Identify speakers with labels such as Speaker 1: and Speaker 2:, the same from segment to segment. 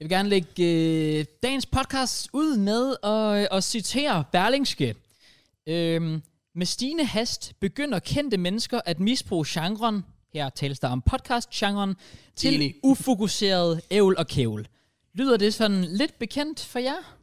Speaker 1: Jeg vil gerne lægge øh, dagens podcast ud med at, øh, at citere Berlingske. Øhm, med stigende hast begynder kendte mennesker at misbruge genren, her tales der om podcast-genren, til
Speaker 2: Enig.
Speaker 1: ufokuseret ævl og kævl. Lyder det sådan lidt bekendt for jer?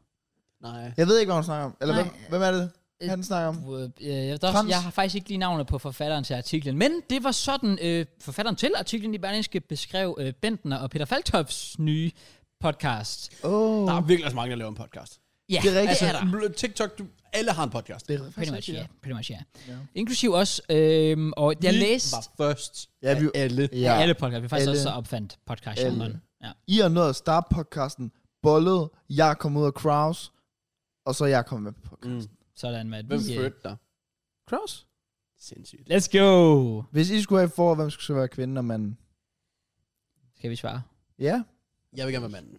Speaker 2: Nej.
Speaker 3: Jeg ved ikke, hvad hun snakker om. Eller
Speaker 1: Nej.
Speaker 3: hvem, hvem er det,
Speaker 1: Øh,
Speaker 3: han snakker om?
Speaker 1: Øh, jeg, der,
Speaker 3: Trans.
Speaker 1: jeg har faktisk ikke lige navnet på forfatteren til artiklen, men det var sådan, øh, forfatteren til artiklen i Berlingske beskrev øh, Bentner og Peter Faltofs nye podcast.
Speaker 3: Åh,
Speaker 2: Der
Speaker 3: oh,
Speaker 2: er virkelig også mange, der laver en podcast.
Speaker 1: Ja,
Speaker 3: Det er rigtigt.
Speaker 1: det er der.
Speaker 2: Bl- TikTok, du, alle har en podcast.
Speaker 3: det er
Speaker 1: Pretty
Speaker 3: faktisk
Speaker 1: much,
Speaker 3: rigtigt,
Speaker 1: ja. Pretty much, ja.
Speaker 3: Ja.
Speaker 1: Inklusiv også, øhm, og jeg
Speaker 2: Vi
Speaker 1: læste
Speaker 2: var først
Speaker 3: Ja, vi-
Speaker 2: af alle.
Speaker 3: ja.
Speaker 1: alle podcast. Vi faktisk
Speaker 3: Alle.
Speaker 1: også så opfandt podcast
Speaker 3: Alle.
Speaker 1: Ja.
Speaker 3: I har nået at starte podcasten, bollet, jeg kom ud af Kraus, og så er jeg kommet med på podcasten.
Speaker 2: Mm.
Speaker 1: Sådan med, at
Speaker 2: Hvem
Speaker 1: vi... øh,
Speaker 2: fødte dig?
Speaker 3: Kraus?
Speaker 2: Sindssygt.
Speaker 1: Let's go!
Speaker 3: Hvis I skulle have for, hvem skulle så være kvinde og mand?
Speaker 1: Skal vi svare?
Speaker 3: Ja,
Speaker 2: Jeg vil gerne være manden.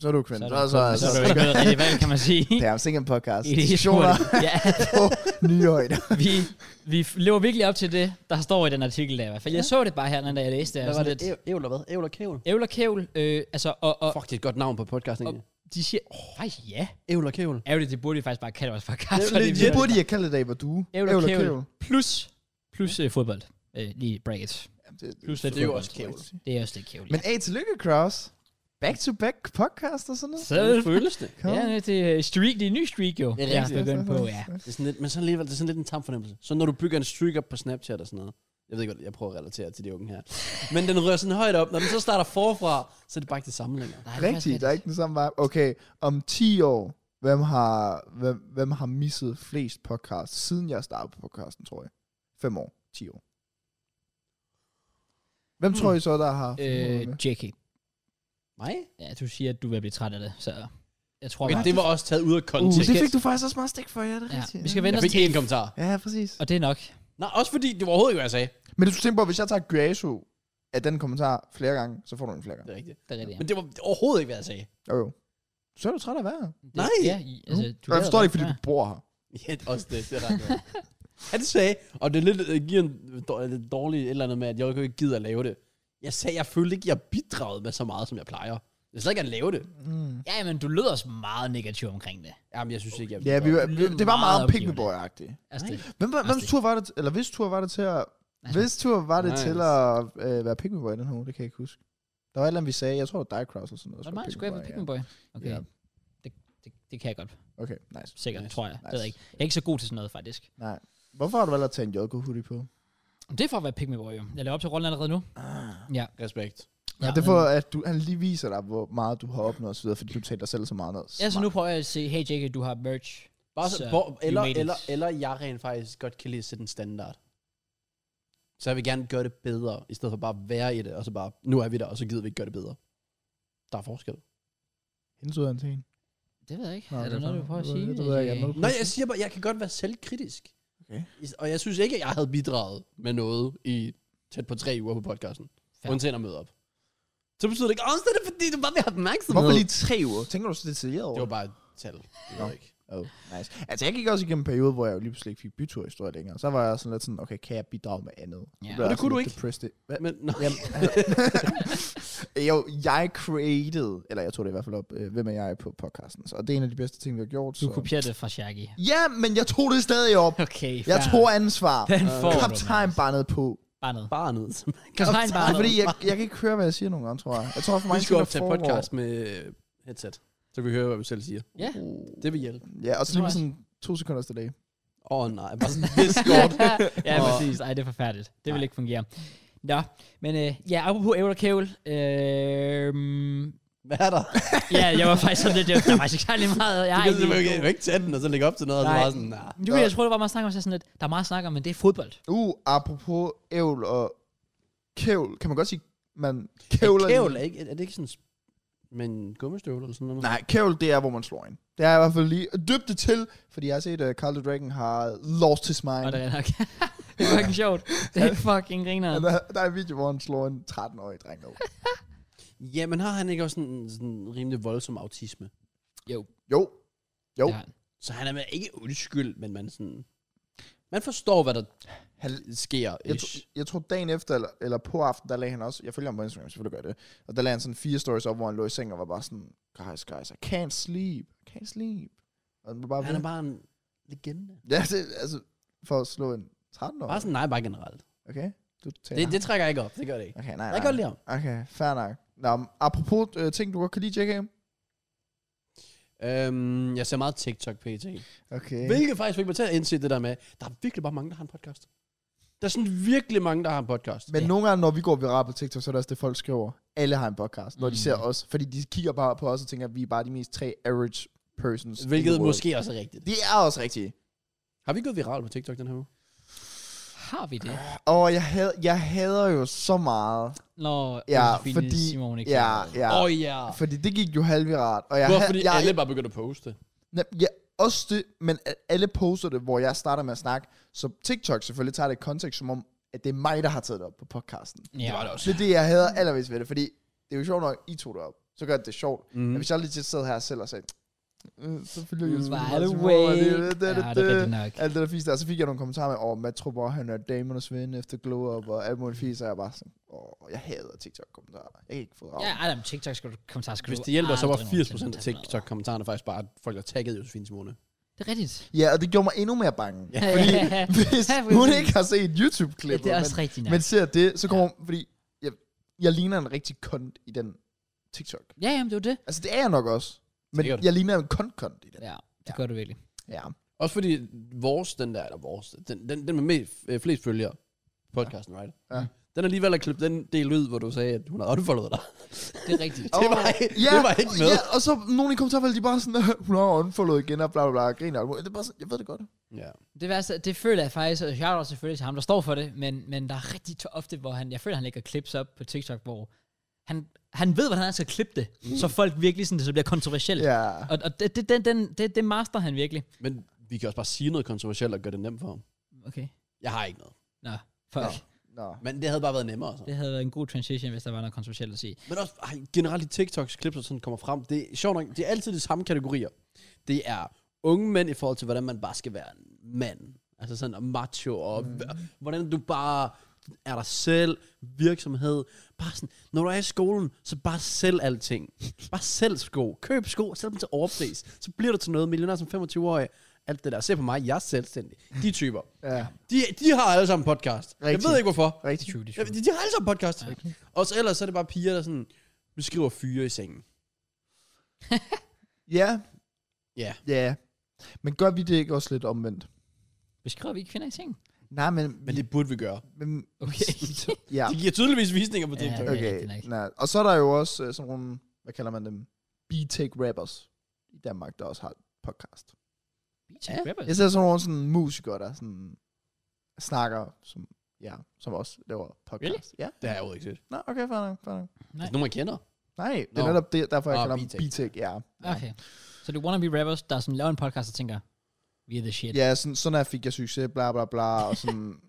Speaker 3: så er du kvinde.
Speaker 1: er det-
Speaker 3: så,
Speaker 1: så, er det jo ikke noget rigtigt. Hvad kan man sige?
Speaker 3: Det er sikkert en podcast.
Speaker 1: I det hele
Speaker 3: Diskussioner
Speaker 1: taget. Ja,
Speaker 3: på nye højder.
Speaker 1: vi, vi f- lever virkelig op til det, der står i den artikel der i hvert fald. Jeg så det bare her, når jeg læste det. og
Speaker 2: Hvad var
Speaker 1: sådan
Speaker 2: det?
Speaker 1: lidt-
Speaker 2: Æv- Ævl og hvad? Ævl og kævl?
Speaker 1: Ævl og kævl, øh, altså, og, og
Speaker 2: Fuck, det er et godt navn på podcasten.
Speaker 1: Og- de siger, oh, faktisk ja.
Speaker 2: Ævl og kævl.
Speaker 1: Ærgerligt, det burde de faktisk bare kalde vores podcast.
Speaker 2: Det er
Speaker 1: for
Speaker 2: legit.
Speaker 3: Det
Speaker 1: virkelig-
Speaker 3: burde I have kaldt det i dag, hvor du
Speaker 1: Ævl og kævl. Plus, plus øh, fodbold. Øh, lige brackets. Plus lidt
Speaker 2: Det er jo
Speaker 1: fodbold.
Speaker 2: også kævl.
Speaker 1: Det er også lidt kævl.
Speaker 3: Men A, tillykke, Kraus. Back to back podcast og sådan noget.
Speaker 1: Selv.
Speaker 2: føles det?
Speaker 3: Kom.
Speaker 1: Ja, det er øh, streak, det er en ny streak jo.
Speaker 2: Det er
Speaker 1: jeg
Speaker 2: rigtigt.
Speaker 1: begyndt på, ja.
Speaker 2: Det er sådan lidt, men så alligevel, det er sådan lidt en tam fornemmelse. Så når du bygger en streak op på Snapchat og sådan noget. Jeg ved ikke, godt, jeg prøver at relatere til de unge her. Men den rører sådan højt op. Når den så starter forfra, så er det bare ikke det samme længere.
Speaker 1: Nej, det er faktisk
Speaker 3: Rigtigt, der er ikke den samme vibe. Okay, om 10 år, hvem har, hvem, hvem har misset flest podcasts, siden jeg startede på podcasten, tror jeg? 5 år, 10 år. Hvem
Speaker 1: Hmm.
Speaker 3: tror I så, der har...
Speaker 1: Øh, Jackie.
Speaker 2: Nej.
Speaker 1: Ja, du siger, at du vil blive træt af det, så jeg tror
Speaker 2: Okay,
Speaker 1: bare...
Speaker 2: det var også taget ud af
Speaker 3: uh,
Speaker 2: kontekst.
Speaker 3: det fik du faktisk også meget stik for, ja, det er
Speaker 1: Ja,
Speaker 3: rigtigt.
Speaker 1: vi skal
Speaker 3: ja.
Speaker 1: vente
Speaker 2: Jeg
Speaker 1: os
Speaker 2: fik
Speaker 1: til...
Speaker 2: én kommentar.
Speaker 3: Ja, præcis.
Speaker 1: Og det er nok.
Speaker 2: Nej, også fordi det var overhovedet ikke, hvad jeg sagde.
Speaker 3: Men du skulle tænke på, at hvis jeg tager Grasso af den kommentar flere gange, så får du den flere
Speaker 2: Det
Speaker 3: gange.
Speaker 2: er rigtigt.
Speaker 1: Det er rigtigt, ja.
Speaker 2: Men det var overhovedet ikke, hvad jeg sagde.
Speaker 3: Jo, jo. Så er du træt af at være her.
Speaker 1: Det,
Speaker 2: Nej!
Speaker 1: Ja, i, altså, du
Speaker 3: Jeg forstår det ikke, fordi
Speaker 1: Ja.
Speaker 3: du bor her.
Speaker 2: Ja, også det. Det er ret godt. Han sagde, og det er lidt, øh, giver en dår- lidt dårlig et eller andet med, at jeg jo ikke gider at lave det. Jeg sagde, jeg følte ikke, jeg bidragede med så meget, som jeg plejer. Jeg slet ikke at lave det.
Speaker 3: Mm.
Speaker 1: Ja, men du lød også meget negativ omkring det.
Speaker 2: Jamen, jeg synes ikke, jeg
Speaker 3: Ja, vi,
Speaker 2: bidrager.
Speaker 3: var- vi, det var meget
Speaker 1: Meget opgivende.
Speaker 3: Pygmy-boy-agtigt.
Speaker 1: Altså, det,
Speaker 3: Hvem, var,
Speaker 1: Altså,
Speaker 3: hvem
Speaker 1: det-
Speaker 3: tur var det, t- eller hvis tur var det til at,
Speaker 1: Altså,
Speaker 3: hvis tur var det
Speaker 2: nice.
Speaker 3: til at øh, være Pygmy Boy i den her uge, det kan jeg ikke huske. Der var et eller andet, vi sagde, jeg tror det var dig, Kraus, eller sådan noget.
Speaker 1: var
Speaker 3: der
Speaker 1: det mig, der skulle
Speaker 3: Pygmy
Speaker 1: jeg være
Speaker 3: Boy,
Speaker 1: Pikmin Boy? Okay,
Speaker 3: Ja.
Speaker 1: det, det, det kan jeg godt.
Speaker 3: ja. Okay, nice.
Speaker 1: Sikkert,
Speaker 2: Nice.
Speaker 1: tror jeg. Det ved jeg
Speaker 3: Nice.
Speaker 1: ikke. Jeg er ikke så god til sådan noget, faktisk.
Speaker 3: Nej. Hvorfor har du valgt at tage en JK hoodie på?
Speaker 1: Men Det er for at være Pikmin Boy, jo. Jeg laver op til rollen allerede nu. Ah.
Speaker 2: Respekt.
Speaker 3: Ja, det er for, at du, han lige viser dig, hvor meget du har opnået osv., fordi du taler dig selv så meget ned.
Speaker 1: Ja, så nu prøver jeg at sige, hey Jake, du har merch.
Speaker 2: Bare så,
Speaker 1: Så,
Speaker 2: hvor,
Speaker 1: you
Speaker 2: eller,
Speaker 1: made it.
Speaker 2: eller, eller jeg rent faktisk godt kan lide at sætte en standard. Så jeg vil gerne gøre det bedre, i stedet for bare at være i det, og så bare, nu er vi der, og så gider vi ikke gøre det bedre. Der er forskel.
Speaker 3: Hensyder han til en.
Speaker 1: Det ved jeg ikke.
Speaker 3: Nå,
Speaker 1: er
Speaker 3: det
Speaker 1: der
Speaker 3: er
Speaker 1: noget, du
Speaker 3: fair.
Speaker 1: prøver at
Speaker 3: Det ved
Speaker 1: sige?
Speaker 3: jeg- det ved jeg ikke. Er der noget, du
Speaker 2: Nej, jeg siger bare, jeg kan godt være selvkritisk.
Speaker 3: Okay.
Speaker 2: I- Og jeg synes ikke, at jeg havde bidraget med noget i tæt på tre uger på podcasten.
Speaker 1: Fair.
Speaker 2: Fair. Undtagen at møde op. Så betyder det ikke, også det er fordi, du bare vil have opmærksomhed.
Speaker 3: Hvorfor lige tre uger? Tænker du så detaljeret over?
Speaker 2: Det var bare et tal. Det
Speaker 3: Nå.
Speaker 2: ved jeg ikke.
Speaker 3: Oh, nice. Altså, jeg gik også igennem en periode, hvor jeg jo lige pludselig ikke fik byturhistorie længere. Så var jeg sådan lidt sådan, okay, kan jeg bidrage med andet?
Speaker 1: Ja.
Speaker 3: Så
Speaker 1: Men
Speaker 3: blev jeg
Speaker 2: det
Speaker 3: sådan
Speaker 2: kunne du
Speaker 3: lidt
Speaker 2: ikke.
Speaker 3: depressed. Hvad?
Speaker 2: Men, nå,
Speaker 3: Jamen, jo, jeg created, eller jeg tog det i hvert fald op, øh, hvem er jeg på podcasten. Så, og det er en af de bedste ting, vi har gjort.
Speaker 1: Du
Speaker 3: så.
Speaker 1: kopierer det fra Shaggy.
Speaker 3: Ja, men jeg tog det stadig op.
Speaker 1: Okay,
Speaker 3: Jeg tog ansvar.
Speaker 1: Den får du,
Speaker 3: Kaptajn bandet på.
Speaker 1: Bare noget.
Speaker 2: bare ned.
Speaker 1: Kaptajn
Speaker 3: Det er
Speaker 1: bare
Speaker 3: fordi, jeg, jeg kan ikke høre, hvad jeg siger nogle gange, tror jeg. Jeg tror, for
Speaker 2: Vi
Speaker 3: mange
Speaker 2: skal
Speaker 3: ting, der
Speaker 2: optage
Speaker 3: foregår.
Speaker 2: podcast med øh, headset. Så kan vi høre, hvad vi selv siger.
Speaker 1: Ja.
Speaker 2: Det vil hjælpe.
Speaker 3: Ja, og så
Speaker 1: Det
Speaker 3: lige med
Speaker 1: tror
Speaker 3: sådan to sekunders delay.
Speaker 2: Åh oh, nej, bare sådan Discord.
Speaker 1: ja,
Speaker 2: Og-
Speaker 1: præcis. Ej, det er forfærdeligt. Det vil ikke fungere. Nå, men øh, ja, apropos ævl og kævl. Øh,
Speaker 2: hvad er der?
Speaker 1: ja, jeg var faktisk sådan lidt, jeg- der var faktisk ikke særlig meget. Jeg
Speaker 2: Du
Speaker 1: har
Speaker 2: kan
Speaker 1: ikke
Speaker 2: selvfølgelig ikke- ikke tage den, og så lægge op til noget, og så
Speaker 1: Nej.
Speaker 2: bare sådan, nej.
Speaker 1: Jo, jeg tror, der var meget snak om så sådan lidt. Der er meget snak om, men det er fodbold.
Speaker 3: Uh, apropos ævl og kævl. Kan man godt sige, man kævler?
Speaker 2: Kævl er, ikke, er det ikke sådan med en gummistøvle eller sådan noget?
Speaker 3: Nej, kævl, det er, hvor man slår en. Det er i hvert fald lige dybt det til, fordi jeg har set, at Carl the Dragon har lost his mind.
Speaker 1: Og det er nok. det er fucking sjovt. Det er fucking griner.
Speaker 3: Ja, der, der er en video, hvor han slår en 13-årig dreng over.
Speaker 2: Ja, men har han ikke også sådan, sådan rimelig voldsom autisme?
Speaker 3: Jo, jo.
Speaker 1: Ja.
Speaker 2: Så han er med, ikke undskyld, men man sådan... Man forstår, hvad der
Speaker 3: Han,
Speaker 2: sker.
Speaker 3: jeg, tr- jeg tror dagen efter, eller, eller på aften, der lagde han også, jeg følger ham på Instagram, selvfølgelig gør jeg det, og der lagde han sådan fire stories op, hvor han lå i seng og var bare sådan, guys, guys, I can't sleep, I can't sleep. Og han var bare,
Speaker 2: Han er
Speaker 3: bare
Speaker 2: bare en legende.
Speaker 3: ja, det, altså, for at slå en 13 år.
Speaker 2: Bare sådan nej, bare generelt.
Speaker 3: Okay, du tager.
Speaker 2: Det, det trækker jeg ikke op. Det gør det ikke.
Speaker 3: okay, nej,
Speaker 2: Jeg
Speaker 3: nej.
Speaker 2: kan godt lide ham.
Speaker 3: Okay, fair nok. Nå, men apropos øh, ting, du godt kan lide, JK.
Speaker 2: Øhm, jeg ser meget TikTok pt.
Speaker 3: Okay.
Speaker 2: Hvilket faktisk fik mig til at indse det der med, der er virkelig bare mange, der har en podcast. Der er sådan virkelig mange, der har en podcast.
Speaker 3: Men nogle gange, når vi går viral på TikTok, så er det også det, folk skriver. Alle har en podcast, når mm. de ser os. Fordi de kigger bare på os og tænker, at vi er bare de mest tre average persons. in the
Speaker 2: Hvilket
Speaker 3: world.
Speaker 2: måske også er rigtigt.
Speaker 3: Det er også rigtigt.
Speaker 2: Har vi gået viral på TikTok den her uge?
Speaker 1: Har vi det?
Speaker 3: Og jeg, had, jeg hader jo så meget.
Speaker 1: Når
Speaker 3: Ja,
Speaker 1: Josefine
Speaker 3: fordi...
Speaker 1: Simon ikke
Speaker 3: ja,
Speaker 1: svarede.
Speaker 3: ja.
Speaker 2: Åh oh, ja.
Speaker 3: Fordi det gik jo halvviralt. Og jeg,
Speaker 2: Hvorfor?
Speaker 3: had-
Speaker 2: Fordi
Speaker 3: jeg,
Speaker 2: alle bare begynder at poste.
Speaker 3: jeg, ja, også det, men at alle poster det, hvor jeg starter med at snakke. Så TikTok selvfølgelig tager det i kontekst, som om, at det er mig, der har taget det op på podcasten.
Speaker 1: ja.
Speaker 2: Det var det også.
Speaker 3: Det er det, jeg hader allermest ved det, fordi det er jo sjovt nok, I tog det op. Så gør det det sjovt. Mm. Men
Speaker 2: Mm.
Speaker 3: hvis jeg lige sad her selv og sagde, "Øh, så følger jeg
Speaker 2: Mm,
Speaker 3: Josefine
Speaker 1: by the
Speaker 3: Simon,
Speaker 1: way."
Speaker 3: og det- det- det-
Speaker 1: Ja,
Speaker 3: det-
Speaker 1: det er
Speaker 3: det-
Speaker 1: rigtigt nok.
Speaker 3: Alt det der fisk der, så fik jeg nogle kommentarer med, åh, Matt tror bare, han er damernes ven efter glow up og alt muligt fisk, og jeg er bare sådan, åh, jeg hader TikTok-kommentarer. Jeg kan ikke få
Speaker 1: Ja,
Speaker 3: det
Speaker 1: ej, jamen, TikTok skal du kommentar skal
Speaker 2: Hvis
Speaker 1: du
Speaker 2: det hjælper, så var
Speaker 1: aldrig
Speaker 2: 80%
Speaker 1: nogensinde
Speaker 2: af
Speaker 1: tage med.
Speaker 2: TikTok-kommentarerne faktisk bare, at folk der taggede Josefine Simone.
Speaker 1: altså, Det er rigtigt.
Speaker 3: Ja, og det gjorde mig endnu mere bange.
Speaker 2: Ja.
Speaker 3: Fordi hvis
Speaker 1: Ja,
Speaker 3: hun
Speaker 1: præcis.
Speaker 3: ikke har set
Speaker 1: Ja,
Speaker 3: YouTube-klippet,
Speaker 1: det er
Speaker 3: men,
Speaker 1: også rigtigt nok.
Speaker 3: men ser det, så kommer hun, fordi jeg, jeg ligner en rigtig kont i den TikTok.
Speaker 1: Ja, jamen, det er jo det.
Speaker 3: Altså, det er jeg nok også. Men
Speaker 2: Sikkert.
Speaker 3: jeg ligner en kont-kont i den.
Speaker 1: Ja, det gør du virkelig.
Speaker 3: Ja.
Speaker 2: Også fordi vores, den der, eller vores, den, den, den med mest, øh, flest følgere, podcasten, right?
Speaker 3: Ja.
Speaker 2: Den er alligevel at klippe den del ud, hvor du sagde, at hun havde unfollowet dig.
Speaker 1: Det er rigtigt.
Speaker 2: Det var,
Speaker 3: Ja,
Speaker 2: det var ikke med.
Speaker 3: Ja, og så nogle i kommentarfeltet, de bare sådan, hun har unfollowet igen, og bla bla bla, og griner. og alt muligt. Det er bare sådan, jeg ved det godt.
Speaker 2: Ja.
Speaker 1: Det værste, det føler jeg faktisk, og jeg er også selvfølgelig til ham, der står for det, men, men der er rigtig ofte, hvor han, jeg føler, han lægger clips op på TikTok, hvor han, han ved, hvordan han skal klippe det, mm. så folk virkelig sådan, det så bliver kontroversielt.
Speaker 3: Ja.
Speaker 1: Og, og det, det, den, den, det, det master han virkelig.
Speaker 2: Men vi kan også bare sige noget kontroversielt og gøre det nemt for ham.
Speaker 1: Okay.
Speaker 2: Jeg har ikke noget.
Speaker 1: Nå, fuck.
Speaker 3: Nå.
Speaker 1: Nå.
Speaker 3: Nå.
Speaker 2: Men det havde bare været nemmere. Så.
Speaker 1: Det havde været en god transition, hvis der var noget kontroversielt at sige.
Speaker 2: Men også ej, generelt i TikToks klip, der sådan kommer frem, det er sjovt nok, det er altid de samme kategorier. Det er unge mænd i forhold til, hvordan man bare skal være en mand. Altså sådan og macho, og mm. hvordan du bare er dig selv, virksomhed. Bare sådan, når du er i skolen, så bare sælg alting. Bare sælg sko. Køb sko, sælg dem til overpris. Så bliver du til noget millionær som 25-årig. Alt det der. Se på mig, jeg er selvstændig. De typer.
Speaker 3: Ja.
Speaker 2: De, de har alle sammen podcast.
Speaker 3: Rigtig.
Speaker 2: Jeg ved ikke hvorfor.
Speaker 3: Rigtig.
Speaker 1: True, det
Speaker 2: Ja,
Speaker 1: er
Speaker 2: de,
Speaker 1: true.
Speaker 2: de har alle sammen podcast. Ja. Og så ellers så er det bare piger, der sådan beskriver fyre i sengen.
Speaker 3: Ja.
Speaker 2: Ja.
Speaker 3: Ja. Men gør vi det ikke også lidt omvendt?
Speaker 1: Beskriver vi ikke kvinder i ting?
Speaker 3: Nej, men...
Speaker 2: Men det burde vi gøre.
Speaker 3: men
Speaker 1: Okay.
Speaker 3: ja.
Speaker 2: De giver tydeligvis visninger på
Speaker 1: Ja.
Speaker 2: TikTok.
Speaker 1: det er
Speaker 3: Okay.
Speaker 1: rigtigt nok.
Speaker 3: Nej. Og så er der jo også øh, sådan nogle, hvad kalder man dem? B-Take rappers i Danmark, der også har podcast.
Speaker 1: ja. rappers.
Speaker 3: Jeg ser sådan nogle sådan musikere, der sådan snakker, som, ja, som også laver podcast.
Speaker 1: Really?
Speaker 3: Ja.
Speaker 2: Det har jeg jo ikke set.
Speaker 3: Nå, okay, fair nok, fair nok.
Speaker 2: Nej. Nogen, man kender.
Speaker 3: Nej, det er
Speaker 2: Nå.
Speaker 3: netop det, derfor jeg
Speaker 2: Ah,
Speaker 3: kalder dem
Speaker 2: B-Tech.
Speaker 3: B-Tech, ja. ja.
Speaker 1: Okay. Så det er wannabe rappers, der sådan laver en podcast og tænker, vi er the shit.
Speaker 3: Ja, sådan, sådan her fik jeg succes, bla bla bla, og sådan...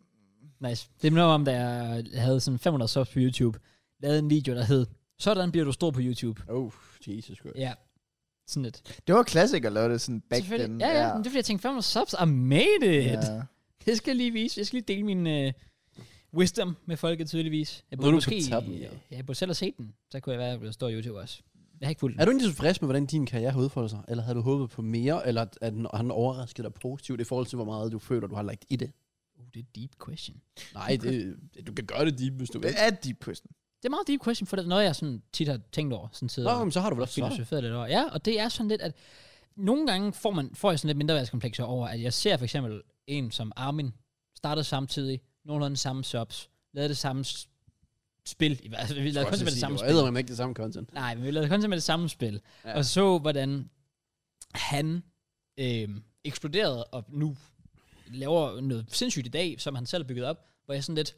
Speaker 1: Nice. Det minder mig om, da jeg havde sådan 500 subs på YouTube, lavede en video, der hed, sådan bliver du stor på YouTube.
Speaker 2: Oh, Jesus Christ.
Speaker 1: Ja. Sådan lidt.
Speaker 3: det var klassik at lave det sådan back then.
Speaker 1: Ja, ja, men det er fordi, jeg tænkte, 500 subs, I made it. Yeah.
Speaker 3: ja.
Speaker 1: Det skal jeg lige vise. Jeg skal lige dele min øh, wisdom med folket tydeligvis. Jeg
Speaker 2: Nu
Speaker 1: burde
Speaker 2: er du
Speaker 1: måske,
Speaker 2: på toppen, ja.
Speaker 1: jeg burde selv have set den. Så kunne jeg være blevet stor YouTuber også. Jeg har ikke fulgt
Speaker 2: Er
Speaker 1: den.
Speaker 2: du ikke tilfreds med, hvordan din karriere har udfoldet sig? Eller havde du håbet på mere? Eller at- at den- har den overrasket dig positivt i forhold til, hvor meget du føler, du har lagt i det?
Speaker 1: Uh, det er et deep question.
Speaker 2: Nej, det, du kan gøre det deep, hvis du
Speaker 3: Det
Speaker 2: vil.
Speaker 3: er deep question.
Speaker 1: Det er meget deep question, for det er noget, jeg sådan tit har tænkt over. Sådan tid,
Speaker 2: Nå, men så har du vel også svaret.
Speaker 1: filosoferet lidt over. Ja, og det er sådan lidt, at nogle gange får, man, får jeg sådan lidt mindreværdskomplekser over, at jeg ser for eksempel en som Armin, startede samtidig, nogenlunde samme subs, lavede det samme s- spil, i hvert fald, vi lavede kun med det samme spil.
Speaker 2: Jeg ikke det samme content.
Speaker 1: Nej, men vi lavede kun med det samme spil, ja.
Speaker 2: Ja.
Speaker 1: og så hvordan han øh, eksploderede, og nu laver noget sindssygt i dag, som han selv har bygget op, hvor jeg sådan lidt,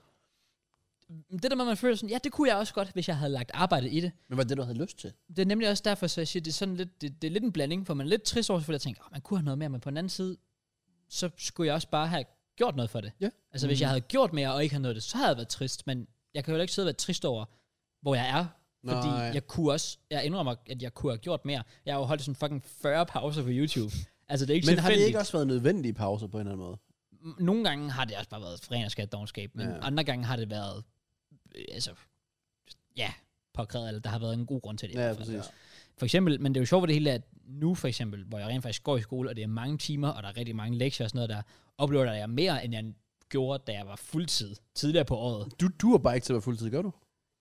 Speaker 1: mm, det der med, at man føler sådan, ja, det kunne jeg også godt, hvis jeg havde lagt arbejdet i det,
Speaker 2: Men var det, du havde lyst til?
Speaker 1: det er nemlig også derfor, så jeg siger, det er sådan lidt, det, det er lidt en blanding, for man er lidt trist over, fordi jeg tænker, oh, man kunne have noget mere, men på den anden side, så skulle jeg også bare have gjort noget for det.
Speaker 2: Ja.
Speaker 1: Altså, mm. hvis jeg havde gjort mere og ikke havde nået det, så havde jeg været trist, men jeg kan jo ikke sidde og være trist over, hvor jeg er, fordi
Speaker 2: Nej.
Speaker 1: jeg kunne også, jeg indrømmer, at jeg kunne have gjort mere. Jeg har jo holdt sådan fucking 40 pauser på YouTube. altså, det er ikke
Speaker 2: Men har det
Speaker 1: tilfældigt.
Speaker 2: ikke også været nødvendige pauser på en eller anden måde?
Speaker 1: m- nogle gange har det også bare været ren og skat dogenskab, men ja.
Speaker 2: Ja.
Speaker 1: andre gange har det været, øh, altså, ja, påkrævet, eller der har været en god grund til det. i
Speaker 2: Ja,
Speaker 1: hvert fald.
Speaker 2: præcis.
Speaker 1: For eksempel, men det er jo sjovt ved det hele, at nu for eksempel, hvor jeg rent faktisk går i skole, og det er mange timer, og der er rigtig mange lektier og sådan noget, der oplever jeg, at jeg er mere, end jeg gjorde, da jeg var fuldtid tidligere på året.
Speaker 2: Du duer bare ikke til at være fuldtid, gør du?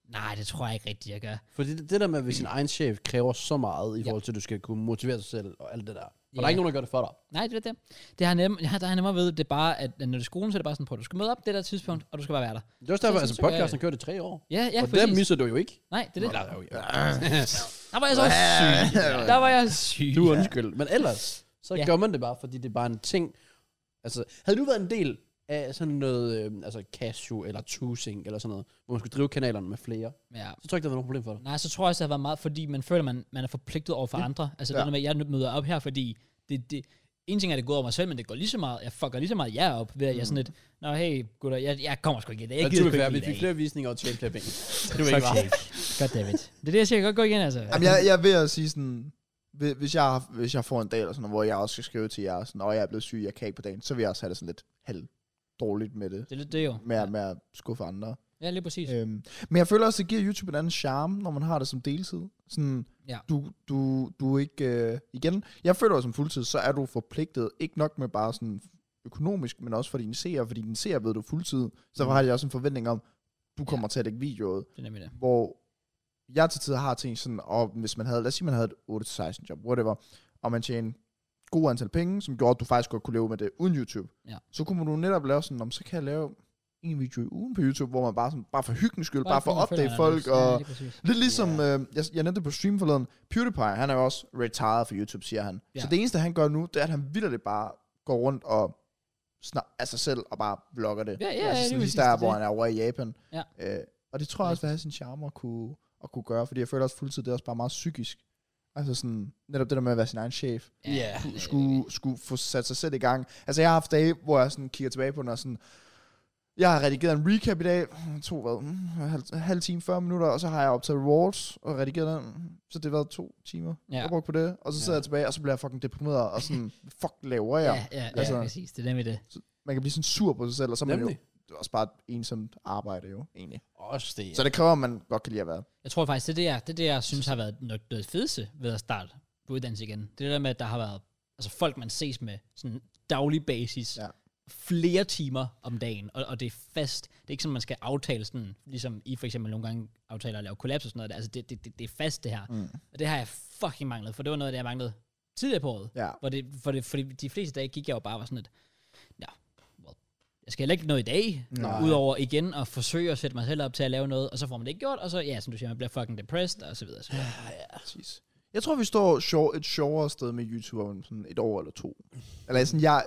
Speaker 1: Nej, det tror jeg ikke rigtigt, jeg gør.
Speaker 2: Fordi det, det der med, hvis sin egen chef kræver så meget, i
Speaker 1: Ja.
Speaker 2: forhold til, at du skal kunne motivere dig selv og alt det der. Og
Speaker 1: Ja.
Speaker 2: der er ikke nogen, der gør det for dig.
Speaker 1: Nej, det er det. det har nem, ja, der er nemmere ved, det er bare, at når det er skolen, så er det bare sådan på, at du skal møde op det der tidspunkt, og du skal bare være der.
Speaker 2: Det er også derfor,
Speaker 1: Så-
Speaker 2: altså
Speaker 1: så gør jeg
Speaker 2: podcasten kørte i tre år.
Speaker 1: Ja, ja,
Speaker 2: og
Speaker 1: præcis.
Speaker 2: der misser du jo ikke.
Speaker 1: Nej, det er det.
Speaker 2: Eller, jo, ja.
Speaker 1: Der var jeg så også syg. Der var jeg syg.
Speaker 2: Du er undskyld. Men ellers, så
Speaker 1: Ja.
Speaker 2: ja. gør man det bare, fordi det er bare en ting. Altså, havde du været en del af sådan noget, øh, altså Casio eller Tusing eller sådan noget, hvor man skulle drive kanalerne med flere,
Speaker 1: Ja.
Speaker 2: så tror jeg ikke, der var nogen problem for dig.
Speaker 1: Nej, så tror jeg også, det har været meget, fordi man føler, man, man er forpligtet over for andre. Altså, ja.
Speaker 3: Ja.
Speaker 1: det der med, at jeg nu møder op her, fordi det, det, en ting er, at det går over mig selv, men det går lige så meget, jeg fucker lige så meget jer op, ved at jeg er sådan
Speaker 3: Mm.
Speaker 1: lidt, nå hey, gutter, jeg, jeg kommer sgu ikke i dag. Jeg
Speaker 2: Men
Speaker 1: gider
Speaker 2: det
Speaker 1: sgu
Speaker 2: er
Speaker 1: ikke
Speaker 2: vi
Speaker 1: i
Speaker 2: fik
Speaker 1: dag.
Speaker 2: flere visninger og tjente flere penge. Det var ikke bare.
Speaker 1: Goddammit. Det er det, jeg siger, jeg kan godt gå igen, altså.
Speaker 3: Jamen, jeg, jeg er ved at sige sådan, hvi- hvis jeg, har- hvis jeg får en dag eller sådan noget, hvor jeg også skal skrive til jer, sådan, og jeg er blevet syg, jeg kan ikke på dagen, så vil jeg også have det sådan lidt halv dårligt med det.
Speaker 1: Det er lidt det jo.
Speaker 3: Med, at- med at skuffe andre.
Speaker 1: Ja, lige præcis.
Speaker 3: Øhm, men jeg føler også, det giver YouTube en anden charme, når man har det som deltid. Sådan,
Speaker 1: Ja.
Speaker 3: du, du, du er ikke... Øh, igen, jeg føler også som fuldtid, så er du forpligtet, ikke nok med bare sådan økonomisk, men også for dine seere, fordi dine seere ved du er fuldtid, så
Speaker 2: Mm.
Speaker 3: har de også en forventning om, du kommer til at lægge videoet
Speaker 1: Det er nemlig det.
Speaker 3: hvor jeg til tider har ting sådan, og hvis man havde, lad os sige, man havde et 8-16 job, whatever, og man tjente gode antal penge, som gjorde, at du faktisk godt kunne leve med det uden YouTube,
Speaker 1: Ja.
Speaker 3: så kunne du netop lave sådan, om så kan jeg lave en video i ugen på YouTube, hvor man bare, sådan, bare for hyggens skyld, bare, bare for at
Speaker 1: fordi man føler,
Speaker 3: opdage
Speaker 1: man er
Speaker 3: folk,
Speaker 1: nervøs. Ja,
Speaker 3: og
Speaker 1: lige præcis.
Speaker 3: lidt ligesom, yeah. øh, jeg, jeg nævnte det på stream forleden, PewDiePie, han er jo også retired fra YouTube, siger han.
Speaker 1: Ja.
Speaker 3: Så det eneste, han gør nu, det er, at han vildt bare går rundt og snak, af sig selv, og bare vlogger det.
Speaker 1: Ja, ja, ja,
Speaker 3: altså,
Speaker 1: lige
Speaker 3: sådan
Speaker 1: præcis,
Speaker 3: lige
Speaker 1: det er
Speaker 3: der, hvor
Speaker 1: det.
Speaker 3: han er over i Japan.
Speaker 1: Ja.
Speaker 3: Øh, og det tror jeg også vil have sin charme at kunne, at kunne gøre, fordi jeg føler også fuldtid, det er også bare meget psykisk. Altså sådan, netop det der med at være sin egen chef,
Speaker 1: Ja,
Speaker 2: Ja.
Speaker 1: det er
Speaker 3: skulle, skulle få sat sig selv i gang. Altså jeg har haft dage, hvor jeg sådan kigger tilbage på den og sådan, jeg har redigeret en recap i dag, Mm, to hvad, mm, halv, halv time, 40 minutter, og så har jeg optaget rewards og redigeret den, Mm, så det har været to timer,
Speaker 1: Ja.
Speaker 3: ja. jeg brugte på det, og så sidder
Speaker 2: Ja.
Speaker 3: jeg tilbage, og så bliver jeg fucking deprimeret, og sådan, fuck laver
Speaker 1: det.
Speaker 3: jeg?
Speaker 1: Ja,
Speaker 3: Ja.
Speaker 1: ja, ja,
Speaker 3: Altså-
Speaker 1: præcis. Det er nemlig det.
Speaker 3: Man kan blive sådan sur på sig selv, og så er man
Speaker 2: Nemlig.
Speaker 3: jo, det er også bare et ensomt arbejde jo, egentlig.
Speaker 2: Også det.
Speaker 3: Så det kræver, at man godt kan lide at være.
Speaker 1: Jeg tror faktisk, det er det, jeg, det, er det, jeg synes har været nok det fedeste ved at starte på uddannelse igen. Det er det der med, at der har været altså folk, man ses med sådan daglig basis. Ja.
Speaker 3: Ja.
Speaker 1: Flere timer om dagen, og, og det er fast. Det er ikke sådan, man skal aftale sådan, ligesom I for eksempel nogle gange aftaler at lave kollaps og sådan noget. Altså det, det, det, det er fast det her. Mm. Og det har jeg fucking manglet, for det var noget, af det jeg manglede tidligere på året.
Speaker 3: Ja.
Speaker 1: Hvor det, for det, fordi de fleste dage gik jeg jo bare og var sådan et, ja, well, jeg skal heller ikke noget i dag,
Speaker 3: Nej.
Speaker 1: udover igen at forsøge at sætte mig selv op til at lave noget, og så får man det ikke gjort, og så, ja, som du siger, man bliver fucking depressed, og så videre. Så videre.
Speaker 3: Præcis. Jeg tror, vi står sjov, et sjovere sted med YouTube om sådan et år eller to. Eller sådan, jeg,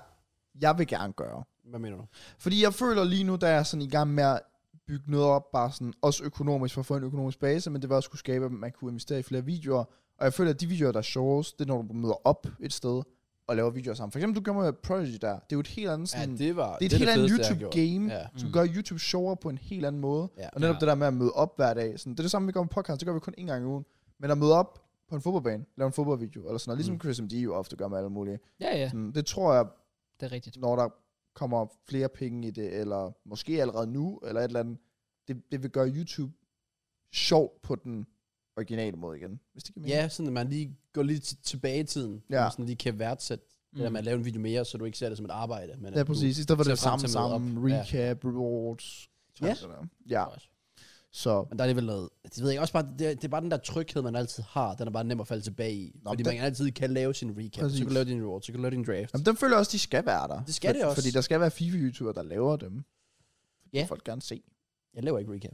Speaker 3: jeg vil gerne gøre.
Speaker 2: Hvad mener du?
Speaker 3: Fordi jeg føler lige nu, der er jeg sådan i gang med at bygge noget op, bare sådan, også økonomisk, for at få en økonomisk base, men det var også kunne skabe, at man kunne investere i flere videoer. Og jeg føler, at de videoer, der er sjovest, det er, når du møder op et sted og laver videoer sammen. For eksempel, du gjorde med Prodigy der. Det er jo et helt andet sådan...
Speaker 2: det var
Speaker 3: det er et helt andet
Speaker 2: fedeste, jeg har gjort.
Speaker 3: YouTube-game,
Speaker 2: Ja.
Speaker 3: ja. som gør YouTube sjovere på en helt anden måde.
Speaker 2: Ja.
Speaker 3: Ja. Og netop
Speaker 1: Ja.
Speaker 3: ja. det der med at møde op hver dag. Sådan, det er det samme, vi gør med podcast. Det gør vi kun én gang i ugen. Men at møde op på en fodboldbane, lave en fodboldvideo, eller sådan noget. Ligesom
Speaker 2: Mm.
Speaker 3: mm. Chris MD jo ofte gør med alle mulige.
Speaker 1: Ja, ja,
Speaker 3: Sådan, det tror jeg,
Speaker 1: det er rigtigt.
Speaker 3: når der kommer flere penge i det, eller måske allerede nu, eller et eller andet, det, det vil gøre YouTube sjovt på den originale måde igen. Hvis det giver mening.
Speaker 2: Ja, sådan at man lige går lidt til- tilbage i tiden, ja.
Speaker 3: Ja.
Speaker 2: man sådan lige kan værdsætte, mm. eller man laver en video mere, så du ikke ser det som et arbejde. Men
Speaker 3: Ja,
Speaker 2: at du-
Speaker 3: præcis. I stedet for
Speaker 2: ser
Speaker 3: det
Speaker 2: frem
Speaker 3: samme
Speaker 2: til at møde
Speaker 3: samme,
Speaker 2: op. Ja.
Speaker 3: recap, rewards.
Speaker 2: Ja.
Speaker 3: sådan noget. ja. Så
Speaker 2: Men der er alligevel noget, det ved jeg også bare, det, det er bare den der tryghed, man altid har, den er bare nem at falde tilbage i. Nå,
Speaker 3: Nå,
Speaker 2: fordi
Speaker 3: men
Speaker 2: man altid kan lave sin recap, Præcis. så
Speaker 3: Præcis.
Speaker 2: kan du lave din reward, så kan du lave din draft.
Speaker 3: Jamen, den føler jeg også, de skal være der.
Speaker 2: Det skal det også.
Speaker 3: Fordi der skal være FIFA-YouTubere, der laver dem.
Speaker 2: Ja.
Speaker 3: Ja. folk gerne se.
Speaker 2: Jeg laver ikke recap.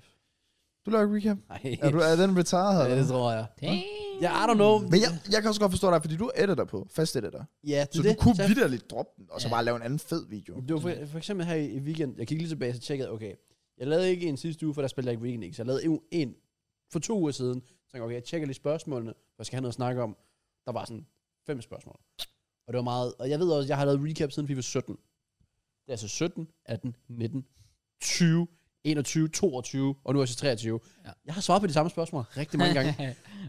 Speaker 3: Du laver ikke recap.
Speaker 2: Nej,
Speaker 3: Er, du, er den retired her?
Speaker 2: ja, det tror jeg.
Speaker 1: Damn.
Speaker 2: Ja, I don't know.
Speaker 3: Men jeg, jeg kan også godt forstå dig, fordi du er editor på. Fast editor.
Speaker 2: ja, det,
Speaker 3: Så
Speaker 2: er
Speaker 3: det,
Speaker 2: det.
Speaker 3: du kunne
Speaker 2: Så-
Speaker 3: vidderligt droppe den, og så
Speaker 1: Ja.
Speaker 3: bare lave en anden fed video.
Speaker 2: Det var for, for eksempel her i i weekend, jeg gik lige tilbage og tjekkede, okay, jeg lavede ikke en sidste uge, for der spillede jeg ikke weekend, ikke? så jeg lavede en, en for to uger siden, så tænkte jeg, okay, jeg tjekker lige spørgsmålene, for jeg skal have noget at snakke om. Der var sådan fem spørgsmål. Og det var meget, og jeg ved også, jeg har lavet recap siden FIFA 17. Det er altså 17, 18, 19, 20, 21, 22, og nu er jeg så 23.
Speaker 1: Ja.
Speaker 2: Ja. Jeg har svaret på de samme spørgsmål rigtig mange gange.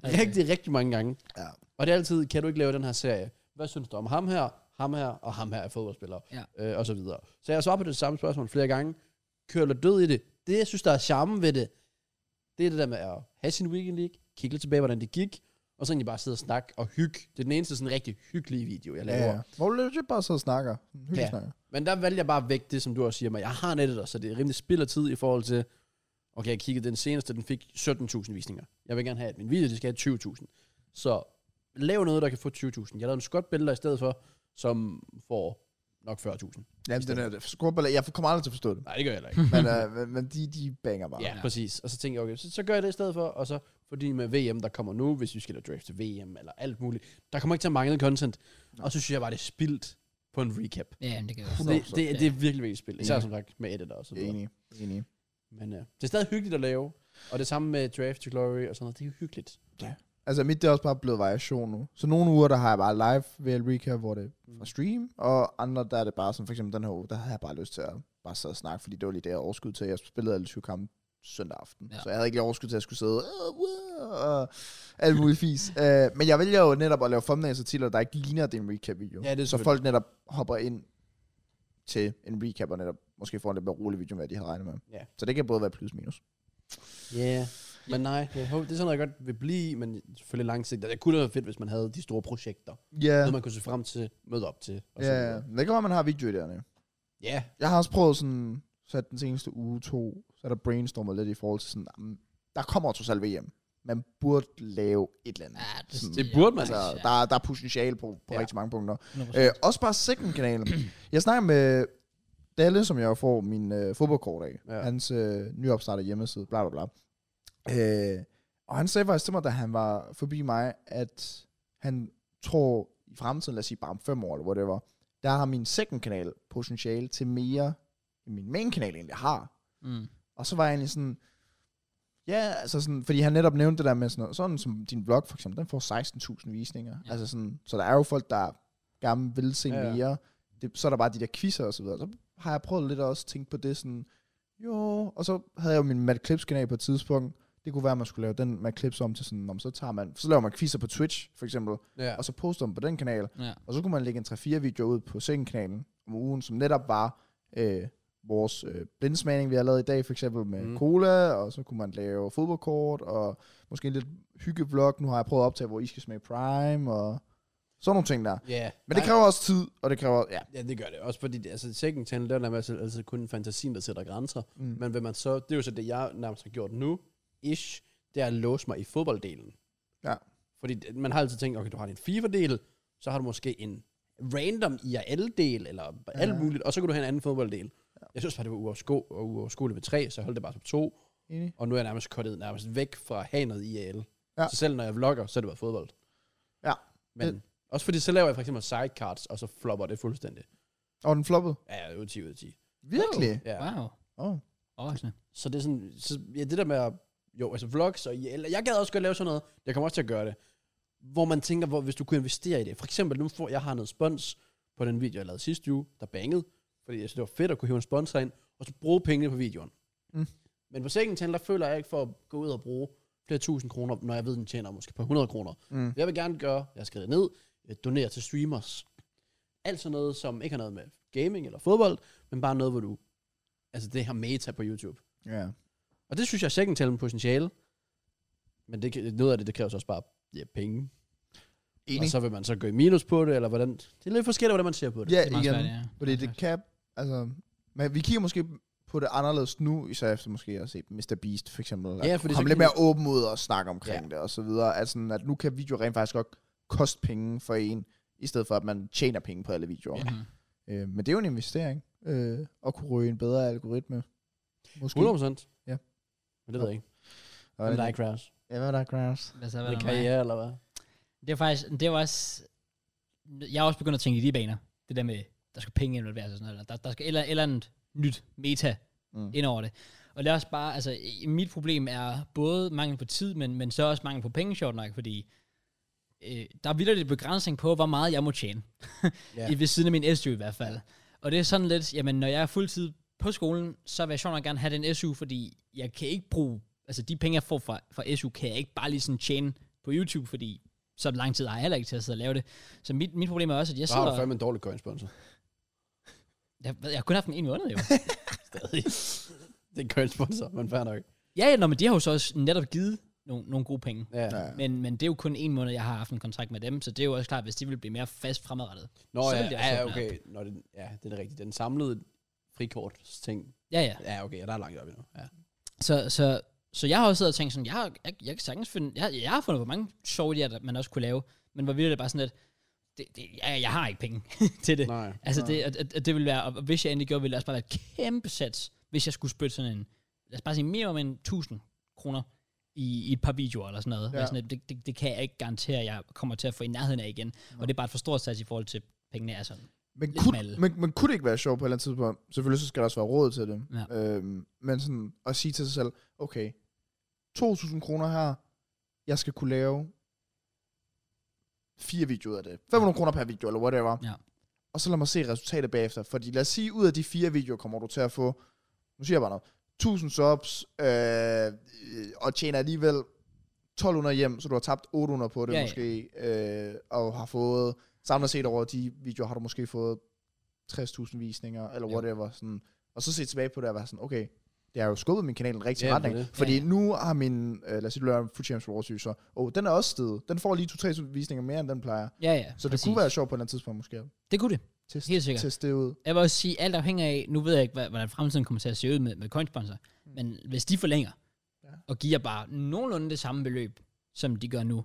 Speaker 1: okay.
Speaker 2: Rigtig, rigtig mange gange.
Speaker 3: Altså- Ja.
Speaker 2: Og det er altid, kan du ikke lave den her serie? Hvad synes du om ham her? ham her, og ham her er fodboldspiller,
Speaker 1: Ja.
Speaker 2: øh, og så videre. Så jeg har svaret på det samme spørgsmål flere gange. Kør eller død i det. Det, jeg synes, der er charme ved det, det er det der med at have sin weekend league, kigge lidt tilbage, hvordan det gik, og så egentlig bare sidde og snakke og hygge. Det er den eneste sådan rigtig hyggelige video, jeg laver.
Speaker 3: Ja, ja. Hvor du legit bare sidder og snakker. Hyggeligt
Speaker 2: Ja.
Speaker 3: ja. snakker.
Speaker 2: Men der valgte jeg bare væk det, som du også siger mig. Jeg har nettet der, så det er rimelig spild af tid i forhold til... Okay, jeg kiggede den seneste, den fik 17.000 visninger. Jeg vil gerne have, at min video, de skal have 20.000. Så lav noget, der kan få 20.000. Jeg lavede en skot billeder i stedet for, som får nok 40.000.
Speaker 3: Jamen, den er skorballer. Jeg kommer aldrig til at forstå det.
Speaker 2: Nej, det gør jeg heller ikke.
Speaker 3: men, øh, men- men de, de banger bare.
Speaker 2: ja, præcis. Og så tænkte jeg, okay, så, så gør jeg det i stedet for, og så fordi med VM, der kommer nu, hvis vi skal lave draft til VM eller alt muligt, der kommer ikke til at mangle content. Og så synes jeg bare, det er spildt på en recap.
Speaker 1: Ja, men det kan jeg
Speaker 2: Det,
Speaker 1: godt
Speaker 2: det,
Speaker 1: forstå.
Speaker 2: det, det er virkelig, virkelig spildt. Især
Speaker 3: Ja.
Speaker 2: som sagt med editor og så videre.
Speaker 3: Enig. Enig.
Speaker 2: Men øh, det er stadig hyggeligt at lave. Og det samme med Draft to Glory og sådan noget. Det er jo hyggeligt.
Speaker 3: Altså mit det er også bare blevet variation nu. Så nogle uger, der har jeg bare live VL Recap, hvor det
Speaker 2: Mm.
Speaker 3: er fra stream, og andre, der er det bare som for eksempel den her uge, der havde jeg bare lyst til at bare sidde og snakke, fordi det var lige det, jeg havde overskud til. Jeg spillede alle 20 kampe søndag aften,
Speaker 1: Ja.
Speaker 3: ja. så jeg havde ikke lige overskud til, at jeg skulle sidde "Øh, wow", og alt muligt fis. Uh, men jeg vælger jo netop at lave thumbnails og titler, der ikke ligner din recap-video.
Speaker 2: Ja, det er
Speaker 3: så
Speaker 2: selvfølgelig.
Speaker 3: folk netop hopper ind til en recap, og netop måske får en lidt mere rolig video, end hvad de havde regnet med.
Speaker 2: Ja.
Speaker 3: Så det kan både være plus og minus.
Speaker 2: Ja. Yeah. Men nej, jeg håber, det er sådan noget, jeg godt vil blive, i, men selvfølgelig langsigtet. Det kunne da være fedt, hvis man havde de store projekter.
Speaker 3: Ja,
Speaker 2: Noget, man kunne se frem til, møde op til. Og sådan
Speaker 3: ja.
Speaker 2: noget.
Speaker 3: Men det kan være, man har videoidéerne.
Speaker 2: Ja.
Speaker 3: Jeg har også prøvet sådan, så den seneste uge to, så er der brainstormet lidt i forhold til sådan, jamen, der kommer trods alt VM. Man burde lave et eller andet.
Speaker 1: Ja, det-
Speaker 3: Sådan,
Speaker 2: Det burde man.
Speaker 3: altså,
Speaker 1: Ah, ja.
Speaker 3: der, er- der er potentiale på, på
Speaker 2: Ja.
Speaker 3: ja. rigtig mange punkter.
Speaker 1: 100%.
Speaker 3: Øh, også bare second-kanalen. jeg snakker med Dalle, som jeg får min øh, fodboldkort af.
Speaker 2: Ja.
Speaker 3: Ja. Hans øh, nyopstartede hjemmeside, bla bla bla. Øh, og han sagde faktisk til mig, da han var forbi mig, at han tror i fremtiden, lad os sige bare om fem år eller whatever, der har min second-kanal potentiale til mere, end min main-kanal egentlig har.
Speaker 2: Øh,
Speaker 1: Mm.
Speaker 3: Og så var jeg egentlig sådan, ja, altså sådan, fordi han netop nævnte det der med sådan noget, sådan som din vlog for eksempel, den får 16.000 visninger.
Speaker 1: Ja.
Speaker 3: Ja. Altså sådan, så der er jo folk, der gerne vil se
Speaker 2: Ja,
Speaker 3: ja,
Speaker 2: ja.
Speaker 3: ja. mere. Det, så er der bare de der quizzer og så videre. Så har jeg prøvet lidt at også tænke på det sådan, jo, og så havde jeg jo min Matt Clips kanal på et tidspunkt. Det kunne være, at man skulle lave den Matt Clips om til sådan, om så tager man, så laver man quizzer på Twitch for eksempel,
Speaker 2: ja.
Speaker 3: ja. og så poster man på den kanal.
Speaker 1: Ja.
Speaker 3: Og så kunne man lægge en 3-4 videoer ud på sengekanalen om ugen, som netop var øh, vores øh, blindsmagning, vi har lavet i dag, for eksempel med
Speaker 2: Mm.
Speaker 3: mm. cola, og så kunne man lave fodboldkort, og måske en lidt hyggevlog. Nu har jeg prøvet at optage, hvor I skal smage Prime, og sådan nogle ting der.
Speaker 2: Ja.
Speaker 3: Men det
Speaker 2: Nej,
Speaker 3: kræver også tid, og det kræver... Ja.
Speaker 2: Ja, det gør det. Også fordi, det- altså, second channel, der er nærmest altså, kun fantasien, der sætter grænser.
Speaker 3: Mm.
Speaker 2: Men vil man så, det er jo så det, jeg nærmest har gjort nu, ish, det er at låse mig i fodbolddelen.
Speaker 3: Ja.
Speaker 2: Fordi det- man har altid tænkt, okay, du har din FIFA-del, så har du måske en random IRL-del, eller alt
Speaker 3: Ja.
Speaker 2: muligt, og så kan du have en anden fodbolddel. Ja. Jeg synes bare, det var uoversko- og uoverskueligt ved tre, så jeg holdt det bare som to,
Speaker 3: Enig.
Speaker 2: og nu er jeg nærmest kottet nærmest væk fra at have noget IRL.
Speaker 3: Ja.
Speaker 2: Så selv når jeg vlogger, så er det bare fodbold.
Speaker 3: Ja.
Speaker 2: Men
Speaker 3: Det-
Speaker 2: også fordi, så laver jeg for eksempel sidecards, og så flopper det fuldstændig.
Speaker 3: Og den floppede.
Speaker 2: Ja, ja, ud af 10 ud af 10.
Speaker 3: Virkelig?
Speaker 2: Ja.
Speaker 1: Wow.
Speaker 3: Oh.
Speaker 1: Overraskende.
Speaker 2: Så det er sådan, så, ja, det der med at, jo, altså vlogs og eller jeg gad også godt lave sådan noget, jeg kommer også til at gøre det, hvor man tænker, hvor, hvis du kunne investere i det. For eksempel, nu får jeg har noget spons på den video, jeg lavede sidste uge, der bangede, fordi jeg synes, det var fedt at kunne hive en sponsor ind, og så bruge pengene på videoen.
Speaker 3: Mm.
Speaker 2: Men på second channel, der føler jeg ikke for at gå ud og bruge flere tusind kroner, når jeg ved, den tjener måske på 100 kroner.
Speaker 3: Mm.
Speaker 2: Jeg vil gerne gøre, jeg skriver ned, øh, donere til streamers. Alt sådan noget, som ikke har noget med gaming eller fodbold, men bare noget, hvor du, altså det her meta på YouTube.
Speaker 3: Ja.
Speaker 2: Og det synes jeg er second talent potentiale. Men det, kan- noget af det, det kræver så også bare ja, penge. Og
Speaker 3: Enig.
Speaker 2: så vil man så gå i minus på det, eller hvordan... Det er lidt forskelligt, hvordan man ser på det.
Speaker 3: Ja,
Speaker 1: Det er meget
Speaker 3: igen.
Speaker 1: svært, ja.
Speaker 3: Fordi det kan, altså, men vi kigger måske på det anderledes nu, især efter måske at have set Mr. Beast for eksempel.
Speaker 2: Ja,
Speaker 3: At
Speaker 2: fordi så
Speaker 3: komme
Speaker 2: kan
Speaker 3: lidt
Speaker 2: de-
Speaker 3: mere åben ud og snakke omkring ja. det og så videre. At, sådan, at nu kan video rent faktisk godt koste penge for en, i stedet for at man tjener penge på alle videoer.
Speaker 1: Mhm.
Speaker 3: Ja. Øh, men det er jo en investering, øh, at kunne ryge en bedre algoritme. Måske.
Speaker 2: 100 procent.
Speaker 3: Ja.
Speaker 2: Men det ved jeg ikke.
Speaker 3: Og
Speaker 2: Hvad
Speaker 3: en-
Speaker 2: er det, Crash?
Speaker 3: Ja, hvad er der, Grass?
Speaker 1: Hvad så,
Speaker 2: Er
Speaker 1: hvad
Speaker 2: det
Speaker 1: der med?
Speaker 2: karriere, eller hvad?
Speaker 1: Det er faktisk, det var også, jeg er også begyndt at tænke i de baner. Det der med, der skal penge involveres og sådan noget. eller Der, der skal et eller, et eller andet nyt meta
Speaker 3: Mm.
Speaker 1: mm. ind over det. Og det er også bare, altså i- mit problem er både mangel på tid, men, men så også mangel på penge, sjovt nok, fordi øh, der er vildt lidt begrænsning på, hvor meget jeg må tjene.
Speaker 2: Ja.
Speaker 1: Yeah. I, ved siden af min SU i hvert fald. Og det er sådan lidt, jamen når jeg er fuldtid på skolen, så vil jeg sjovt nok gerne have den SU, fordi jeg kan ikke bruge, altså de penge, jeg får fra, fra SU, kan jeg ikke bare lige sådan tjene på YouTube, fordi så lang tid har jeg heller ikke til at sidde og lave det. Så mit, mit problem er også, at jeg
Speaker 2: Så har du
Speaker 1: sidder...
Speaker 2: fandme en dårlig coinsponsor.
Speaker 1: Jeg, jeg, jeg har kun haft den en måned, jo.
Speaker 2: Stadig. det er en coinsponsor, men fair nok.
Speaker 1: ja, ja, nå, men de har jo så også netop givet nogle, nogle gode penge.
Speaker 2: Ja.
Speaker 3: Ja.
Speaker 1: Men, men det er jo kun en måned, jeg har haft en kontrakt med dem, så det er jo også klart, hvis de vil blive mere fast fremadrettet.
Speaker 2: Nå
Speaker 1: Så
Speaker 2: ja,
Speaker 1: vil det også
Speaker 2: ja,
Speaker 1: åbne
Speaker 2: okay. Nå, det, ja, det er rigtigt. Den samlede frikort ting.
Speaker 1: Ja, ja.
Speaker 2: Ja, okay, ja, der er langt op endnu. Ja.
Speaker 1: Så, så, så jeg har også siddet og tænkt sådan, jeg, har- jeg, jeg kan sagtens finde, jeg, jeg har fundet på mange sjove idéer, der man også kunne lave, men hvor vildt er det bare sådan, at det, det, jeg, jeg har ikke penge til det.
Speaker 2: Nej.
Speaker 1: Altså, det, at, at, at det ville være, og hvis jeg endelig gjorde, ville det også bare være et kæmpe sats, hvis jeg skulle spytte sådan en, lad os bare sige, mere om en 1000 kroner i, i et par videoer eller sådan noget.
Speaker 3: Ja.
Speaker 1: Ja. Sådan, at det, det, det, kan jeg ikke garantere, at jeg kommer til at få i nærheden af igen. Ja. Og det er bare et for stort sats i forhold til pengene er sådan.
Speaker 3: Men
Speaker 1: Lidt
Speaker 3: kunne,
Speaker 1: malet.
Speaker 3: men, men kunne det ikke være sjovt på et eller andet tidspunkt? Selvfølgelig så skal der også være råd til det.
Speaker 1: Ja.
Speaker 3: Øhm, men sådan at sige til sig selv, okay, 2.000 kroner her, jeg skal kunne lave fire videoer af det. 500 kroner per video, eller whatever.
Speaker 1: Ja.
Speaker 3: Og så lad mig se resultatet bagefter. Fordi lad os sige, ud af de fire videoer kommer du til at få, nu siger jeg bare noget, 1000 subs, øh, øh, og tjener alligevel 1200 hjem, så du har tabt 800 på det
Speaker 1: Ja,
Speaker 3: ja,
Speaker 1: ja.
Speaker 3: måske, øh, og har fået, samlet set over de videoer, har du måske fået 60.000 visninger, eller
Speaker 1: Jo.
Speaker 3: whatever, sådan, og så se tilbage på det og være sådan, okay, det har jo skubbet min kanal i den rigtige
Speaker 2: Ja, det er
Speaker 3: retning,
Speaker 2: det.
Speaker 3: fordi
Speaker 1: Ja, ja.
Speaker 3: nu har min, øh, lad os sige, du laver Food Champs Raw så, og den er også stedet, den får lige 2-3 visninger mere, end den plejer,
Speaker 1: Ja, ja.
Speaker 3: så det
Speaker 1: præcis.
Speaker 3: kunne være sjovt på et eller andet tidspunkt måske, at
Speaker 1: Det kunne det.
Speaker 3: teste,
Speaker 1: Helt sikkert.
Speaker 3: teste det ud.
Speaker 1: Jeg vil også sige, alt afhænger af, nu ved jeg ikke, hvad- hvordan fremtiden kommer til at se ud med, med coinsponsor, men hvis de forlænger,
Speaker 3: Ja.
Speaker 1: ja. og giver bare nogenlunde det samme beløb, som de gør nu,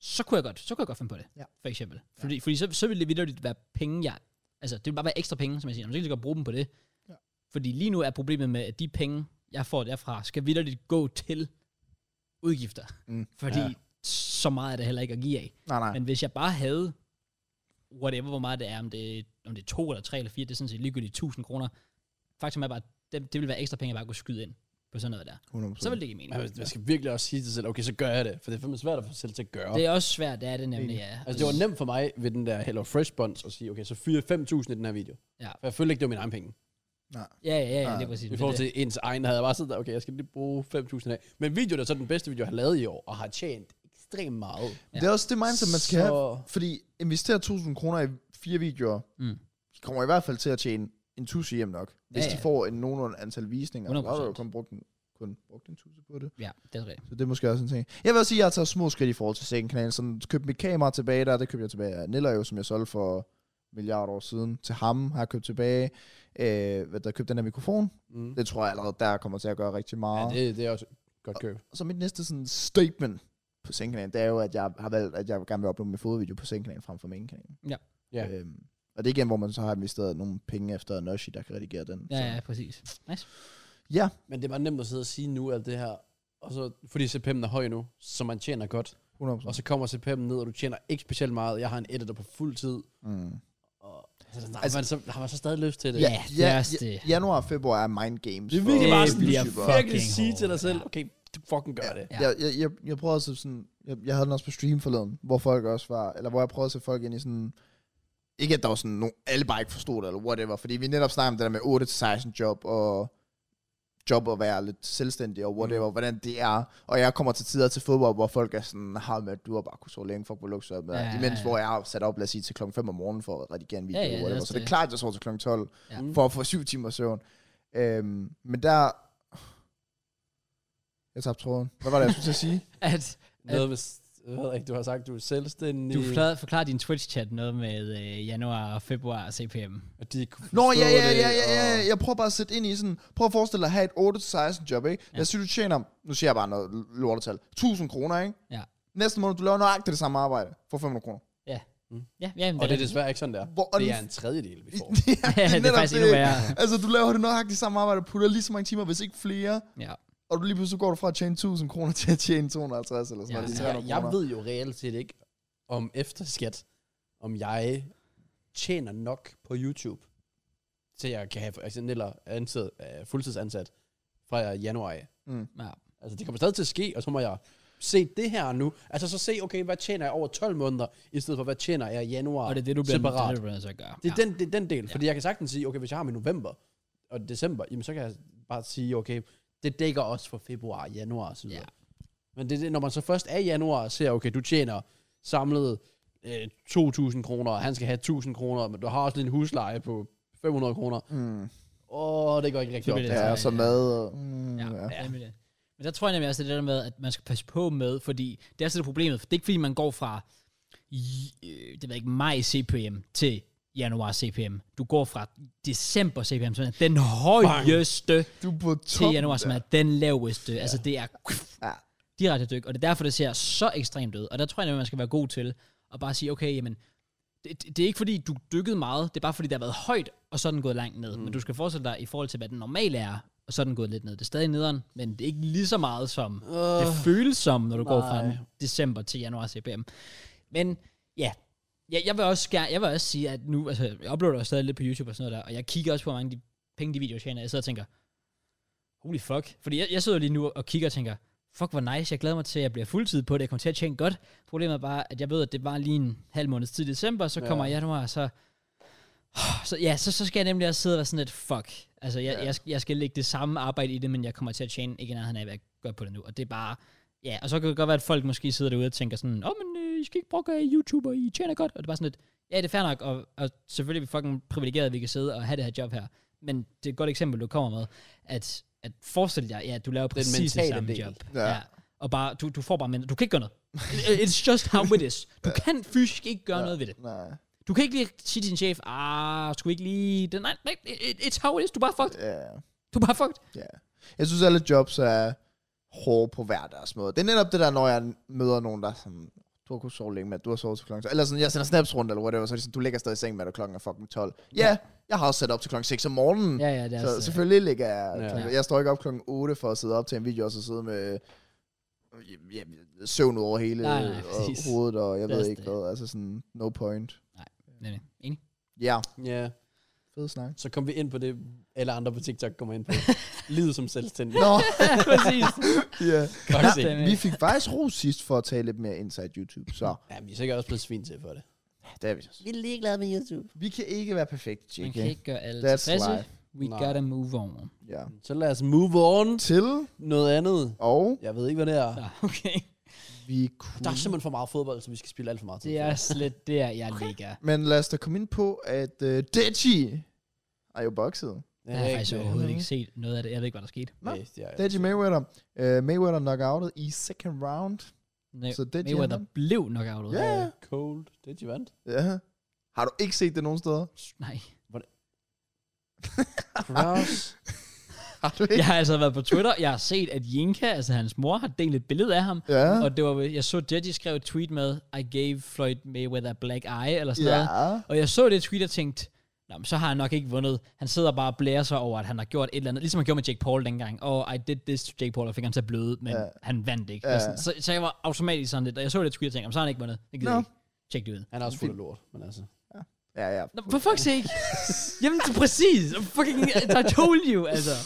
Speaker 1: så kunne jeg godt, så kunne jeg godt finde på det,
Speaker 3: Ja.
Speaker 1: for eksempel. Fordi, fordi så, så ville det vidderligt være penge, jeg, altså det ville bare være ekstra penge, som jeg siger, Nå, så kan jeg lige så godt bruge dem på det.
Speaker 3: Ja.
Speaker 1: Ja. Fordi lige nu er problemet med, at de penge, jeg får derfra, skal vidderligt gå til udgifter.
Speaker 3: Mm.
Speaker 1: Mm. Fordi
Speaker 2: Ja.
Speaker 1: ja. så meget er det heller ikke at give af.
Speaker 3: Nej, nej.
Speaker 1: Men hvis jeg bare havde, whatever hvor meget det er, om det, er- om det er to eller tre eller fire, det er sådan set ligegyldigt 1000 kroner. Faktum er bare, det, det ville være ekstra penge, jeg bare kunne skyde ind på sådan noget der.
Speaker 3: 100%.
Speaker 1: Så ville det give mening.
Speaker 2: Man, man skal virkelig også sige til sig selv, okay, så gør jeg det. For det er fandme svært at få sig selv til at gøre.
Speaker 1: Det er også svært, det er det nemlig, ja.
Speaker 2: Altså, det var nemt for mig ved den der Hello Fresh Buns at sige, okay, så fyre 5.000 i den her video.
Speaker 1: Ja.
Speaker 2: For jeg følte ikke, det var mine egne penge.
Speaker 1: Ja, ja, ja, ja, det
Speaker 3: Ja.
Speaker 1: er præcis.
Speaker 2: I
Speaker 1: Men
Speaker 2: forhold
Speaker 1: det-
Speaker 2: til ens egen havde jeg bare siddet der, okay, jeg skal lige bruge 5.000 af. Men videoen er så den bedste video, jeg har lavet i år, og har tjent ekstremt meget.
Speaker 1: Ja.
Speaker 3: Det er også det mindset, man skal
Speaker 2: Så-
Speaker 3: have. Fordi investere 1000 kroner i fire videoer,
Speaker 1: Mm.
Speaker 3: de kommer i hvert fald til at tjene en tusse hjem nok. Hvis ja,
Speaker 1: Ja,
Speaker 3: ja. de
Speaker 1: ja.
Speaker 3: får en nogenlunde antal visninger, så har du jo
Speaker 1: 100%.
Speaker 3: kun brugt en, kun brugt en tusse på det.
Speaker 1: Ja, det er rigtigt.
Speaker 3: Så det er måske også en ting. Jeg vil også sige, at jeg har taget små skridt i forhold til second kanalen. Sådan, købte mit kamera tilbage der, det købte jeg tilbage af Niller jo, som jeg solgte for en milliard år siden til ham, har jeg købt tilbage. Øh, hvad der købte den her mikrofon.
Speaker 2: Mm.
Speaker 3: Det tror jeg allerede, der kommer til at gøre rigtig
Speaker 2: Ja,
Speaker 3: meget.
Speaker 2: det, det er også et godt køb.
Speaker 3: Og så mit næste sådan statement på sengkanalen, det er jo, at jeg har valgt, at jeg gerne vil uploade min fodvideo på sengkanalen frem for mainkanalen.
Speaker 1: Ja.
Speaker 2: Ja.
Speaker 3: Øhm, og det er igen, hvor man så har investeret nogle penge efter Noshi, der kan redigere den.
Speaker 1: Ja,
Speaker 3: Så-
Speaker 1: ja, præcis. Nice.
Speaker 3: ja.
Speaker 2: Men det er bare nemt at sidde og sige nu alt det her. Og så, fordi CPM'en er høj nu, så man tjener godt.
Speaker 3: 100%.
Speaker 2: Og så kommer CPM'en ned, og du tjener ikke specielt meget. Jeg har en editor på fuld tid.
Speaker 3: Mm.
Speaker 2: Og, altså, der, altså, man, så har man så stadig lyst til det.
Speaker 1: Ja, det er også det.
Speaker 3: Januar og februar er mind games.
Speaker 2: Det er
Speaker 3: for
Speaker 2: virkelig bare
Speaker 1: Det
Speaker 2: sådan,
Speaker 1: bliver
Speaker 2: du skal virkelig
Speaker 1: fucking
Speaker 2: sige til dig
Speaker 1: hårdt,
Speaker 2: selv,
Speaker 1: ja.
Speaker 2: okay, du fucking gør det.
Speaker 3: Ja. Jeg, jeg, jeg, jeg prøvede også sådan, jeg, jeg havde den også på stream forleden, hvor folk også var, eller hvor jeg prøvede at se folk ind i sådan, ikke at der var sådan nogen, alle bare ikke forstod det, eller whatever, fordi vi netop snakkede om det der med 8-16 job, og job at være lidt selvstændig, og whatever, mm. hvordan det er, og jeg kommer til tider til fodbold, hvor folk er sådan, har med, du har bare kunnet så længe for at kunne lukke sig op,
Speaker 1: Ja,
Speaker 3: ja,
Speaker 1: ja,
Speaker 3: imens
Speaker 1: ja.
Speaker 3: hvor jeg har sat op, lad os sige, til klokken 5 om morgenen for at redigere en video,
Speaker 1: Ja,
Speaker 3: ja,
Speaker 1: ja, det
Speaker 3: ja,
Speaker 1: er
Speaker 3: whatever,
Speaker 1: også
Speaker 3: så det er
Speaker 1: det.
Speaker 3: klart, at jeg sover til klokken 12,
Speaker 1: Ja.
Speaker 3: ja. for at få 7 timer søvn, øhm, men der, jeg tabte tråden, hvad var det, jeg skulle til at sige?
Speaker 1: At
Speaker 2: Noget med, jeg ved ikke, du har sagt, du er selvstændig.
Speaker 1: du forklarer, forklarer din Twitch-chat noget med øh, januar, februar og CPM.
Speaker 2: Og de kunne
Speaker 3: Nå,
Speaker 2: forstå
Speaker 3: ja, ja,
Speaker 2: det,
Speaker 3: ja, ja, ja,
Speaker 2: og-
Speaker 3: ja. Jeg prøver bare at sætte ind i sådan... Prøv at forestille dig at have et 8-16 job, ikke? Lad os sige, du tjener... Nu siger jeg bare noget l- lortetal. 1000 kroner, ikke?
Speaker 1: Ja.
Speaker 3: Næste måned, du laver nøjagtigt det samme arbejde for 500 kroner.
Speaker 1: Ja, ja, men
Speaker 2: Og det er
Speaker 1: rigtigt.
Speaker 2: desværre ikke sådan der.
Speaker 3: Hvor- og
Speaker 2: Det
Speaker 3: den-
Speaker 2: er en tredjedel, vi får.
Speaker 3: ja,
Speaker 1: Ja, det er
Speaker 3: netop
Speaker 1: faktisk endnu værre.
Speaker 3: Altså, du laver det nøjagtigt samme arbejde og putter lige så mange timer, hvis ikke flere.
Speaker 1: Ja.
Speaker 3: Og du lige pludselig går du fra at tjene 1000 kroner til at tjene 250 eller sådan
Speaker 1: Ja,
Speaker 3: noget.
Speaker 2: Altså,
Speaker 3: Ja,
Speaker 2: jeg, jeg
Speaker 3: ved.
Speaker 2: ved jo reelt set ikke, om efter skat, om jeg tjener nok på YouTube, til jeg kan have for eksempel eller ansat, øh, fuldtidsansat fra januar. af.
Speaker 1: ja.
Speaker 2: Altså, det kommer stadig til at ske, og så må jeg se det her nu. Altså, så se, okay, hvad tjener jeg over 12 måneder, i stedet for, hvad tjener jeg i januar
Speaker 1: Og det er det, du bliver
Speaker 2: separat.
Speaker 1: det, du bliver nødt til at gøre.
Speaker 2: Det er,
Speaker 1: ja.
Speaker 2: ja. den, det er den del, fordi jeg kan sagtens sige, okay, hvis jeg har min november og december, jamen så kan jeg bare sige, okay, det dækker også for februar, januar og så videre.
Speaker 1: Ja.
Speaker 2: Men det, er det, når man så først er i januar og ser, okay, du tjener samlet øh, 2.000 kroner, og han skal have 1.000 kroner, men du har også lige en husleje på 500 kroner.
Speaker 3: Mm.
Speaker 2: Åh, det går ikke rigtig
Speaker 1: Så
Speaker 2: op.
Speaker 1: bliver
Speaker 2: Det
Speaker 1: det
Speaker 2: her.
Speaker 3: Ja, og så mad. Og, mm,
Speaker 1: Altså, Ja,
Speaker 3: ja.
Speaker 1: ja. ja. det. Men der tror jeg nemlig også, det er det der med, at man skal passe på med, fordi det er så det problemet. For det er ikke fordi, man går fra, i- øh, det ved jeg ikke, maj CPM til januar CPM. Du går fra december CPM, som er den højeste Bang.
Speaker 3: Du er på
Speaker 1: til
Speaker 3: toppen
Speaker 1: januar, som
Speaker 3: der.
Speaker 1: er den laveste. Ja. Altså det er
Speaker 3: Ja.
Speaker 1: direkte dyk, og det er derfor, det ser så ekstremt ud. Og der tror jeg nemlig, man skal være god til at bare sige, okay, jamen, det, det- det er ikke fordi, du dykkede meget, det er bare fordi, der har været højt, og så er den gået langt ned. Mm. Men du skal forestille dig i forhold til, hvad den normale er, og så er den gået lidt ned. Det er stadig nederen, men det er ikke lige så meget som det føles som, når du nej. går fra
Speaker 2: nej.
Speaker 1: december til januar CPM. Men ja, jeg, jeg, vil også gerne, jeg vil også sige, at nu, altså, jeg uploader jo stadig lidt på YouTube og sådan noget der, og jeg kigger også på hvor mange af de penge, de videoer tjener, jeg sidder og tænker, holy fuck. Fordi jeg, jeg sidder lige nu og kigger og tænker, fuck hvor nice, jeg glæder mig til, at jeg bliver fuldtid på det, jeg kommer til at tjene godt. Problemet er bare, at jeg ved, at det var lige en halv måneds tid i december, så
Speaker 2: Ja.
Speaker 1: kommer januar, og så... Så, ja, så, så skal jeg nemlig også sidde og være sådan lidt, fuck. Altså, jeg, ja.
Speaker 3: Ja.
Speaker 1: jeg, skal- jeg skal lægge det samme arbejde i det, men jeg kommer til at tjene ikke nærheden af, hvad jeg gør på det nu. Og det er bare, ja, og så kan det godt være, at folk måske sidder derude og tænker sådan, åh, oh, men øh, I skal ikke bruge jer i YouTuber, I tjener godt. Og det er bare sådan lidt, ja, det er fair nok, og, og selvfølgelig er vi fucking privilegerede, at vi kan sidde og have det her job her. Men det er et godt eksempel, du kommer med, at, at forestil dig, ja, at du laver
Speaker 2: den
Speaker 1: præcis det
Speaker 2: mentale
Speaker 1: samme
Speaker 2: del.
Speaker 1: job.
Speaker 3: Ja.
Speaker 1: Og bare, du, du får bare mindre. Du kan ikke gøre noget. It's just how it is. Du kan fysisk ikke gøre ja.
Speaker 3: Ja.
Speaker 1: noget ved det.
Speaker 3: Nej.
Speaker 1: Du kan ikke lige sige til din chef, ah, skulle vi ikke lige... Det, nej, nej, it- it's how it is. Du er bare fucked.
Speaker 3: Ja.
Speaker 1: Du er bare fucked.
Speaker 3: Ja. Jeg synes, alle jobs er hårde på hver deres måde. Det er netop det der, når jeg møder nogen, der er sådan, du har kunnet sove længe med, du har sovet til klokken 12. Eller sådan, jeg sender snaps rundt, eller whatever, så er de sådan, du ligger stadig i seng med, og klokken er fucking 12. Ja, yeah, jeg har også sat op til klokken 6 om morgenen.
Speaker 1: Ja, ja, det er
Speaker 3: så
Speaker 1: også, øh,
Speaker 3: selvfølgelig ligger jeg,
Speaker 2: Ja.
Speaker 3: klokken- jeg står ikke op klokken 8 for at sidde op til en video, og så sidde med øh, ja, søvn ud over hele
Speaker 1: Nej, nej,
Speaker 3: øh,
Speaker 1: præcis.
Speaker 3: hovedet, og jeg
Speaker 1: Det er
Speaker 3: ved
Speaker 1: også
Speaker 3: ikke
Speaker 1: det.
Speaker 3: hvad, altså sådan, no point.
Speaker 1: Nemlig. Enig.
Speaker 3: Ja, yeah.
Speaker 2: Ja,
Speaker 3: fed snak.
Speaker 2: så kom vi ind på det, alle andre på TikTok kommer ind på. Livet som selvstændig.
Speaker 3: Nå,
Speaker 1: Ja, præcis.
Speaker 3: ja.
Speaker 2: Godt set.
Speaker 1: Fuldstændig.
Speaker 3: Vi fik faktisk ro sidst for at tale lidt mere inside YouTube, så
Speaker 2: Ja, vi er sikkert også blevet svin til for det.
Speaker 3: det er vi så.
Speaker 2: Vi er ligeglade med YouTube.
Speaker 3: Vi kan ikke være perfekte, JK.
Speaker 1: Man kan ikke gøre alle
Speaker 3: That's
Speaker 1: tilfredse.
Speaker 3: life. Ah.
Speaker 1: We
Speaker 2: Nej.
Speaker 1: gotta move on.
Speaker 3: Ja.
Speaker 2: Så lad os move on
Speaker 3: Til
Speaker 2: noget andet.
Speaker 3: og
Speaker 2: Jeg ved ikke, hvad det er.
Speaker 1: Nå, okay.
Speaker 3: vi kunne...
Speaker 2: Der er simpelthen for meget fodbold, så vi skal spille alt for meget tid.
Speaker 1: Det er slet der, jeg ligger.
Speaker 3: Men lad os da komme ind på, at uh, Deji er jo bokset.
Speaker 1: Jeg har faktisk overhovedet
Speaker 3: Mhm.
Speaker 1: ikke set noget af det. Jeg ved ikke, hvad der skete.
Speaker 3: Nå.
Speaker 2: det er,
Speaker 3: Deji Mayweather. Uh, Mayweather knockoutet i second round.
Speaker 1: Nej,
Speaker 3: Så Deji er
Speaker 1: Mayweather
Speaker 3: ham.
Speaker 1: blev knockoutet.
Speaker 3: Ja.
Speaker 2: Cold. Det er de vandt.
Speaker 3: Ja. Har du ikke set det nogen steder?
Speaker 1: Nej.
Speaker 2: Cross.
Speaker 3: Har du ikke?
Speaker 1: Jeg har altså været på Twitter. Jeg har set, at Jinka, altså hans mor, har delt et billede af ham.
Speaker 3: Ja.
Speaker 1: Og det var, jeg så Deji skrev et tweet med, I gave Floyd Mayweather a black eye, eller sådan
Speaker 3: Ja.
Speaker 1: noget. Og jeg så det tweet og tænkte, Nå, men så har han nok ikke vundet. Han sidder bare og blærer sig over, at han har gjort et eller andet. Ligesom han gjorde med Jake Paul dengang. Oh, I did this to Jake Paul, og fik ham til at bløde, men
Speaker 3: Ja.
Speaker 1: han vandt ikke.
Speaker 3: Ja.
Speaker 1: Ja. Så, så, jeg var automatisk sådan lidt, og jeg så det tweet og tænkte, "Jamen, så har han ikke vundet. Det gider
Speaker 3: Nå.
Speaker 1: no. ikke. Tjek det ud.
Speaker 2: Han er også fuld af lort, men altså.
Speaker 3: Ja, ja.
Speaker 1: Nå, for fuck's sake. Jamen, det er præcis. Fucking, I told you, altså.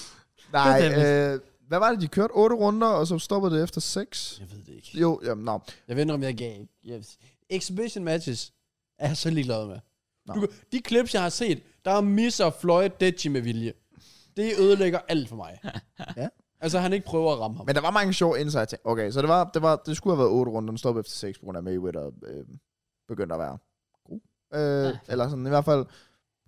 Speaker 3: Nej,
Speaker 1: Det er
Speaker 3: øh, hvad var det, de kørte? Otte runder, og så stoppede det efter seks?
Speaker 2: Jeg ved det ikke.
Speaker 3: Jo, jamen, no.
Speaker 2: Jeg ved ikke, om jeg gav. Yes. Exhibition matches er jeg så ligeglad med.
Speaker 3: Nå.
Speaker 2: Du, kan- de clips, jeg har set, der misser Floyd Deji med vilje. Det ødelægger alt for mig.
Speaker 3: Ja.
Speaker 2: Altså, han ikke prøver at ramme ham.
Speaker 3: Men der var mange sjove insights. Okay, så det, var, det, var, det skulle have været otte runder, den stoppede efter seks, på grund af Mayweather øh, begyndte at være god. Øh,
Speaker 1: Ja.
Speaker 3: eller sådan, i hvert fald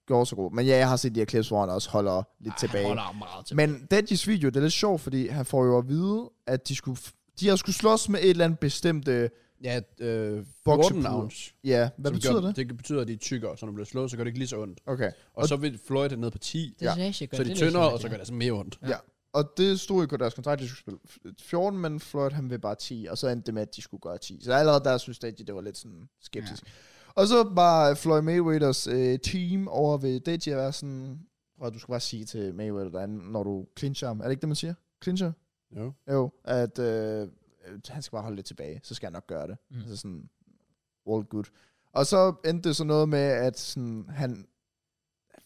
Speaker 3: gjorde så god. Men ja, jeg har set de her clips, hvor han også holder lidt
Speaker 2: Ej,
Speaker 3: tilbage.
Speaker 2: Han holder ham meget tilbage.
Speaker 3: Men Daddy's video, det er lidt sjovt, fordi han får jo at vide, at de, skulle, f- de har skulle slås med et eller andet bestemt... Øh,
Speaker 2: ja, øh, 14
Speaker 3: Boksepuder.
Speaker 2: ounce.
Speaker 3: ja, hvad
Speaker 2: som
Speaker 3: betyder
Speaker 2: gør,
Speaker 3: det?
Speaker 2: Det betyder, at de er tykkere, så når du bliver slået, så gør det ikke lige så ondt.
Speaker 3: Okay.
Speaker 2: Og, og så vil Floyd det ned på 10,
Speaker 1: Det
Speaker 3: Ja.
Speaker 1: sagde jeg,
Speaker 2: så er de tyndere, og så gør det altså mere ondt.
Speaker 1: Ja.
Speaker 3: Ja. Og det stod i deres kontrakt, at de skulle spille f- 14, men Floyd han ville bare 10, og så endte det med, at de skulle gøre 10. Så allerede der synes Deji, det var lidt sådan skeptisk. Ja. Og så var Floyd Mayweathers øh, team over ved Deji at være sådan, og du skal bare sige til Mayweather, der er, når du clincher ham, er det ikke det, man siger? Clincher?
Speaker 2: Jo.
Speaker 3: Jo, at øh, øh, han skal bare holde lidt tilbage, så skal han nok gøre det.
Speaker 1: Mm.
Speaker 3: Mm. Altså sådan, all good. Og så endte det så noget med, at sådan, han...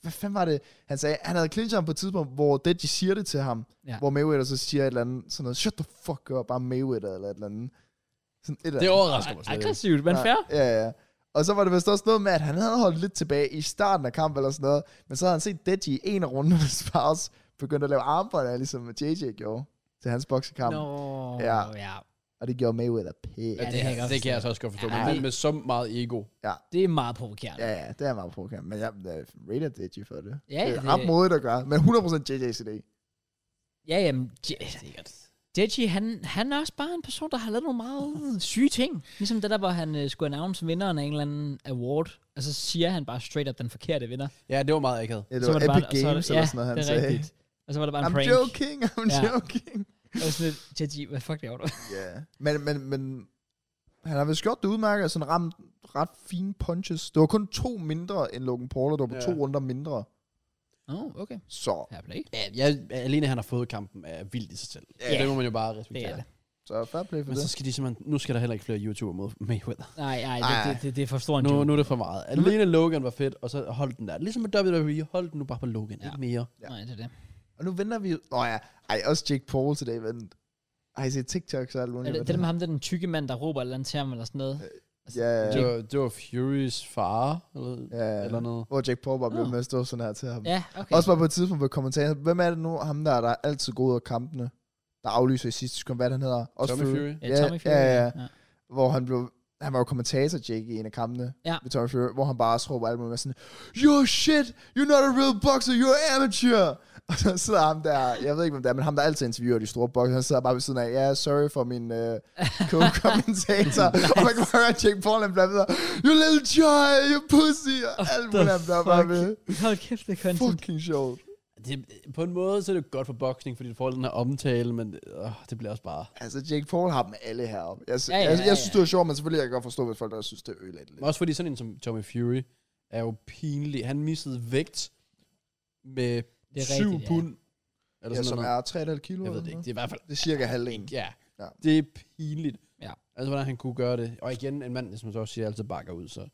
Speaker 3: Hvad fanden var det? Han sagde, han havde clinchet ham på et tidspunkt, hvor Deji siger det til ham.
Speaker 1: Ja.
Speaker 3: Ja. Hvor Mayweather så siger et eller andet, sådan noget, shut the fuck up, bare Mayweather eller et eller andet. Sådan et eller
Speaker 2: Det
Speaker 3: andet.
Speaker 2: overrasker mig slet ikke.
Speaker 1: Aggressivt, men fair.
Speaker 3: Ja, ja. Og så var det vist også noget med, at han havde holdt lidt tilbage i starten af kampen eller sådan noget. Men så havde han set Deji i en af runderne spars begyndt at lave armbånd, ligesom JJ gjorde til hans boksekamp.
Speaker 1: Nå,
Speaker 3: Ja.
Speaker 1: ja.
Speaker 3: Og og det gjorde Mayweather pæk.
Speaker 1: Ja, det kan jeg godt
Speaker 2: det kan jeg
Speaker 1: forstå.
Speaker 2: altså også godt forstå.
Speaker 1: Ja,
Speaker 2: Ja,
Speaker 1: det-
Speaker 2: men med så meget ego.
Speaker 1: Det er meget provokerende.
Speaker 3: Ja, ja, det er meget provokerende. Men jeg, jeg rater det for det.
Speaker 1: Ja,
Speaker 3: det er
Speaker 1: det-
Speaker 3: ret modigt at gøre. Men 100% JJ's idé.
Speaker 1: Ja, jamen, sikkert. Deji, han, han er også bare en person, der har lavet nogle meget syge ting. Ligesom det der, hvor han øh, skulle announce vinderen af en eller anden award, og så siger han bare straight up den forkerte vinder.
Speaker 2: Ja, det var meget akavet.
Speaker 3: Ja, det
Speaker 1: så
Speaker 3: var
Speaker 1: det
Speaker 3: Epic
Speaker 1: bare,
Speaker 3: Games
Speaker 1: så var det-
Speaker 3: eller sådan noget, han
Speaker 1: det er
Speaker 3: sagde.
Speaker 1: rigtigt. Og så var der bare en
Speaker 3: I'm
Speaker 1: prank.
Speaker 3: joking, I'm
Speaker 1: Ja.
Speaker 3: joking.
Speaker 1: Og sådan lidt, Deji, hvad fuck laver du?
Speaker 3: Ja. Men, men, men han har vist gjort det udmærket, og sådan ramt ret fine punches. Det var kun to mindre end Logan Paul, og det var på
Speaker 2: Ja.
Speaker 3: to runder mindre.
Speaker 1: Åh, oh, okay.
Speaker 3: Så,
Speaker 1: Fair play.
Speaker 2: Ja, jeg, alene han har fået kampen er vildt i sig selv.
Speaker 3: Ja.
Speaker 2: Ja. Det må man jo bare respektere.
Speaker 1: Det er det.
Speaker 3: så fair play for
Speaker 2: Men så
Speaker 3: det.
Speaker 2: skal de simpelthen, nu skal der heller ikke flere YouTuber mod Mayweather.
Speaker 1: Nej, nej, det,
Speaker 3: Ej.
Speaker 1: det, det, det er for stor en
Speaker 2: Nu,
Speaker 1: joke.
Speaker 2: nu er det for meget. Alene Logan var fedt, og så hold den der. Ligesom med WWE, hold den nu bare på Logan,
Speaker 1: Ja.
Speaker 2: ja. ikke mere.
Speaker 3: Ja.
Speaker 1: Nej, det er det.
Speaker 3: Og nu venter vi... Nå ja, ej, også Jake Paul til det event. Ej, se TikToks og alt
Speaker 1: Er
Speaker 3: muligt.
Speaker 1: det, det er det med ham, der er den tykke mand, der råber et eller andet til ham, eller sådan noget.
Speaker 3: Ja, ja,
Speaker 2: Det
Speaker 3: ja.
Speaker 2: var, det var Furys far, eller,
Speaker 3: ja.
Speaker 2: eller noget.
Speaker 3: Hvor Jake Paul bare blev
Speaker 1: Nå.
Speaker 3: med at stå sådan her til ham.
Speaker 1: Ja, okay.
Speaker 3: Okay. Også bare på et tidspunkt på kommentaren. Hvem er det nu, ham der, der er altid god ud af kampene? Der aflyser i sidste sekund, hvad han hedder. Også
Speaker 2: Tommy Fury.
Speaker 1: ja,
Speaker 3: ja,
Speaker 1: Tommy Fury.
Speaker 3: ja, ja. Hvor han blev... Han var jo kommentator, Jake, i en af kampene
Speaker 1: Ja.
Speaker 3: ved Tommy Fury, hvor han bare også råber alt muligt med sådan, You're shit! You're not a real boxer, you're an amateur! Og så sidder ham der, jeg ved ikke, hvem det er, men ham der altid interviewer de store bokser, han sidder bare ved siden af, ja, yeah, sorry for min uh, co-kommentator. og man kan bare høre, at Jake Paul, han bliver ved, You little child, you pussy! Og alt muligt, han bliver bare ved.
Speaker 1: Hold kæft, det er content.
Speaker 3: Fucking sjovt.
Speaker 2: Det, på en måde, så er det godt for boksning, fordi du får den her omtale, men øh, det bliver også bare...
Speaker 3: Altså, Jake Paul har dem alle heroppe. Jeg, ja,
Speaker 1: Ja, ja,
Speaker 3: ja, jeg,
Speaker 1: ja, ja.
Speaker 3: jeg synes, det er sjovt, men selvfølgelig jeg kan godt forstå, hvis folk der synes, det er ødelægt lidt.
Speaker 2: Men også fordi sådan en som Tommy Fury er jo pinlig. Han missede vægt med
Speaker 1: Det er
Speaker 2: 7
Speaker 1: rigtigt, ja.
Speaker 2: pund. Eller
Speaker 3: Ja,
Speaker 2: sådan
Speaker 3: som
Speaker 2: noget.
Speaker 3: er 3,5 kilo.
Speaker 2: Jeg ved det
Speaker 3: eller
Speaker 2: ikke.
Speaker 3: noget.
Speaker 2: Det er i hvert fald
Speaker 3: Det er cirka halvdelen.
Speaker 2: Ja.
Speaker 3: Ja.
Speaker 2: ja. Det er pinligt.
Speaker 1: Ja.
Speaker 2: Altså, hvordan han kunne gøre det. Og igen, en mand, som så også siger, altid bakker ud, så...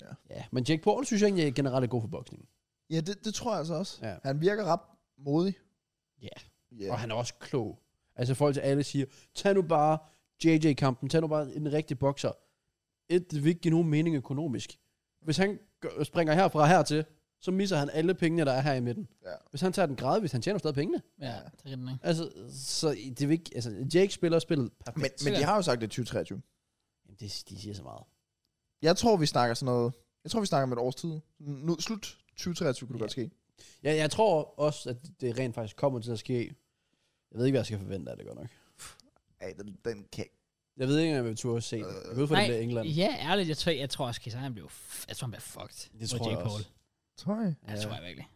Speaker 3: Ja.
Speaker 2: ja. Men Jake Paul synes jeg egentlig er generelt er god for boksning.
Speaker 3: Ja, det, det tror jeg altså også.
Speaker 2: Ja.
Speaker 3: Han virker ret modig.
Speaker 2: Ja.
Speaker 3: Yeah.
Speaker 2: Og han er også klog. Altså, i forhold til alle siger, tag nu bare JJ-kampen, tag nu bare en rigtig bokser. Et, det vil ikke give nogen mening økonomisk. Hvis han gør- springer herfra og hertil, så misser han alle pengene, der er her i midten.
Speaker 3: Ja.
Speaker 2: Hvis han tager den gradvis, han tjener stadig pengene.
Speaker 1: Ja, det er rigtigt. nok.
Speaker 2: Altså, så det vil ikke, altså, Jake spiller spillet perfekt.
Speaker 3: Men, men de har jo sagt, det er 2023.
Speaker 2: Jamen, det, de siger så meget.
Speaker 3: Jeg tror, vi snakker sådan noget... Jeg tror, vi snakker om et års tid. Nu, slut 2023 kunne det
Speaker 2: Ja.
Speaker 3: godt ske.
Speaker 2: Ja, jeg tror også, at det rent faktisk kommer til at ske. Jeg ved ikke, hvad jeg skal forvente af det godt nok.
Speaker 3: Ej, den, den kan ikke. Jeg
Speaker 2: Jeg ved ikke, om jeg vil turde se det. Jeg ved, for det
Speaker 1: Nej,
Speaker 2: bliver England.
Speaker 1: Ja, ærligt, jeg tror, jeg tror også, Kisai, han blev, f- jeg tror, han blev fucked.
Speaker 2: Det
Speaker 1: mod
Speaker 2: tror jeg
Speaker 1: Jake Paul.
Speaker 2: også.
Speaker 3: Tror jeg.
Speaker 1: Ja, det tror
Speaker 2: Ja.
Speaker 1: jeg virkelig.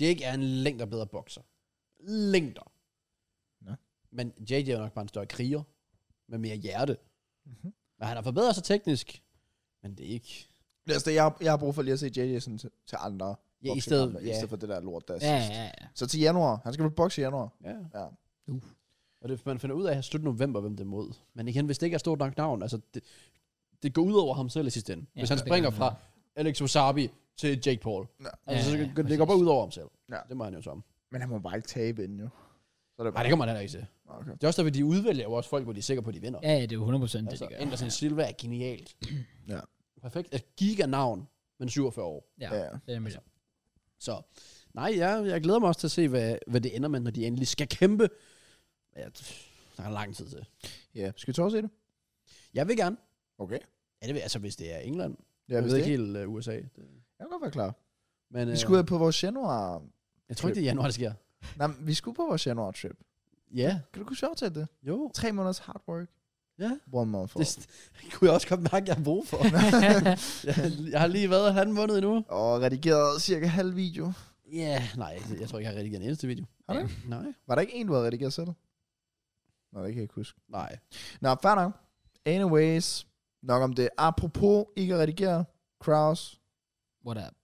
Speaker 2: Jake er en længder bedre bokser. Længder.
Speaker 3: Nå.
Speaker 2: Men JJ er nok bare en større kriger. Med mere hjerte.
Speaker 1: Mhm.
Speaker 3: Mm-hmm.
Speaker 2: Men han har forbedret sig teknisk. Men det er ikke...
Speaker 3: Altså, jeg, har, jeg har brug for lige at se JJ sådan til, til andre.
Speaker 2: Ja, i
Speaker 3: boksekampe,
Speaker 2: stedet...
Speaker 3: I
Speaker 2: Ja,
Speaker 3: stedet for det der lort, der er
Speaker 1: Ja,
Speaker 3: sidst.
Speaker 1: ja, ja.
Speaker 3: Så til januar. Han skal vel bokse i januar.
Speaker 2: ja.
Speaker 3: Ja.
Speaker 2: Og det, man finder ud af her slut november, hvem det er mod. Men igen, hvis det ikke er stort nok navn, altså det, det går ud over ham selv i sidste ende.
Speaker 1: Ja,
Speaker 2: hvis han
Speaker 1: det gør
Speaker 2: springer
Speaker 1: det.
Speaker 2: fra Alex Wasabi til Jake Paul.
Speaker 3: Ja.
Speaker 2: Altså,
Speaker 1: Ja,
Speaker 2: ja,
Speaker 1: ja,
Speaker 2: ja,
Speaker 1: ja,
Speaker 2: så, det går bare
Speaker 1: præcis.
Speaker 2: ud over ham selv.
Speaker 3: Ja.
Speaker 2: Ja. Det må han jo så om.
Speaker 3: Men han må bare ikke tabe inden jo. Så er det
Speaker 2: Nej, det kommer han heller ikke til.
Speaker 3: Okay.
Speaker 2: Det er også derfor, de udvælger jo også folk, hvor de er sikre på, at de vinder.
Speaker 1: Ja, ja, det er jo 100 procent, det,
Speaker 2: altså,
Speaker 1: de gør.
Speaker 2: Anderson Silva er genialt.
Speaker 3: Ja.
Speaker 2: Perfekt. Et giganavn, men 47 år.
Speaker 1: Ja,
Speaker 3: Ja.
Speaker 1: ja. det er med
Speaker 2: Altså, Så, nej, jeg, jeg glæder mig også til at se, hvad, hvad det ender med, når de endelig skal kæmpe. Ja, der er lang tid til.
Speaker 3: ja. Skal vi tage og se det?
Speaker 2: Jeg vil gerne.
Speaker 3: Okay.
Speaker 2: Ja, det vil, altså, hvis det er England.
Speaker 3: Ja,
Speaker 2: jeg
Speaker 3: hvis
Speaker 2: ved
Speaker 3: det
Speaker 2: ikke
Speaker 3: ikke.
Speaker 2: helt uh, USA. Det-
Speaker 3: Jeg kan godt være klar.
Speaker 2: Men,
Speaker 3: Vi
Speaker 2: øh,
Speaker 3: skulle på vores januar...
Speaker 2: jeg tror ikke, det er i januar, det sker.
Speaker 3: Nej, men vi skulle på vores januar trip.
Speaker 2: Ja,
Speaker 3: Kan du kunne sjovt til det?
Speaker 2: jo.
Speaker 3: Tre måneders hard work.
Speaker 2: Ja.
Speaker 3: One month
Speaker 2: Det
Speaker 3: off.
Speaker 2: kunne jeg også godt mærke, at jeg har brug for. jeg, jeg har lige været halvanden måned endnu.
Speaker 3: Og redigeret cirka halv video.
Speaker 2: Ja, yeah, nej, det- jeg tror ikke, jeg har redigeret en eneste video.
Speaker 3: Har du
Speaker 2: Ja. Nej.
Speaker 3: Var der ikke en, du havde redigeret selv? Nå, det kan jeg ikke huske.
Speaker 2: Nej.
Speaker 3: Nå, fair nok. Anyways, nok om det. Apropos ikke at redigere, Kraus,
Speaker 1: What up?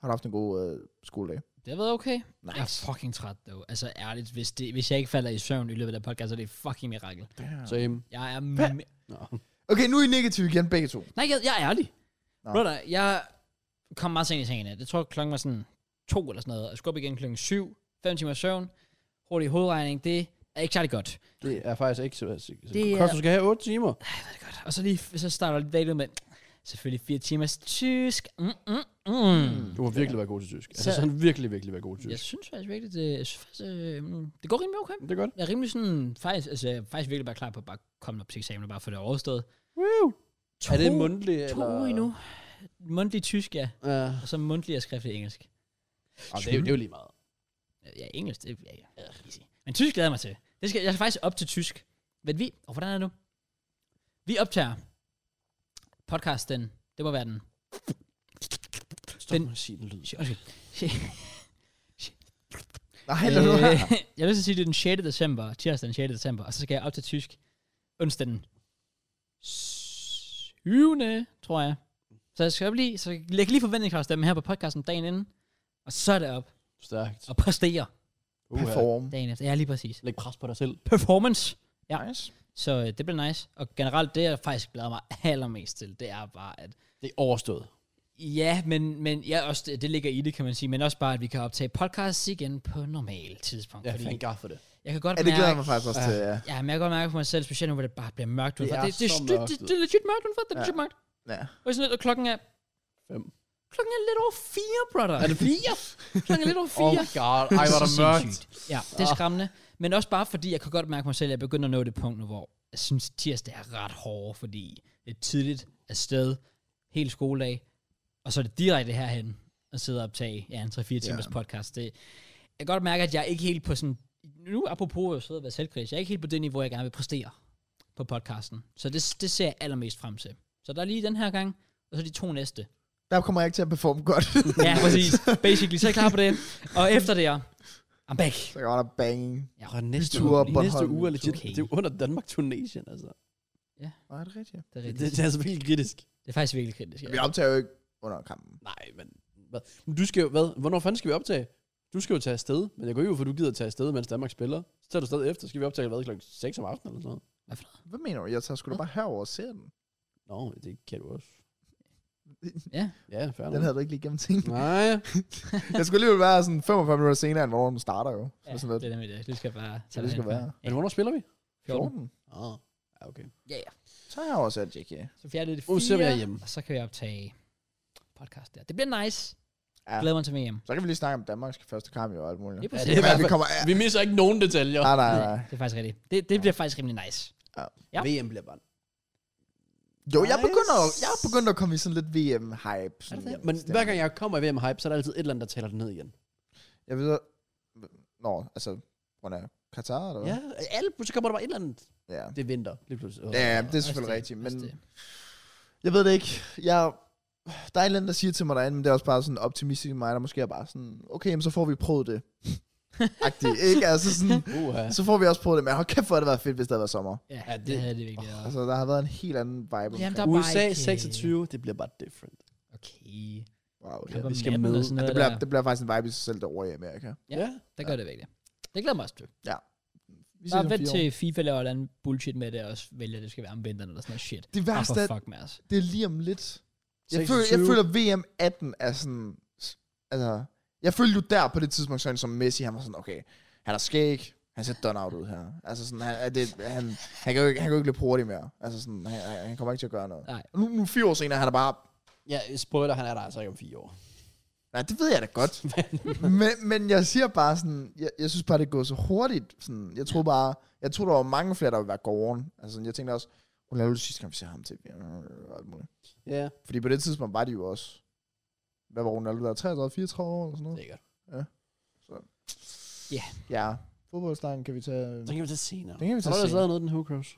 Speaker 3: har du haft en god øh, skoledag?
Speaker 1: Det har været okay. Jeg er
Speaker 3: Nice.
Speaker 1: fucking træt, dog. Altså, ærligt, hvis, det, hvis jeg ikke falder i søvn i løbet af den podcast, så er det et fucking mirakel.
Speaker 2: Så øhm,
Speaker 1: Jeg er...
Speaker 3: Hvad?
Speaker 1: Me-
Speaker 2: nå.
Speaker 3: Okay, nu er I negative igen, begge to.
Speaker 1: Nej, jeg, jeg er ærlig.
Speaker 3: Nå.
Speaker 1: Brother, jeg kom meget sent i sengen. i nat. Jeg tror, klokken var sådan to eller sådan noget. Jeg skulle op igen klokken syv. Fem timer søvn. Hurtig hovedregning. Det er ikke særlig godt.
Speaker 2: Det er faktisk ikke så... så det
Speaker 1: Det er-
Speaker 2: kost, du skal have 8 timer.
Speaker 1: Og så lige, så starter jeg lidt dagen ud med, selvfølgelig fire timers tysk. Mm, mm, Mm.
Speaker 2: Du må virkelig være god til tysk. Altså,
Speaker 1: Så-
Speaker 2: så han virkelig, virkelig være god til
Speaker 1: Jeg
Speaker 2: tysk.
Speaker 1: synes faktisk virkelig, det, jeg synes faktisk, øh, mm, det går rimelig okay.
Speaker 2: Det er godt.
Speaker 1: Jeg er rimelig sådan, faktisk, altså, jeg er faktisk virkelig bare klar på at bare komme op til eksamen og bare få det overstået.
Speaker 2: Woo!
Speaker 1: To,
Speaker 2: Er det mundtlig?
Speaker 1: to uger endnu. Mundtlig tysk, ja.
Speaker 2: Uh, det,
Speaker 1: Og så mundtlig og skriftlig engelsk.
Speaker 2: er, jo- det er jo lige meget.
Speaker 1: Ja, engelsk, det ja, ja. Easy. Men tysk glæder jeg mig til. Det skal, jeg skal faktisk op til tysk. Men vi, og hvordan er det nu? Vi optager podcast den, det må være den.
Speaker 2: Stop
Speaker 1: Den-
Speaker 2: med at sige den lyd.
Speaker 1: Shit, undskyld.
Speaker 3: Nej, lad nu
Speaker 1: Øh,
Speaker 3: være.
Speaker 1: jeg vil så sige, det er den 6. december, tirsdag den 6. december, og så skal jeg op til tysk onsdag den 7. tror jeg. Så jeg skal op lige, så jeg lægger lige forventningsafstemmen her på podcasten dagen inden, og så er det op
Speaker 2: Stærkt.
Speaker 1: og præstere
Speaker 2: Uha.
Speaker 3: Perform.
Speaker 1: dagen efter. Ja, lige præcis.
Speaker 2: Læg pres på dig selv.
Speaker 1: Performance. Ja.
Speaker 3: Nice.
Speaker 1: Så øh, det bliver nice. Og generelt, det jeg faktisk glæder mig allermest til, det er bare, at
Speaker 2: Det er overstået.
Speaker 1: ja, men, men ja, også det, det ligger i det, kan man sige, men også bare, at vi kan optage podcasts igen på normal tidspunkt.
Speaker 2: Ja,
Speaker 1: fordi
Speaker 2: fanden gar for det.
Speaker 1: jeg kan godt
Speaker 3: Ja, det glæder
Speaker 1: mærke,
Speaker 3: jeg mig faktisk også til, ja.
Speaker 1: Ja, men jeg kan godt mærke for mig selv, specielt nu, hvor det bare bliver mørkt
Speaker 2: Det
Speaker 1: udenfor.
Speaker 2: er
Speaker 1: Det, det,
Speaker 2: så
Speaker 1: det, det,
Speaker 2: mørkt
Speaker 1: det, det er legit mørkt udenfor, det er
Speaker 3: Ja.
Speaker 1: legit mørkt.
Speaker 3: ja.
Speaker 1: Og sådan lidt, og klokken er...
Speaker 2: Fem.
Speaker 1: Klokken er lidt over fire, brother.
Speaker 2: Er det fire?
Speaker 1: klokken er lidt over
Speaker 2: Oh
Speaker 1: fire.
Speaker 2: my god. Ej, hvor er
Speaker 1: Så
Speaker 2: der mørkt.
Speaker 1: sindssygt. Ja, det er skræmmende. Men også bare fordi, jeg kan godt mærke mig selv, at jeg begynder at nå det punkt nu, hvor jeg synes, tirsdag er ret hård, fordi det er tidligt afsted, hele skoledag, og så er det direkte herhen og sidde og optage ja, en 3-4 timers podcast. Det, jeg kan godt mærke, at jeg er ikke helt på sådan... Nu apropos at sidde og være selvkritisk, jeg er ikke helt på det niveau, jeg gerne vil præstere på podcasten. Så det, det ser jeg allermest frem til. Så der er lige den her gang, og så de to næste.
Speaker 3: Der kommer jeg ikke til at performe godt.
Speaker 1: Ja, præcis. Basically, så er jeg klar på det. Og efter det, er I'm back.
Speaker 3: så kommer der banging.
Speaker 1: Ja,
Speaker 2: Og næste,
Speaker 3: Byture
Speaker 2: uge,
Speaker 3: og Bornholm.
Speaker 2: næste uge er legit.
Speaker 1: Okay.
Speaker 2: Det er jo under Danmark-Tunesien, altså.
Speaker 3: Nej, det er rigtigt.
Speaker 1: det er
Speaker 2: Det,
Speaker 1: rigtigt.
Speaker 2: det, er altså virkelig kritisk.
Speaker 1: Det er faktisk virkelig kritisk.
Speaker 3: Ja.
Speaker 1: Ja.
Speaker 3: Vi optager jo ikke under kampen.
Speaker 2: Nej, men... Hvad? Men du skal jo... Hvad? Hvornår fanden skal vi optage? Du skal jo tage afsted, men jeg går jo for, du gider at tage afsted, mens Danmark spiller. Så tager du stadig efter. Skal vi optage, hvad, klokken 6 om aftenen eller sådan noget?
Speaker 3: Hvad mener du? Jeg tager sgu da bare herover og ser den.
Speaker 2: Nå, det kan du også.
Speaker 1: Ja.
Speaker 2: Ja, fair
Speaker 3: Den
Speaker 2: nok.
Speaker 3: havde du ikke lige gennem ting.
Speaker 2: Nej,
Speaker 3: jeg skulle alligevel være sådan 45 minutter senere, end hvornår den starter jo. Så
Speaker 1: Ja,
Speaker 3: sådan
Speaker 1: det
Speaker 3: lidt.
Speaker 1: er nemlig det. Det skal bare
Speaker 3: Så det skal
Speaker 1: derhen.
Speaker 3: være.
Speaker 2: men hvornår spiller vi?
Speaker 1: 14.
Speaker 3: 14.
Speaker 2: Ah, ja, okay.
Speaker 1: Ja, ja.
Speaker 3: Så har jeg også alt, JK.
Speaker 1: Så fjerner det
Speaker 2: Uh, så er vi
Speaker 1: fire,
Speaker 2: herhjemme.
Speaker 1: og så kan vi optage podcast der. Det bliver nice.
Speaker 3: Ja.
Speaker 1: Ja. Glæder mig til VM.
Speaker 3: Så kan vi lige snakke om Danmarks første kamp jo og alt muligt.
Speaker 1: Det er,
Speaker 2: Ja,
Speaker 1: præcis.
Speaker 2: det
Speaker 1: det,
Speaker 2: er
Speaker 3: Ja,
Speaker 2: i
Speaker 3: vi
Speaker 2: hvert
Speaker 3: kommer... Ja.
Speaker 2: fald- Vi misser ikke nogen detaljer.
Speaker 3: Nej, nej, nej.
Speaker 1: er, det er faktisk rigtigt. Det, det bliver faktisk rimelig nice. Ja.
Speaker 2: VM bliver bare...
Speaker 3: Jo, jeg
Speaker 2: Nice.
Speaker 3: begynder, jeg er begyndt at komme i sådan lidt VM-hype.
Speaker 1: Er det
Speaker 3: Sådan,
Speaker 1: det?
Speaker 2: Ja, men hver gang jeg kommer i VM-hype, så er der altid et eller andet, der taler det ned igen.
Speaker 3: Jeg ved... Nå, altså... Hvor er Katar, eller hvad?
Speaker 2: Ja, alle, så kommer der bare et eller andet.
Speaker 3: Ja.
Speaker 2: Det er vinter, lige pludselig.
Speaker 3: Ja, ja, det er
Speaker 1: Også
Speaker 3: selvfølgelig rigtigt, men
Speaker 1: også det.
Speaker 3: jeg ved det ikke. Jeg, der er et eller andet, der siger til mig derinde, men det er også bare sådan optimistisk i mig, der måske er bare sådan, okay, jamen, så får vi prøvet det. Agtigt, ikke? Altså sådan,
Speaker 2: Uha.
Speaker 3: så får vi også prøvet det, men hold kæft, hvor har det været fedt, hvis det havde været sommer.
Speaker 1: Ja,
Speaker 2: Ja,
Speaker 1: det,
Speaker 2: det-
Speaker 1: det havde det virkelig været.
Speaker 3: Altså, der har været en helt anden vibe.
Speaker 1: Jamen,
Speaker 3: omkring.
Speaker 1: der er bare
Speaker 2: USA
Speaker 1: ikke, øh,
Speaker 2: 26, det bliver bare different.
Speaker 1: Okay.
Speaker 3: Wow, okay.
Speaker 1: Kamp om
Speaker 2: vi skal
Speaker 1: natten
Speaker 2: med.
Speaker 1: og sådan
Speaker 3: Ja,
Speaker 1: noget
Speaker 3: det, bliver,
Speaker 1: der.
Speaker 3: det bliver faktisk en vibe i sig selv derovre i Amerika.
Speaker 1: Ja. Der gør det virkelig. Det glæder mig også til.
Speaker 3: Vi ses
Speaker 1: Bare
Speaker 3: om
Speaker 1: vent
Speaker 3: fire år.
Speaker 1: til FIFA laver et eller andet bullshit med det, og også vælger, at det skal være om vinteren eller sådan noget shit.
Speaker 3: Det
Speaker 1: Bare
Speaker 3: værste
Speaker 1: Ah, for
Speaker 3: er,
Speaker 1: fuck med os.
Speaker 3: det er lige om lidt. Jeg føler, jeg
Speaker 2: 26.
Speaker 3: føler, VM 18 er sådan... Altså, jeg følte jo der på det tidspunkt, sådan som Messi, han var sådan, okay, han er skæg, han ser done out ud her. Altså sådan, han, er det, han, han, kan jo ikke, han kan jo ikke løbe hurtigt mere. Altså sådan, han, han- han kommer ikke til at gøre noget.
Speaker 1: Nej.
Speaker 3: Og Nu, nu fire år senere, han er bare...
Speaker 2: Ja, spoiler, han er der altså ikke om fire år.
Speaker 3: Nej, det ved jeg da godt. men, men jeg siger bare sådan, jeg, jeg synes bare, det er gået så hurtigt. Sådan, jeg troede bare, jeg troede, der var mange flere, der ville være gården. Altså, jeg tænkte også, hun lavede det sidste gang, vi ser ham til. og alt muligt.
Speaker 2: Ja,
Speaker 3: Fordi på det tidspunkt var de jo også, hvad var Ronaldo der, 33, 34 år eller sådan noget?
Speaker 2: sikkert.
Speaker 3: Ja, fodboldslangen kan vi tage.
Speaker 2: Så kan vi tage senere.
Speaker 3: Den kan vi tage
Speaker 2: Har du ellers
Speaker 3: senere.
Speaker 2: lavet noget, den Who Cross?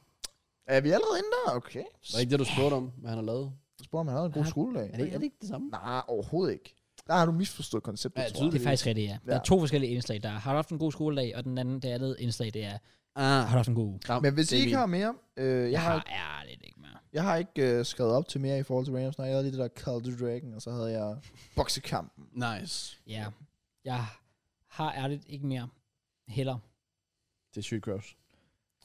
Speaker 3: Er vi allerede inde der? Okay.
Speaker 2: Det var ikke det, du spurgte om, hvad han har lavet.
Speaker 3: Jeg spurgte, om han havde en god
Speaker 1: Har-
Speaker 3: skoledag.
Speaker 2: Er det, er det ikke det samme?
Speaker 3: Nej, overhovedet ikke. Der har du misforstået konceptet,
Speaker 2: Ja,
Speaker 3: tror jeg.
Speaker 1: Det er faktisk rigtigt, ja. Der er
Speaker 3: Ja.
Speaker 1: to forskellige indslag. Der er, har du haft en god skoledag, og den anden, det andet indslag, det er,
Speaker 2: Ah,
Speaker 1: har du haft en god uge?
Speaker 3: Men hvis I
Speaker 2: det er
Speaker 3: ikke har mere, øh, jeg,
Speaker 1: Jeg
Speaker 3: har,
Speaker 1: har ærligt ikke mere.
Speaker 3: jeg har ikke øh, skrevet op til mere i forhold til Rams. Nej, jeg havde lige det der Call the Dragon, og så havde jeg boksekampen.
Speaker 2: min. Nice.
Speaker 1: Ja. Jeg har ærligt ikke mere. Heller.
Speaker 2: Det er sygt cross.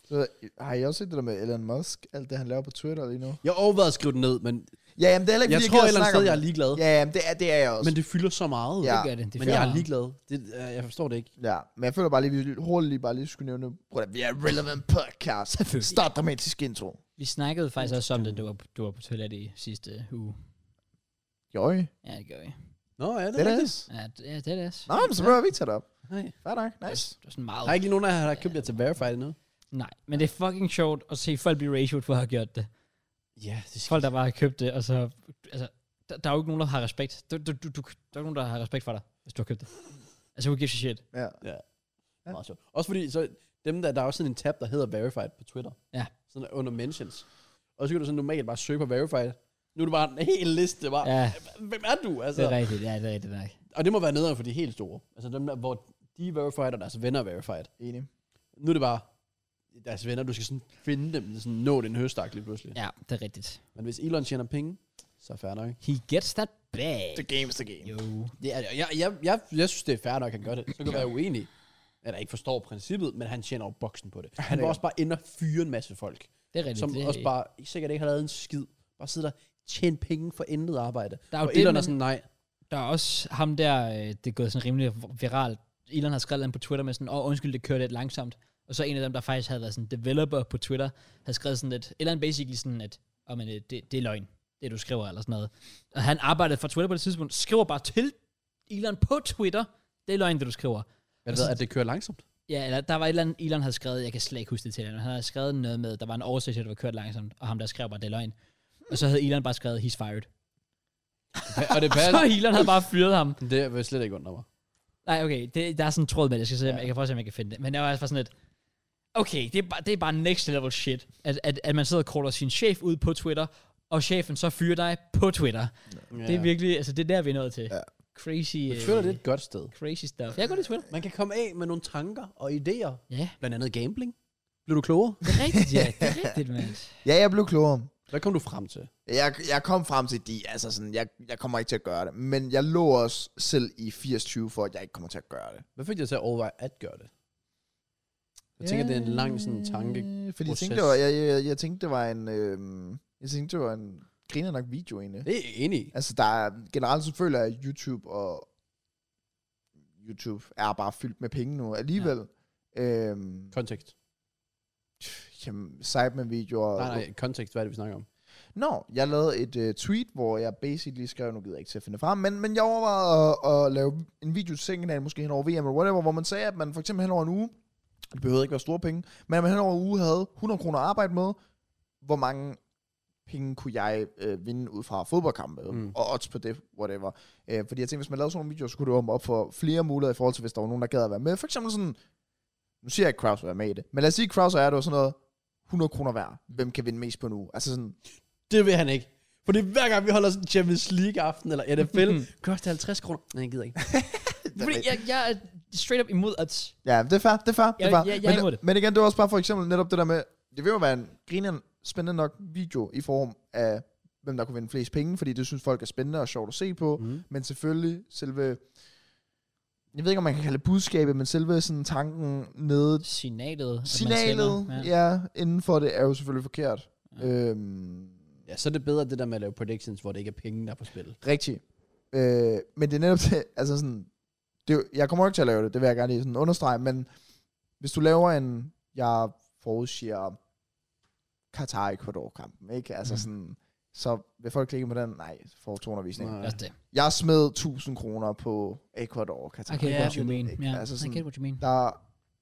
Speaker 3: Så ved jeg- Har I også set det der med Elon Musk? Alt det, han laver på Twitter lige nu?
Speaker 2: Jeg har overvejet at skrive den ned, men
Speaker 3: Ja, jamen, det er heller ikke,
Speaker 2: jeg
Speaker 3: fordi
Speaker 2: tror et
Speaker 3: gider
Speaker 2: eller andet
Speaker 3: snakke
Speaker 2: sted,
Speaker 3: om
Speaker 2: jeg er ligeglad.
Speaker 3: det. Ja, jamen, det er, det er jeg også.
Speaker 2: Men det fylder så meget.
Speaker 3: Ja.
Speaker 1: Det gør det. det
Speaker 2: Men
Speaker 1: føler
Speaker 2: jeg er ligeglad. Det, øh, jeg forstår det ikke.
Speaker 3: Ja, men jeg føler bare lige, at vi hurtigt lige bare lige skulle nævne, prøv at vi er relevant podcast.
Speaker 1: Selvfølgelig.
Speaker 3: Start dramatisk intro.
Speaker 1: Vi snakkede faktisk også om det, du var, du var på toilet i sidste uge.
Speaker 3: Joj.
Speaker 1: Ja, det gør vi.
Speaker 2: Nå, ja, det
Speaker 3: Det
Speaker 2: er
Speaker 3: er
Speaker 2: rigtigt.
Speaker 3: det.
Speaker 1: Ja, det, ja, det er det.
Speaker 3: Nå, men så behøver vi ikke tage det op.
Speaker 2: Nej.
Speaker 3: Fair nok. Nice.
Speaker 1: Det er sådan meget...
Speaker 2: Der er ikke lige nogen, der har købt jer til Verified endnu.
Speaker 1: Nej, men det er fucking sjovt at se folk blive ratioed for at have gjort det.
Speaker 2: Ja, det skal
Speaker 1: Folk, der bare har købt det, og så... Altså, der, der er jo ikke nogen, der har respekt. Du, du, du, du, der er ikke nogen, der har respekt for dig, hvis du har købt det. Altså, who gives a shit?
Speaker 3: Ja.
Speaker 2: ja. meget sjovt. Også fordi, så dem der, der er også sådan en tab, der hedder Verified på Twitter.
Speaker 1: Ja.
Speaker 2: Sådan under mentions. Og så kan du sådan normalt bare søge på Verified. Nu er det bare en hel liste. Bare, ja.
Speaker 1: Ja,
Speaker 2: Hvem er du? Altså,
Speaker 1: det er rigtigt. Ja, det er rigtigt. Nej.
Speaker 2: og det må være nederen for de helt store. Altså dem der, hvor de er Verified, og deres venner er Verified.
Speaker 3: Enig.
Speaker 2: Nu er det bare deres venner, du skal sådan finde dem, sådan nå den høstak lige pludselig. Ja.
Speaker 1: Ja, det er rigtigt.
Speaker 2: Men hvis Elon tjener penge, så er fair nok.
Speaker 1: He gets that bag.
Speaker 3: game's the game.
Speaker 1: Jo.
Speaker 2: Det er, jeg, jeg, jeg, jeg synes, det er fair nok, at han gør det. Så kan jeg være uenig, at jeg ikke forstår princippet, men han tjener jo boksen på det. Han var
Speaker 3: gør.
Speaker 2: også bare inde og fyre en masse folk,
Speaker 1: Det er rigtigt.
Speaker 2: som
Speaker 1: det,
Speaker 2: også bare sikkert ikke har lavet en skid. Bare sidder der, tjene penge for intet arbejde.
Speaker 1: Der er jo
Speaker 2: og
Speaker 1: det,
Speaker 2: Elon er
Speaker 1: man-
Speaker 2: sådan, nej,
Speaker 1: Der er også ham der, øh, det er gået sådan rimelig viralt. Elon har skrevet en på Twitter med sådan, åh, oh, undskyld, det kører lidt langsomt. Og så en af dem, der faktisk havde været sådan developer på Twitter, har skrevet sådan lidt, eller basically sådan, at oh, men, øh, det, det er løgn, det du skriver, eller sådan noget. Og han arbejdede for Twitter på det tidspunkt, skriver bare til Elon på Twitter, det er løgn, det du skriver.
Speaker 2: jeg
Speaker 1: Altså,
Speaker 2: ved, at det kører langsomt.
Speaker 1: Ja, eller der var et eller andet, Elon havde skrevet, jeg kan slet ikke huske det til, men han havde skrevet noget med, der var en oversigt, der var kørt langsomt, og ham der skrev bare, det er løgn. Og så havde Elon bare skrevet, he's fired.
Speaker 2: og det
Speaker 1: Så
Speaker 2: passer.
Speaker 1: Elon havde bare fyret ham.
Speaker 2: Det vil slet ikke undre mig.
Speaker 1: Nej, okay, det, der er sådan en tråd med det. Jeg skal se, ja.
Speaker 2: Ja.
Speaker 1: jeg kan prøve at se, om jeg kan finde det. Men jeg var altså bare sådan lidt, okay, det er bare, det er bare next level shit, at, at, at man sidder og caller sin chef ud på Twitter, og chefen så fyrer dig på Twitter. Ja.
Speaker 2: Ja.
Speaker 1: Det er virkelig, altså det er der, vi er nået til.
Speaker 3: Ja.
Speaker 1: Crazy,
Speaker 2: Men
Speaker 1: øh,
Speaker 2: Twitter det er et godt sted.
Speaker 1: crazy stuff. Jeg går til Twitter.
Speaker 2: Man kan komme af med nogle tanker og idéer,
Speaker 1: Ja,
Speaker 2: blandt andet gambling. Blev du klogere?
Speaker 1: det er rigtigt, ja. Det er rigtigt, mand.
Speaker 3: Ja, jeg blev klogere.
Speaker 2: Hvad kom du frem til?
Speaker 3: Jeg, jeg kom frem til de, altså sådan, jeg, jeg kommer ikke til at gøre det. Men jeg lå også selv i 80-20 for, at jeg ikke kommer til at gøre det.
Speaker 2: Hvad fik dig til at overveje at gøre det? Jeg tænker, det er en lang sådan tanke.
Speaker 3: Øh, Fordi jeg tænkte,
Speaker 2: proces.
Speaker 3: det var, jeg, jeg, jeg tænkte, det var en, øh, jeg tænkte, det var en griner nok video egentlig.
Speaker 2: Det er jeg enig i.
Speaker 3: Altså, der er, generelt så føler jeg, at YouTube og YouTube er bare fyldt med penge nu alligevel. Ja. Øhm,
Speaker 2: Kontekst.
Speaker 3: jamen, site med videoer.
Speaker 2: Nej, nej, kontekst. Hvad er det, vi snakker om?
Speaker 3: Nå, jeg lavede et øh, tweet, hvor jeg basically skrev, nu gider jeg ikke til at finde det frem, men, men jeg overvejede at, at lave en video til Sengenal, måske hen over VM eller whatever, hvor man sagde, at man for eksempel hen over en uge, og det behøvede ikke være store penge, men at man hen over en uge havde 100 kroner at arbejde med, hvor mange penge kunne jeg øh, vinde ud fra fodboldkampe,
Speaker 2: Mm.
Speaker 3: mm. og odds på det, whatever. Øh, fordi jeg tænkte, hvis man lavede sådan nogle videoer, så kunne det åbne op for flere muligheder i forhold til, hvis der var nogen, der gad at være med. For eksempel sådan, nu siger jeg ikke, Krause er med i det, men lad os sige, at Krause er det var sådan noget, 100 kroner hver. Hvem kan vinde mest på nu? Altså sådan,
Speaker 2: Det vil han ikke. Fordi hver gang vi holder sådan en Champions League-aften eller NFL, koster 50 kroner. Nej, jeg gider ikke.
Speaker 1: Fordi jeg, jeg er straight up imod at...
Speaker 3: Ja, det er fair, det er fair. det er
Speaker 1: Jeg-
Speaker 3: fair.
Speaker 1: jeg- jeg er imod
Speaker 3: men,
Speaker 1: det.
Speaker 3: men igen, det var også bare for eksempel netop det der med, det vil jo være en griner spændende nok video i form af, hvem der kunne vinde flest penge, fordi det synes folk er spændende og sjovt at se på, mm.
Speaker 2: Mm.
Speaker 3: men selvfølgelig selve, jeg ved ikke, om man kan kalde det budskabet, men selve sådan tanken nede,
Speaker 1: Signalet. at man
Speaker 3: signalet,
Speaker 1: sender.
Speaker 3: ja. ja, inden for det er jo selvfølgelig forkert. Ja. Øhm,
Speaker 2: Ja, så er det bedre det der med at lave predictions, hvor det ikke er penge, der er på spil.
Speaker 3: Rigtigt. Øh, men det er netop det, altså sådan, det, er jo- jeg kommer jo ikke til at lave det, det vil jeg gerne lige sådan understrege, men hvis du laver en, jeg forudsiger Katar-Ecuador-kampen, ikke? Altså
Speaker 1: Mm.
Speaker 3: mm. sådan, så vil folk klikke på den, nej, for 200 visninger.
Speaker 1: Også det.
Speaker 3: Jeg smed 1000 kroner på Ecuador og Katar.
Speaker 1: I get
Speaker 2: Ja,
Speaker 1: what you
Speaker 2: det er
Speaker 1: mean.
Speaker 3: det.
Speaker 1: Ja,
Speaker 3: Altså
Speaker 1: I
Speaker 3: sådan-
Speaker 1: get what you mean.
Speaker 3: Der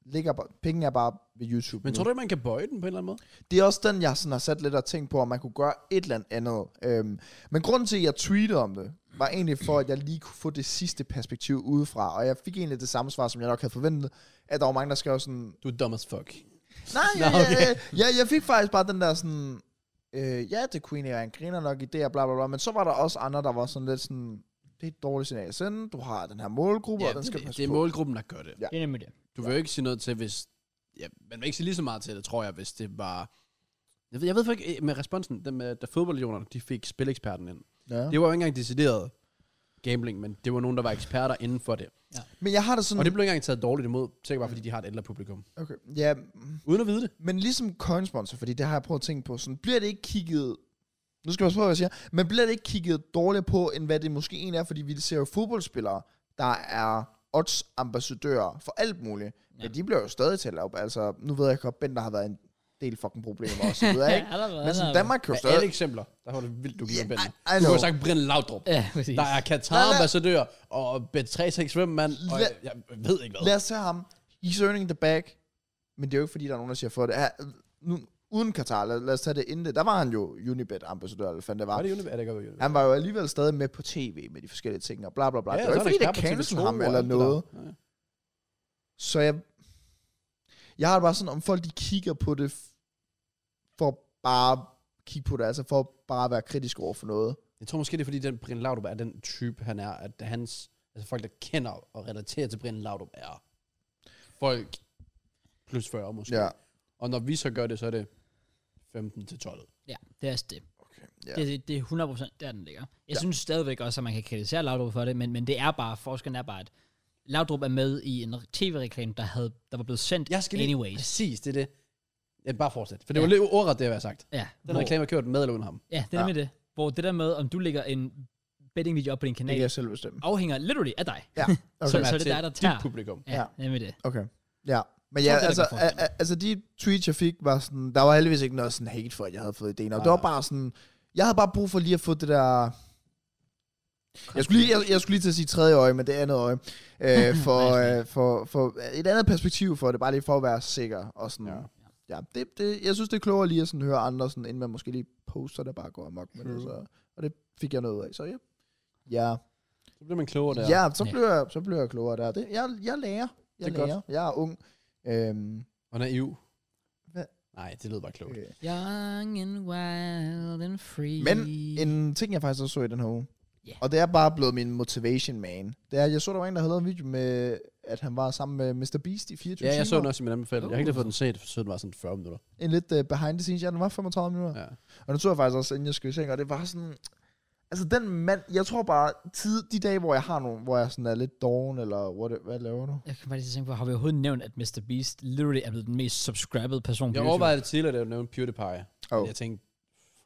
Speaker 3: ligger bare, penge er bare ved YouTube
Speaker 2: Men
Speaker 3: nu.
Speaker 2: tror du ikke, man kan bøje den på en eller anden måde?
Speaker 3: Det er også den, jeg sådan har sat lidt og tænkt på, om man kunne gøre et eller andet. Øhm, men grunden til, at jeg tweetede om det, var egentlig for, at jeg lige kunne få det sidste perspektiv udefra. Og jeg fik egentlig det samme svar, som jeg nok havde forventet, at der var mange, der skrev sådan,
Speaker 2: Du er dumb as fuck.
Speaker 3: nej,
Speaker 2: Nå,
Speaker 3: ja, ja,
Speaker 2: okay.
Speaker 3: ja, ja, jeg fik faktisk bare den der sådan, øh, ja, det kunne egentlig være en griner nok idé, og bla, bla, bla. Men så var der også andre, der var sådan lidt sådan, det er et dårligt signal at sende, du har den her målgruppe, ja, og den skal
Speaker 2: det,
Speaker 3: passe
Speaker 2: det er
Speaker 3: på.
Speaker 2: målgruppen, der gør det.
Speaker 1: Det er nemlig det.
Speaker 2: Du vil jo ikke sige noget til, hvis... Ja, man vil ikke sige lige så meget til det, tror jeg, hvis det var... Jeg ved, jeg ved faktisk ikke, med responsen, den med, da fodboldlegionerne, de fik spileksperten ind.
Speaker 3: ja.
Speaker 2: Det var jo ikke engang decideret gambling, men det var nogen, der var eksperter inden for det.
Speaker 3: Men jeg har det sådan,
Speaker 2: Og det blev ikke engang taget dårligt imod, sikkert bare fordi de har et ældre publikum.
Speaker 3: okay, ja,
Speaker 2: Uden at vide det.
Speaker 3: Men ligesom coinsponsor, fordi det har jeg prøvet at tænke på, sådan, bliver det ikke kigget... Nu skal jeg også prøve, hvad jeg siger. Men bliver det ikke kigget dårligere på, end hvad det måske egentlig er, fordi vi ser jo fodboldspillere, der er odds-ambassadører for alt muligt. Ja.
Speaker 1: Ja.
Speaker 3: Men de bliver jo stadig talt op. Altså, nu ved jeg godt, Ben, der har været en del fucking problemer og så videre, ikke?
Speaker 1: allerede.
Speaker 3: Men sådan,
Speaker 1: allerede.
Speaker 3: Danmark kan jo
Speaker 2: Med
Speaker 3: stadig...
Speaker 2: alle eksempler, der var det vildt, du giver
Speaker 3: Yeah,
Speaker 2: yeah, Bente.
Speaker 3: I- I
Speaker 2: Du
Speaker 3: know.
Speaker 2: har jo sagt Brind Laudrup.
Speaker 1: Ja, præcis.
Speaker 2: Der er
Speaker 3: Lad- lad-
Speaker 2: Katar-ambassadør, og bet 365 mand, og jeg,
Speaker 3: Lad-
Speaker 2: jeg ved ikke hvad.
Speaker 3: Lad os tage ham. He's earning the bag. Men det er jo ikke, fordi der er nogen, der siger for det. Er, nu, uden Katar, lad, lad os tage det inden det. Der var han jo Unibet-ambassadør, eller hvad fanden det var.
Speaker 2: Var det Unibet? Ja, det gør vi Unibet.
Speaker 3: Han var jo alligevel stadig med på tv med de forskellige ting, og bla bla bla. Ja,
Speaker 2: Ja,
Speaker 3: det
Speaker 2: og
Speaker 3: var
Speaker 2: så
Speaker 3: ikke,
Speaker 2: er
Speaker 3: fordi
Speaker 2: han
Speaker 3: det
Speaker 2: ekspert på
Speaker 3: cancelede
Speaker 2: TV2
Speaker 3: ham
Speaker 2: og
Speaker 3: eller
Speaker 2: alt det der.
Speaker 3: noget.
Speaker 2: Ja, ja.
Speaker 3: Så jeg... Jeg har det bare sådan, om folk de kigger på det, f- for bare at kigge på det, altså for bare at være kritisk over for noget.
Speaker 2: Jeg tror måske, det er fordi, den Brind Laudrup er den type, han er. At hans, altså folk, der kender og relaterer til Brind Laudrup, er folk plus 40 måske.
Speaker 3: Ja.
Speaker 2: Og når vi så gør det, så er det 15 til 12.
Speaker 1: Ja, det er også det.
Speaker 3: Okay, ja.
Speaker 1: Det, det, det er 100% der, den ligger. Jeg
Speaker 2: Ja.
Speaker 1: ja. synes stadigvæk også, at man kan kritisere Laudrup for det, men, men det er bare, forskellen er bare, at Laudrup er med i en tv-reklame, der, havde, der var blevet sendt
Speaker 2: Jeg skal lige...
Speaker 1: anyways.
Speaker 2: Præcis, det er det. Ja, bare fortsæt. For det
Speaker 1: Ja.
Speaker 2: var lidt ordret, det jeg har sagt.
Speaker 1: Ja,
Speaker 2: Den
Speaker 1: hvor,
Speaker 2: reklame er kørt med eller uden ham.
Speaker 1: ja, det er
Speaker 3: Ja.
Speaker 1: med det. Hvor det der med, om du lægger en bettingvideo op på din
Speaker 3: Det kan
Speaker 1: kanal,
Speaker 3: jeg selv bestemme.
Speaker 1: afhænger literally af dig.
Speaker 3: Ja, okay.
Speaker 1: Så-
Speaker 2: Som
Speaker 1: så
Speaker 2: er
Speaker 1: det
Speaker 2: til
Speaker 1: er dig, der
Speaker 2: dit
Speaker 1: tager.
Speaker 2: publikum.
Speaker 1: Ja, det er med det.
Speaker 3: Okay, ja. Men
Speaker 1: Jeg
Speaker 3: ja,
Speaker 1: tror, det er
Speaker 3: altså,
Speaker 1: der, der er
Speaker 3: a- a- altså de tweets, jeg fik, var sådan, der var heldigvis ikke noget sådan hate for, at jeg havde fået ideen. Og
Speaker 2: Nej,
Speaker 3: det var
Speaker 2: nej.
Speaker 3: bare sådan, jeg havde bare brug for lige at få det der... Jeg skulle, lige, jeg, jeg skulle lige til at sige tredje øje, men det andet øje. Øh, for, øh, for, for et andet perspektiv for det, bare lige for at være sikker. Og sådan, ja.
Speaker 2: Ja.
Speaker 3: Ja, det, det, jeg synes, det er klogere lige at sådan høre andre, sådan, inden man måske lige poster, der bare går amok med det.
Speaker 2: True.
Speaker 3: Så, og det fik jeg noget ud af, så ja. Ja,
Speaker 2: Så bliver man klogere der.
Speaker 3: ja så,
Speaker 1: Ja.
Speaker 3: bliver jeg, så bliver jeg klogere der. Det, jeg, jeg lærer. Jeg
Speaker 2: Det er godt.
Speaker 3: lærer. Jeg er ung. Øhm,
Speaker 2: Og naiv.
Speaker 3: Hvad?
Speaker 2: Nej, det lød bare klogt.
Speaker 3: øh,
Speaker 1: Young and wild and free.
Speaker 3: Men en ting, jeg faktisk også så i den her uge,
Speaker 1: Ja.
Speaker 3: og det er bare blevet min motivation, man, det er, at jeg så, der var en, der havde lavet en video med, at han var sammen med Mr. Beast i 24
Speaker 2: Ja, jeg så den
Speaker 3: timer.
Speaker 2: også i min anbefaling. Jeg har ikke lige fået den set, så den var sådan 40 minutter.
Speaker 3: En lidt uh, behind the scenes, ja, den var 35 minutter.
Speaker 2: Ja.
Speaker 3: Og den så jeg faktisk også, inden jeg skulle i seng, og det var sådan... Altså den mand, jeg tror bare, tid, de dage, hvor jeg har nogle, hvor jeg sådan er lidt doven, eller what, hvad laver du?
Speaker 1: Jeg kan bare lige til at tænke på, har vi overhovedet nævnt, at Mr. Beast literally er blevet den mest subscribed person på
Speaker 2: Jeg
Speaker 1: YouTube?
Speaker 2: overvejede det tidligere, da jeg nævnte PewDiePie.
Speaker 3: Oh.
Speaker 2: Oh. Jeg tænkte,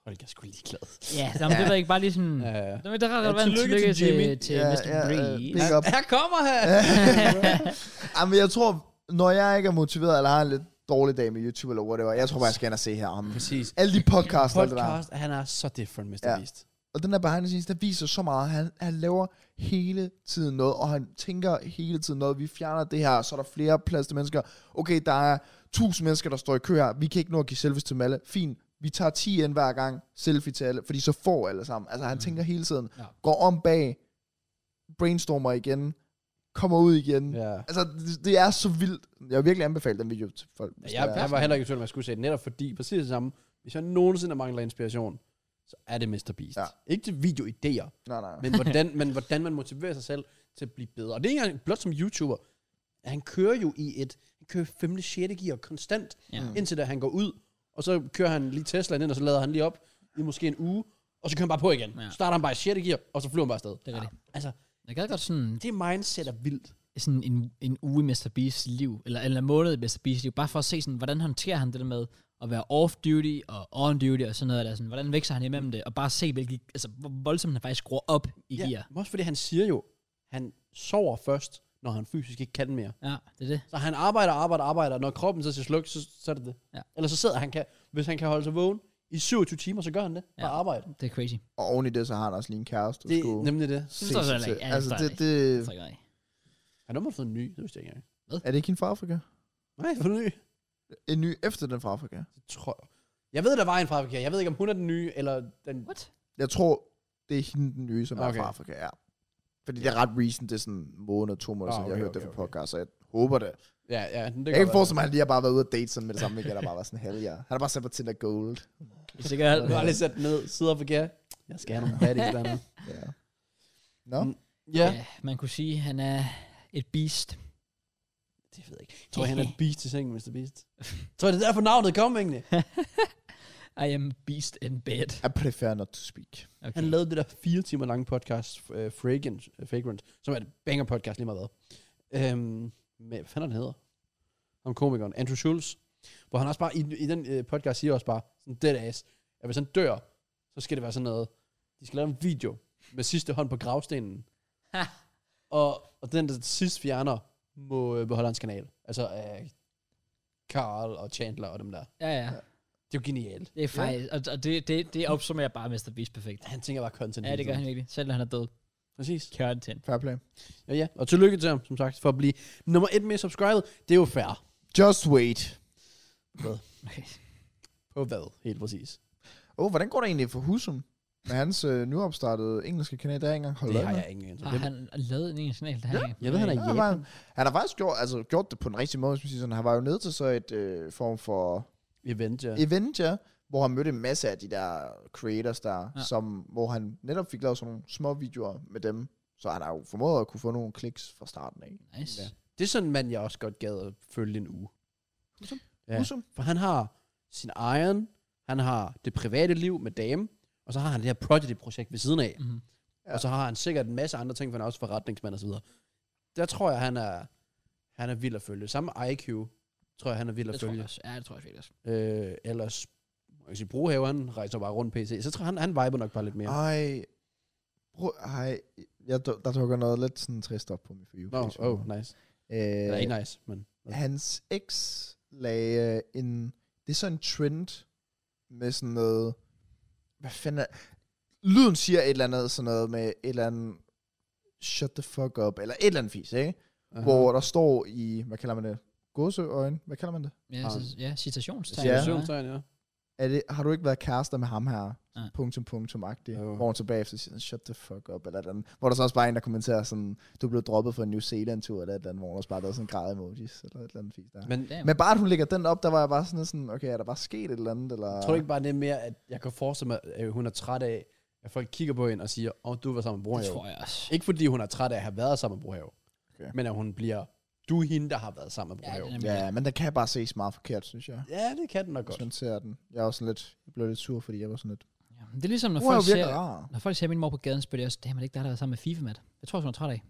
Speaker 2: folk jeg er sgu ligeglad.
Speaker 1: Ja, jamen, det var ikke bare lige sådan...
Speaker 2: Ja.
Speaker 1: Ja.
Speaker 2: ja.
Speaker 1: Det var der
Speaker 2: Ja,
Speaker 1: ret være en tillykke
Speaker 2: tillykke til Jimmy.
Speaker 1: til, til
Speaker 3: Ja,
Speaker 1: Mr.
Speaker 3: ja, øh,
Speaker 1: Beast.
Speaker 3: big up.
Speaker 2: Her kommer han!
Speaker 3: Ej, men jeg tror, når jeg ikke er motiveret, eller har en lidt dårlig dag med YouTube, eller whatever, jeg tror bare, jeg skal ind og se her om
Speaker 2: Præcis.
Speaker 3: alle de podcasts, Podcast. der er.
Speaker 2: Podcast, han er så different, Mr.
Speaker 3: Ja.
Speaker 2: Ja. Beast.
Speaker 3: Og den der behind the scenes, der viser så meget. Han, han laver hele tiden noget, og han tænker hele tiden noget. Vi fjerner det her, så er der flere plads til mennesker. Okay, der er tusind mennesker, der står i kø her. Vi kan ikke nå at give selfies til dem alle. Fint. Vi tager 10 ind hver gang, selfie til alle, fordi så får alle sammen. Altså han mm. tænker hele tiden.
Speaker 1: Ja.
Speaker 3: Går om bag, brainstormer igen, kommer ud igen.
Speaker 2: Ja.
Speaker 3: Altså, det, det er så vildt. Jeg vil virkelig anbefale den video til folk. hvis
Speaker 2: Jeg,
Speaker 3: det er
Speaker 2: jeg var
Speaker 3: sådan.
Speaker 2: heller ikke i tvivl, om jeg skulle se den, netop fordi præcis det samme. Hvis jeg nogensinde mangler inspiration, så er det Mr. Beast.
Speaker 3: Ja.
Speaker 2: Ja. Ikke til videoidéer,
Speaker 3: Nej, nej.
Speaker 2: men hvordan, men hvordan man motiverer sig selv til at blive bedre. Og det er ikke engang blot som YouTuber. Han kører jo i et, han kører 5. 6. gear konstant.
Speaker 1: Ja.
Speaker 3: Mm.
Speaker 2: indtil da han går ud, og så kører han lige Teslaen ind, og så lader han lige op i måske en uge, og så kører han bare på igen.
Speaker 1: Ja.
Speaker 2: Ja. Starter han bare i 6. gear, og så flyver han bare afsted.
Speaker 1: Det er rigtigt.
Speaker 2: Altså,
Speaker 1: Jeg gad godt sådan,
Speaker 2: det mindset er vildt.
Speaker 1: sådan en, en uge i Mr. Beasts liv, eller, eller en måned i Mr. Beasts liv, bare for at se, sådan, hvordan håndterer han det der med at være off-duty og on-duty og sådan noget der. Sådan, hvordan vækster han imellem det, og bare se, hvilke, altså, hvor voldsomt han faktisk skruer op i ja. gear.
Speaker 2: men også fordi han siger jo, han sover først, når han fysisk ikke kan mere.
Speaker 1: Ja, det er det.
Speaker 2: Så han arbejder, arbejder, arbejder, og når kroppen så skal slukke, så, så er det det.
Speaker 1: Ja.
Speaker 2: Eller så sidder han, kan, hvis han kan holde sig vågen i 27 timer, så gør han det. Bare
Speaker 1: Ja.
Speaker 2: arbejde.
Speaker 1: Det er crazy.
Speaker 3: Og oven i det, så har han også lige en kæreste.
Speaker 2: Det er
Speaker 3: skulle
Speaker 2: nemlig det.
Speaker 1: Det forstår jeg
Speaker 3: se
Speaker 1: heller
Speaker 3: sig
Speaker 1: ikke.
Speaker 3: til.
Speaker 1: Ja, det
Speaker 3: Altså,
Speaker 1: forstår jeg
Speaker 3: det, det,
Speaker 1: Det tror jeg ikke.
Speaker 2: Han har måske fået en ny, det vidste jeg ikke engang.
Speaker 3: er det ikke hende fra Afrika?
Speaker 2: Nej, for en ny.
Speaker 3: En ny efter den fra Afrika.
Speaker 2: Det tror jeg. Jeg ved, der var en fra Afrika. Jeg ved ikke, om hun er den nye, eller den...
Speaker 1: What?
Speaker 3: Jeg tror, det er hende den nye, som okay. er
Speaker 2: Okay.
Speaker 3: fra Afrika, ja. Fordi det er ret recent, det er sådan en måned, to måneder,
Speaker 2: Ah,
Speaker 3: oh, siden jeg
Speaker 2: okay,
Speaker 3: hørte det
Speaker 2: okay,
Speaker 3: fra
Speaker 2: okay.
Speaker 3: podcast, så jeg håber det. det
Speaker 2: Ja, ja. Det
Speaker 3: jeg kan ikke forestille mig, at han lige har bare været ude at date sådan med det samme, igen, og bare var sådan, hell ja. Han har bare sat på Tinder Gold.
Speaker 1: Det er sikkert alt.
Speaker 2: Du har lige sat den ned, sidder på gær. Jeg skal have nogle baddies dernede.
Speaker 3: Ja. Nå?
Speaker 2: Mm.
Speaker 1: Ja. Man kunne sige, han er et beast.
Speaker 2: det ved jeg ikke. Jeg tror, han er et beast til sengen, Mr. Beast. Jeg tror, det er derfor navnet kom, egentlig.
Speaker 1: I am beast in bed.
Speaker 3: I prefer not to speak.
Speaker 1: Okay.
Speaker 2: Han lavede det der fire timer lange podcast, uh, Fragrant, uh, Fragrant, som er et banger podcast lige meget hvad. Øhm, med, hvad fanden han hedder? Om komikeren, Andrew Schulz. Hvor han også bare, i, i den uh, podcast siger også bare, sådan dead ass, at hvis han dør, så skal det være sådan noget, de skal lave en video med sidste hånd på gravstenen.
Speaker 1: Ha.
Speaker 2: og, og den, der sidst fjerner, må øh, beholde hans kanal. Altså, øh, Carl og Chandler og dem der.
Speaker 1: Ja, ja.
Speaker 2: Det er jo genialt.
Speaker 1: Det er faktisk... Og, og det, det, det opsummerer bare Mr. Beast perfekt.
Speaker 2: Han tænker bare content.
Speaker 1: Ja,
Speaker 2: hele
Speaker 1: det gør
Speaker 2: tiden.
Speaker 1: han virkelig. Selv når han er død.
Speaker 2: Præcis.
Speaker 1: Content.
Speaker 3: Fair play.
Speaker 2: Ja, ja. Og tillykke til ham, som sagt, for at blive nummer et med subscribet. Det er jo fair.
Speaker 3: Just wait.
Speaker 1: Okay.
Speaker 2: På hvad, helt præcis.
Speaker 3: Åh, oh, hvordan går det egentlig for Husum? Med hans øh, nyopstartede engelske kanal, der har jeg ikke engang holdt
Speaker 2: Det
Speaker 3: øje
Speaker 2: har
Speaker 3: med.
Speaker 2: jeg ingen anelse om.
Speaker 1: Har
Speaker 2: Det-
Speaker 1: Ah, han lavet en egen signal, der ja.
Speaker 2: Jeg ved, han er
Speaker 3: Ja,
Speaker 2: i
Speaker 3: han,
Speaker 2: Japan.
Speaker 3: var, han har faktisk gjort, altså, gjort det på den rigtige måde, hvis man siger sådan. Han var jo nede til så et øh, form for
Speaker 2: Event, ja.
Speaker 3: ja. event, ja, hvor han mødte en masse af de der creators der,
Speaker 1: Ja.
Speaker 3: ja. som, hvor han netop fik lavet sådan nogle små videoer med dem. Så han har jo formået at kunne få nogle kliks fra starten af.
Speaker 1: Nice.
Speaker 2: Ja. Det er sådan en mand, jeg også godt gad at følge en uge. Ja.
Speaker 3: Ja. Husum?
Speaker 2: For han har sin egen, han har det private liv med dame, og så har han det her project-projekt ved siden af.
Speaker 1: Mhm.
Speaker 2: Ja. Og så har han sikkert en masse andre ting, for han er også forretningsmand og så videre. Der tror jeg, han er, han er vild at følge. Samme IQ, tror jeg, han er vild at
Speaker 1: Det tror jeg
Speaker 2: følge.
Speaker 1: også. Ja, det tror jeg virkelig også.
Speaker 2: Øh, ellers, man kan sige, brohaveren rejser bare rundt PC. Så tror jeg, han, han viber nok bare lidt mere.
Speaker 3: Ej, bro, ej, jeg, du- der dukker noget lidt sådan trist op på min for you.
Speaker 2: Nå,
Speaker 3: page.
Speaker 2: no, oh, nice. Det er
Speaker 3: Øh,
Speaker 2: ikke nice, men...
Speaker 3: hans ex lagde en... Det er sådan en trend med sådan noget... Hvad fanden er... Lyden siger et eller andet sådan noget med et eller andet... Shut the fuck up, eller et eller andet fis, ikke?
Speaker 2: Aha.
Speaker 3: Hvor der står i... Hvad kalder man det? Gåseøjne? Hvad kalder man det?
Speaker 1: Ja,
Speaker 2: Har
Speaker 1: så, ja citationstegn.
Speaker 3: Ja.
Speaker 2: Situationstegn, ja.
Speaker 3: Er det, har du ikke været kærester med ham her?
Speaker 1: Nej.
Speaker 3: Punktum, punktum, agtig.
Speaker 2: Jo.
Speaker 3: Hvor hun så bagefter siger, sådan, shut the fuck up, eller et eller andet. Hvor der så også bare er en, der kommenterer sådan, du er blevet droppet for en New Zealand-tur, eller et eller andet, hvor hun også bare lavede sådan græde emojis, eller et eller andet fis der.
Speaker 2: Men
Speaker 1: Damn.
Speaker 3: Men bare at hun lægger den op, der var jeg bare sådan, lidt sådan okay, er der bare sket et eller andet? Eller?
Speaker 2: Tror du ikke bare det er mere, at jeg kan forestille mig, at hun er træt af, at folk kigger på hende og siger, åh, oh, du var sammen med
Speaker 1: det
Speaker 2: Brohave.
Speaker 1: tror jeg også.
Speaker 2: Ikke fordi hun er træt af at have været sammen med Brohave, okay.
Speaker 3: Okay.
Speaker 2: men at hun bliver, du er hende, der har været sammen med
Speaker 1: Ja,
Speaker 2: Brohave.
Speaker 1: den er mere.
Speaker 3: Ja, men den kan bare ses meget forkert, synes jeg.
Speaker 2: Ja, det kan den nok
Speaker 3: Godt.
Speaker 2: godt.
Speaker 3: man ser den. Jeg er også sådan lidt, jeg blev lidt sur, fordi jeg var sådan lidt,
Speaker 1: Ja, men Det er ligesom, når
Speaker 3: wow,
Speaker 1: folk,
Speaker 3: virker
Speaker 1: ser,
Speaker 3: rar.
Speaker 1: når folk ser min mor på gaden, så bliver jeg også, damn, er det ikke der, der er sammen med FIFA, Matt? Jeg tror, også, hun er træt af.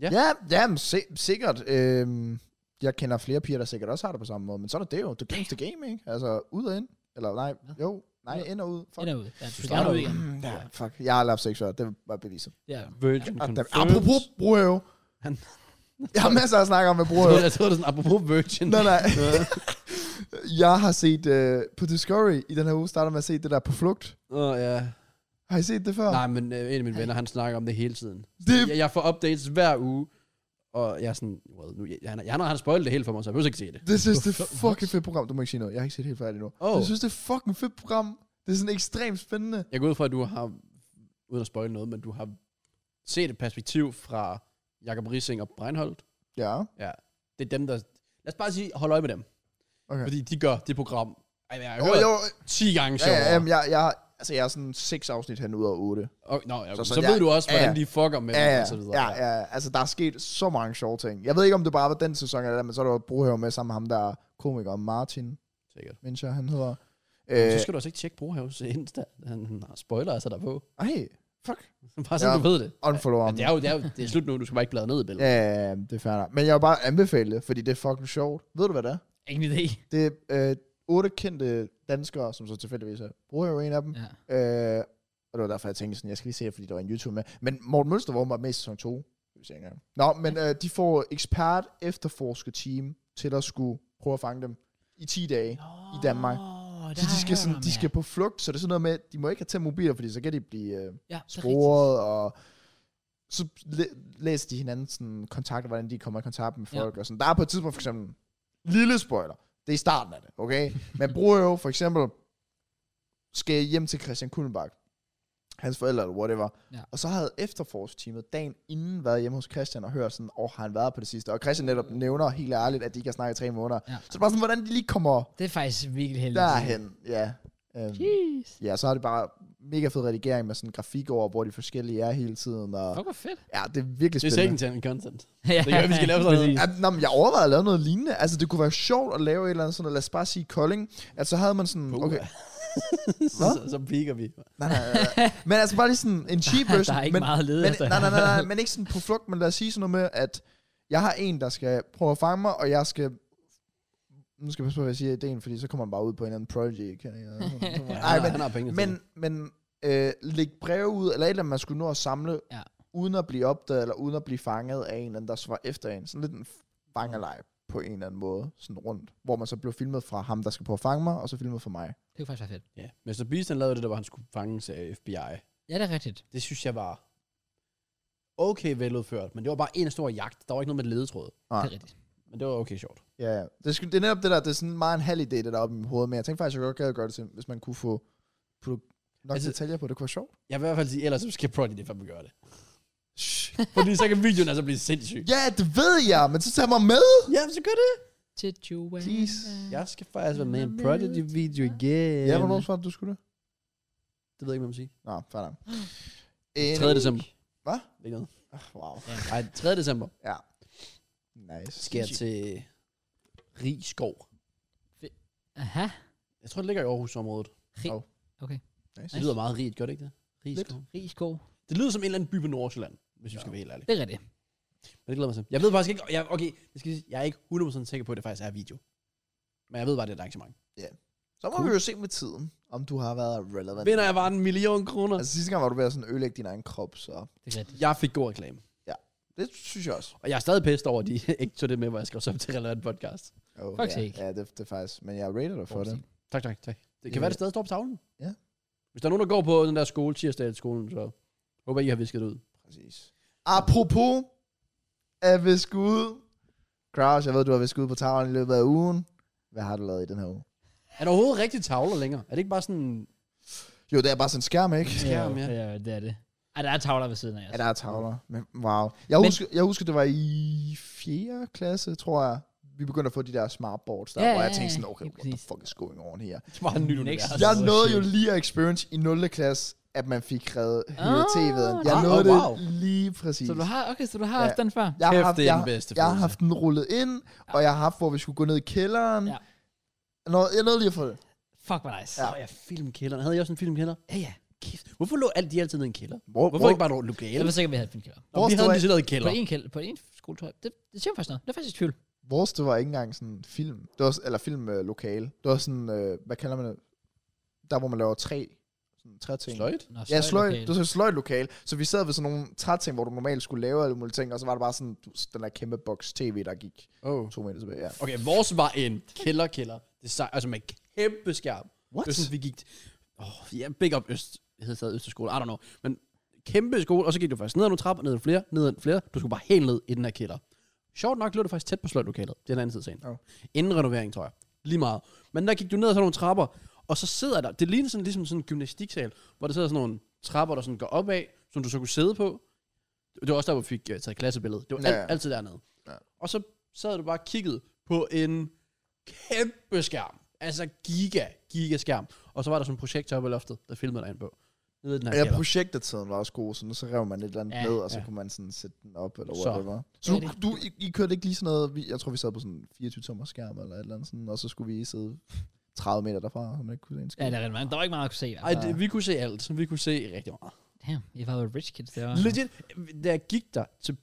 Speaker 2: Ja.
Speaker 3: Ja, ja jamen, se, sikkert. Øhm, jeg kender flere piger, der sikkert også har det på samme måde, men så er det det jo. The game's the game, ikke? Altså, ud og ind. Eller nej, jo, nej, ind og ud. Fuck.
Speaker 1: Ind og ud. Ja, du
Speaker 2: starter
Speaker 1: starter ud
Speaker 2: ud.
Speaker 1: igen.
Speaker 3: Mm, ja, fuck. Jeg har lavet sex før, det var beviset.
Speaker 1: Ja.
Speaker 2: Virgin
Speaker 3: Ah, der-
Speaker 2: confirms.
Speaker 3: Apropos brugerøve.
Speaker 2: Han-
Speaker 3: Jeg har masser at snakke om med
Speaker 2: Jeg troede,
Speaker 3: brugerøve.
Speaker 2: jeg troede, det er sådan, apropos Virgin.
Speaker 3: Nej, nej. jeg har set øh, på Discovery i den her uge, starter med at se det der på flugt.
Speaker 2: Åh, ja.
Speaker 3: Har I set det før?
Speaker 2: Nej, men øh, en af mine venner, han snakker om det hele tiden.
Speaker 3: Det,
Speaker 2: Jeg, jeg får updates hver uge, og jeg er sådan, well, nu, jeg, han, han, han spoilet det hele for mig, så jeg behøver ikke se det.
Speaker 3: det synes det
Speaker 1: På
Speaker 3: er
Speaker 1: Flugt?
Speaker 3: fucking fedt program. Du må ikke sige noget. Jeg har ikke set det helt færdigt endnu.
Speaker 2: Oh.
Speaker 3: Jeg synes, det er fucking fedt program. Det er sådan ekstremt spændende.
Speaker 2: Jeg går ud fra, at du har, uden at spoil noget, men du har set et perspektiv fra Jakob Rissing og Breinholt.
Speaker 3: Ja.
Speaker 2: Det er dem, der... Lad os bare sige, hold øje med dem.
Speaker 3: Okay.
Speaker 2: Fordi de gør det program. Ej, jeg har
Speaker 3: Jo,
Speaker 2: hørt
Speaker 3: jo.
Speaker 2: 10 gange
Speaker 3: Ja,
Speaker 2: sjovere.
Speaker 3: ja, jamen, jeg, jeg, altså, jeg er sådan seks afsnit hen ud af otte.
Speaker 2: og, nå, ja, så,
Speaker 3: Så-
Speaker 2: så,
Speaker 3: så
Speaker 2: så
Speaker 3: jeg-
Speaker 2: ved du også,
Speaker 3: ja, ja.
Speaker 2: hvordan de fucker med
Speaker 3: Ja,
Speaker 2: dem
Speaker 3: ja,
Speaker 2: og så videre.
Speaker 3: ja, ja. Altså, der er sket så mange sjove ting. Jeg ved ikke, om det bare var den sæson eller det, men så er der jo Brohave med sammen med ham, der er komiker Martin,
Speaker 2: Sikkert.
Speaker 3: mens jeg han hedder.
Speaker 2: Øh. Så
Speaker 3: Øh,
Speaker 2: skal du også ikke tjekke Brohavs Insta. Han, han har spoiler altså derpå.
Speaker 3: ej, fuck.
Speaker 2: bare sådan,
Speaker 3: Ja.
Speaker 2: ja. du ved det.
Speaker 3: Unfollow
Speaker 2: Ja,
Speaker 3: ham.
Speaker 2: det, er jo, det, er jo, det er slut nu, du skal bare ikke bladre ned i billedet.
Speaker 3: Ja, ja, ja, det er fair nok. Men jeg vil bare anbefale det, fordi det er fucking sjovt. Ved du, hvad det er?
Speaker 1: Ingen idé.
Speaker 3: Det er øh, otte kendte danskere, som så tilfældigvis er bruger jo en af dem.
Speaker 1: Ja.
Speaker 3: Ja. Øh, og det var derfor, jeg tænkte sådan, jeg skal lige se her, fordi der var en YouTube med. Men Morten Mølstervorm var med i sæson 2. Det vil sige engang. Nå, men øh, de får ekspert efterforsker team til at skulle prøve at fange dem i 10 dage. I Danmark.
Speaker 1: Åh, det
Speaker 3: Så
Speaker 1: har
Speaker 3: de
Speaker 1: jeg
Speaker 3: skal,
Speaker 1: hørt
Speaker 3: sådan,
Speaker 1: om,
Speaker 3: de
Speaker 1: ja.
Speaker 3: skal på flugt, så det er sådan noget med, de må ikke have tændt mobiler, fordi så kan de blive øh,
Speaker 1: ja, det er
Speaker 3: sporet, og så læ- læser de hinanden sådan kontakter, hvordan de kommer i kontakt med
Speaker 1: Ja.
Speaker 3: folk, ja. og sådan. Der er på et tidspunkt for eksempel, lille spoiler, det er i starten af det, okay? Men bruger jo for eksempel, skal hjem til Christian Kullenbach, hans forældre eller whatever,
Speaker 1: Ja.
Speaker 3: og så havde efterforskteamet dagen inden været hjemme hos Christian og hørt sådan, åh, oh, har han været på det sidste? Og Christian netop nævner helt ærligt, at de ikke har snakket i tre måneder.
Speaker 1: Øh. Ja.
Speaker 3: Så det er bare sådan, hvordan de lige kommer
Speaker 1: rigtigt. Det er faktisk virkelig heldigt.
Speaker 3: derhen, ja. Øhm,
Speaker 1: Jeez.
Speaker 3: Ja, så har det bare mega fed redigering med sådan grafik over, hvor de forskellige er hele tiden. Og
Speaker 1: Fuck, hvor fedt.
Speaker 3: ja, det er virkelig
Speaker 2: Det er sikkert
Speaker 3: spændende.
Speaker 2: en til content.
Speaker 1: ja,
Speaker 2: Det gør, vi skal lave sådan noget.
Speaker 1: præcis.
Speaker 3: Ja, nå, men jeg overvejede at lave noget lignende. Altså, det kunne være sjovt at lave et eller andet sådan, lad os bare sige Kolding. Altså, så havde man sådan,
Speaker 2: Puh,
Speaker 3: okay,
Speaker 2: ja. så, så, så piker vi.
Speaker 3: nej, nej, nej, nej. Men altså bare lige sådan en cheap version.
Speaker 1: Der er ikke
Speaker 3: men,
Speaker 1: meget at lede
Speaker 3: men,
Speaker 1: efter.
Speaker 3: nej, nej, nej, nej, men ikke sådan på flugt, men lad os sige sådan noget med, at jeg har en, der skal prøve at fange mig, og jeg skal nu skal jeg passe på, hvad jeg siger i ideen, fordi så kommer man bare ud på en eller anden project. Kan jeg,
Speaker 2: Ja,
Speaker 3: Ej,
Speaker 2: han, men,
Speaker 3: men
Speaker 2: han har penge til
Speaker 3: Men, men øh, læg breve ud, eller et eller andet, man skulle nå at samle,
Speaker 1: Ja.
Speaker 3: uden at blive opdaget, eller uden at blive fanget af en eller anden, der så var efter en. Sådan lidt en fangerleje. på en eller anden måde, sådan rundt, hvor man så blev filmet fra ham, der skal prøve at fange mig, og så filmet fra mig. Ah,
Speaker 1: Det kunne faktisk være fedt.
Speaker 2: Ja. Mr. Beast, han lavede det, der var, han skulle fanges af FBI.
Speaker 1: Ja, det er rigtigt.
Speaker 2: Det synes jeg var okay veludført, men det var bare en stor jagt. Der var ikke noget med ledetråd,
Speaker 1: Det
Speaker 3: Nej.
Speaker 1: er rigtigt.
Speaker 2: men det var okay sjovt.
Speaker 3: Ja, ja. det, er, sgu- det er netop det der, det er sådan meget en halv idé, det der er oppe i mit hoved, men jeg tænkte faktisk, at jeg godt gad at gøre det til, hvis man kunne få puttet nok
Speaker 2: Altså-
Speaker 3: altså, detaljer på, det kunne være sjovt.
Speaker 2: Jeg vil i hvert fald sige, ellers så skal Prodigy fandme gøre det. Fordi så kan videoen altså blive sindssyg.
Speaker 3: Ja, det ved jeg, men så tag mig med!
Speaker 2: Ja, så gør det.
Speaker 1: Situation.
Speaker 3: Please.
Speaker 2: Jeg skal faktisk være med i en Prodigy-video igen.
Speaker 3: Ja,
Speaker 1: Øhm.
Speaker 3: hvornår svarede du skulle det?
Speaker 2: Det ved jeg ikke, hvad man siger.
Speaker 3: Nå, fair nok.
Speaker 2: 3. december.
Speaker 3: Hvad?
Speaker 2: Det er ikke noget.
Speaker 3: Ah, Wow.
Speaker 2: Ej, 3. december
Speaker 3: Nice.
Speaker 2: skal jeg til Rigskov.
Speaker 1: Aha.
Speaker 2: Jeg tror, det ligger i Aarhusområdet.
Speaker 1: Rig.
Speaker 3: Hov.
Speaker 1: Okay.
Speaker 3: Nice.
Speaker 2: Det lyder meget rigt, gør det ikke det? Rigskov.
Speaker 1: Rigskov.
Speaker 2: Det lyder som en eller anden by på Nordsjælland, hvis vi skal være helt ærlig.
Speaker 1: Det er rigtigt.
Speaker 2: Men det glæder mig til. Jeg ved faktisk ikke, jeg, okay, jeg, skal, sige, jeg er ikke 100% sikker på, at det faktisk er video. Men jeg ved bare, det er et arrangement.
Speaker 3: Så må cool. vi jo se med tiden, om du har været relevant.
Speaker 2: Vinder jeg bare en million kroner?
Speaker 3: Altså sidste gang var du ved at sådan ødelægge din egen krop, så
Speaker 1: Det er rigtigt.
Speaker 2: Jeg fik god reklame.
Speaker 3: det synes jeg også.
Speaker 2: Og jeg er stadig pissed over, at de ikke tog det med, hvor jeg skrev op til relevant podcast.
Speaker 3: Oh,
Speaker 1: Fuck
Speaker 3: ja,
Speaker 1: sake.
Speaker 3: ja det, det er faktisk, men jeg rater dig for det.
Speaker 2: Tak, tak, tak. Det kan
Speaker 3: Øh.
Speaker 2: være, det stadig står på tavlen.
Speaker 3: Ja.
Speaker 2: Hvis der er nogen, der går på den der skole, tirsdag skolen, så håber jeg, I har visket det ud.
Speaker 3: Præcis. Apropos at viske ud. Kraus, jeg ved, du har visket ud på tavlen i løbet af ugen. Hvad har du lavet i den her uge?
Speaker 2: Er der overhovedet rigtig tavler længere? Er det ikke bare sådan...
Speaker 3: Jo, det er bare sådan en skærm, ikke?
Speaker 2: Skærm, ja.
Speaker 1: ja. det er det. Ej, der er tavler ved siden af altså. os.
Speaker 3: Ja, der er tavler. Men wow. Jeg,
Speaker 1: Men-
Speaker 3: husker, jeg husker, det var i 4. klasse, tror jeg. Vi begyndte at få de der smartboards der,
Speaker 1: Ja,
Speaker 3: ja, hvor jeg
Speaker 1: ja,
Speaker 3: tænkte sådan,
Speaker 1: ja,
Speaker 3: okay,
Speaker 1: lige
Speaker 3: what the
Speaker 1: præcis.
Speaker 3: fuck is going on her?
Speaker 2: Det var en ny
Speaker 1: Next.
Speaker 2: univers.
Speaker 1: Ja.
Speaker 3: Jeg
Speaker 1: så
Speaker 3: nåede jo
Speaker 1: shit.
Speaker 3: lige at experience i 0. klasse, at man fik reddet
Speaker 1: Ah,
Speaker 3: hele tv'et. Jeg
Speaker 2: ah,
Speaker 3: nåede
Speaker 2: oh, wow.
Speaker 3: det lige præcis.
Speaker 1: Så du har, okay, så du har
Speaker 3: Ja.
Speaker 1: haft den før?
Speaker 3: jeg har
Speaker 2: Kæft,
Speaker 3: haft,
Speaker 2: det er
Speaker 3: jeg,
Speaker 2: den bedste
Speaker 3: jeg har
Speaker 2: følelse.
Speaker 3: haft den rullet ind, og jeg har haft, hvor vi skulle gå ned i kælderen.
Speaker 1: Ja.
Speaker 3: Ja. Jeg, nåede, jeg nåede lige at få det.
Speaker 1: Fuck, hvor nice.
Speaker 2: Så er jeg filmkælderen. Havde jeg også en filmkælder?
Speaker 1: Ja, ja.
Speaker 2: Kæft. Hvorfor lå alt de altid ned i en kælder?
Speaker 3: Hvor,
Speaker 2: Hvorfor ikke bare nogle
Speaker 1: Jeg
Speaker 2: lokale?
Speaker 1: var sikker, vi havde filmkælder.
Speaker 2: Nå, Vi havde
Speaker 3: stod
Speaker 2: en decideret kælder.
Speaker 1: På en kælder, på en skoletøj. Det, det siger mig faktisk noget. Det er faktisk i tvivl.
Speaker 3: Vores, det var ikke engang sådan film. Det var, s- eller filmlokale. Det var sådan, øh, hvad kalder man det? Der, hvor man laver træ. Sådan træting.
Speaker 2: Sløjt?
Speaker 1: Nå,
Speaker 3: Ja, sløj.
Speaker 1: sløjdlokale.
Speaker 3: Det var sådan et sløjtlokale. Så vi sad ved sådan nogle træting, hvor du normalt skulle lave alle mulige ting, og så var der bare sådan du- den der kæmpe boks tv, der gik
Speaker 2: Oh.
Speaker 3: to meter tilbage. Ja.
Speaker 2: Okay, vores var en kælderkælder. Det sej, altså med kæmpe skærm.
Speaker 3: What?
Speaker 2: Det var sådan, vi gik... Åh, oh, yeah, big up Øst. Jeg hedder stadig Østerskole, I don't know. Men kæmpe skole, og så gik du faktisk ned ad nogle trapper, ned ad flere, ned ad flere. Du skulle bare helt ned i den her kælder. Sjovt nok lå det faktisk tæt på sløjtlokalet. Det er den anden side af sagen.
Speaker 3: Oh.
Speaker 2: Inden renovering, tror jeg. Lige meget. Men der gik du ned ad sådan nogle trapper, og så sidder der... Det ligner sådan, ligesom sådan en gymnastiksal, hvor der sidder sådan nogle trapper, der sådan går opad, som du så kunne sidde på. Det var også der, hvor vi fik uh, taget klassebilledet. Det var
Speaker 3: Ja,
Speaker 2: ja,
Speaker 3: ja.
Speaker 2: alt, altid dernede.
Speaker 3: Ja.
Speaker 2: Og så sad du bare og kiggede på en kæmpe skærm. Altså giga, giga skærm. Og så var der sådan en projektor oppe i loftet, der filmede dig ind på. Nede i den her
Speaker 3: Ja,
Speaker 2: kælder.
Speaker 3: projektertiden var også god, så nu så rev man et eller andet
Speaker 1: Ja,
Speaker 3: ja, ned, og så
Speaker 2: ja.
Speaker 3: ja. kunne man sådan sætte den op, eller
Speaker 2: Så.
Speaker 3: whatever. Så,
Speaker 1: Ja,
Speaker 3: så
Speaker 1: det-
Speaker 3: du, du, I, I kørte ikke lige sådan noget, vi, jeg tror vi sad på sådan 24 tommer skærm, eller et eller andet sådan, og så skulle vi sidde 30 meter derfra, og man ikke kunne se en
Speaker 1: Ja,
Speaker 3: skærm.
Speaker 1: det er rigtig meget. Der var ikke meget at kunne se. i hvert
Speaker 2: Ej,
Speaker 1: fald.
Speaker 2: det, vi kunne se alt. Vi kunne se rigtig meget.
Speaker 1: Damn, I var jo rich kids. Det var...
Speaker 2: Legit, da jeg gik der til,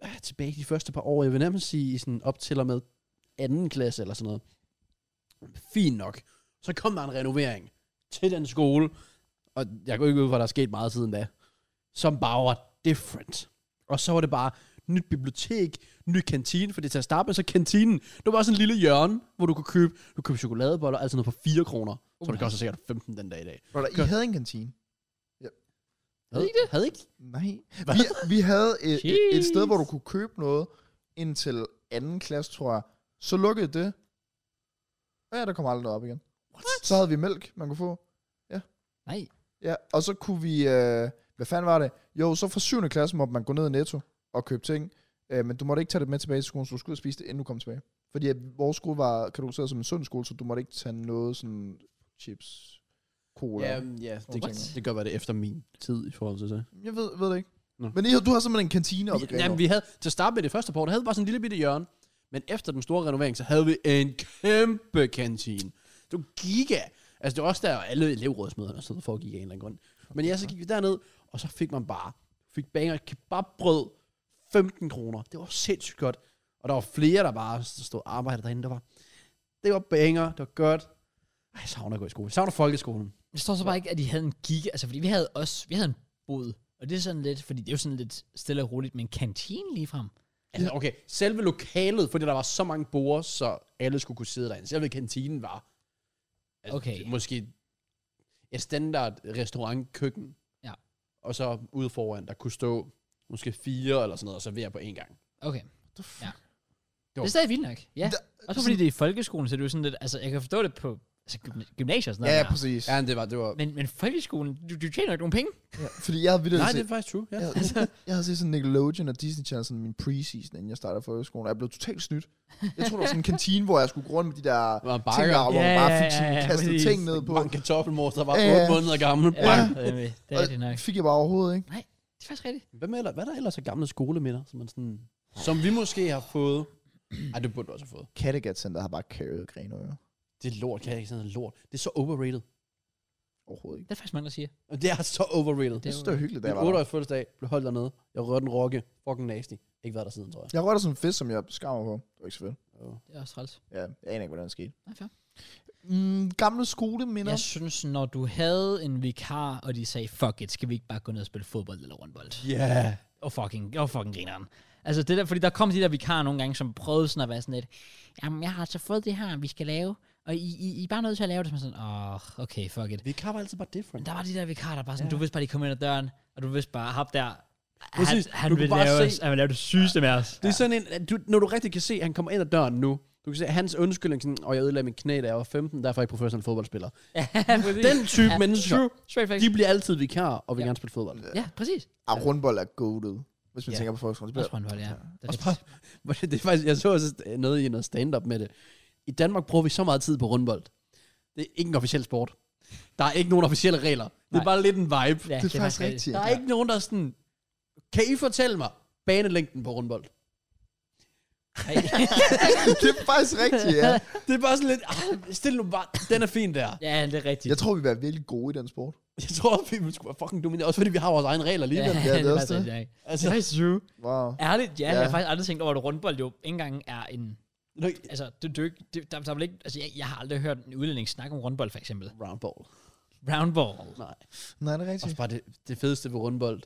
Speaker 2: ah, tilbage de første par år, jeg vil nærmest sige sådan op til og med anden klasse eller sådan noget. Fint nok. Så kom der en renovering til den skole, og jeg går ikke ud fra, at der er sket meget siden da, som bare var different. Og så var det bare nyt bibliotek, ny kantine, for det til at starte med, så kantinen, det var sådan en lille hjørne, hvor du kunne købe, du kunne købe chokoladeboller, altså noget for 4 kroner. Så det koster sikkert 15 den dag i dag.
Speaker 3: Brother, I havde en kantine.
Speaker 1: Havde I
Speaker 2: det? Havde I ikke?
Speaker 3: Nej. Vi, vi havde et, et, et sted, hvor du
Speaker 1: Jeez.
Speaker 3: kunne købe noget indtil anden klasse, tror jeg. Så lukkede det. Og ja, der kom aldrig noget op igen. What? Så havde vi mælk, man kunne få.
Speaker 1: Nej.
Speaker 3: Ja, og så kunne vi... Øh, hvad fanden var det? Jo, så fra 7. klasse måtte man gå ned i Netto og købe ting. Øh, men du måtte ikke tage det med tilbage til skolen, så du skulle ud og spise det, inden du kom tilbage. Fordi at vores skole var kategoriseret som en sund skole, så du måtte ikke tage noget sådan chips, cola.
Speaker 2: Ja,
Speaker 3: Yeah.
Speaker 2: ja det,
Speaker 3: What?
Speaker 2: kan, det kan godt være det er efter min tid i forhold til det.
Speaker 3: Jeg ved, ved det ikke.
Speaker 2: Nå.
Speaker 3: Men I, du har simpelthen en kantine oppe i
Speaker 2: Vi, jamen,
Speaker 3: Grenaa.
Speaker 2: vi havde, til at starte med det første par år, der havde vi bare sådan en lille bitte hjørne. Men efter den store renovering, så havde vi en kæmpe kantine. Det var giga. Altså, det var også der, alle elevrådsmøderne stod for at gik af en eller anden grund. Men ja, så gik vi derned, og så fik man bare, fik banger kebabbrød, 15 kroner. Det var sindssygt godt. Og der var flere, der bare stod og arbejdede derinde. Der var, det var banger, det var godt. Ej, jeg savner at gå i skole. Jeg savner folkeskolen.
Speaker 1: Jeg står så bare ikke, at de havde en giga, altså fordi vi havde også, vi havde en bod, og det er sådan lidt, fordi det er jo sådan lidt stille og roligt, men kantine ligefrem.
Speaker 2: Altså, okay, selve lokalet, fordi der var så mange borer, så alle skulle kunne sidde derinde. Selve kantinen var... altså,
Speaker 1: Okay.
Speaker 2: Måske et standard restaurantkøkken.
Speaker 1: Ja.
Speaker 2: Og så ude foran, der kunne stå måske fire eller sådan noget, og servere på én gang.
Speaker 1: Okay.
Speaker 3: the fuck?
Speaker 1: Ja.
Speaker 2: Jo.
Speaker 1: Det er stadig vildt nok. Ja.
Speaker 3: Da-
Speaker 1: Også fordi det er i folkeskolen, så det er jo sådan lidt, altså jeg kan forstå det på altså, gymna- gymnasier og sådan
Speaker 3: Ja,
Speaker 1: noget.
Speaker 3: ja,
Speaker 1: der.
Speaker 3: præcis.
Speaker 2: Ja, men det var... Det var
Speaker 1: men, men folkeskolen, du, du tjener jo ikke nogen penge.
Speaker 3: Ja. Fordi jeg havde vildt
Speaker 2: nej, det er faktisk true. Ja.
Speaker 3: Jeg, havde, jeg havde set sådan Nickelodeon og Disney Channel sådan min preseason, inden jeg startede folkeskolen, og jeg blev totalt snydt. Jeg troede, der var sådan en kantine, hvor jeg skulle gå rundt med de der
Speaker 2: Det var en
Speaker 3: ting,
Speaker 2: bakker.
Speaker 3: der, hvor
Speaker 1: Ja,
Speaker 3: man bare
Speaker 1: ja,
Speaker 3: fik sådan
Speaker 1: ja, ja,
Speaker 3: kastet
Speaker 1: præcis.
Speaker 3: ting ned på.
Speaker 2: Mange kartoffelmor, der var
Speaker 3: Ja,
Speaker 2: 8
Speaker 3: ja.
Speaker 2: måneder gammel.
Speaker 1: Ja, øh, det er
Speaker 3: Og
Speaker 1: det nok.
Speaker 3: fik jeg bare overhovedet, ikke?
Speaker 1: Nej, det er faktisk rigtigt.
Speaker 2: Hvad, med, eller- hvad er der ellers af gamle skoleminder, som, man sådan, som vi måske har fået? Ej, det burde du også have fået.
Speaker 3: Kattegat Center har bare carried Grenaa jo.
Speaker 2: Det er lort, kan jeg ikke sådan noget lort. Det er så overrated.
Speaker 3: Overhovedet ikke.
Speaker 1: Det er faktisk mange, der siger.
Speaker 2: Og Det er så overrated.
Speaker 1: Det
Speaker 3: Jeg
Speaker 1: er
Speaker 3: synes,
Speaker 1: jo-
Speaker 3: det var hyggeligt, da
Speaker 2: Min
Speaker 3: jeg var der.
Speaker 2: 8 fødselsdag blev holdt dernede. Jeg rørte en rokke. Fucking nasty. Ikke været der siden, tror jeg.
Speaker 3: Jeg rørte sådan en fisk, som jeg skammer på. Det var ikke så fedt.
Speaker 1: Det er også træls.
Speaker 3: Ja, jeg aner ikke, hvordan det skete.
Speaker 1: Nej, fair.
Speaker 3: Mm, gamle skoleminder.
Speaker 1: Jeg synes, når du havde en vikar, og de sagde, fuck it, skal vi ikke bare gå ned og spille fodbold eller rundbold?
Speaker 2: Yeah.
Speaker 1: Og fucking, og fucking grineren. Altså det der, fordi der kom de der vikarer nogle gange, som prøvede sådan at være sådan lidt, jamen jeg har altså fået det her, vi skal lave, og I, I, I er bare nødt til at lave det, som sådan, åh, oh, okay, fuck it.
Speaker 2: Vi kan altid bare different.
Speaker 1: Men der var de der vikarer, der bare sådan,
Speaker 2: Ja.
Speaker 1: du vidste bare, de kom ind ad døren, og du vidste bare, hop der,
Speaker 2: Præcis.
Speaker 1: han, han
Speaker 2: Du
Speaker 1: vil
Speaker 2: kunne bare
Speaker 1: lave,
Speaker 2: se-
Speaker 1: os, han vil lave det sygeste med os.
Speaker 2: Det er sådan en, at du, når du rigtig kan se, at han kommer ind ad døren nu. Du kan se, at hans undskyldning sådan, og jeg ødelagde min knæ, da jeg var 15, derfor er jeg ikke professionel fodboldspiller. Den type mennesker,
Speaker 1: True. Straight facts.
Speaker 2: de bliver altid vikarer, og vil
Speaker 1: Ja.
Speaker 2: gerne spille fodbold.
Speaker 1: Ja, præcis.
Speaker 3: Ah, rundbold er goated. Hvis man
Speaker 2: Ja.
Speaker 3: tænker på folkeskolen. så bliver-
Speaker 1: Også håndbold, ja. Det er
Speaker 2: Også
Speaker 1: rigtigt.
Speaker 2: Hvor det, det er faktisk, jeg så også øh, noget i noget stand-up med det. I Danmark bruger vi så meget tid på rundbold. Det er ikke en officiel sport. Der er ikke nogen officielle regler. Det er
Speaker 1: Nej.
Speaker 2: bare lidt en vibe.
Speaker 1: Ja,
Speaker 3: Det er faktisk rigtigt.
Speaker 2: Der er ikke nogen, der er sådan... Kan I fortælle mig banelængden på rundbold?
Speaker 1: Nej.
Speaker 3: det er faktisk rigtigt, ja.
Speaker 2: Det er bare sådan lidt... "Ah, Stil nu bare... Den er fin der.
Speaker 1: ja, det er rigtigt.
Speaker 3: Jeg tror, vi var virkelig gode i den sport.
Speaker 2: Jeg tror, vi ville sgu være fucking domineret. Også fordi vi har vores egne regler alligevel.
Speaker 3: Ja, det er også
Speaker 1: faktisk rigtigt. Det
Speaker 2: Altså,
Speaker 1: er faktisk true.
Speaker 3: Wow.
Speaker 1: Ærligt, ja,
Speaker 3: Ja.
Speaker 1: ja. Jeg har faktisk aldrig tænkt over, at rundbold jo ikke engang er en...
Speaker 2: nu-
Speaker 1: Altså, du, du, ikke- det, der, der er vel ikke... Altså, jeg, jeg har aldrig hørt en udlænding snakke om rundbold, for eksempel.
Speaker 2: roundball.
Speaker 1: Roundball.
Speaker 2: Nej.
Speaker 3: Nej, det er rigtigt.
Speaker 2: Også bare det, det fedeste ved rundbold.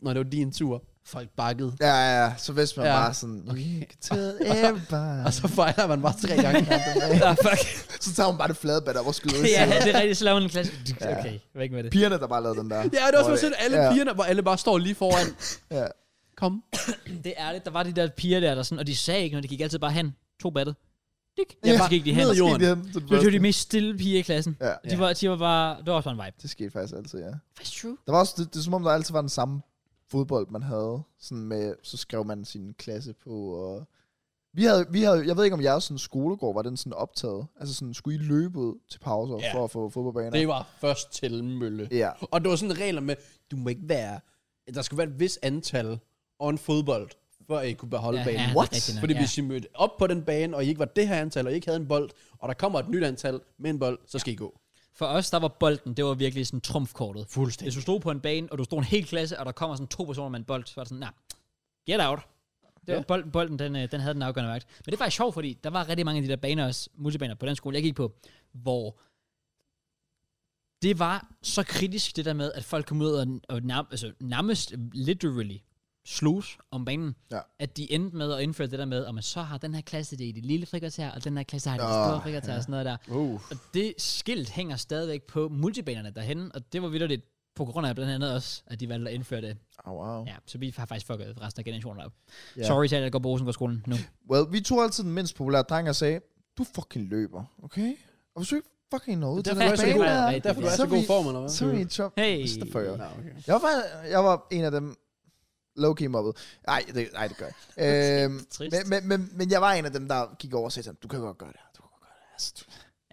Speaker 2: Når det var din tur, folk bakkede.
Speaker 3: Ja, ja, ja. Så hvis man
Speaker 2: Ja.
Speaker 3: ja. bare sådan... Okay. Tell everybody.
Speaker 2: Og så fejler man bare tre gange.
Speaker 1: Ja, Ah, fuck.
Speaker 3: så tager hun bare det flade bad op og skyder ud.
Speaker 1: ja,
Speaker 3: Ja.
Speaker 1: det er rigtigt. Så laver man en klasse. Okay, væk med det.
Speaker 3: Pigerne, der bare lavede den der.
Speaker 2: Ja, det var
Speaker 3: Hvor
Speaker 2: også sådan, alle
Speaker 3: ja.
Speaker 2: pigerne, hvor alle bare står lige foran.
Speaker 3: Ja.
Speaker 2: Kom.
Speaker 1: Det er ærligt. Der var de der piger der, der sådan... Og de sagde ikke noget. De gik altid bare hen. To battet. Dik.
Speaker 3: Ja,
Speaker 1: Ja, så gik de hen.
Speaker 2: ned i
Speaker 1: Det
Speaker 2: jorden.
Speaker 3: Gik de hen til den
Speaker 1: var jo
Speaker 3: første?
Speaker 1: de mest stille piger i klassen.
Speaker 3: Ja,
Speaker 1: De, var, de var bare... Det var også bare en vibe.
Speaker 3: det skete faktisk altid, ja.
Speaker 1: That's true.
Speaker 3: Der var også, det, det er som om, der altid var den samme fodbold, man havde. Sådan med, så skrev man sin klasse på, og... Vi havde, vi havde, jeg ved ikke, om jeres sådan, skolegård var den sådan optaget. Altså sådan, skulle I løbe ud til pauser
Speaker 2: Ja.
Speaker 3: yeah. for at få fodboldbaner?
Speaker 2: Det var først til mølle.
Speaker 3: Ja.
Speaker 2: Og det var sådan regler med, du må ikke være, der skulle være et vis antal on fodbold, før I kunne beholde
Speaker 1: Ja,
Speaker 2: banen.
Speaker 1: ja, det er
Speaker 3: What?
Speaker 1: rigtigt nok,
Speaker 2: Fordi
Speaker 1: ja.
Speaker 2: hvis I mødte op på den bane, og I ikke var det her antal, og I ikke havde en bold, og der kommer et nyt antal med en bold, så skal ja. I gå.
Speaker 1: For os, der var bolden, det var virkelig sådan trumfkortet.
Speaker 2: Fuldstændig.
Speaker 1: Hvis du stod på en bane, og du stod en hel klasse, og der kommer sådan to personer med en bold, så var det sådan, nej, nah, get out. Det var
Speaker 2: Ja.
Speaker 1: bolden, bolden den, øh, den havde den afgørende vagt. Men det var faktisk sjovt, fordi der var rigtig mange af de der baner, også, multibaner på den skole, jeg gik på, hvor det var så kritisk, det der med, at folk kom ud og, og nærm, altså, nærmest literally slogs om banen,
Speaker 3: Ja.
Speaker 1: at de endte med at indføre det der med, at man så har den her klasse, det er i det lille frikvarter, og den her klasse har det i det
Speaker 3: Nå,
Speaker 1: store frikvarter, og sådan noget der.
Speaker 2: Uh.
Speaker 1: Og det skilt hænger stadigvæk på multibanerne derhen, og det var vidderligt på grund af blandt andet også, at de valgte at indføre det.
Speaker 3: Oh, wow.
Speaker 1: Ja, så vi har faktisk fucket resten af generationen op.
Speaker 2: Ja.
Speaker 1: Yeah. Sorry til alle, der går på Rosengård-skolen nu.
Speaker 3: Well, vi tog altid den mindst populære dreng og sagde, du fucking løber, okay? Og hvis du ikke fucking når ud til
Speaker 2: Derfor
Speaker 3: den
Speaker 2: er
Speaker 3: her
Speaker 2: jeg så
Speaker 1: bane
Speaker 2: god,
Speaker 1: er
Speaker 3: der,
Speaker 1: rigtig,
Speaker 2: derfor er
Speaker 1: ja.
Speaker 2: jeg
Speaker 3: Så
Speaker 2: så god
Speaker 3: vi-
Speaker 2: form, eller hvad?
Speaker 3: så er vi i top.
Speaker 1: Hey!
Speaker 3: Christopher.
Speaker 2: Nå, okay.
Speaker 3: Jeg var, faktisk- jeg var en af dem low-key mobbet. Nej, det, ej, det gør jeg. øhm,
Speaker 1: Trist.
Speaker 3: men, men, men, men, jeg var en af dem, der gik over og sagde sådan, du kan godt gøre det her, du kan godt gøre det her. Altså, du,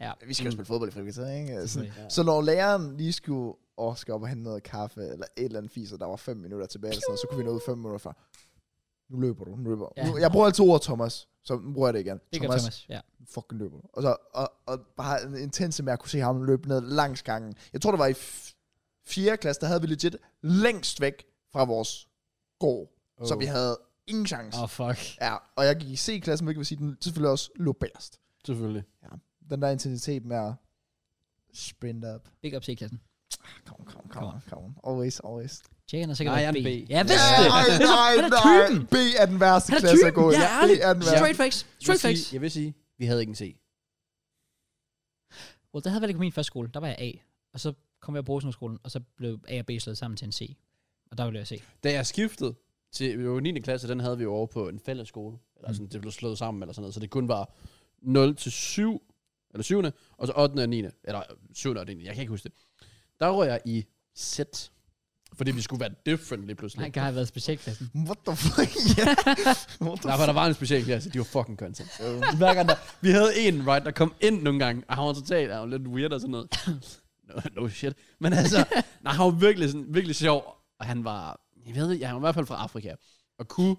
Speaker 1: Ja. Mm.
Speaker 3: vi skal jo spille fodbold i frikvarteret, ikke? Altså,
Speaker 1: Selvfølgelig,
Speaker 3: så når læreren lige skulle åh, skal op og hente noget kaffe, eller et eller andet fis, og der var fem minutter tilbage, eller sådan, noget, så kunne vi nå ud fem minutter før. Nu løber du, nu løber du.
Speaker 1: Ja.
Speaker 3: Nu, jeg bruger altid ordet Thomas, så nu bruger jeg det igen.
Speaker 1: Det gør Thomas. Ja.
Speaker 3: fucking løber. Og, så, og, og bare en intense med at kunne se ham løbe ned langs gangen. Jeg tror, det var i f- 4. klasse, der havde vi legit længst væk fra vores gård. Oh. Så vi havde ingen chance.
Speaker 1: Åh,
Speaker 3: Oh.
Speaker 1: oh, fuck.
Speaker 3: Ja, og jeg gik i C-klassen, hvilket vil sige, den selvfølgelig også lå bærest.
Speaker 2: Selvfølgelig.
Speaker 3: Den der intensitet med at sprint up.
Speaker 1: Big up til klassen.
Speaker 3: Kom, kom,
Speaker 1: Come on.
Speaker 3: kom, kom. Always, always.
Speaker 1: Tjek, han er sikkert
Speaker 2: Nej,
Speaker 1: en
Speaker 2: jeg er en
Speaker 1: B.
Speaker 2: B.
Speaker 1: Ja, hvis
Speaker 3: Ja,
Speaker 1: det.
Speaker 3: nej,
Speaker 1: Han er-
Speaker 3: nej,
Speaker 1: han er
Speaker 3: nej.
Speaker 1: typen.
Speaker 3: B er den værste
Speaker 1: Han er
Speaker 3: klasse at gå
Speaker 1: typen.
Speaker 3: i.
Speaker 1: Ja,
Speaker 3: B
Speaker 1: ærligt.
Speaker 3: er den værste.
Speaker 1: Straight facts. Straight
Speaker 2: jeg, vil
Speaker 1: facts.
Speaker 2: sige, jeg vil sige, vi havde ikke en C.
Speaker 1: Well, det havde været ikke på min første skole. Der var jeg A. Og så kom jeg på Rosenskolen, og så blev A og B slået sammen til en C. Og der blev jeg C.
Speaker 2: Da jeg skiftede til det var 9. klasse, den havde vi jo over på en fælles skole. Eller sådan, det blev slået sammen eller sådan noget. Så det kun var 0 til 7, eller 7. Og så 8. og 9. Eller 7. og 9. Jeg kan ikke huske det. Der røg jeg i Z. Fordi vi skulle være different lige pludselig.
Speaker 1: Han kan have været specialklassen.
Speaker 3: What the fuck? Ja. What the
Speaker 2: Nej, for der var en speciel klasse. De var fucking content. Hver gang der, vi havde en, right, der kom ind nogle gange, og han var totalt, han var lidt weird og sådan noget. No, no shit. Men altså, nej, han var virkelig, sådan, virkelig sjov, og han var, jeg ved ikke, han var i hvert fald fra Afrika, og kunne,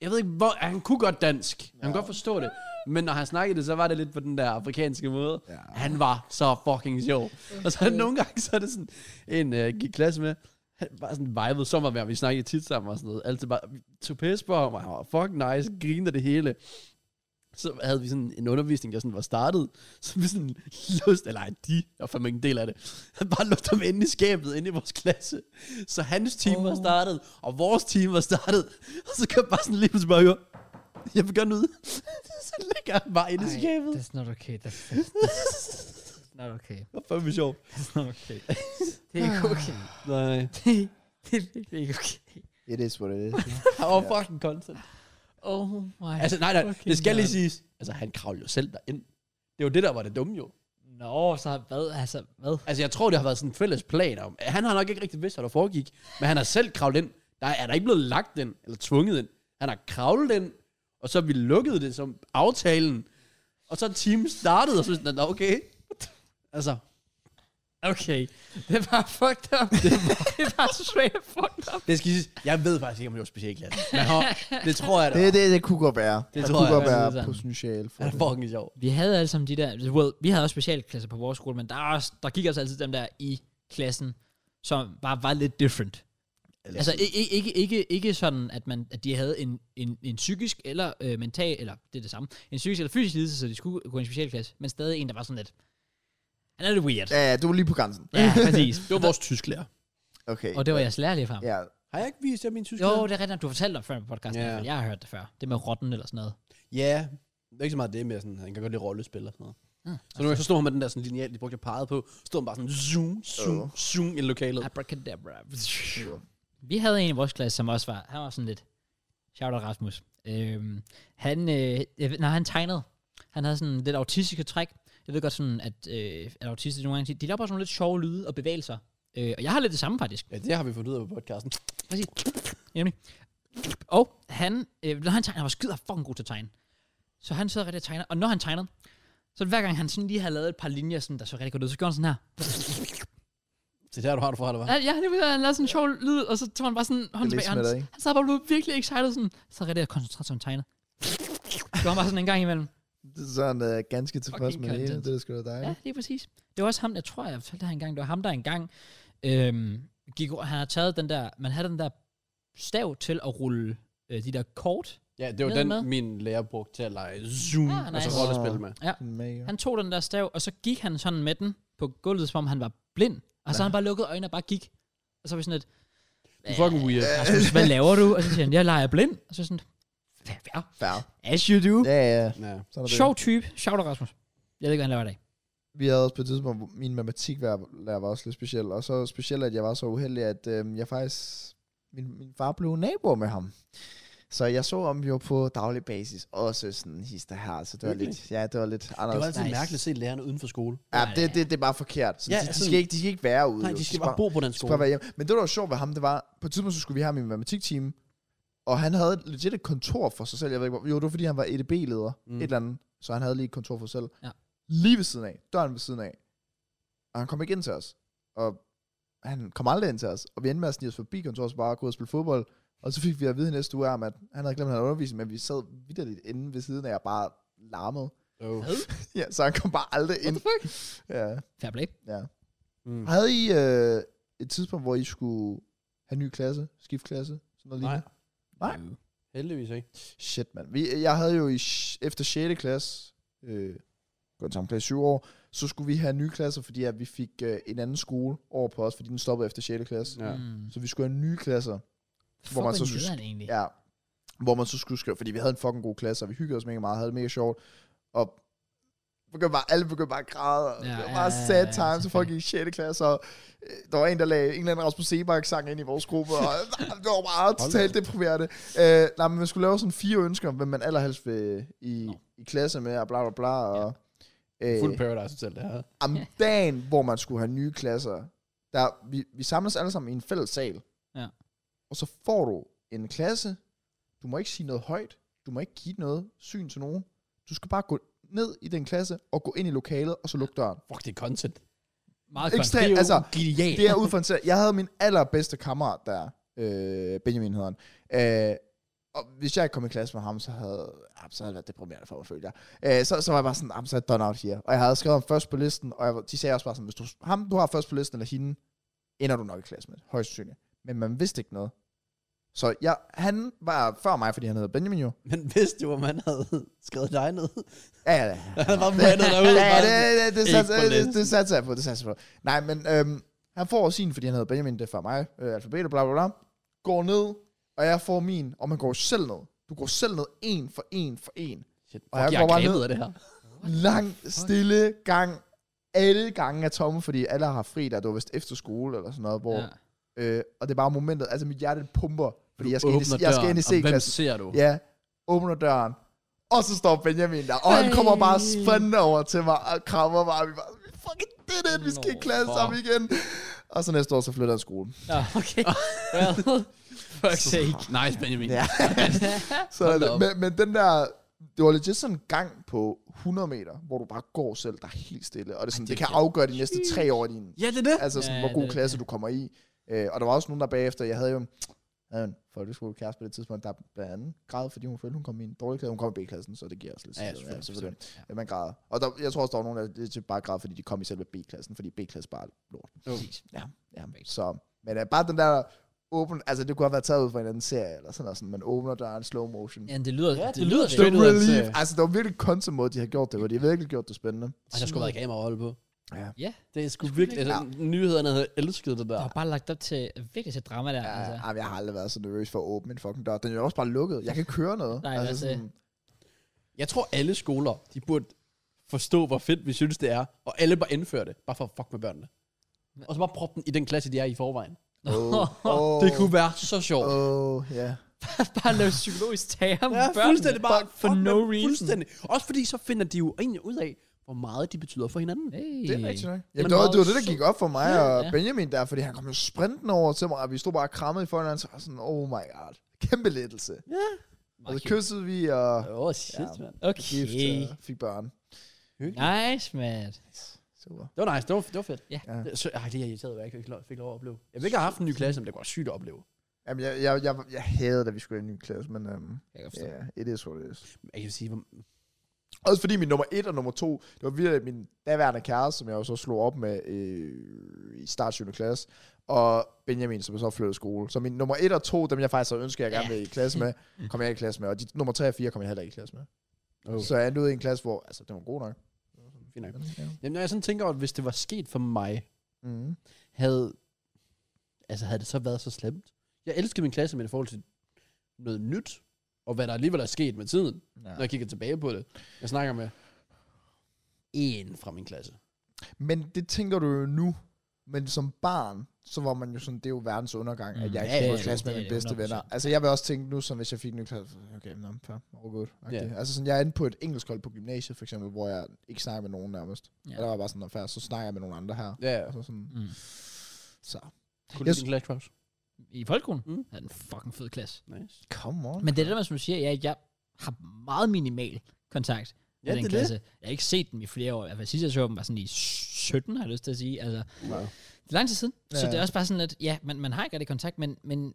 Speaker 2: jeg ved ikke, hvor, han kunne godt dansk. Han kunne godt forstå det. Men når han snakkede det, så var det lidt på den der afrikanske måde.
Speaker 3: Ja.
Speaker 2: Han var så fucking sjov. Og så nogle gange, så er det sådan, en øh, gik i klasse med, han bare sådan vibede sommervejr, vi snakkede tit sammen og sådan noget. Altid bare, vi tog pisse på ham, og han var fucking nice, grinede af det hele. Så havde vi sådan en undervisning, der sådan var startet, så vi sådan låste, eller ej, de, jeg var fandme ikke en del af det, han bare låste ham inde i skabet, inde i vores klasse. Så hans team oh. var startet, og vores team var startet, og så kan jeg bare sådan lige pludselig bare høre, jeg vil gerne ud. så ligger han bare inde i skabet.
Speaker 1: that's not okay. That's, that's, that's not okay.
Speaker 2: Det var fandme sjovt.
Speaker 1: That's not okay. Ah. det er ikke okay.
Speaker 2: Nej.
Speaker 1: det er virkelig ikke okay.
Speaker 3: It is what it is.
Speaker 2: Han var fucking content.
Speaker 1: Oh my.
Speaker 2: Altså, nej, nej,
Speaker 1: fucking
Speaker 2: det skal lige
Speaker 1: god.
Speaker 2: siges. Altså, han kravlede jo selv derind. Det var det, der var det dumme jo.
Speaker 1: Nå, så hvad? Altså, hvad?
Speaker 2: Altså, jeg tror, det har været sådan en fælles plan om. Han har nok ikke rigtig vidst, hvad der foregik, men han har selv kravlet ind. Der er, er der ikke blevet lagt ind, eller tvunget ind. Han har kravlet ind, og så har vi lukket det som aftalen. Og så er teamen startet, og så sådan, "Nå, okay. Altså,
Speaker 1: Okay. Det var fucked up. det var straight up fucked up.
Speaker 2: det skal siges. Jeg ved faktisk ikke, om det var specialklasse. Men han- det tror jeg, det,
Speaker 3: Det,
Speaker 2: det,
Speaker 3: det, det kunne godt være. Det der
Speaker 2: tror
Speaker 3: kunne
Speaker 2: jeg,
Speaker 3: godt
Speaker 1: det er
Speaker 3: være
Speaker 1: sådan.
Speaker 3: potentiale for
Speaker 2: Han er
Speaker 3: det.
Speaker 2: fucking sjov.
Speaker 1: Vi havde alle sammen de der, well, vi havde også specialklasser på vores skole, men der, er også, der gik også altid dem der i klassen, som var, var lidt different.
Speaker 2: Eller-
Speaker 1: Altså ikke, ikke, ikke, ikke sådan, at, man, at de havde en, en, en psykisk eller øh, mental, eller det er det samme, en psykisk eller fysisk lidelse, så de skulle gå i en specialklasse, men stadig en, der var sådan lidt, han er lidt weird.
Speaker 3: Ja, ja, du var lige på grænsen.
Speaker 1: Ja, præcis.
Speaker 2: Det var vores tysklærer.
Speaker 3: Okay.
Speaker 1: Og det var jeres lærerlige erfaring.
Speaker 3: Ja.
Speaker 2: Har jeg ikke vist jer min tysklærer?
Speaker 1: Jo, det er rigtigt, at du fortalte dig før på podcasten,
Speaker 2: Ja.
Speaker 1: yeah. jeg har hørt det før. Det med rotten eller sådan noget.
Speaker 2: Ja, det er ikke så meget det med sådan, han kan godt lide rollespil og sådan noget.
Speaker 1: Mm.
Speaker 2: Mm. Så nu så stod han med den der sådan lineal, de brugte jeg peget på, stod han bare sådan zoom, zoom,
Speaker 3: Åh.
Speaker 2: oh. zoom i
Speaker 1: Ah.
Speaker 2: lokalet.
Speaker 1: Abracadabra. Vi havde en i vores klasse, som også var, han var sådan lidt, shout out Rasmus. Øhm, han, øh, jeg ved- nej, han tegnede. Han havde sådan lidt autistiske træk. Jeg ved godt sådan, at, øh, at autister nogle gange, de laver bare sådan nogle lidt sjove lyde og bevægelser. Øh, og jeg har lidt det samme faktisk.
Speaker 2: Ja, det har vi fundet ud af på podcasten.
Speaker 1: Præcis. Nemlig. Og han, øh, når han tegner, han var skider fucking god til at tegne. Så han sidder rigtig og tegner, og når han tegnede, så hver gang han sådan lige havde lavet et par linjer, sådan, der så rigtig godt ud, så gjorde han sådan her.
Speaker 2: Det er der, du har det fra, eller hvad?
Speaker 1: Ja, ja det var, han lavede sådan en sjov lyd, og så tog han bare sådan hånden
Speaker 3: Det er
Speaker 1: tilbage.
Speaker 3: lidt
Speaker 1: Han,
Speaker 3: smidt, ikke?
Speaker 1: han sad bare og blev virkelig excited, sådan, så rigtig koncentreret som tegnet. Det var bare sådan en gang imellem.
Speaker 3: Det er sådan uh, ganske tilfreds
Speaker 1: Fucking
Speaker 3: med det hele.
Speaker 1: content.
Speaker 3: Det er sgu da
Speaker 1: Ja,
Speaker 3: dejligt.
Speaker 1: lige præcis. Det var også ham, jeg tror, jeg fortalte det her engang, det var ham, der engang øhm, gik, over- han har taget den der, man havde den der stav til at rulle øh, de der kort.
Speaker 2: Ja, det var
Speaker 1: Ved
Speaker 2: den,
Speaker 1: med. min
Speaker 2: min lærer brugte til at lege zoom,
Speaker 1: Ah,
Speaker 2: ah,
Speaker 1: nice.
Speaker 2: nice. altså rollespil med.
Speaker 3: Mega.
Speaker 1: Han tog den der stav, og så gik han sådan med den på gulvet, som om han var blind. Og så ja. han bare lukkede øjnene og bare gik. Og så var vi sådan lidt,
Speaker 2: Det er fucking weird. Ja.
Speaker 1: Rasmus, hvad laver du? Og så siger han, jeg leger blind. Og så sådan, hvad, hvad?
Speaker 3: Fair.
Speaker 1: As you do.
Speaker 3: Ja, ja.
Speaker 2: ja.
Speaker 3: Sådan er det.
Speaker 1: Sjov type. Shout out Rasmus. Jeg ved ikke, hvad han laver i dag.
Speaker 3: Vi havde også på et tidspunkt, hvor min matematiklærer var også lidt speciel. Og så specielt, at jeg var så uheldig, at øh, jeg faktisk... Min, min far blev nabo med ham. Så jeg så om jo på daglig basis, også sådan hister her, så det var
Speaker 2: Hyggeligt.
Speaker 3: lidt, ja, det var lidt
Speaker 2: Det var
Speaker 3: anderledes.
Speaker 2: altid
Speaker 1: nice.
Speaker 2: nice. mærkeligt at se lærerne uden for skole.
Speaker 3: Ja, det, det, det er bare forkert. Så
Speaker 2: Ja,
Speaker 3: ja, de, de,
Speaker 2: sådan-
Speaker 3: skal ikke, de skal ikke være ude.
Speaker 2: Nej,
Speaker 3: jo.
Speaker 2: de skal
Speaker 3: bare-
Speaker 2: bare bo på den
Speaker 3: skal
Speaker 2: skole.
Speaker 3: bare være hjemme. Men det, der var sjovt ved ham, det var, på et tidspunkt, så skulle vi have ham i matematikteam, og han havde legit et kontor for sig selv. Jeg ved ikke, hvor, jo, det var, fordi han var EDB-leder, mm.
Speaker 2: Mm.
Speaker 3: et eller andet, så han havde lige et kontor for sig selv.
Speaker 1: Ja.
Speaker 3: Lige ved siden af, døren ved siden af. Og han kom ikke ind til os, og han kom aldrig ind til os, og vi endte med at snige os forbi kontoret, så bare gå ud og spille fodbold, og så fik vi at vide i næste uge, om, at han havde glemt, at han havde undervisning, men vi sad vidderligt inde ved siden af, og bare larmede.
Speaker 2: Oh.
Speaker 3: Ja, så han kom bare aldrig ind.
Speaker 1: fuck?
Speaker 3: Ja.
Speaker 1: Fair play.
Speaker 2: Mm.
Speaker 3: Havde I øh, et tidspunkt, hvor I skulle have ny klasse, skiftklasse, sådan noget
Speaker 2: Nej,
Speaker 3: lignende? Nej.
Speaker 2: heldigvis ikke.
Speaker 3: Shit, mand. Vi, jeg havde jo i, sh- efter 6. klasse, øh, gået sammen klasse i 7 år, så skulle vi have nye klasser, fordi at vi fik øh, en anden skole over på os, fordi den stoppede efter 6. klasse.
Speaker 2: Ja.
Speaker 1: Mm.
Speaker 3: Så vi skulle have nye klasser,
Speaker 1: Hvor man så
Speaker 3: synes-
Speaker 1: synes... egentlig.
Speaker 3: ja, hvor man så skulle skrive, fordi vi havde en fucking god klasse, og vi hyggede os mega meget, havde det mega sjovt, og begyndte bare, alle begyndte bare at græde, og
Speaker 1: Ja,
Speaker 3: ja, det var
Speaker 1: ja,
Speaker 3: bare
Speaker 1: ja,
Speaker 3: sad
Speaker 1: ja,
Speaker 3: times, og folk
Speaker 1: selvfølgelig.
Speaker 3: i 6. klasse, og øh, der var en, der lagde en eller anden Rasmus Sebak sang ind i vores gruppe, og ah, det var bare
Speaker 2: da
Speaker 3: totalt deprimerende. Øh, nej, men man skulle lave sådan fire ønsker, om hvem man allerhelst vil i, i klasse med, og bla bla bla, og... Øh,
Speaker 2: Fuld Paradise Hotel, det her.
Speaker 3: om dagen, hvor man skulle have nye klasser, der, vi, vi samles alle sammen i en fælles sal.
Speaker 1: Ja.
Speaker 3: Og så får du en klasse. Du må ikke sige noget højt. Du må ikke give noget syn til nogen. Du skal bare gå ned i den klasse og gå ind i lokalet, og så lukke døren.
Speaker 2: Fuck, det er content.
Speaker 1: Meget
Speaker 3: Ekstremt,
Speaker 1: godt. Det er jo
Speaker 3: altså,
Speaker 1: genialt.
Speaker 3: Det er ud for en serie. Jeg havde min allerbedste kammerat der, øh, Benjamin hedder han. Øh, og hvis jeg ikke kom i klasse med ham, så havde, ah, så havde det været deprimerende for mig, følte jeg. Øh, så, så var jeg bare sådan, ah, så er jeg done out here. Og jeg havde skrevet ham først på listen, og jeg, var- de sagde også bare sådan, hvis du, ham du har først på listen, eller hende, ender du nok i klasse med, højst sandsynligt. Men man vidste ikke noget. Så jeg, han var før mig, fordi han hedder Benjamin jo.
Speaker 2: Men vidste du, hvor man havde skrevet dig ned?
Speaker 3: Ja, ja, ja.
Speaker 2: Han var brandet derude.
Speaker 3: Ja,
Speaker 2: bare sådan,
Speaker 3: det, det, det,
Speaker 2: Ikke
Speaker 3: satser,
Speaker 2: på
Speaker 3: det,
Speaker 2: listen.
Speaker 3: det satser jeg på, det satser jeg på. Nej, men øhm, han får sin, fordi han hedder Benjamin, det er fra mig, øh, alfabetet, bla bla bla. Går ned, og jeg får min, og man går selv ned. Du går selv ned, en for en for en.
Speaker 2: Shit,
Speaker 3: Og
Speaker 2: fuck,
Speaker 3: jeg
Speaker 2: jeg
Speaker 3: går
Speaker 2: er
Speaker 3: bare
Speaker 2: grebet
Speaker 3: ned.
Speaker 2: af det her.
Speaker 3: Lang, stille gang. Alle gange er tomme, fordi alle har fri der. Det var vist efter skole eller sådan noget, hvor...
Speaker 1: Ja.
Speaker 3: Ja. Øh, og det er bare momentet, altså mit hjerte det pumper, fordi jeg skal,
Speaker 2: Du
Speaker 3: ind i,
Speaker 2: åbner
Speaker 3: jeg skal ind i
Speaker 2: døren, og Hvem
Speaker 3: C-klassen.
Speaker 2: ser du?
Speaker 3: Ja, åbner døren. Og så står Benjamin der, og han
Speaker 1: Ej.
Speaker 3: kommer bare spændende over til mig, og krammer mig, og vi bare, fucking det er det, vi skal i
Speaker 1: Nå,
Speaker 3: klasse
Speaker 1: for-
Speaker 3: sammen igen. Og så næste år, så flytter han skole.
Speaker 1: Nå, okay. well, fuck's sake.
Speaker 2: Nice, Benjamin.
Speaker 3: Ja. Så
Speaker 2: Hold da op.
Speaker 3: men, men den der, det var legit sådan en gang på 100 meter, hvor du bare går selv, der er helt stille. Og det, er sådan,
Speaker 2: Ej,
Speaker 3: det,
Speaker 2: det
Speaker 3: kan
Speaker 2: er-
Speaker 3: afgøre de næste tre år i din
Speaker 2: Ja, det er det.
Speaker 3: Altså sådan,
Speaker 1: Ja,
Speaker 3: ja,
Speaker 1: ja,
Speaker 3: hvor god
Speaker 1: det er det,
Speaker 3: klasse
Speaker 1: ja.
Speaker 3: du kommer i. Øh, og der var også nogen, der bagefter, jeg havde jo en, jeg havde en folkeskolekæreste på det tidspunkt, der blandt andet græd, fordi hun følte, hun kom i en dårlig klasse. Hun kom i B-klassen, så det giver også lidt
Speaker 2: Ja, ja,
Speaker 3: sig selv.
Speaker 2: selvfølgelig,
Speaker 3: selvfølgelig. Ja, man græder. Og der, jeg tror også, der var nogen, der lidt bare græd, fordi de kom i selve B-klassen, fordi B-klasse bare er lort.
Speaker 1: Præcis.
Speaker 3: Ja, ja. Så, men uh, bare den der åben, altså det kunne have været taget ud fra en anden serie, eller sådan noget, sådan, man åbner døren, slow motion.
Speaker 1: Ja, det lyder,
Speaker 2: Ja,
Speaker 1: det
Speaker 2: det
Speaker 1: lyder
Speaker 2: lyder
Speaker 1: det.
Speaker 2: straight.
Speaker 3: The
Speaker 2: ud af en
Speaker 3: relief.
Speaker 2: serie.
Speaker 3: Altså, det var virkelig kontant måde, de har gjort det, hvor de har virkelig gjort det spændende.
Speaker 2: Ej, der skulle have været kamera at holde på.
Speaker 3: Ja.
Speaker 1: Ja.
Speaker 2: Det er sgu virkelig... Altså, nyhederne havde elsket det der.
Speaker 1: Der er bare lagt op til, virkelig til drama der.
Speaker 3: Ja,
Speaker 1: altså.
Speaker 3: altså. jeg har aldrig været så nervøs for at åbne en fucking dør. Den er jo også bare lukket. Jeg kan ikke køre noget. Altså,
Speaker 1: Nej, det er det.
Speaker 2: Jeg tror, alle skoler, de burde forstå, hvor fedt vi synes, det er. Og alle bare indføre det, bare for at fuck med børnene. Og så bare proppe den i den klasse, de er i i forvejen. Oh.
Speaker 3: oh, oh,
Speaker 2: Det kunne være så sjovt. Oh.
Speaker 3: Åh, oh, ja.
Speaker 1: bare lave psykologisk terror med
Speaker 2: Ja, fuldstændig
Speaker 1: børnene.
Speaker 2: bare
Speaker 1: for
Speaker 2: fuck
Speaker 1: no
Speaker 2: med dem,
Speaker 1: reason.
Speaker 2: Fuldstændig. Også fordi så finder de jo egentlig ud af, hvor meget de betyder for hinanden.
Speaker 1: Hey.
Speaker 3: Det er rigtigt nok. Ja,
Speaker 2: Men
Speaker 3: det, var, det var det,
Speaker 2: meget
Speaker 3: der gik op for mig
Speaker 1: sød.
Speaker 3: og
Speaker 1: Ja.
Speaker 3: Benjamin der, fordi han kom jo sprintende over til mig, og vi stod bare og krammede i foran hans, og sådan, oh my god, kæmpe lettelse. Og så
Speaker 1: Okay.
Speaker 3: kyssede vi og
Speaker 2: Åh, oh, shit, ja. mand.
Speaker 3: blev gift
Speaker 1: okay.
Speaker 3: og fik børn.
Speaker 1: Nice, man.
Speaker 3: Super.
Speaker 2: Det var nice, det var, det var fedt.
Speaker 1: Ja.
Speaker 3: Ja.
Speaker 2: Det, så, ej, det er jeg irriteret, at jeg ikke fik lov, fik lov at opleve. Jeg vil ikke have haft en ny klasse, men det var sygt at opleve.
Speaker 3: Jamen, jeg, jeg, jeg, jeg havde, da vi skulle i en ny klasse, men øhm,
Speaker 1: Jeg kan godt forstå.
Speaker 3: yeah, it is what it is.
Speaker 2: Jeg kan sige, hvor-
Speaker 3: Også fordi min nummer et og nummer to, det var virkelig min daværende kæreste, som jeg jo så slog op med øh, i start 7. klasse, og Benjamin, som så flyttede i skole. Så min nummer et og to, dem jeg faktisk havde ønsket, jeg gerne ville i klasse med, kom jeg ikke i klasse med, og de nummer tre og fire kom jeg heller ikke i klasse med.
Speaker 2: Oh.
Speaker 3: Oh. Så jeg endte ud i en klasse, hvor altså, det var god nok.
Speaker 2: fint nok.
Speaker 3: Ja.
Speaker 2: Jamen, når jeg sådan tænker, at hvis det var sket for mig,
Speaker 3: Mm.
Speaker 2: havde, altså, havde det så været så slemt? Jeg elskede min klasse, men i forhold til noget nyt, og hvad der alligevel er sket med tiden, ja.
Speaker 3: Ja.
Speaker 2: når jeg kigger tilbage på det. Jeg snakker med en fra min klasse.
Speaker 3: Men det tænker du jo nu, men som barn, så var man jo sådan, det er jo verdens undergang, mm. at
Speaker 1: Mm.
Speaker 3: jeg
Speaker 2: Ja,
Speaker 3: ikke
Speaker 2: ja,
Speaker 3: var i
Speaker 2: ja,
Speaker 3: klasse
Speaker 1: det
Speaker 3: med
Speaker 1: er
Speaker 3: mine
Speaker 1: det,
Speaker 3: bedste
Speaker 1: 100%.
Speaker 3: venner. Altså jeg vil også tænke nu, som hvis jeg fik en ny klasse, okay, nå, fair, all good.
Speaker 2: Ja.
Speaker 3: Yeah. Altså sådan, jeg er inde på et engelsk hold på gymnasiet, for eksempel, hvor jeg ikke snakker med nogen nærmest.
Speaker 1: Ja.
Speaker 3: Yeah. Og der var bare sådan, "Nå, fair, så snakker jeg med nogle andre her.
Speaker 2: Ja,
Speaker 3: Og så sådan,
Speaker 1: Mm.
Speaker 3: så,
Speaker 2: Kunne
Speaker 3: Jeg
Speaker 2: du lide din Clash Crush?
Speaker 1: I folkeskolen?
Speaker 2: Mm.
Speaker 1: Mm. Det er en fucking fed klasse.
Speaker 2: Nice.
Speaker 3: come on.
Speaker 1: Men det er det, der, som du siger, jeg, jeg har meget minimal kontakt med
Speaker 2: Ja,
Speaker 1: den
Speaker 2: det er
Speaker 1: klasse. Jeg har ikke set dem i flere år. I hvert fald sidst jeg så dem var sådan i 17, har jeg lyst til at sige. Altså,
Speaker 2: Wow.
Speaker 1: Det er lang tid siden. Ja. Så
Speaker 3: Ja.
Speaker 1: det er også bare sådan lidt, ja, man, man har ikke rigtig kontakt, men, men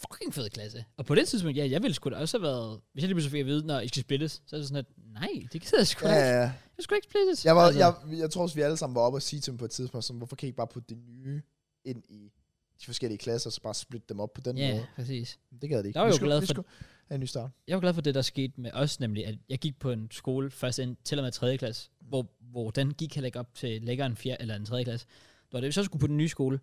Speaker 1: fucking fed klasse. Og på det tidspunkt, ja, jeg ville sgu da også have været, hvis jeg lige pludselig fik at vide, når I skal splittes, så er det sådan lidt, nej, det gider jeg sgu
Speaker 3: Ja,
Speaker 1: ja. ikke.
Speaker 3: ja, ja.
Speaker 1: Jeg skulle ikke splittes. Altså.
Speaker 3: Jeg, var, jeg, jeg tror også, vi alle sammen var oppe og sige til dem på et tidspunkt, sådan, hvorfor kan I ikke bare putte det nye ind i de forskellige klasser, og så bare splitte dem op på den
Speaker 1: Ja,
Speaker 3: måde.
Speaker 1: præcis.
Speaker 3: Det gad de ikke.
Speaker 1: Jeg var
Speaker 3: Vi
Speaker 1: jo
Speaker 3: skulle-
Speaker 1: glad
Speaker 3: vi
Speaker 1: for-
Speaker 3: skulle have en ny start.
Speaker 1: Jeg var glad for det, der skete med os, nemlig at jeg gik på en skole først ind til og med 3. klasse, hvor hvor den gik heller ikke op til længere en fjerde eller en tredje klasse. Når det så skulle på den nye skole,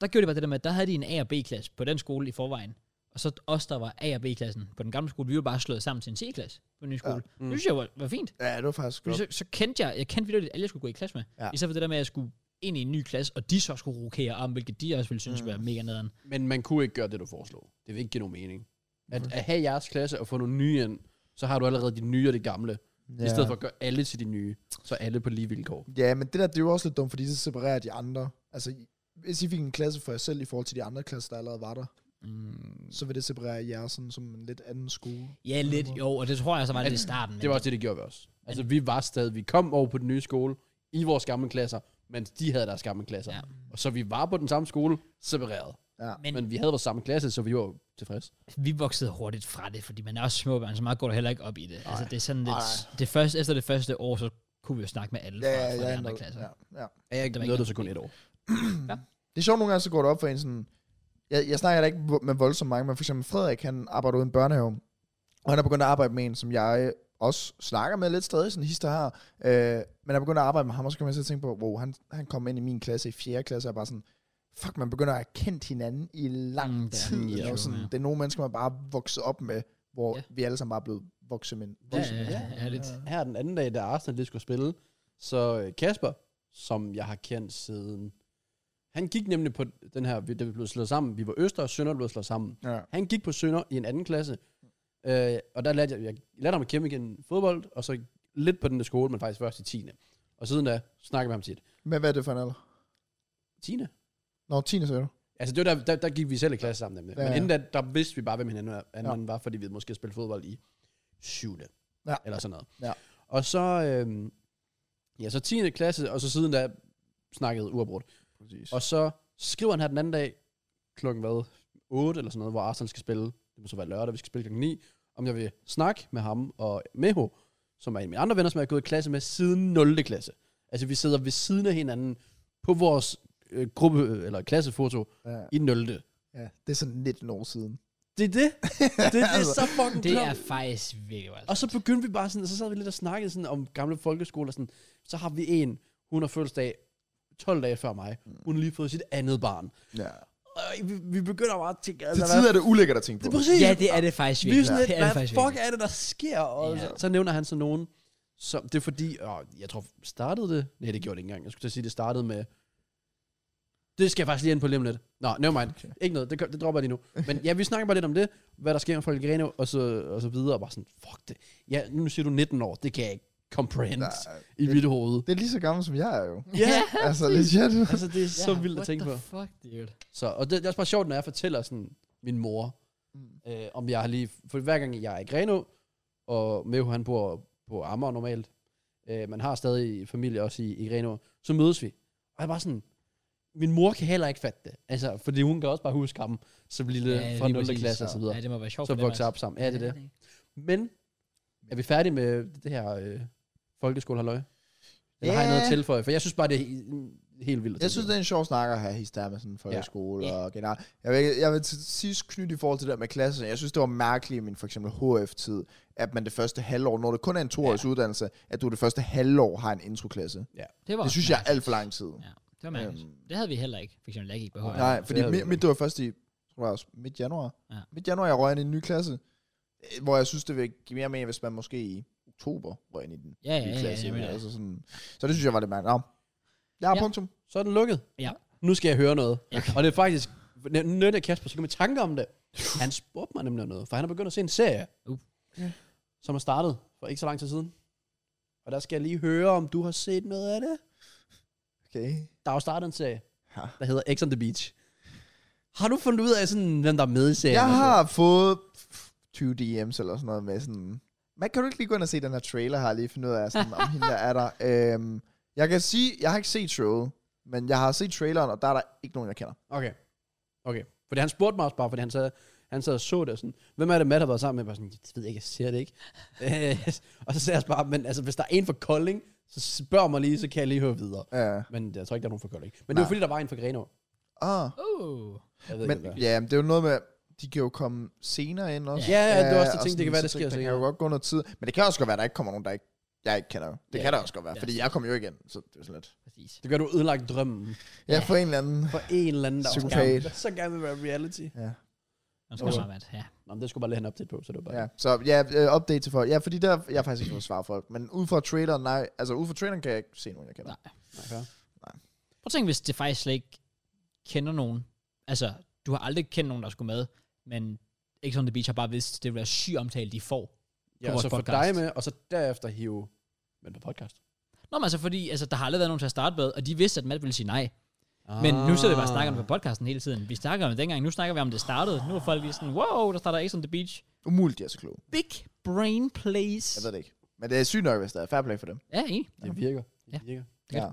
Speaker 1: der gjorde det bare det der med, at der havde de en A- og B-klasse på den skole i forvejen. Og så os, der var A- og B-klassen på den gamle skole, vi var bare slået sammen til en C-klasse på den nye skole. Ja. Mm.
Speaker 2: Mm.
Speaker 1: Det synes jeg var, var fint.
Speaker 3: Ja, det var faktisk
Speaker 1: Fordi
Speaker 3: godt.
Speaker 1: så, så kendte jeg, jeg kendte videre, alle jeg skulle gå i klasse med. Ja.
Speaker 3: Ja.
Speaker 1: I stedet for det der med, at jeg skulle ind i en ny klasse, og de så skulle rokere om, hvilket de også ville synes mm.
Speaker 3: Mm.
Speaker 1: var mega nederen.
Speaker 2: Men man kunne ikke gøre det, du foreslog. Det vil ikke give nogen mening. At, at have jeres klasse og få nogle nye ind, så har du allerede de nye og det gamle. Ja. I stedet for at gøre alle til de nye, så alle på lige vilkår.
Speaker 3: Ja, men det der, det er jo også lidt dumt, fordi så separerer de andre. Altså, hvis I fik en klasse for jer selv i forhold til de andre klasser, der allerede var der,
Speaker 1: Mm.
Speaker 3: så vil det separere jer sådan som en lidt anden skole.
Speaker 1: Ja, lidt jo, og det tror jeg så var lidt i
Speaker 2: Men
Speaker 1: starten. men
Speaker 2: Det var også det, det gjorde vi også. Altså, vi var stadig, vi kom over på den nye skole, i vores gamle klasser, mens de havde deres gamle klasser.
Speaker 1: Ja.
Speaker 2: Ja. Og så vi var på den samme skole, separeret.
Speaker 3: Ja.
Speaker 1: Men-
Speaker 2: Men, Men vi havde vores samme klasse, så vi var jo tilfredse.
Speaker 1: vi voksede hurtigt fra det, fordi man er også småbørn, så meget går der heller ikke op i det. Ej, altså, det er sådan lidt...
Speaker 3: Ej.
Speaker 1: Det første, efter det første år, så kunne vi jo snakke med alle fra,
Speaker 3: Ja, ja,
Speaker 1: fra de
Speaker 3: ja,
Speaker 1: andre
Speaker 3: noget-
Speaker 1: klasser.
Speaker 3: ja,
Speaker 2: Ja,
Speaker 3: ja.
Speaker 2: jeg
Speaker 1: var
Speaker 2: nåede
Speaker 1: ikke-
Speaker 2: det så kun et år.
Speaker 3: Det er sjovt, nogle gange så går det op for en sådan... Jeg, jeg snakker da ikke vo- med voldsomt mange, men for eksempel Frederik, han arbejder ude i en børnehave, og han er begyndt at arbejde med en, som jeg også snakker med lidt stadig, sådan hister her, øh, men jeg begynder at arbejde med ham, og så kan man så tænke på, wow, han, han kom ind i min klasse i 4. klasse, og jeg er bare sådan, fuck, man begynder at have kendt hinanden i lang
Speaker 1: Mm,
Speaker 3: mm,
Speaker 1: det er
Speaker 3: tid.
Speaker 1: den,
Speaker 3: Det
Speaker 1: ja.
Speaker 3: er, jo sådan,
Speaker 1: Ja.
Speaker 3: det er nogle mennesker, man bare er vokset op med, hvor
Speaker 1: Ja.
Speaker 3: ja. vi alle sammen bare er blevet voksne mænd.
Speaker 1: Ja,
Speaker 3: Voksne
Speaker 1: ja,
Speaker 3: mænd.
Speaker 1: ja, ja, lidt.
Speaker 2: her den anden dag, da Arsenal lige skulle spille, så øh, Kasper, som jeg har kendt siden, han gik nemlig på den her, vi- da vi blev slået sammen, vi var Øster og Sønder, der blev slået sammen.
Speaker 3: Ja.
Speaker 2: Han gik på Sønder i en anden klasse, øh, og der lærte jeg, jeg lærte ham at kæmpe igen fodbold, og så lidt på den der skole, men faktisk først i 10. Og siden da snakkede jeg med ham tit.
Speaker 3: Men hvad er det for en alder?
Speaker 2: 10.
Speaker 3: Nå, 10. sagde du?
Speaker 2: Altså det var der, der, der gik vi selv i klasse sammen nemlig.
Speaker 3: Ja,
Speaker 2: Ja, ja. Men
Speaker 3: ja.
Speaker 2: inden da, der vidste vi bare, hvem hinanden var,
Speaker 3: Ja.
Speaker 2: ja. var fordi vi måske spillede fodbold i 7.
Speaker 3: Ja.
Speaker 2: Eller sådan noget.
Speaker 3: Ja.
Speaker 2: Og så, øhm, ja, så 10. klasse, og så siden da snakkede uafbrudt.
Speaker 3: Præcis.
Speaker 2: Og så skriver han her den anden dag, klokken hvad, 8 eller sådan noget, hvor Arsenal skal spille, det må så være lørdag, vi skal spille klokken 9, om jeg vil snakke med ham og Meho, som er en af mine andre venner, som jeg har gået i klasse med siden 0. klasse. Altså vi sidder ved siden af hinanden på vores øh, gruppe, eller klassefoto
Speaker 3: Ja,
Speaker 2: i 0. Det
Speaker 3: ja. Det er sådan 19 år siden.
Speaker 2: er det. Det, det er
Speaker 3: Altså,
Speaker 2: så fucking
Speaker 1: Det
Speaker 2: klogt.
Speaker 1: er faktisk virkelig godt.
Speaker 2: Og så begyndte vi bare sådan, og så sad vi lidt og snakkede sådan om gamle folkeskoler. Sådan, så har vi en, hun har fødselsdag 12 dage før mig.
Speaker 3: Mm.
Speaker 2: Hun har lige fået sit andet barn.
Speaker 3: Ja.
Speaker 2: Og vi, vi begynder bare at tænke,
Speaker 3: Til
Speaker 2: altså,
Speaker 3: tider er det ulækkert at tænke på.
Speaker 2: Det er præcis.
Speaker 1: Ja, det er det faktisk
Speaker 2: vi er
Speaker 1: virkelig.
Speaker 2: sådan lidt,
Speaker 1: det er det
Speaker 2: hvad
Speaker 1: faktisk
Speaker 2: fuck
Speaker 1: virkelig.
Speaker 2: er det, der sker? Og
Speaker 1: Ja.
Speaker 2: ja. så, så nævner han så nogen, som, det er fordi, åh, jeg tror, startede det? Nej, det gjorde det ikke engang. Jeg skulle til at sige, det startede med, det skal jeg faktisk lige ind på lige om lidt. Nå, never mind. Okay.
Speaker 3: Okay.
Speaker 2: Ikke noget, det, gør- det dropper jeg lige nu. Men ja, vi snakker bare lidt om det, hvad der sker med folk i Greno, og så, og så videre, og bare sådan, fuck det. Ja, nu siger du 19 år, det kan jeg ikke comprehend
Speaker 3: Nej,
Speaker 2: i mit hoved.
Speaker 3: Det er lige så gammel som jeg er jo.
Speaker 2: Ja,
Speaker 3: altså legit.
Speaker 2: altså det er så
Speaker 1: Ja,
Speaker 2: vildt at tænke på.
Speaker 1: What the fuck, dude?
Speaker 2: Så, og det, det er også bare sjovt, når jeg fortæller sådan, min mor,
Speaker 3: Mm.
Speaker 2: øh, om jeg har lige... For hver gang jeg er i Greno, og med han bor på Amager normalt, øh, man har stadig familie også i, i Greno, så mødes vi. Og jeg er bare sådan... Min mor kan heller ikke fatte det. Altså, fordi hun kan også bare huske ham, som lille
Speaker 1: Ja,
Speaker 2: ja,
Speaker 1: lige
Speaker 2: fra 0.
Speaker 1: præcis.
Speaker 2: klasse og så videre.
Speaker 1: Ja, det må være sjovt
Speaker 2: så
Speaker 1: for dem, altså.
Speaker 2: vokser op sammen. Ja, det er det. Men, er vi færdige med det her øh, folkeskolehalløj? Eller har jeg noget at
Speaker 3: Ja.
Speaker 2: tilføje? For jeg synes bare, det er he- helt vildt at
Speaker 3: Jeg
Speaker 2: tænke
Speaker 3: synes,
Speaker 2: på.
Speaker 3: det er en sjov snak at have hister med sådan folkeskole
Speaker 1: Ja.
Speaker 3: ja. og generelt. Jeg vil, jeg vil til sidst knytte i forhold til det der med klassen. Jeg synes, det var mærkeligt i min for eksempel HF-tid, at man det første halvår, når det kun er en toårs ja. uddannelse, at du det første halvår har en introklasse.
Speaker 1: Det, var
Speaker 3: Det synes jeg er alt for lang tid.
Speaker 1: Ja, det var mærkeligt.
Speaker 3: Øhm.
Speaker 1: Det havde vi heller ikke, for eksempel, da jeg gik på højre.
Speaker 3: Nej, fordi
Speaker 2: det havde vi
Speaker 3: mit,
Speaker 2: ikke.
Speaker 3: mit det var først i, tror jeg også, midt januar.
Speaker 1: Ja.
Speaker 3: Ja. Midt januar, jeg røg ind i en ny klasse, øh, hvor jeg synes, det vil give mere mening, hvis man måske i oktober røg ind i den
Speaker 1: Ja, ja,
Speaker 3: nye
Speaker 1: ja, ja,
Speaker 3: klasse.
Speaker 1: ja, ja.
Speaker 3: altså sådan, så det synes jeg var lidt mærkeligt. Nå. Jeg har
Speaker 1: Ja.
Speaker 3: ja. punktum.
Speaker 2: Så er den lukket.
Speaker 1: Ja.
Speaker 2: Nu skal jeg høre noget.
Speaker 1: Ja.
Speaker 2: Og det er faktisk... Nødt af Kasper, så kom jeg i tanke om det. Han spurgte mig nemlig om noget, for han har begyndt at se en serie,
Speaker 1: Uh.
Speaker 3: Ja.
Speaker 2: som er startet for ikke så lang tid siden. Og der skal jeg lige høre, om du har set noget af det.
Speaker 3: Okay.
Speaker 2: Der er jo startet en serie,
Speaker 3: Ja.
Speaker 2: der hedder X on the Beach. Har du fundet ud af, sådan, hvem der er altså- med i serien?
Speaker 3: Jeg
Speaker 2: og sådan noget?
Speaker 3: har fået 20 DM's eller sådan noget med sådan... Man kan du ikke lige gå ind og se den her trailer her, lige finde ud af, sådan, om hende der er der. Øhm, jeg kan sige, jeg har ikke set showet, men jeg har set traileren, og der er der ikke nogen, jeg kender.
Speaker 2: Okay. Okay. Fordi han spurgte mig også bare, fordi han sad, han sad og så det og sådan, hvem er det, Matt har været sammen med? Jeg var sådan, det ved jeg ikke, jeg ser det ikke. Øh, og så sagde jeg også bare, men altså, hvis der er en fra Kolding, så spørg mig lige, så kan jeg lige høre videre.
Speaker 3: Ja.
Speaker 2: Men jeg tror ikke, der er nogen fra Kolding. Men det var
Speaker 3: Nej.
Speaker 2: fordi, der var en fra Grenå.
Speaker 3: Ah.
Speaker 1: Oh.
Speaker 2: Jeg ved
Speaker 3: Men
Speaker 2: ikke, hvad det
Speaker 3: ja, men det er jo noget med, de kan jo komme senere ind også. Øh,
Speaker 2: Ja, ja, det var også det
Speaker 3: og
Speaker 2: ting, det kan
Speaker 3: sådan,
Speaker 2: være, det
Speaker 3: så
Speaker 2: sker
Speaker 3: Der kan
Speaker 2: senere.
Speaker 3: jo godt gå noget tid. Men det kan også godt være, at der ikke kommer nogen, der ikke jeg ikke kender. jo. Det
Speaker 1: Ja,
Speaker 3: ja, kan der
Speaker 1: ja,
Speaker 3: også godt være,
Speaker 1: ja.
Speaker 3: ja. fordi jeg kom jo igen, så det er sådan lidt.
Speaker 1: Præcis.
Speaker 2: Det gør du ødelagt drømmen
Speaker 3: Jeg ja. får en eller anden...
Speaker 2: for en eller anden, der også
Speaker 3: Psykopat.
Speaker 2: gerne, så gerne vil være reality.
Speaker 3: Ja.
Speaker 1: Man skal
Speaker 2: Okay.
Speaker 1: bare være- ja.
Speaker 2: Nå, men det skulle bare lige have en update på, så det var bare...
Speaker 3: Ja, så ja, øh, update til folk. Ja, fordi der, jeg har faktisk ikke fået svar fra folk. Men ud fra traileren, nej. Altså ud fra traileren kan jeg ikke se nogen, jeg kender.
Speaker 1: Nej.
Speaker 3: Nej.
Speaker 2: Okay.
Speaker 1: Prøv at tænke, hvis det faktisk slet ikke kender nogen. Altså, du har aldrig kendt nogen, der skulle med, men X on the Beach har bare vidst, at det vil være syg omtale, de får.
Speaker 2: Ja,
Speaker 1: vores
Speaker 2: så få
Speaker 1: podcast.
Speaker 2: dig med, og så derefter hive men på podcast.
Speaker 1: Nå, men altså, fordi altså, der har aldrig været nogen til at starte med, og de vidste, at Matt ville sige nej. Men nu sidder vi bare og snakker om det på podcasten hele tiden. Vi snakker om det dengang, nu snakker vi om, det startede. Nu er folk lige sådan, wow, der starter X on the Beach.
Speaker 3: Umuligt, de er så kloge.
Speaker 1: Big brain plays.
Speaker 3: Jeg ved det ikke. Men det er sygt nok, hvis der er fair play for dem.
Speaker 1: Ja, ikke?
Speaker 2: Ah. Det virker. Det
Speaker 1: Ja.
Speaker 2: virker.
Speaker 3: Ja.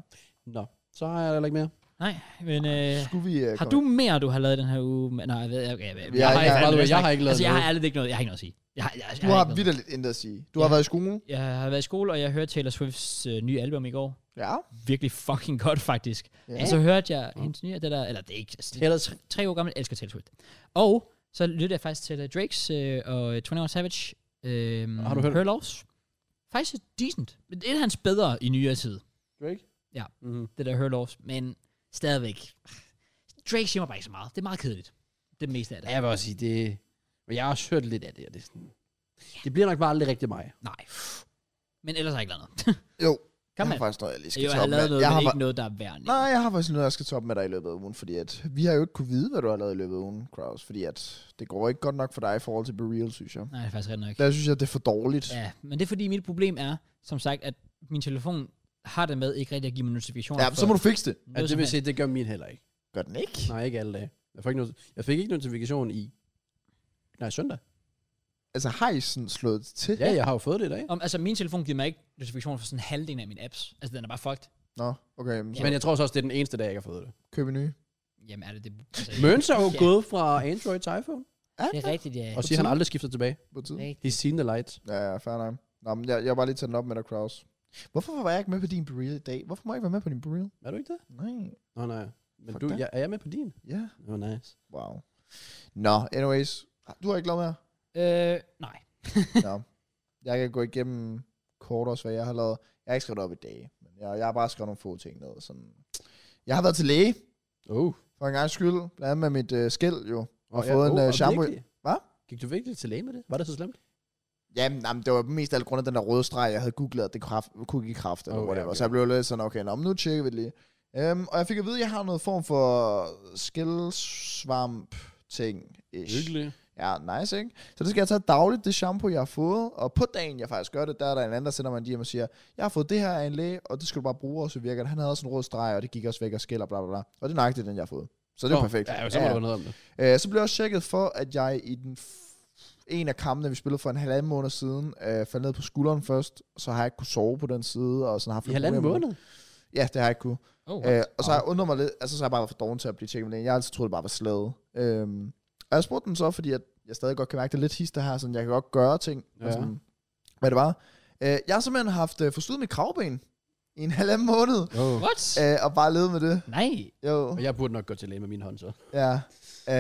Speaker 2: Nå, så har jeg heller ikke mere.
Speaker 1: Nej, men øh,
Speaker 3: Skulle vi... Uh,
Speaker 1: har du mere, du har lavet den her uge? Men- Nej, jeg ved okay, jeg, jeg, jeg,
Speaker 3: Jeg-
Speaker 1: har
Speaker 3: jeg-
Speaker 1: ikke,
Speaker 3: by
Speaker 2: the way,
Speaker 1: jeg,
Speaker 2: jeg har ikke lavet
Speaker 1: altså, jeg har
Speaker 2: noget.
Speaker 1: ærligt ikke noget. Jeg har ikke noget at sige. Jeg har, jeg, jeg,
Speaker 3: du
Speaker 1: jeg
Speaker 3: har
Speaker 1: ikke noget.
Speaker 3: vidderligt intet at sige. Du
Speaker 1: Ja.
Speaker 3: har været i skolen.
Speaker 1: Jeg har været i skole, og jeg hørte Taylor Swifts øh, nye album i går.
Speaker 3: Ja.
Speaker 1: Virkelig fucking godt, faktisk.
Speaker 3: Ja.
Speaker 1: Yeah. Og så hørte jeg hendes nye, det der, eller det er ikke, altså, det er tre, tre år gammel, jeg elsker Taylor Swift. Og så lyttede jeg faktisk til øh, Drakes øh, og 21 Savage. Øh,
Speaker 2: Har du hørt det?
Speaker 1: Her Laws. Faktisk decent. Men det er hans bedre i nyere tid,
Speaker 2: Drake?
Speaker 1: Ja.
Speaker 2: Mm-hmm.
Speaker 1: det der Her Laws. Men stadigvæk. Drake siger mig bare ikke så meget. Det er meget kedeligt. Det meste af det.
Speaker 2: Ja, jeg vil også sige, det... Men jeg har også hørt lidt af det, og det, er sådan... det bliver nok bare aldrig rigtig mig.
Speaker 1: Nej. Men ellers har jeg ikke lavet noget.
Speaker 3: Jo.
Speaker 1: Kan
Speaker 3: jeg
Speaker 1: man?
Speaker 3: har faktisk noget, jeg lige skal
Speaker 1: Jeg har
Speaker 3: toppe
Speaker 1: lavet
Speaker 3: med.
Speaker 1: noget,
Speaker 3: jeg
Speaker 1: men
Speaker 3: har
Speaker 1: ikke noget, der er værd.
Speaker 3: Nej, jeg har faktisk noget, jeg skal toppe med dig i løbet af ugen, fordi at vi har jo ikke kunne vide, hvad du har lavet i løbet af ugen, Kraus, fordi at det går ikke godt nok for dig i forhold til Bereal, synes jeg.
Speaker 1: Nej, det er faktisk ret nok.
Speaker 3: Der synes jeg, det er for dårligt.
Speaker 1: Ja, men det er fordi, mit problem er, som sagt, at min telefon har det med ikke rigtig at give mig notifikationer.
Speaker 3: Ja, så må du fikse det.
Speaker 2: Ja, Altså, det vil sige, det gør min heller ikke.
Speaker 3: Gør den ikke?
Speaker 2: Nej, ikke alle dage. Jeg fik ikke, not- jeg fik ikke notifikation i... Nej, søndag.
Speaker 3: Altså, har I sådan slået til?
Speaker 2: Ja, jeg har jo fået det i dag.
Speaker 1: Om, altså, min telefon giver mig ikke notifikationer for sådan halvdelen af mine apps. Altså, den er bare fucked.
Speaker 3: Nå, okay, men så
Speaker 2: Men jeg tror så også, det er den eneste dag, jeg ikke har fået det.
Speaker 3: køb en ny.
Speaker 1: Jamen, er det det? Altså,
Speaker 2: Møns er jo
Speaker 1: Ja.
Speaker 2: gået fra Android til iPhone,
Speaker 3: Ja,
Speaker 1: Det er rigtigt, ja.
Speaker 2: og siger, han aldrig skifter tilbage.
Speaker 3: På tid.
Speaker 1: Rigtigt.
Speaker 2: He's seen the light.
Speaker 3: Ja, ja, fair nok. Nå, men jeg, jeg var bare lige tage den op med dig, Kraus. Hvorfor var jeg ikke med på din Bereal i dag? Hvorfor må jeg ikke være med på din Bereal?
Speaker 2: Er du ikke det?
Speaker 3: Nej.
Speaker 2: Nå, nej. Men
Speaker 3: Fuck
Speaker 2: du,
Speaker 3: dig.
Speaker 2: jeg, er jeg med på din?
Speaker 3: Ja,
Speaker 2: Det var nice.
Speaker 3: wow. Nå, anyways. Du har ikke lavet mere?
Speaker 1: Øh, nej.
Speaker 3: Nå. Jeg kan gå igennem kort også, hvad jeg har lavet. Jeg har ikke skrevet op i dag, men jeg, jeg har bare skrevet nogle få ting ned. Sådan. Jeg har været til læge,
Speaker 2: Oh.
Speaker 3: for en gang skyld. Blandt andet med mit øh, skæld, jo. Og
Speaker 2: ja,
Speaker 3: fået en
Speaker 2: og
Speaker 3: øh, shampoo.
Speaker 2: virkelig?
Speaker 3: Hvad?
Speaker 2: Gik du virkelig til læge med det? Var det så slemt?
Speaker 3: Jamen, jamen, det var mest af alt grund af den der røde streg, jeg havde googlet, at det kraft, kunne give kraft, eller
Speaker 2: Oh,
Speaker 3: oh,
Speaker 2: ja,
Speaker 3: whatever.
Speaker 2: okay.
Speaker 3: Så jeg blev lidt sådan, okay, nå, men nu tjekker vi det lige. Um, og jeg fik at vide, at jeg har noget form for skældsvamp ting -ish. Ja, nice, ikke? Så det skal jeg tage dagligt, det shampoo, jeg har fået. Og på dagen, jeg faktisk gør det, der er der en anden, der sender mig en DM og siger, jeg har fået det her af en læge, og det skal du bare bruge, og så virker det. Han havde også en rød streg, og det gik også væk og skæld, og bla bla bla. Og det er nøjagtigt, den jeg har fået. Så det er
Speaker 2: Nå,
Speaker 3: oh, perfekt.
Speaker 2: Ja, så må du noget om det.
Speaker 3: Øh, så blev jeg også tjekket for, at jeg i den f- en af kampene, vi spillede for en halvanden måned siden, øh, faldt ned på skulderen først, så har jeg ikke kunne sove på den side. Og sådan har haft
Speaker 2: I
Speaker 3: lidt
Speaker 2: halvanden
Speaker 3: problemer med
Speaker 2: måned?
Speaker 3: det. Ja, det har jeg ikke kunne.
Speaker 1: Oh,
Speaker 3: Øh, og så har jeg undret mig lidt, altså så har jeg bare været for doven til at blive tjekket med det. Jeg har altid troet, det bare var slået. Øhm, og jeg spurgte den så, fordi at jeg stadig godt kan mærke, det er lidt hister her, sådan jeg kan godt gøre ting,
Speaker 2: Ja.
Speaker 3: ja. sådan, hvad det var. Øh, jeg har simpelthen haft øh, forstået mit kravben i en halvanden måned,
Speaker 2: Oh.
Speaker 1: What?
Speaker 3: øh, og bare levet med det.
Speaker 1: Nej.
Speaker 3: Jo,
Speaker 2: Og jeg burde nok gå til læge med min hånd så.
Speaker 3: ja. Øh,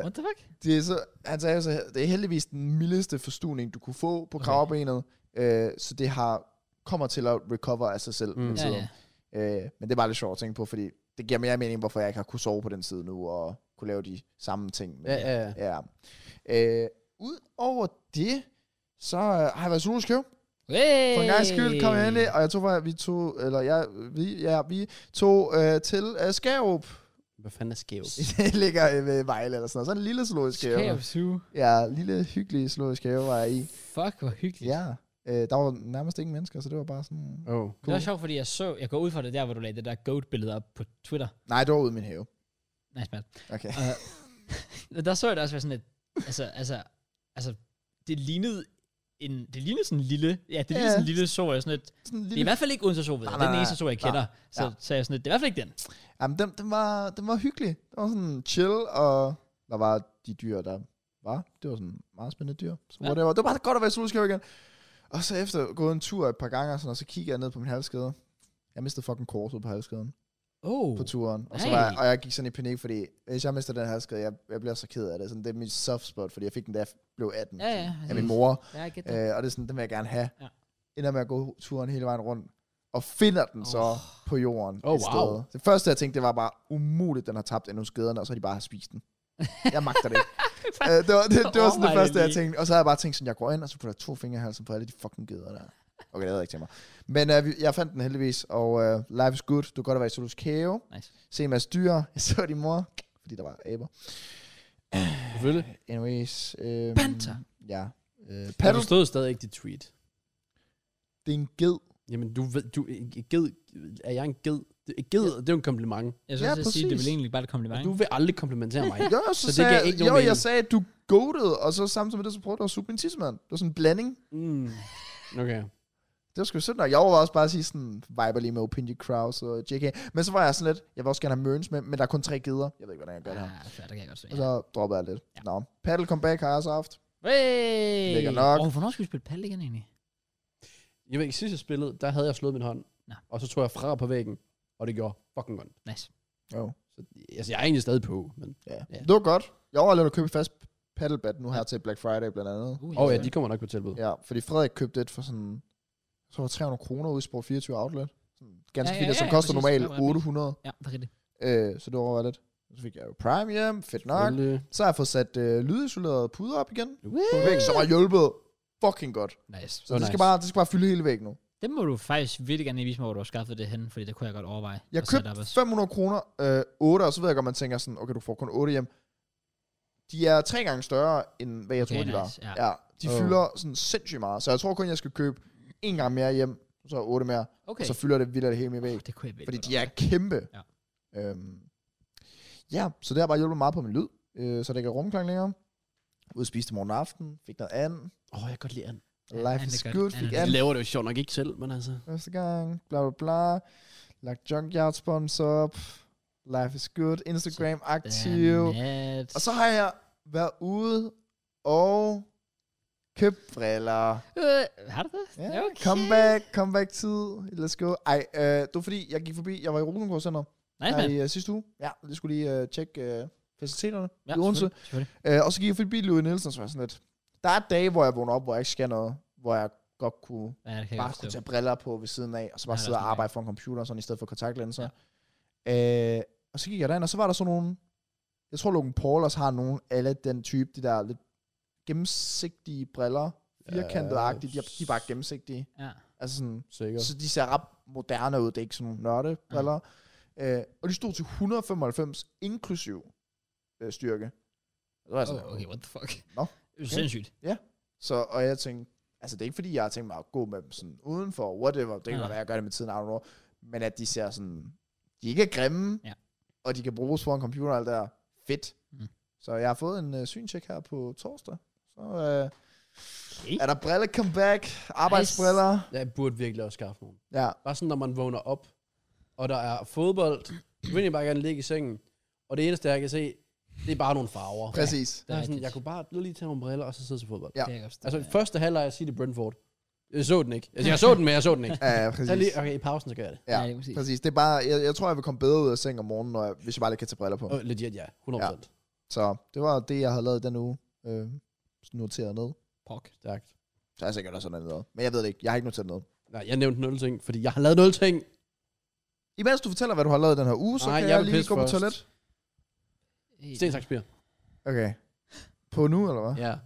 Speaker 1: What the fuck?
Speaker 3: det er så, han sagde så, det er heldigvis den mildeste forstuning, du kunne få på
Speaker 1: Okay.
Speaker 3: kravbenet, øh, så det har kommer til at recover af sig selv
Speaker 2: Mm.
Speaker 3: mm. med
Speaker 1: Ja,
Speaker 3: tiden.
Speaker 1: ja.
Speaker 3: Øh, men det er bare lidt sjovt at tænke på, fordi det giver mere mening, hvorfor jeg ikke har kunne sove på den side nu, og kunne lave de samme ting. Men,
Speaker 2: Ja, ja, ja.
Speaker 3: ja. Øh, Udover det, så øh, har jeg været zoologisk have.
Speaker 1: Hey.
Speaker 3: For en gang skyld kom jeg endelig, og jeg tog, fra- vi tog, eller jeg, vi, ja, vi tog øh, til øh, Skærup.
Speaker 2: Hvad fanden er skævt?
Speaker 3: det ligger øh, ved Vejle eller sådan noget. Sådan en lille zoologisk have.
Speaker 1: Skæv su.
Speaker 3: Ja, lille hyggelig zoologisk have var jeg i.
Speaker 1: Fuck, hvor hyggeligt.
Speaker 3: Ja, øh, der var nærmest ingen mennesker, så det var bare sådan...
Speaker 2: Oh.
Speaker 1: Det var sjovt, fordi jeg så, jeg går ud fra det der, hvor du lagde det der goat-billede op på Twitter.
Speaker 3: Nej, det var ude i min have.
Speaker 1: Nej, smart.
Speaker 3: Okay.
Speaker 1: Der så jeg det også være sådan et, altså, altså, altså, det lignede en, det lignede sådan en lille, ja, det lignede
Speaker 3: Ja.
Speaker 1: sådan en lille sol, sådan et,
Speaker 3: Sådan en
Speaker 1: det er i
Speaker 3: lille...
Speaker 1: hvert fald ikke Odense sol, ved jeg.
Speaker 3: Nej,
Speaker 1: det er den
Speaker 3: nej,
Speaker 1: eneste sol, jeg
Speaker 3: nej.
Speaker 1: kender, så,
Speaker 3: Ja.
Speaker 1: så er jeg sådan lidt, det er i hvert fald ikke den.
Speaker 3: Jamen, den, den, var, den var hyggelig. Den var sådan chill, og der var de dyr, der var. Det var sådan meget spændende dyr. Så
Speaker 1: Ja.
Speaker 3: ja. det, var. det var bare godt at være i zoologisk have igen. Og så efter gået en tur et par gange, og, sådan, og så kigger jeg ned på min halskæde. Jeg mistede fucking korset på halskæden.
Speaker 1: Oh,
Speaker 3: på turen. Og, så
Speaker 1: Nej.
Speaker 3: var jeg, og jeg gik sådan i panik, fordi hvis jeg mister den her skade, jeg, jeg bliver så ked af det. Sådan, det er min soft spot, fordi jeg fik den, da jeg blev 18
Speaker 1: Ja, ja.
Speaker 3: af min mor.
Speaker 1: ja, jeg gætter.
Speaker 3: Øh, og det er sådan, den vil jeg gerne have.
Speaker 1: Ja.
Speaker 3: ender med at gå turen hele vejen rundt, og finder den oh. så på jorden
Speaker 2: Oh,
Speaker 3: et
Speaker 2: wow.
Speaker 3: sted. Det første, jeg tænkte, det var bare umuligt, den har tabt endnu skaderne, og så har de bare spist den. Jeg magter det. ikke. Øh, det var, det, det var sådan det
Speaker 1: Overvej det
Speaker 3: første, jeg
Speaker 1: lige.
Speaker 3: tænkte. Og så har jeg bare tænkt sådan, jeg går ind, og så putter jeg to fingre i halsen på alle de fucking geder der. Okay, det havde jeg ikke til mig. Men øh, vi- jeg fandt den heldigvis, og øh, life is good. Du kan godt at være i Zoologisk Have.
Speaker 1: Nice.
Speaker 3: Se en masse dyr. Jeg så din mor, fordi der var aber.
Speaker 2: Selvfølgelig.
Speaker 3: Anyways. Øh,
Speaker 1: Panther.
Speaker 3: Ja. Øh,
Speaker 2: Jeg
Speaker 3: paddle,
Speaker 2: forstod stadig ikke dit tweet.
Speaker 3: det er en ged.
Speaker 2: Jamen, du ved, du, ged, er jeg en ged? Det- Ged, det er jo en kompliment.
Speaker 1: Jeg synes,
Speaker 3: Ja,
Speaker 1: ja, at sige, det er
Speaker 3: præcis.
Speaker 1: vel egentlig bare et
Speaker 2: Og
Speaker 1: kompliment.
Speaker 2: du vil aldrig komplimentere mig.
Speaker 3: Jo, så,
Speaker 2: Så det
Speaker 3: sagde,
Speaker 2: gav
Speaker 3: jeg-
Speaker 2: ikke
Speaker 3: jo,
Speaker 2: nogen mening.
Speaker 3: jeg sagde, at du goatede, og så samtidig med det, så prøvede du at suge min tissemand. Det var sådan en blanding.
Speaker 2: Mm. Okay.
Speaker 3: Det var sgu sødt nok. Jeg overvejede også bare at sige sådan, viber lige med Opinion Kraus og JK. Men så var jeg sådan lidt, jeg vil også gerne have Mørens med, men der er kun tre geder. Jeg ved ikke, hvordan jeg gør det Altså, her.
Speaker 1: Ah, fair, det kan jeg godt se.
Speaker 3: Og så droppede jeg lidt.
Speaker 1: Ja.
Speaker 3: Ja. Nå, paddle comeback har jeg så haft.
Speaker 1: Hey!
Speaker 3: Lækker nok.
Speaker 1: Åh, oh, hvornår skal vi spille paddle igen egentlig?
Speaker 2: Jeg ved ikke, sidst jeg spillede, der havde jeg slået min hånd.
Speaker 1: Nå.
Speaker 2: Og så tog jeg fra på væggen, og det gjorde fucking ondt.
Speaker 1: Nice.
Speaker 3: Jo.
Speaker 2: Så altså, jeg er egentlig stadig på, men...
Speaker 3: Ja.
Speaker 2: Ja.
Speaker 3: ja. Det var godt. Jeg overlevede at købe et fast paddlebat nu her til Black Friday blandt andet.
Speaker 1: Uh,
Speaker 2: Åh oh, ja, de kommer nok på tilbud.
Speaker 3: Ja, fordi Frederik købte et for sådan, så var 300 kroner ude i Sport 24 Outlet. Sådan ganske
Speaker 1: Ja,
Speaker 3: ja,
Speaker 1: ja,
Speaker 3: fint, ja,
Speaker 1: ja,
Speaker 3: som
Speaker 1: ja,
Speaker 3: koster
Speaker 1: præcis.
Speaker 3: normalt
Speaker 1: Det var ret billigt.
Speaker 3: 800.
Speaker 1: Ja, det er rigtigt.
Speaker 3: Øh, så det var lidt. Så fik jeg jo Prime hjem, fedt nok.
Speaker 2: Selvfølgelig.
Speaker 3: Så har jeg fået sat øh, lydisolerede puder op igen. På
Speaker 2: Woo!
Speaker 3: væggen, som har hjulpet fucking godt.
Speaker 1: Nice.
Speaker 3: Så
Speaker 2: Hvor
Speaker 3: oh, det, skal
Speaker 2: nice.
Speaker 3: bare, det skal bare fylde hele væggen nu.
Speaker 1: Det må du faktisk virkelig gerne lige vise mig, hvor du har skaffet det hen, fordi det kunne jeg godt overveje.
Speaker 3: Jeg
Speaker 1: at sætte op
Speaker 3: købte
Speaker 1: også.
Speaker 3: 500 kroner, øh, 8, og så ved jeg godt, man tænker sådan, okay, du får kun 8 hjem. De er tre gange større, end hvad jeg
Speaker 1: Okay,
Speaker 3: troede, de var.
Speaker 1: nice, ja.
Speaker 3: ja. de
Speaker 2: Oh.
Speaker 3: fylder sådan sindssygt meget. Så jeg tror kun, jeg skal købe en gang mere hjem, så 8 mere,
Speaker 1: Okay.
Speaker 3: så fylder det vildt det hele med væg.
Speaker 1: Åh, det kunne jeg virkelig
Speaker 3: Fordi
Speaker 1: godt
Speaker 3: de er kæmpe.
Speaker 1: Ja.
Speaker 3: Øhm, ja, så det har bare hjulpet meget på min lyd, øh, så det ikke er rumklang længere. Ud spiste morgen og aften, fik noget andet.
Speaker 2: Åh, oh, jeg kan godt lide and.
Speaker 1: Ja, and
Speaker 3: Life is
Speaker 1: er godt.
Speaker 3: good,
Speaker 1: And
Speaker 3: fik
Speaker 1: er
Speaker 2: De
Speaker 3: andet
Speaker 2: laver det jo sjovt nok ikke selv, men altså...
Speaker 3: første gang, bla bla bla. Lagt junkyard spons op. Life is good, Instagram aktiv.
Speaker 1: Damn it.
Speaker 3: Og så har jeg været ude og købt briller.
Speaker 1: Øh, har du det?
Speaker 3: Ja,
Speaker 1: Okay.
Speaker 3: Comeback, comeback tid. Let's go. Ej, øh, det var fordi, jeg gik forbi, jeg var i Rosengård Center
Speaker 1: Nice,
Speaker 3: her
Speaker 1: man.
Speaker 3: i øh, sidste uge. Ja, det skulle lige øh, tjekke øh, faciliteterne ja, i
Speaker 1: selvfølgelig,
Speaker 3: Odense.
Speaker 1: selvfølgelig.
Speaker 3: Øh, og så gik jeg forbi Louis Nielsen, så var jeg sådan lidt. Der er dage, hvor jeg vågner op, hvor jeg ikke skal noget. Hvor jeg godt kunne
Speaker 1: Ja, det kan jeg
Speaker 3: bare
Speaker 1: godt
Speaker 3: kunne
Speaker 1: forstå.
Speaker 3: tage briller på ved siden af, og så bare
Speaker 1: Ja,
Speaker 3: sidde
Speaker 1: der er
Speaker 3: og
Speaker 1: sådan
Speaker 3: arbejde for en computer, sådan, i stedet for kontaktlinser. Ja. Øh, og så gik jeg derind, og så var der sådan nogle, jeg tror Logan Paul også har nogle, alle den type, de der lidt gennemsigtige briller,
Speaker 1: Øh,
Speaker 3: firkantet-agtige, de, er- de er bare gennemsigtige.
Speaker 1: Ja.
Speaker 3: Altså sådan,
Speaker 2: Sikkert.
Speaker 3: så de ser ret moderne ud, det er ikke sådan nogle
Speaker 1: Mm.
Speaker 3: nørdebriller. Ja. Øh, og de stod til 195, inklusiv øh, styrke. Og Så, var jeg sådan,
Speaker 1: Oh, okay, what the fuck?
Speaker 3: Altså, Nå,
Speaker 1: Okay. Sindssygt.
Speaker 3: så, og jeg tænkte, altså det er ikke fordi, jeg har tænkt mig at gå med dem sådan udenfor, whatever, det kan
Speaker 1: Nej.
Speaker 3: godt være, jeg gør det med tiden, I don't know, men at de ser sådan, de ikke er grimme,
Speaker 1: Ja.
Speaker 3: og de kan bruges for en computer og alt det der, fedt.
Speaker 1: Mm.
Speaker 3: Mm. Så jeg har fået en øh, syntjek her på torsdag, så øh,
Speaker 1: Okay.
Speaker 3: er der brille comeback, arbejdsbriller, nice.
Speaker 2: Jeg burde virkelig også skaffe nogen.
Speaker 3: ja,
Speaker 2: Bare sådan, når man vågner op, og der er fodbold, så vil jeg bare gerne ligge i sengen, og det eneste, jeg kan se, det er bare nogle farver.
Speaker 3: præcis.
Speaker 1: Det
Speaker 2: Der
Speaker 1: er
Speaker 2: er sådan,
Speaker 1: rigtigt.
Speaker 2: jeg kunne bare lige tage nogle briller, og så sidde til fodbold.
Speaker 3: Ja.
Speaker 1: Det kan jeg godt forstå.
Speaker 2: Altså,
Speaker 1: Ja.
Speaker 2: første halvleg af City Brentford. Jeg så den ikke. Altså, jeg så den, men jeg så den ikke.
Speaker 3: Ja, ja,
Speaker 2: Så
Speaker 3: præcis.
Speaker 2: lige, okay, i pausen, så gør jeg det.
Speaker 3: Ja,
Speaker 1: Ja, det er præcis.
Speaker 3: præcis. Det er bare, jeg, jeg tror, jeg vil komme bedre ud af seng om morgenen, når jeg, hvis jeg bare lige kan tage briller på.
Speaker 2: Oh, legit, ja. 100%. Ja.
Speaker 3: Så det var det, jeg havde lavet den uge, øh, noteret ned.
Speaker 1: Pok.
Speaker 2: Stærkt.
Speaker 3: Så er jeg sikkert også noget andet. Men jeg ved det ikke. Jeg har ikke noteret noget.
Speaker 2: Nej, jeg nævnte nul ting, fordi jeg har lavet nul ting.
Speaker 3: Imens du fortæller, hvad du har lavet den her uge, så
Speaker 2: Nej,
Speaker 3: Nej, kan
Speaker 2: jeg
Speaker 3: jeg,
Speaker 2: vil
Speaker 3: lige
Speaker 2: pisse
Speaker 3: gå på
Speaker 2: først.
Speaker 3: toilet.
Speaker 2: Sten, saks, papir.
Speaker 3: Okay. På nu, eller hvad? Ja.
Speaker 2: Ja.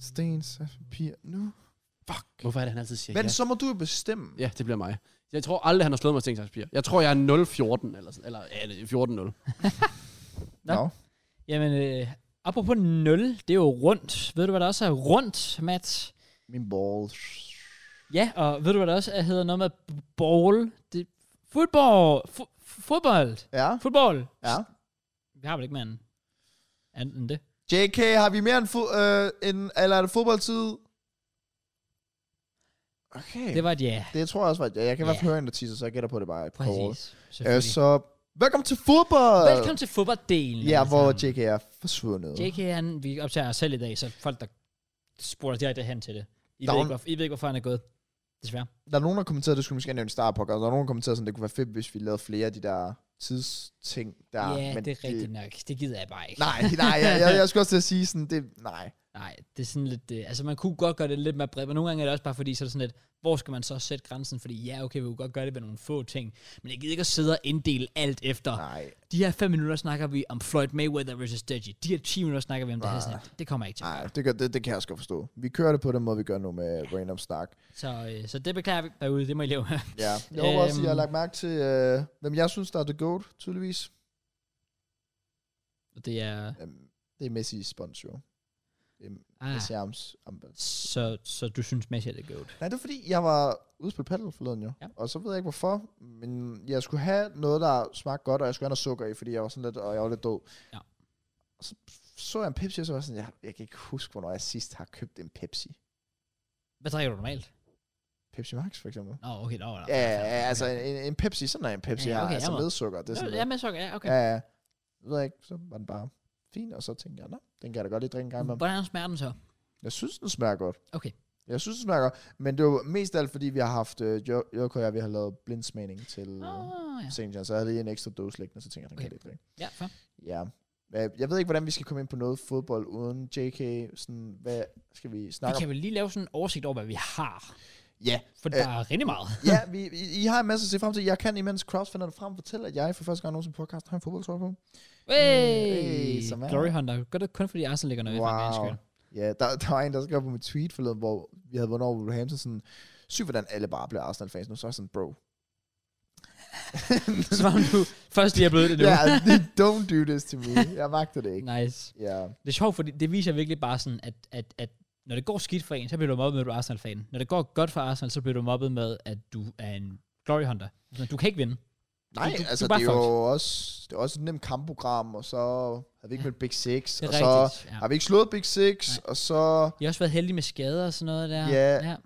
Speaker 3: Sten, saks, papir, nu. Fuck.
Speaker 2: Hvorfor er det, han altid siger
Speaker 3: Men
Speaker 2: ja?
Speaker 3: så må du jo bestemme.
Speaker 2: Ja, det bliver mig. Jeg tror aldrig, han har slået mig sten, saks, papir. Jeg tror, jeg er 0-14, eller, sådan- eller ja, det er 14-0.
Speaker 1: Nå. Jamen, øh, apropos 0, det er jo rundt. Ved du, hvad der også er rundt, Matt?
Speaker 3: Min balls.
Speaker 1: Ja, og ved du, hvad der også er, hedder noget med b- ball? Det, football! Fu- fodbold!
Speaker 3: Ja,
Speaker 1: Fodbold!
Speaker 3: ja.
Speaker 1: Vi har vel ikke mere end, andet end det?
Speaker 3: JK, har vi mere end, fo- øh, end eller er det fodboldtid? Okay.
Speaker 1: Det var et ja.
Speaker 3: det tror jeg også var, ja, jeg kan i hvert fald
Speaker 1: Ja.
Speaker 3: høre en, der tisser, så jeg gætter på at det bare. er et call.
Speaker 1: Præcis.
Speaker 3: Øh,
Speaker 1: Selvfølgelig.
Speaker 3: så, velkommen til fodbold!
Speaker 1: Velkommen til fodbolddelen.
Speaker 3: Ja,
Speaker 1: alle
Speaker 3: hvor
Speaker 1: sammen.
Speaker 3: JK er forsvundet.
Speaker 1: JK, han, vi optager os selv i dag, så folk, der spurgte direkte hen til det. I,
Speaker 3: Der
Speaker 1: ved ikke,
Speaker 3: var en-
Speaker 1: hvorfor, I ved ikke, hvorfor han er gået. Desværre.
Speaker 3: Der er nogen, der kommenterede, det skulle vi måske have nævnt i starten af podcasten. Der er nogen, der kommenterede, sådan, det kunne være fedt, hvis vi lavede flere af de der tidsting. Der,
Speaker 1: Ja, ja det er rigtigt nok. Det gider jeg bare ikke.
Speaker 3: Nej, nej, jeg, jeg, jeg skulle også til at sige sådan, det, nej.
Speaker 1: Nej, det er sådan lidt... Øh, altså, man kunne godt gøre det lidt mere bredt, men nogle gange er det også bare fordi, så er det sådan lidt, hvor skal man så sætte grænsen? Fordi ja, okay, vi kunne godt gøre det ved nogle få ting, men jeg gider ikke at sidde og inddele alt efter. Nej.
Speaker 3: Nej,
Speaker 1: De her fem minutter snakker vi om Floyd Mayweather versus Deji. De her 10 minutter snakker vi om det her.
Speaker 3: Nej.
Speaker 1: Sådan, lidt. det kommer jeg ikke til.
Speaker 3: nej, det, gør, det, det kan jeg også godt forstå. Vi kører det på den måde, vi gør nu med random snak.
Speaker 1: Så, øh, så det beklager vi derude, det må I leve med.
Speaker 3: Ja. Jeg håber også,
Speaker 1: Øhm.
Speaker 3: I har lagt mærke til, øh, hvem jeg synes, der er the goat, tydeligvis.
Speaker 1: Og det er...
Speaker 3: Øhm, det er Messi sponsor. Det er
Speaker 1: Ah,
Speaker 3: Øhm, Messi Arms ambas-
Speaker 1: så, så du synes Messi er det goat.
Speaker 3: Nej, det er fordi, jeg var ude at spille paddle forleden jo.
Speaker 1: Ja.
Speaker 3: Ja. Og så ved jeg ikke hvorfor, men jeg skulle have noget, der smagte godt, og jeg skulle have noget sukker i, fordi jeg var sådan lidt, og jeg var lidt død.
Speaker 1: Ja.
Speaker 3: Og så så jeg en Pepsi, og så var jeg sådan, jeg, jeg kan ikke huske, hvornår jeg sidst har købt en Pepsi.
Speaker 1: Hvad drikker du normalt?
Speaker 3: Pepsi Max for eksempel.
Speaker 1: Nå, okay, nå, nå.
Speaker 3: Ja, ja, ja, altså en, en, en Pepsi, sådan er en Pepsi
Speaker 1: Ja,
Speaker 3: ja,
Speaker 1: okay,
Speaker 3: okay, altså
Speaker 1: jeg må-
Speaker 3: med sukker. Det er sådan
Speaker 1: Okay. Ja,
Speaker 3: lidt-
Speaker 1: med sukker, ja, okay.
Speaker 3: ja, ja. Jeg ved ikke, så var den bare fin, og så tænkte jeg, nå, den kan jeg da godt lige drikke en gang med.
Speaker 1: Hvordan smager den så?
Speaker 3: Jeg synes, den smager godt.
Speaker 1: Okay.
Speaker 3: Jeg synes, den smager godt, men det var mest af alt, fordi vi har haft, øh, Jo- Joko og jeg, vi har lavet blindsmagning til... øh,
Speaker 1: Oh, ja.
Speaker 3: ja. St. John, så jeg havde lige en ekstra dose liggende, så tænker jeg, den kan
Speaker 1: Okay.
Speaker 3: jeg lidt drikke.
Speaker 1: ja, fair.
Speaker 3: Ja. Øh, Jeg ved ikke, hvordan vi skal komme ind på noget fodbold uden JK. Sådan, hvad skal vi
Speaker 1: Vi
Speaker 3: snakke
Speaker 1: kan
Speaker 3: om?
Speaker 1: vel lige lave sådan en oversigt over, hvad vi har.
Speaker 3: Ja,
Speaker 1: For
Speaker 3: Øh.
Speaker 1: der er rigtig meget.
Speaker 3: ja vi, I, I, har en masse at se frem til. Jeg kan imens crossfinder det frem fortælle, at jeg for første gang nogensinde på podcast har en fodboldtrøje på.
Speaker 1: Hey!
Speaker 3: Hey, Mm, som er-
Speaker 1: Glory Hunter. Gør det kun fordi Arsenal ligger noget wow. i skyld.
Speaker 3: Ja, der, der var en, der skrev på mit tweet forleden, hvor vi havde vundet over Wolverhampton, sådan, syg hvordan alle bare bliver Arsenal-fans nu, så er jeg sådan, bro.
Speaker 1: Som om du først lige er blevet det nu.
Speaker 3: Ja, altså. don't do this to me. Jeg magter det ikke.
Speaker 1: Nice.
Speaker 3: Ja.
Speaker 1: Det er sjovt, fordi det viser virkelig bare sådan, at, at, at når det går skidt for en, så bliver du mobbet med, at du er Arsenal-fan. Når det går godt for Arsenal, så bliver du mobbet med, at du er en Glory Hunter. Sådan, Du kan ikke vinde.
Speaker 3: Nej,
Speaker 1: Du-
Speaker 3: du,
Speaker 1: du-
Speaker 3: du,
Speaker 1: du
Speaker 3: altså
Speaker 1: er
Speaker 3: det
Speaker 1: bare
Speaker 3: er jo også, det er også et nemt kampprogram, og så havde vi ikke
Speaker 1: Ja.
Speaker 3: ja. med Big Six,
Speaker 1: Det er
Speaker 3: og så
Speaker 1: rigtigt. Ja.
Speaker 3: har vi ikke slået Big Six,
Speaker 1: Nej.
Speaker 3: Nej. og så,
Speaker 1: Jeg har også været heldig med skader og sådan noget der.
Speaker 3: Ja.
Speaker 1: ja.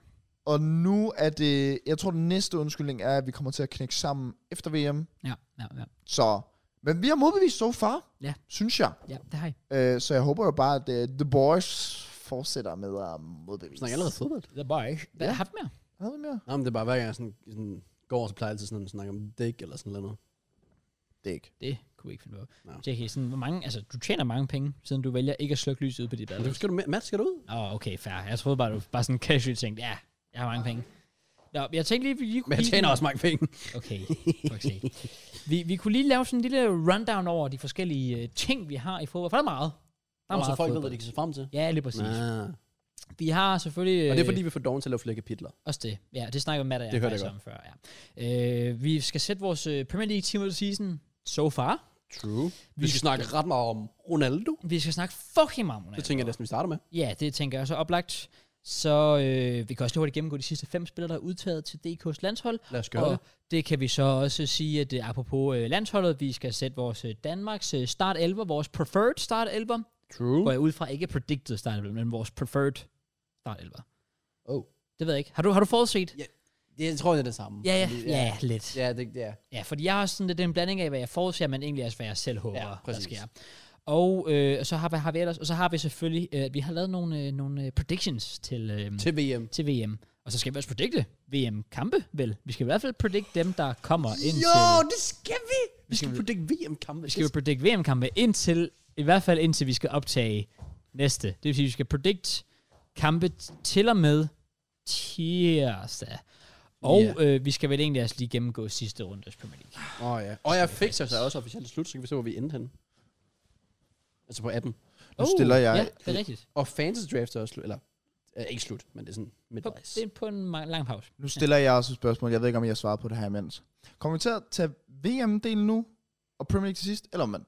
Speaker 3: og nu er det, jeg tror den næste undskyldning er, at vi kommer til at knække sammen efter VM,
Speaker 1: Ja, ja, ja.
Speaker 3: så, men vi har modbevist so far,
Speaker 1: Ja.
Speaker 3: synes jeg,
Speaker 1: ja det har jeg.
Speaker 3: øh, så jeg håber jo bare, at uh, The Boys fortsætter med at
Speaker 2: Vi
Speaker 3: modbevise.
Speaker 2: snakker allerede fodbold.
Speaker 1: The boy. Hvad har jeg haft mere?
Speaker 3: Havde vi mere?
Speaker 2: Nej, men det er bare hver gang, jeg sådan, sådan går, så plejer jeg altid sådan at snakke om dæk eller sådan noget.
Speaker 3: Det er ikke.
Speaker 1: Det kunne vi ikke finde på.
Speaker 2: Nå.
Speaker 1: JK, sådan, hvor mange, altså, du tjener mange penge, siden du vælger ikke at slukke lyset ud på dit
Speaker 2: Men
Speaker 1: bad.
Speaker 2: du, skal du, med- Matt, skal du ud?
Speaker 1: Åh, oh, okay, fair. Jeg troede bare, du bare sådan casual tænkte, ja, jeg har mange penge. Nå, jeg tænkte lige, vi lige kunne...
Speaker 2: Men jeg
Speaker 1: lige-
Speaker 2: tjener også mange penge.
Speaker 1: Okay, fuck sake. vi, vi kunne lige lave sådan en lille rundown over de forskellige øh, ting, vi har i fodbold. For der er meget. Der er
Speaker 2: Og så
Speaker 1: meget
Speaker 2: folk ved,
Speaker 1: fodbold.
Speaker 2: hvad de kan se frem til.
Speaker 1: Ja, lige præcis. Nej.
Speaker 2: Ah.
Speaker 1: Vi har selvfølgelig...
Speaker 2: Og det er
Speaker 1: øh,
Speaker 2: fordi, vi får doven til at lave flere kapitler.
Speaker 1: Også det. Ja, det snakker Matt og jeg
Speaker 2: Det hørte jeg
Speaker 1: faktisk om før. Ja. Øh, vi skal sætte vores øh, Premier League Team of the Season so far.
Speaker 2: True. Vi skal snakke ret meget om Ronaldo.
Speaker 1: Vi skal snakke fucking meget om Ronaldo.
Speaker 2: Det tænker jeg næsten, vi starter med.
Speaker 1: Ja, det tænker jeg også er oplagt. Så øh, vi kan også lige hurtigt gennemgå de sidste fem spillere, der er udtaget til DK's landshold.
Speaker 2: Lad os
Speaker 1: og det kan vi så også sige, at øh, apropos øh, landsholdet, vi skal sætte vores øh, Danmarks øh, start 11, vores preferred start 11.
Speaker 2: True.
Speaker 1: Går jeg ud fra ikke predicted start 11, men vores preferred start 11.
Speaker 2: Oh.
Speaker 1: Det ved jeg ikke. Har du, har du forudset?
Speaker 2: Det, jeg tror, det er det samme.
Speaker 1: Ja, ja,
Speaker 2: Fordi-
Speaker 1: ja, lidt.
Speaker 2: Ja, det, ja.
Speaker 1: Ja, fordi jeg har sådan lidt en blanding af, hvad jeg forudser, men egentlig også, hvad jeg selv håber,
Speaker 2: Ja,
Speaker 1: ja, der
Speaker 2: præcis.
Speaker 1: sker. Og øh, så har, hvad har vi ellers? Og så har vi selvfølgelig, øh, vi har lavet nogle, øh, nogle øh, predictions til, øh,
Speaker 2: Til VM.
Speaker 1: til VM. Og så skal vi også predikte VM-kampe, vel? Vi skal i hvert fald predikte dem, der kommer ind
Speaker 2: Jo,
Speaker 1: til...
Speaker 2: det skal vi! Vi skal
Speaker 1: skal-
Speaker 2: predict VM-kampe.
Speaker 1: Vi skal jo predikte VM-kampe indtil, i hvert fald indtil vi skal optage næste. Det vil sige, vi skal predikte kampe t- til og med tirsdag. Og
Speaker 2: Ja.
Speaker 1: yeah. øh, vi skal vel egentlig også lige gennemgå sidste rundes Premier League.
Speaker 2: Åh, oh, ja. Og jeg fik så også officielt slut, så kan vi se, hvor vi endte henne. Altså på 18.
Speaker 3: Nu stiller jeg.
Speaker 1: Oh, Ja, det er rigtigt.
Speaker 2: Og Fantasy Draft er også slut, eller øh, ikke slut, men det er sådan
Speaker 1: På,
Speaker 2: midtvejs.
Speaker 1: det er på en ma- lang pause.
Speaker 3: Nu stiller jeg også et spørgsmål. Jeg ved ikke, om jeg har svaret på det her imens. Kommer vi til at tage VM-delen nu, og Premier League til sidst, eller om man?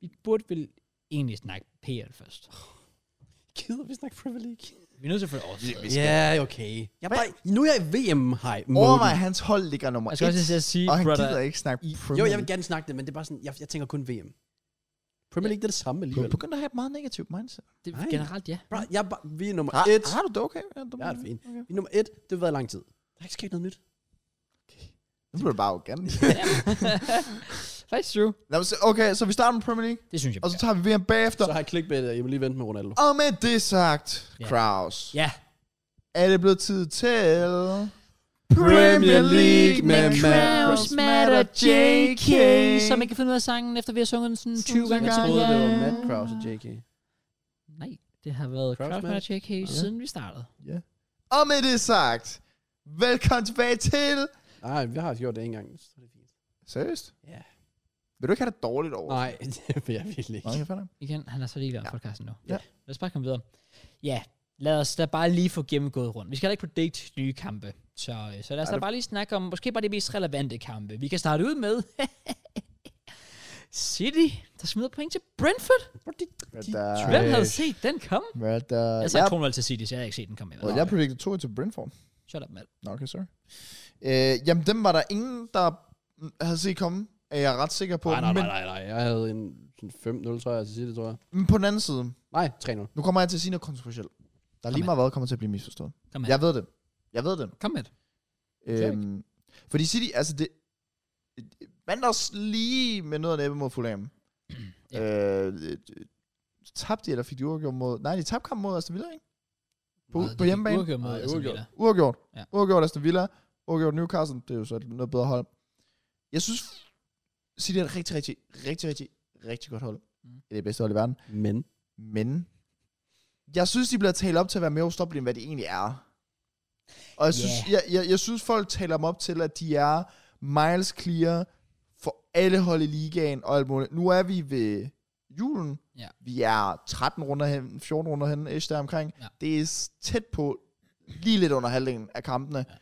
Speaker 1: Vi burde vel egentlig snakke PL først.
Speaker 2: Gider vi snakke Premier League?
Speaker 1: Vi er nødt til at få det overstået.
Speaker 3: Vi
Speaker 1: Yeah.
Speaker 3: skal-
Speaker 2: Ja, yeah, okay. Jeg er bare, nu er jeg i VM-hype.
Speaker 3: Overvej, hans hold ligger nummer
Speaker 1: Jeg
Speaker 3: et,
Speaker 1: skal også lige til at sige,
Speaker 3: og han
Speaker 1: brother,
Speaker 3: gider ikke snakke Premier
Speaker 2: Jo, jeg vil
Speaker 3: League.
Speaker 2: gerne snakke det, men det er bare sådan, jeg, jeg tænker kun VM. Premier League, det er det samme
Speaker 3: Du
Speaker 2: alligevel.
Speaker 3: begynder at have et meget negativt mindset.
Speaker 1: det,
Speaker 2: Nej.
Speaker 1: generelt ja.
Speaker 2: Bro, jeg er bare, vi er nummer
Speaker 3: Har,
Speaker 2: et.
Speaker 3: har du det okay? Ja, du
Speaker 2: Jeg har det fint.
Speaker 3: Okay.
Speaker 2: Vi er nummer et, det har været lang tid. Der er ikke sket noget nyt.
Speaker 3: Nu bliver du bare arrogant.
Speaker 1: Faktisk true.
Speaker 3: Nå, men så- okay, så vi starter med Premier League,
Speaker 1: Det synes jeg.
Speaker 3: og så tager vi VM bagefter.
Speaker 2: Så har jeg klikket med, at jeg vil lige vente med Ronaldo.
Speaker 3: Og med det sagt,
Speaker 1: Ja.
Speaker 3: Kraus,
Speaker 1: Ja.
Speaker 3: er det blevet tid til...
Speaker 2: Premier League med Kraus,
Speaker 1: Kraus, Matt og JK, som ikke kan finde ud af sangen, efter vi har sunget den sådan 20 gange.
Speaker 2: Jeg
Speaker 3: Ja,
Speaker 2: troede, det var
Speaker 3: ja.
Speaker 2: Matt Kraus og JK.
Speaker 1: Nej, det har været
Speaker 2: Crowd
Speaker 1: Crowd
Speaker 2: Smash.
Speaker 1: Match AK ja.
Speaker 2: Ja.
Speaker 1: siden vi startede.
Speaker 3: Ja. Og med det sagt, velkommen tilbage til...
Speaker 2: Nej, vi har gjort det en gang. Så er det fint.
Speaker 3: Seriøst?
Speaker 2: Ja.
Speaker 3: Vil du ikke have det dårligt over?
Speaker 2: Nej, det vil jeg virkelig ikke.
Speaker 3: Mange fanden.
Speaker 1: Igen, han er så ligeglad med ja. podcasten nu.
Speaker 3: Ja.
Speaker 1: Lad os bare komme videre. Ja, lad os da bare lige få gennemgået rundt. Vi skal da ikke predict nye kampe. Så, øh, så lad os
Speaker 3: Nej,
Speaker 1: da
Speaker 3: det-
Speaker 1: bare lige snakke om måske bare de mest relevante kampe. Vi kan starte ud med City, der smider point til Brentford.
Speaker 3: Hvad
Speaker 2: De
Speaker 3: der-
Speaker 1: Hvem
Speaker 3: Ej.
Speaker 1: havde set den komme?
Speaker 3: Hvad der...
Speaker 1: Jeg
Speaker 2: Altså,
Speaker 3: Jeg,
Speaker 1: sagde 2-0 til City, så jeg havde ikke set den komme. i hvert
Speaker 3: jeg,
Speaker 1: fald.
Speaker 3: jeg predicted 2 til Brentford.
Speaker 1: Shut up, mand.
Speaker 3: Nå, okay, sorry. Øh, jamen, dem var der ingen, der mm, havde set komme, er jeg ret sikker på.
Speaker 2: Nej, nej,
Speaker 3: men,
Speaker 2: nej, nej, nej. Jeg havde en sådan 5-0, tror jeg, til City, tror jeg.
Speaker 3: men på den anden side,
Speaker 2: Nej, 3-0.
Speaker 3: nu kommer jeg til at sige noget kontroversielt. Der er lige
Speaker 1: Kom med.
Speaker 3: meget hvad kommer til at blive misforstået.
Speaker 1: Kom med.
Speaker 3: Jeg ved det. Jeg ved det.
Speaker 1: Kom med. det.
Speaker 2: Korrekt.
Speaker 3: Øhm, fordi City, altså det... Vandt også lige med noget af næppe mod Fulham.
Speaker 1: Ja.
Speaker 3: Øh, øh, tabte de, eller fik de uafgjort mod... Nej, de tabte kampen mod Aston Villa, ikke? På,
Speaker 1: Meget,
Speaker 3: på
Speaker 1: det gik
Speaker 3: hjemmebane.
Speaker 1: uafgjort mod
Speaker 2: Nej,
Speaker 1: Aston
Speaker 2: uafgjort.
Speaker 1: Villa.
Speaker 3: Uafgjort.
Speaker 1: Ja.
Speaker 3: Ja. Uafgjort Aston Villa. Uafgjort Newcastle. Det er jo så et noget bedre hold. Jeg synes, City er et rigtig, rigtig, rigtig, rigtig, rigtig godt hold.
Speaker 1: Mm.
Speaker 3: Mm. Det er det bedste hold i verden.
Speaker 2: Men.
Speaker 3: Men jeg synes, de bliver talt op til at være mere ustoppelige, end hvad de egentlig er. Og jeg synes,
Speaker 1: Ja.
Speaker 3: yeah. jeg, jeg, jeg synes folk taler dem op til, at de er miles clear for alle hold i ligaen og alt muligt. Nu er vi ved julen.
Speaker 1: Ja.
Speaker 3: Vi er 13 runder hen, 14 runder hen, ish der omkring.
Speaker 1: Ja.
Speaker 3: Det er s- tæt på, lige lidt under halvdelen af kampene.
Speaker 1: Ja.
Speaker 3: Ja.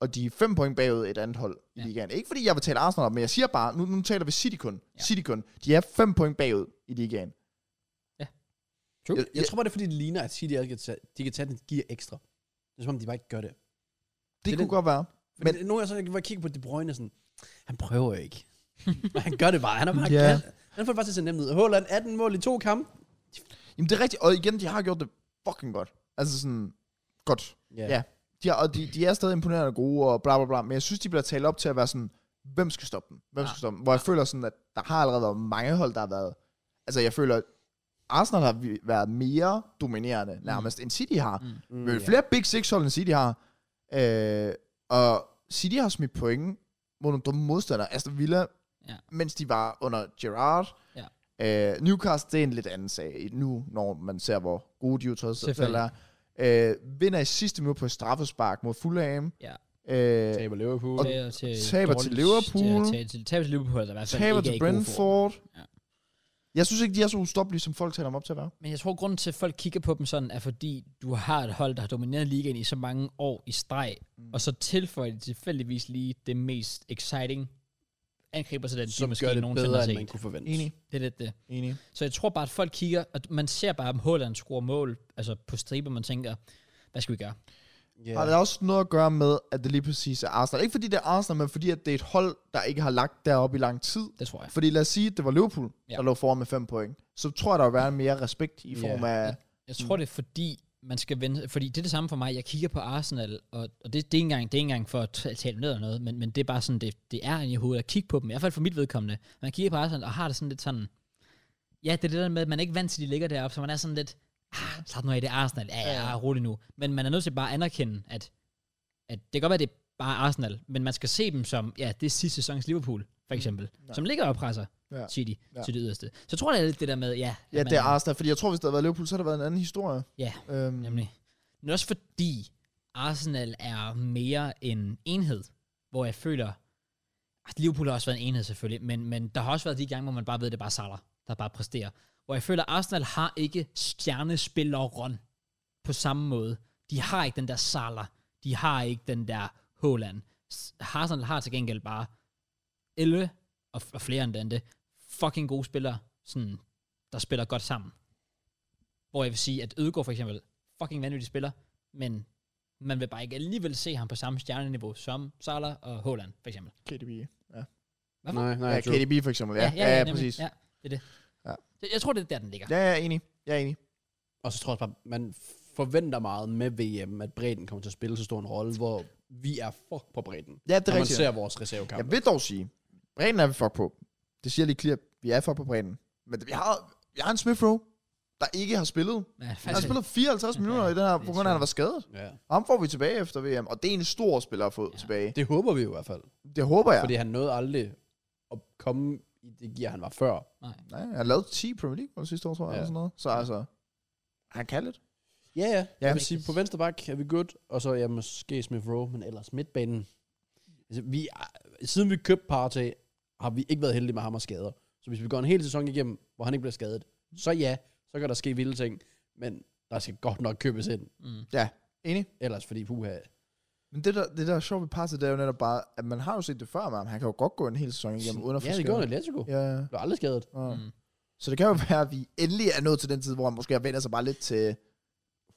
Speaker 3: Og de er 5 point bagud et andet hold i
Speaker 1: Ja.
Speaker 3: ligaen. Ikke fordi jeg vil tale Arsenal op, men jeg siger bare, nu, nu taler vi City kun.
Speaker 1: Ja.
Speaker 3: Ja. City kun. De er 5 point bagud i ligaen.
Speaker 2: True. Jeg, jeg
Speaker 3: Ja.
Speaker 2: tror bare, det er, fordi det ligner, at City ikke kan tage, de kan tage den gear ekstra. Det er som om, de bare ikke gør det.
Speaker 3: Det,
Speaker 2: er
Speaker 3: det kunne
Speaker 2: den-
Speaker 3: godt være.
Speaker 2: Men nogle gange, så kan jeg bare kigge på De Bruyne sådan, han prøver ikke. Men han gør det bare. Han er bare,
Speaker 3: Ja.
Speaker 2: yeah. han, han får det bare til at se nemt ud. Haaland 18 mål i to kampe.
Speaker 3: Jamen det er rigtigt, og igen, de har gjort det fucking godt. Altså sådan, godt. Ja. De er, og de, de er stadig imponerende og gode og bla bla bla, men jeg synes, de bliver talt op til at være sådan, hvem skal stoppe dem? Hvem
Speaker 1: Ja.
Speaker 3: skal stoppe dem? Hvor jeg føler sådan, at der har allerede været mange hold, der har været... Altså jeg føler, at Arsenal har vi- været mere dominerende nærmest, mm. end City har. Mm.
Speaker 2: Mm,
Speaker 3: Men flere Big Six hold, end City har. Øh, og City har smidt point mod nogle dumme modstandere. Aston Villa,
Speaker 1: Ja.
Speaker 3: ja. mens de var under Gerrard. Øh, Newcastle, det er en lidt anden sag nu, når man ser, hvor gode de jo trods alt
Speaker 1: Selvfølgelig.
Speaker 3: er. Øh, vinder i sidste minut på et straffespark mod Fulham.
Speaker 1: Ja.
Speaker 3: Øh,
Speaker 2: Taber Liverpool.
Speaker 3: Og-
Speaker 1: Taber til,
Speaker 3: taber
Speaker 1: dårligt-
Speaker 3: til Liverpool.
Speaker 1: til- til- til- Taber til Liverpool, der i hvert fald
Speaker 3: taber
Speaker 1: ikke er
Speaker 3: til
Speaker 1: i god form.
Speaker 3: Brentford.
Speaker 1: Ja.
Speaker 3: Jeg synes ikke, de er så ustoppelige, som folk taler dem op til at være.
Speaker 1: Men jeg tror, grunden til, at folk kigger på dem sådan, er fordi, du har et hold, der har domineret ligaen i så mange år i streg, mm. og så tilføjer de tilfældigvis lige det mest exciting angriber til den,
Speaker 2: som
Speaker 1: de måske
Speaker 2: gør det
Speaker 1: nogensinde
Speaker 2: bedre,
Speaker 1: har
Speaker 2: end
Speaker 1: set.
Speaker 2: man kunne forvente.
Speaker 1: Det er lidt det.
Speaker 3: Enig.
Speaker 1: Så jeg tror bare, at folk kigger, og man ser bare, om Holland scorer mål altså på striber, man tænker, hvad skal vi gøre?
Speaker 2: Ja.
Speaker 3: Yeah. Har det også noget at gøre med, at det lige præcis er Arsenal? Ikke fordi det er Arsenal, men fordi at det er et hold, der ikke har lagt deroppe i lang tid.
Speaker 1: Det tror jeg.
Speaker 3: Fordi lad os sige, at det var Liverpool,
Speaker 1: Ja.
Speaker 3: ja. der lå foran med 5 point. Så tror jeg, der vil være mere respekt i
Speaker 2: Ja.
Speaker 3: form af... Yeah.
Speaker 1: Jeg tror, det er fordi, man skal vente, fordi det er det samme for mig, jeg kigger på Arsenal, og, og det, det, er ikke engang, det er ikke engang for at t- tale ned eller noget, men, men det er bare sådan, det, det er i hovedet at kigge på dem, i hvert fald for mit vedkommende. Man kigger på Arsenal og har det sådan lidt sådan, ja, det er det der med, at man er ikke vant til, at de ligger deroppe, så man er sådan lidt, ah, slap nu af, det er Arsenal, ja, ja, ja, rolig nu. Men man er nødt til bare at anerkende, at, at det kan godt være, det er bare Arsenal, men man skal se dem som, ja, det er sidste sæsons Liverpool, for eksempel, mm, som ligger og presser ja.
Speaker 3: Ja.
Speaker 1: City ja.
Speaker 3: Ja.
Speaker 1: til det yderste. Så tror jeg, det er lidt det der med, ja, at
Speaker 3: Ja,
Speaker 1: man-
Speaker 3: det er Arsenal. Fordi jeg tror, hvis det havde været Liverpool, så havde det været en anden historie.
Speaker 1: Ja,
Speaker 3: Øhm,
Speaker 1: Nemlig. Men også fordi Arsenal er mere en enhed, hvor jeg føler, at Liverpool har også været en enhed selvfølgelig, men, men der har også været de gange, hvor man bare ved, at det er bare Salah, der bare præsterer. Hvor jeg føler, at Arsenal har ikke stjernespilleren på samme måde. De har ikke den der Salah. De har ikke den der Haaland. S- Arsenal har til gengæld bare 11 og, f- og flere end det, fucking gode spillere, sådan, der spiller godt sammen. Hvor jeg vil sige, at Ødegaard for eksempel, fucking vanvittig spiller, men man vil bare ikke alligevel se ham på samme stjerneniveau som Salah og Haaland, for eksempel.
Speaker 3: KDB. Ja.
Speaker 2: Nej, nej,
Speaker 3: ja,
Speaker 2: true.
Speaker 3: KDB for eksempel. Ja, ja, ja, ja, ja
Speaker 1: nemlig.
Speaker 3: præcis. Ja.
Speaker 1: Ja, det er det.
Speaker 3: Ja.
Speaker 1: Så Jeg tror, det er der, den ligger.
Speaker 3: ja, jeg er enig. Jeg er enig.
Speaker 2: Og så tror jeg også bare, man forventer meget med VM, at bredden kommer til at spille så stor en rolle, hvor vi er fuck på bredden.
Speaker 3: Ja, det
Speaker 2: Når
Speaker 3: er
Speaker 2: man
Speaker 3: rigtigt.
Speaker 2: ser vores reservekamp.
Speaker 3: Jeg vil dog sige, bredden er vi fuck på. Det siger lige clear, vi er fuck på bredden. Men vi har, vi har en Smith Rowe, der ikke har spillet.
Speaker 1: Ja,
Speaker 3: Han har
Speaker 1: faktisk,
Speaker 3: spillet 54 minutter i den her,
Speaker 1: det er
Speaker 3: på grund af, at han var skadet.
Speaker 2: Ja.
Speaker 3: Ham får vi tilbage efter VM, og det er en stor spiller at få ja. tilbage.
Speaker 2: Det håber vi jo i hvert fald.
Speaker 3: Det håber
Speaker 2: Ja.
Speaker 3: jeg.
Speaker 2: Fordi han nåede aldrig at komme i det gear, han var før.
Speaker 3: Nej, han lavede 10 Premier League mål sidste år, tror jeg,
Speaker 2: Ja.
Speaker 3: ja. eller sådan noget. Så altså, Han kan lidt.
Speaker 2: Ja, ja.
Speaker 3: Ja.
Speaker 2: Jeg vil sige, på venstre bak er vi godt, og så ja, måske Smith Rowe, men ellers midtbanen. Altså, vi, er- siden vi købte Partey, har vi ikke været heldige med ham og skader. Så hvis vi går en hel sæson igennem, hvor han ikke bliver skadet, så ja, så kan der ske vilde ting, men der skal godt nok købes ind,
Speaker 1: Mm.
Speaker 3: Enig?
Speaker 2: ellers fordi puha.
Speaker 3: Men det der, det der er sjovt ved Partey, det er jo netop bare, at man har jo set det før med ham. Han kan jo godt gå en hel sæson igennem, uden at få
Speaker 2: ja, det
Speaker 3: skader.
Speaker 2: gjorde Atletico. Ja.
Speaker 3: Ja, ja.
Speaker 2: Blev aldrig skadet.
Speaker 3: ja.
Speaker 1: Mm.
Speaker 3: Så det kan jo være, at vi endelig er nået til den tid, hvor han måske har vendt sig bare lidt til...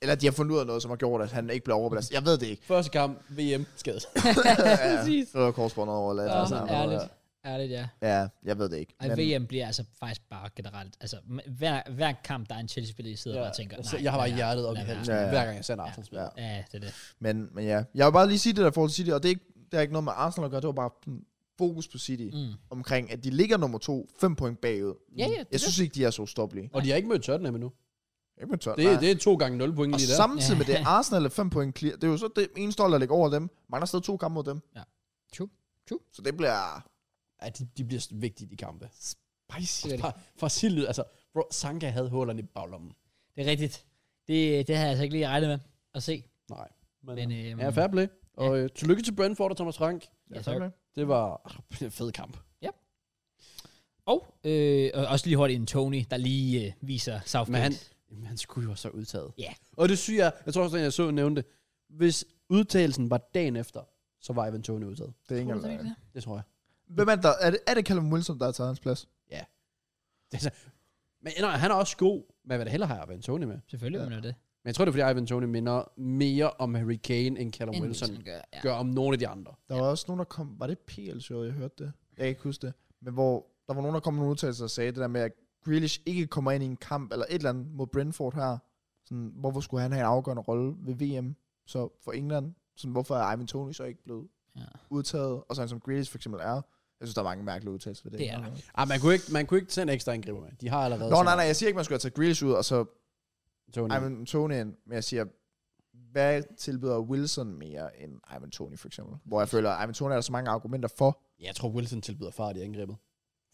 Speaker 3: Eller at de har fundet ud af noget, som har gjort, at han ikke bliver overbelastet. Jeg ved det ikke.
Speaker 2: Første kamp, VM, skadet.
Speaker 3: ja,
Speaker 1: Præcis.
Speaker 3: Så er altså korsbåndet over eller et
Speaker 1: Ja,
Speaker 3: eller andet.
Speaker 1: ærligt. Ærligt, ja.
Speaker 3: Ja, jeg ved det ikke.
Speaker 1: Ej, VM bliver altså faktisk bare generelt, altså m- hver, hver kamp, der er en Chelsea-spiller, I sidder ja, og tænker, nej,
Speaker 2: så jeg har bare
Speaker 1: lad være,
Speaker 2: hjertet op i
Speaker 1: lad være.
Speaker 2: halsen,
Speaker 3: Ja, ja.
Speaker 2: hver gang jeg ser en Arsenal-spiller.
Speaker 3: Ja.
Speaker 2: Ja.
Speaker 1: Ja, det er det.
Speaker 3: Men, men ja, jeg vil bare lige sige det der i forhold til City, og det er ikke, det er ikke noget med Arsenal at gøre, det var bare sådan fokus på City, mm.
Speaker 1: Mm.
Speaker 3: omkring at de ligger nummer to, fem point bagud.
Speaker 1: Ja, ja, det er
Speaker 3: Jeg synes ikke, de er så stoppelige.
Speaker 2: Og de har ikke mødt Tottenham endnu.
Speaker 3: Ikke med tørt,
Speaker 2: Det, det er to gange 0 point
Speaker 3: og
Speaker 2: lige der.
Speaker 3: samtidig med det, Arsenal er fem point clear. Det er jo så det eneste hold, der ligger over dem. Mangler stadig to kampe mod dem.
Speaker 1: Ja. True. True.
Speaker 3: Så det bliver...
Speaker 2: Ja, de, de bliver vigtige, de kampe.
Speaker 3: Spicy.
Speaker 1: Det er det.
Speaker 2: Fra, fra Silly, altså, bro, Sanka havde hullerne i baglommen.
Speaker 1: Det er rigtigt. Det, det har jeg altså ikke lige regnet med at se.
Speaker 2: Nej. Men,
Speaker 1: Men,
Speaker 2: men
Speaker 1: øhm,
Speaker 2: øh, ja, fair play. Og øh, tillykke til Brentford og Thomas Frank.
Speaker 1: Ja,
Speaker 3: Ja,
Speaker 1: tak.
Speaker 3: tak.
Speaker 2: Det var ah, en fed kamp.
Speaker 1: Og, øh, og også lige hurtigt en Tony, der lige øh, viser Southgate.
Speaker 2: Men han, jamen, han skulle jo også være udtaget.
Speaker 1: Ja.
Speaker 2: Og det syge er, jeg tror også, at jeg så nævnte, hvis udtagelsen var dagen efter, så var Ivan Tony udtaget.
Speaker 3: Det er ikke
Speaker 1: Tror du ikke
Speaker 3: engang.
Speaker 1: det?
Speaker 2: Det tror jeg.
Speaker 3: Hvem er det, der? Er det, er det Callum Wilson, der har taget hans plads?
Speaker 2: Det er så, men nej, han er også god, men hvad det heller har Ivan Tony med.
Speaker 1: Selvfølgelig ja.
Speaker 3: Ja.
Speaker 1: mener det.
Speaker 2: Men jeg tror, det er, fordi Ivan Tony minder mere om Harry Kane, end Callum
Speaker 1: End
Speaker 2: Wilson
Speaker 1: gør. Ja.
Speaker 2: gør om nogle af de andre.
Speaker 3: Der var også nogen, der kom... Var det pl showet jeg hørte det? Jeg kan ikke huske det. Men hvor der var nogen, der kom med nogle udtalelser og sagde det der med, at Grealish ikke kommer ind i en kamp eller et eller andet mod Brentford her. Sådan, hvorfor skulle han have en afgørende rolle ved VM så for England? Sådan, hvorfor er Ivan Tony så ikke blevet
Speaker 1: Ja.
Speaker 3: ja. udtaget? Og sådan som Grealish for eksempel er. Jeg synes, der er mange mærkelige udtalelser ved det.
Speaker 1: Det er der.
Speaker 2: Ah, man kunne ikke, man kunne ikke tage en ekstra angriber med. De har allerede...
Speaker 3: Nå, nej, nej, jeg siger ikke, man skulle have taget Grealish ud, og så
Speaker 2: Tony.
Speaker 3: Ivan Tony ind, men jeg siger, hvad tilbyder Wilson mere end Ivan Tony for eksempel? Hvor jeg føler, at Ivan Tony er der så mange argumenter for.
Speaker 2: Jeg tror, Wilson tilbyder fart i angrebet.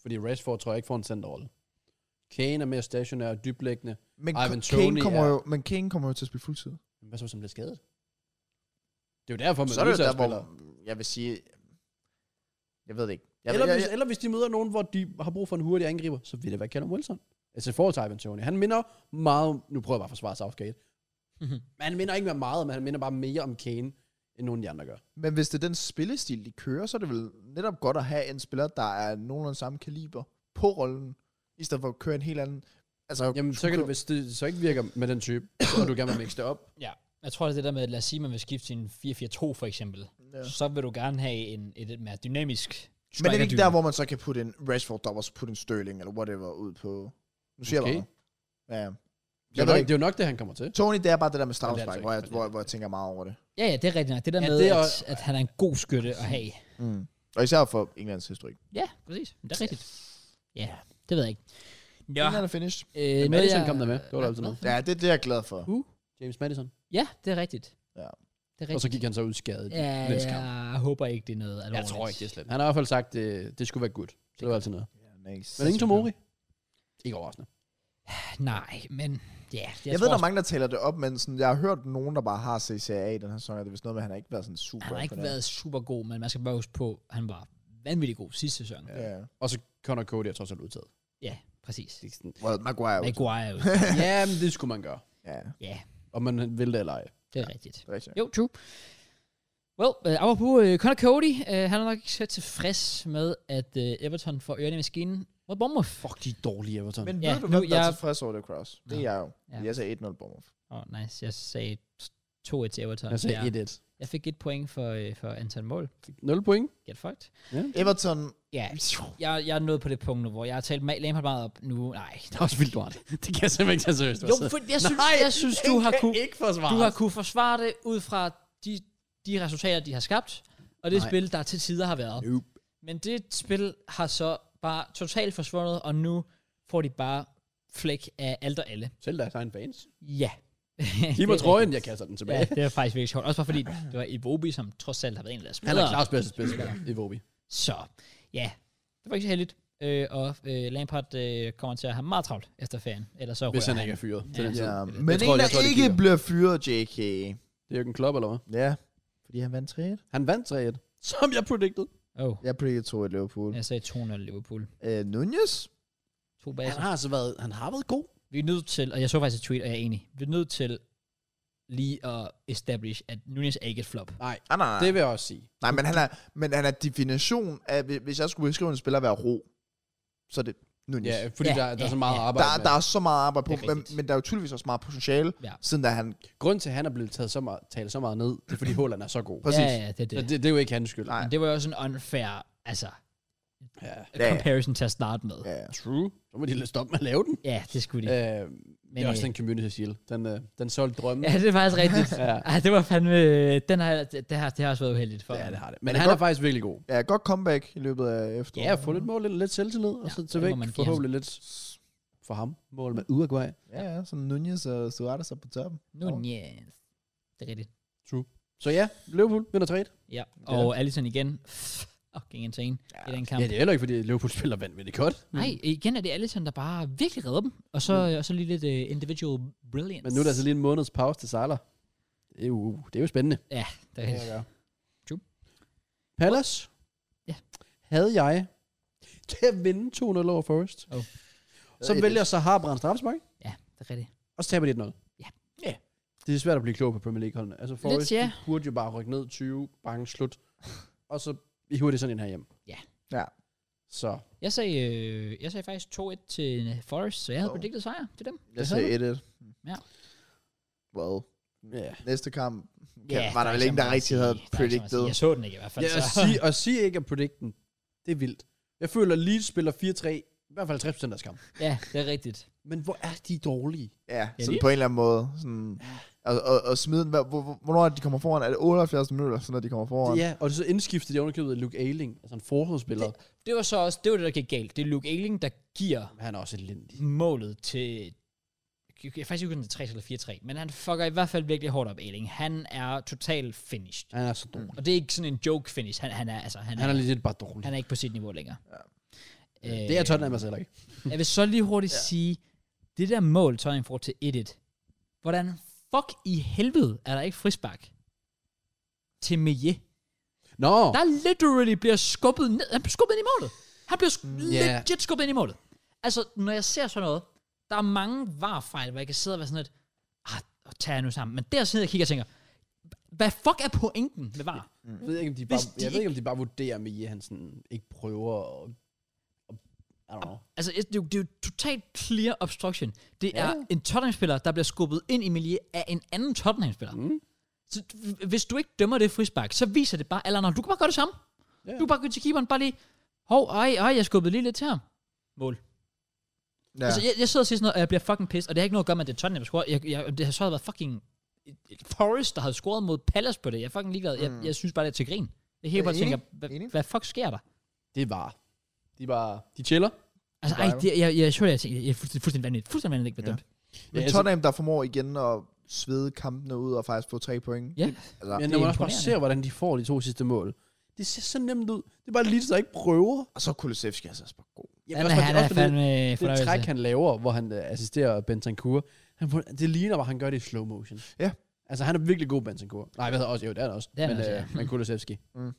Speaker 2: Fordi Rashford tror jeg ikke får en centerrolle. Kane er mere stationær og dyblæggende.
Speaker 3: Men
Speaker 2: Ivan
Speaker 3: Ivan Kane,
Speaker 2: Toney
Speaker 3: kommer
Speaker 2: er-
Speaker 3: jo, men Kane kommer jo til at spille fuldtid.
Speaker 2: Men hvad så, hvis han bliver skadet? Det er jo derfor, man
Speaker 3: så er det jo
Speaker 2: udtager
Speaker 3: der,
Speaker 2: spillere.
Speaker 3: hvor jeg vil sige, jeg ved det ikke. Jeg,
Speaker 2: eller,
Speaker 3: ved,
Speaker 2: hvis,
Speaker 3: jeg, jeg,
Speaker 2: eller hvis de møder nogen, hvor de har brug for en hurtig angriber, så vil det være Callum Wilson. Altså i forhold til Ivan Tony. Han minder meget om, Nu prøver jeg bare at forsvare Southgate.
Speaker 1: Mhm.
Speaker 2: Men han minder ikke mere meget, men han minder bare mere om Kane, end nogen af de andre gør.
Speaker 3: men hvis det er den spillestil, de kører, så er det vel netop godt at have en spiller, der er nogenlunde samme kaliber på rollen, i stedet for at køre en helt anden... Altså,
Speaker 2: Jamen, så kan du, hvis det så ikke virker med den type, så vil du gerne vil mixe det op.
Speaker 1: ja. Jeg tror, det er det der med, lad os sige, man vil skifte sin 4-4-2 for eksempel. Ja.
Speaker 3: Ja.
Speaker 1: Så vil du gerne have en, et, et mere dynamisk
Speaker 3: Men er det ikke
Speaker 1: strikerduo.
Speaker 3: der, hvor man så kan putte en Rashford op, og så putte en Sterling, eller whatever, ud på... Nu siger
Speaker 2: Okay.
Speaker 3: okay. jeg bare. noget. Ja.
Speaker 2: Det er,
Speaker 3: Jeg
Speaker 2: jo
Speaker 3: ved
Speaker 2: nok,
Speaker 3: ikke.
Speaker 2: det er jo nok det, han kommer til.
Speaker 3: Tony, det er bare det der med
Speaker 2: Jamen, det er
Speaker 3: straffespark,
Speaker 2: det
Speaker 3: hvor, jeg,
Speaker 2: ikke, men det er
Speaker 3: hvor,
Speaker 2: det
Speaker 3: hvor jeg tænker meget over det.
Speaker 1: Ja, ja, det er rigtigt nok. Det der
Speaker 2: Ja,
Speaker 1: ja, med,
Speaker 2: det er
Speaker 1: det
Speaker 2: også-
Speaker 1: at, at han er en god skytte at have.
Speaker 3: Mm. Og især for Englands historik.
Speaker 1: Ja, præcis. Men Det er rigtigt. Ja, det ved jeg ikke. Nå,
Speaker 3: Ja. England er finished.
Speaker 1: øh,
Speaker 2: Madison kom der med. Det var der altid noget.
Speaker 3: Ja, det er det, jeg er glad for.
Speaker 2: James Madison.
Speaker 1: Ja, det er rigtigt.
Speaker 3: Ja.
Speaker 1: Det er
Speaker 2: Og
Speaker 1: rigtigt.
Speaker 2: så gik han så ud skadet
Speaker 1: ja,
Speaker 2: i næste kamp.
Speaker 1: jeg håber ikke, det er noget alvorligt.
Speaker 2: Jeg tror ikke, det er slemt. Han har i hvert fald sagt, det, det skulle være godt. Så det var altid noget.
Speaker 3: Ja, nice.
Speaker 2: Men ingen Tomori. Ikke overraskende.
Speaker 1: Nej, men ja.
Speaker 3: Jeg, jeg ved,
Speaker 1: tror
Speaker 3: der er mange, der taler det op, men sådan, jeg har hørt nogen, der bare har CCA i den her sæson, og det er vist noget med, at han har ikke været sådan super.
Speaker 1: Han har ikke
Speaker 3: imponeret.
Speaker 1: været super god, men man skal bare huske på, at han var vanvittig god sidste sæson. Ja,
Speaker 3: Ja.
Speaker 2: Og så Connor Cody er trods alt udtaget.
Speaker 1: ja præcis.
Speaker 2: Det er sådan-
Speaker 3: Well, Maguire. er jo-
Speaker 1: Maguire er jo.
Speaker 2: Ja, men det skulle man gøre.
Speaker 3: Ja,
Speaker 1: ja,
Speaker 2: Om man vil det eller ej.
Speaker 1: det er rigtigt.
Speaker 3: det er rigtigt.
Speaker 1: Jo, true. Well, uh, apropos uh, Connor Cody, uh, han er nok ikke så tilfreds med, at uh, Everton får ørerne i maskinen mod Bournemouth.
Speaker 2: Fuck, de er dårlige Everton.
Speaker 3: Men
Speaker 2: Men,
Speaker 3: ved
Speaker 1: Ja,
Speaker 3: du,
Speaker 1: nu-
Speaker 3: hvem der
Speaker 1: jeg-
Speaker 3: er tilfreds over det, Cross? Det er jeg jo.
Speaker 1: Ja.
Speaker 3: Jeg sagde 1-0 Bournemouth.
Speaker 1: Åh, oh, nice. Jeg sagde 2-1 til Everton.
Speaker 2: jeg sagde
Speaker 1: Ja.
Speaker 2: 1-1.
Speaker 1: Jeg fik et point for, øh, for antal mål.
Speaker 2: 0 point.
Speaker 1: Get fucked.
Speaker 3: Everton,
Speaker 1: Ja, jeg, jeg er nået på det punkt nu, hvor jeg har talt ma- Lampard meget op nu. Nej.
Speaker 2: Det er også vildt lort. Det kan jeg simpelthen ikke tage seriøst.
Speaker 1: Jo, for jeg synes, Nej, jeg synes du, har kunne,
Speaker 2: ikke forsvare.
Speaker 1: du har kunne forsvare det ud fra de, de resultater, de har skabt, og det Nej.
Speaker 2: Nej.
Speaker 1: spil, der til tider har været.
Speaker 2: Nope.
Speaker 1: Men det spil har så bare totalt forsvundet, og nu får de bare flæk af alt og alle.
Speaker 2: Selv deres egen fans.
Speaker 1: Ja.
Speaker 2: Giv mig
Speaker 1: Det er
Speaker 2: trøjen, jeg kaster den
Speaker 1: Ja,
Speaker 2: tilbage.
Speaker 1: det er faktisk virkelig sjovt. Også bare fordi, det var Iwobi, som trods alt har været en af deres
Speaker 2: Han er
Speaker 1: spillere.
Speaker 2: klart bedste spiller i Vobi.
Speaker 1: Så ja, det var ikke så heldigt. Øh, og øh, Lampard øh, kommer til at have meget travlt efter ferien. Ellers så
Speaker 2: Hvis
Speaker 1: ryger
Speaker 2: han ikke er fyret. til
Speaker 1: Ja.
Speaker 2: den tid.
Speaker 3: Ja,
Speaker 2: Jeg
Speaker 3: øhm, men
Speaker 2: tror,
Speaker 3: en,
Speaker 2: jeg
Speaker 3: der
Speaker 2: tror, det
Speaker 3: ikke
Speaker 2: kigger.
Speaker 3: bliver fyret, JK.
Speaker 2: Det er Jørgen Klopp, eller hvad?
Speaker 3: Ja, fordi han vandt 3
Speaker 2: Han vandt 3-1. Som jeg predicted.
Speaker 1: Oh,
Speaker 3: Jeg predicted 2 i Liverpool.
Speaker 1: jeg sagde 2-0 Liverpool.
Speaker 3: Øh, Nunez?
Speaker 1: To
Speaker 2: Han
Speaker 1: baser.
Speaker 2: har altså været, han har været god.
Speaker 1: Vi er nødt til, og jeg så faktisk et tweet, og jeg er enig. Vi er nødt til lige at establish, at Nunez er ikke et flop.
Speaker 2: Nej,
Speaker 3: Ah, nej,
Speaker 2: det vil jeg også sige.
Speaker 3: nej men, han er, men han er definition af, hvi- hvis jeg skulle beskrive en spiller at være ro, så er det Nunez.
Speaker 2: Ja, fordi
Speaker 1: Ja,
Speaker 2: der, der er
Speaker 1: ja,
Speaker 2: så meget
Speaker 1: ja.
Speaker 2: arbejde.
Speaker 3: der,
Speaker 2: med.
Speaker 3: der er så meget arbejde på,
Speaker 1: Det er
Speaker 3: men,
Speaker 1: rigtigt.
Speaker 3: men der er jo tydeligvis også meget potentiale,
Speaker 1: Ja.
Speaker 3: siden da han...
Speaker 2: Grunden til, at han er blevet taget så meget, talt så meget ned, det er fordi Håland er så god.
Speaker 3: Præcis.
Speaker 1: Ja, ja, det er det.
Speaker 2: Så det, det, er jo ikke hans skyld.
Speaker 3: Nej.
Speaker 1: Men det var jo også en unfair, altså,
Speaker 2: Ja.
Speaker 3: Ja, ja.
Speaker 1: comparison til at starte med.
Speaker 3: Ja, ja.
Speaker 2: True. Så må de lidt stoppe med at lave den.
Speaker 1: Ja, det skulle de.
Speaker 2: Øh, det
Speaker 1: Men,
Speaker 2: er også
Speaker 1: øh,
Speaker 2: den community shield. Den, øh, den solgte drømme.
Speaker 1: Ja, det er faktisk rigtigt.
Speaker 2: Ja.
Speaker 1: Ej, det var fandme... Den har, det, det, har, det har også været uheldigt for
Speaker 2: ja,
Speaker 1: ham.
Speaker 2: det har det.
Speaker 3: Men
Speaker 2: Men
Speaker 3: det
Speaker 2: han
Speaker 3: er
Speaker 2: er faktisk virkelig god.
Speaker 3: ja, godt comeback i løbet af efteråret.
Speaker 2: Ja, få lidt mål, lidt, lidt selvtillid, og
Speaker 1: Ja,
Speaker 2: så
Speaker 1: det
Speaker 2: til
Speaker 1: må
Speaker 2: væk
Speaker 1: man give
Speaker 2: forhåbentlig lidt for ham. Mål med Uruguay.
Speaker 3: Ja, ja, sådan Nunez og Suarez er på toppen.
Speaker 1: Nu, yes. Det er rigtigt.
Speaker 2: Så ja, Liverpool vinder 3
Speaker 1: Ja, og Allison igen. Fucking insane ja. i den kamp.
Speaker 2: Ja, det er heller ikke, fordi Liverpool spiller vanvittigt godt.
Speaker 1: Nej, igen er det Allison, der bare virkelig redder dem. Og så, og så lige lidt uh, individual brilliance.
Speaker 2: Mm. Men nu er der altså lige en måneds pause til Salah. Det er jo, det er jo spændende.
Speaker 1: Ja, det er rigtigt. True.
Speaker 2: Palace?
Speaker 1: Ja.
Speaker 2: Havde jeg til at vinde 2-0 over Forest.
Speaker 1: Oh.
Speaker 2: Så vælger Sahar Brand straffespark,
Speaker 1: Ja, det er rigtigt.
Speaker 2: og så taber de 1-0.
Speaker 1: Ja.
Speaker 2: Ja. Det er svært at blive klog på Premier League-holdene. Altså Forest
Speaker 1: Lidt, ja.
Speaker 2: de burde jo bare rykke ned 20, bange slut, og så hiver de sådan en her hjem.
Speaker 1: Ja.
Speaker 3: Ja.
Speaker 2: Så
Speaker 1: Jeg sagde, øh, jeg sagde faktisk 2-1 til øh, Forest, så jeg havde
Speaker 3: Oh.
Speaker 1: oh. predicted sejr til dem.
Speaker 3: Jeg
Speaker 2: Det
Speaker 3: sagde
Speaker 2: havde
Speaker 3: 1-1.
Speaker 1: Ja.
Speaker 3: Well,
Speaker 2: ja.
Speaker 3: næste kamp
Speaker 1: Ja,
Speaker 3: yeah, var der
Speaker 1: er
Speaker 3: vel
Speaker 1: ikke
Speaker 3: ingen,
Speaker 1: så
Speaker 3: der
Speaker 1: meget at
Speaker 3: rigtig havde
Speaker 1: sige. Der er ikke så meget at sige.
Speaker 3: predicted.
Speaker 1: Jeg så den ikke i hvert fald.
Speaker 2: ja at,
Speaker 1: så.
Speaker 2: sige, at sige ikke at predict den, det er vildt. Jeg føler, at Leeds spiller 4-3, i hvert fald 50% af deres kamp.
Speaker 1: ja, det er rigtigt.
Speaker 2: Men hvor er de dårlige?
Speaker 3: Ja,
Speaker 1: Ja,
Speaker 3: sådan
Speaker 1: lige-
Speaker 3: på en eller anden måde. Sådan, og, og, og smide den, hvor- hvor- hvornår er det, de kommer foran? Er det 78 minutter, så når de kommer foran?
Speaker 2: Ja, og så indskiftede de ovenikøbet Luke Ayling, altså en forsvarsspiller.
Speaker 1: Det var så også, det var det, der gik galt. Det er Luke Ayling, der giver
Speaker 2: Han er også elendig.
Speaker 1: målet til... Jeg er faktisk ikke om det er 3 eller 4-3, men han fucker i hvert fald virkelig hårdt op, Elling. Han er totalt finished.
Speaker 2: Han er så dårlig.
Speaker 1: Og det er ikke sådan en joke finish. Han, han er, altså, han,
Speaker 2: Han er
Speaker 1: er,
Speaker 2: lidt bare dårlig.
Speaker 1: Mm. han er ikke på sit niveau længere. Ja. Øh,
Speaker 2: Det er Tottenham altså heller ikke.
Speaker 1: Jeg vil så lige hurtigt ja. sige, det der mål, Tottenham får til 1-1, hvordan fuck i helvede er der ikke frisbak til Meje?
Speaker 2: Nå,
Speaker 1: der literally bliver skubbet ned. Han bliver skubbet ind i målet. Han bliver sk-
Speaker 2: ja.
Speaker 1: legit skubbet ind i målet. Altså, når jeg ser sådan noget, der er mange varfejl, hvor jeg kan sidde og være sådan lidt, ah, tag jer nu sammen. Men der sidder jeg og kigger og tænker, hvad fuck er pointen med var?
Speaker 2: jeg ved ikke, om de
Speaker 1: Hvis
Speaker 2: bare,
Speaker 1: de
Speaker 2: jeg ved ikke, om de bare vurderer med, at han sådan ikke prøver at... at- I don't know.
Speaker 1: Altså, det er, jo, det er jo totalt clear obstruction. Det er
Speaker 2: Ja.
Speaker 1: en Tottenham-spiller, der bliver skubbet ind i miljø af en anden Tottenham-spiller.
Speaker 2: Mm.
Speaker 1: Så h- hvis du ikke dømmer det frispark, så viser det bare alle andre. Du kan bare gøre det samme.
Speaker 2: Ja.
Speaker 1: Du kan bare gå til keeperen, bare lige, hov, ej, ej, jeg skubbede lige lidt til ham. Mål. Ja. Altså, jeg, jeg sidder og siger sådan noget, og jeg bliver fucking pissed, og det har ikke noget at gøre med, at det er Tottenham, der scorer. Jeg, jeg, det har så været fucking Forrest, der havde scoret mod Palace på det. Jeg er fucking ligeglad. Mm. Jeg, jeg synes bare, det er til grin. Jeg helt
Speaker 3: Jeg er
Speaker 1: bare tænker,
Speaker 3: enig.
Speaker 1: hvad,
Speaker 3: Enig.
Speaker 1: hvad fuck sker der?
Speaker 2: Det er bare... De er bare... De chiller.
Speaker 1: Altså,
Speaker 3: Det er
Speaker 1: ej,
Speaker 3: bare-
Speaker 1: det, jeg, jeg, jeg, jeg, tænker, jeg er fuldstændig, fuldstændig vanvittigt. Fuldstændig vanvittigt, ikke
Speaker 3: Ja.
Speaker 1: ja. dømt.
Speaker 3: Men
Speaker 2: Ja, altså-
Speaker 3: Tottenham, der formår igen at svede kampene ud og faktisk få tre point.
Speaker 1: Ja,
Speaker 3: Altså,
Speaker 1: det
Speaker 2: Men når
Speaker 1: er
Speaker 2: man også bare
Speaker 1: imponerende.
Speaker 2: ser, hvordan de får de to sidste mål. Det ser så nemt ud. Det er bare lige, der ikke prøver.
Speaker 3: og så er Kulusevski altså også bare god.
Speaker 1: Han,
Speaker 2: også
Speaker 1: er-
Speaker 2: bare-
Speaker 1: han
Speaker 2: også
Speaker 1: er
Speaker 2: fordi-
Speaker 1: fandme
Speaker 2: det
Speaker 1: fornøjelse.
Speaker 2: træk, han laver, hvor han øh, assisterer Bentancur, han, får- det ligner, hvor han gør det i slow motion.
Speaker 3: Ja.
Speaker 2: Altså, han er virkelig god, Bentancur. Nej, hvad hedder også? Jo, det er han også.
Speaker 1: Det er han
Speaker 2: men,
Speaker 1: også,
Speaker 2: øh,
Speaker 1: ja.
Speaker 2: men Kulusevski.
Speaker 3: Mm.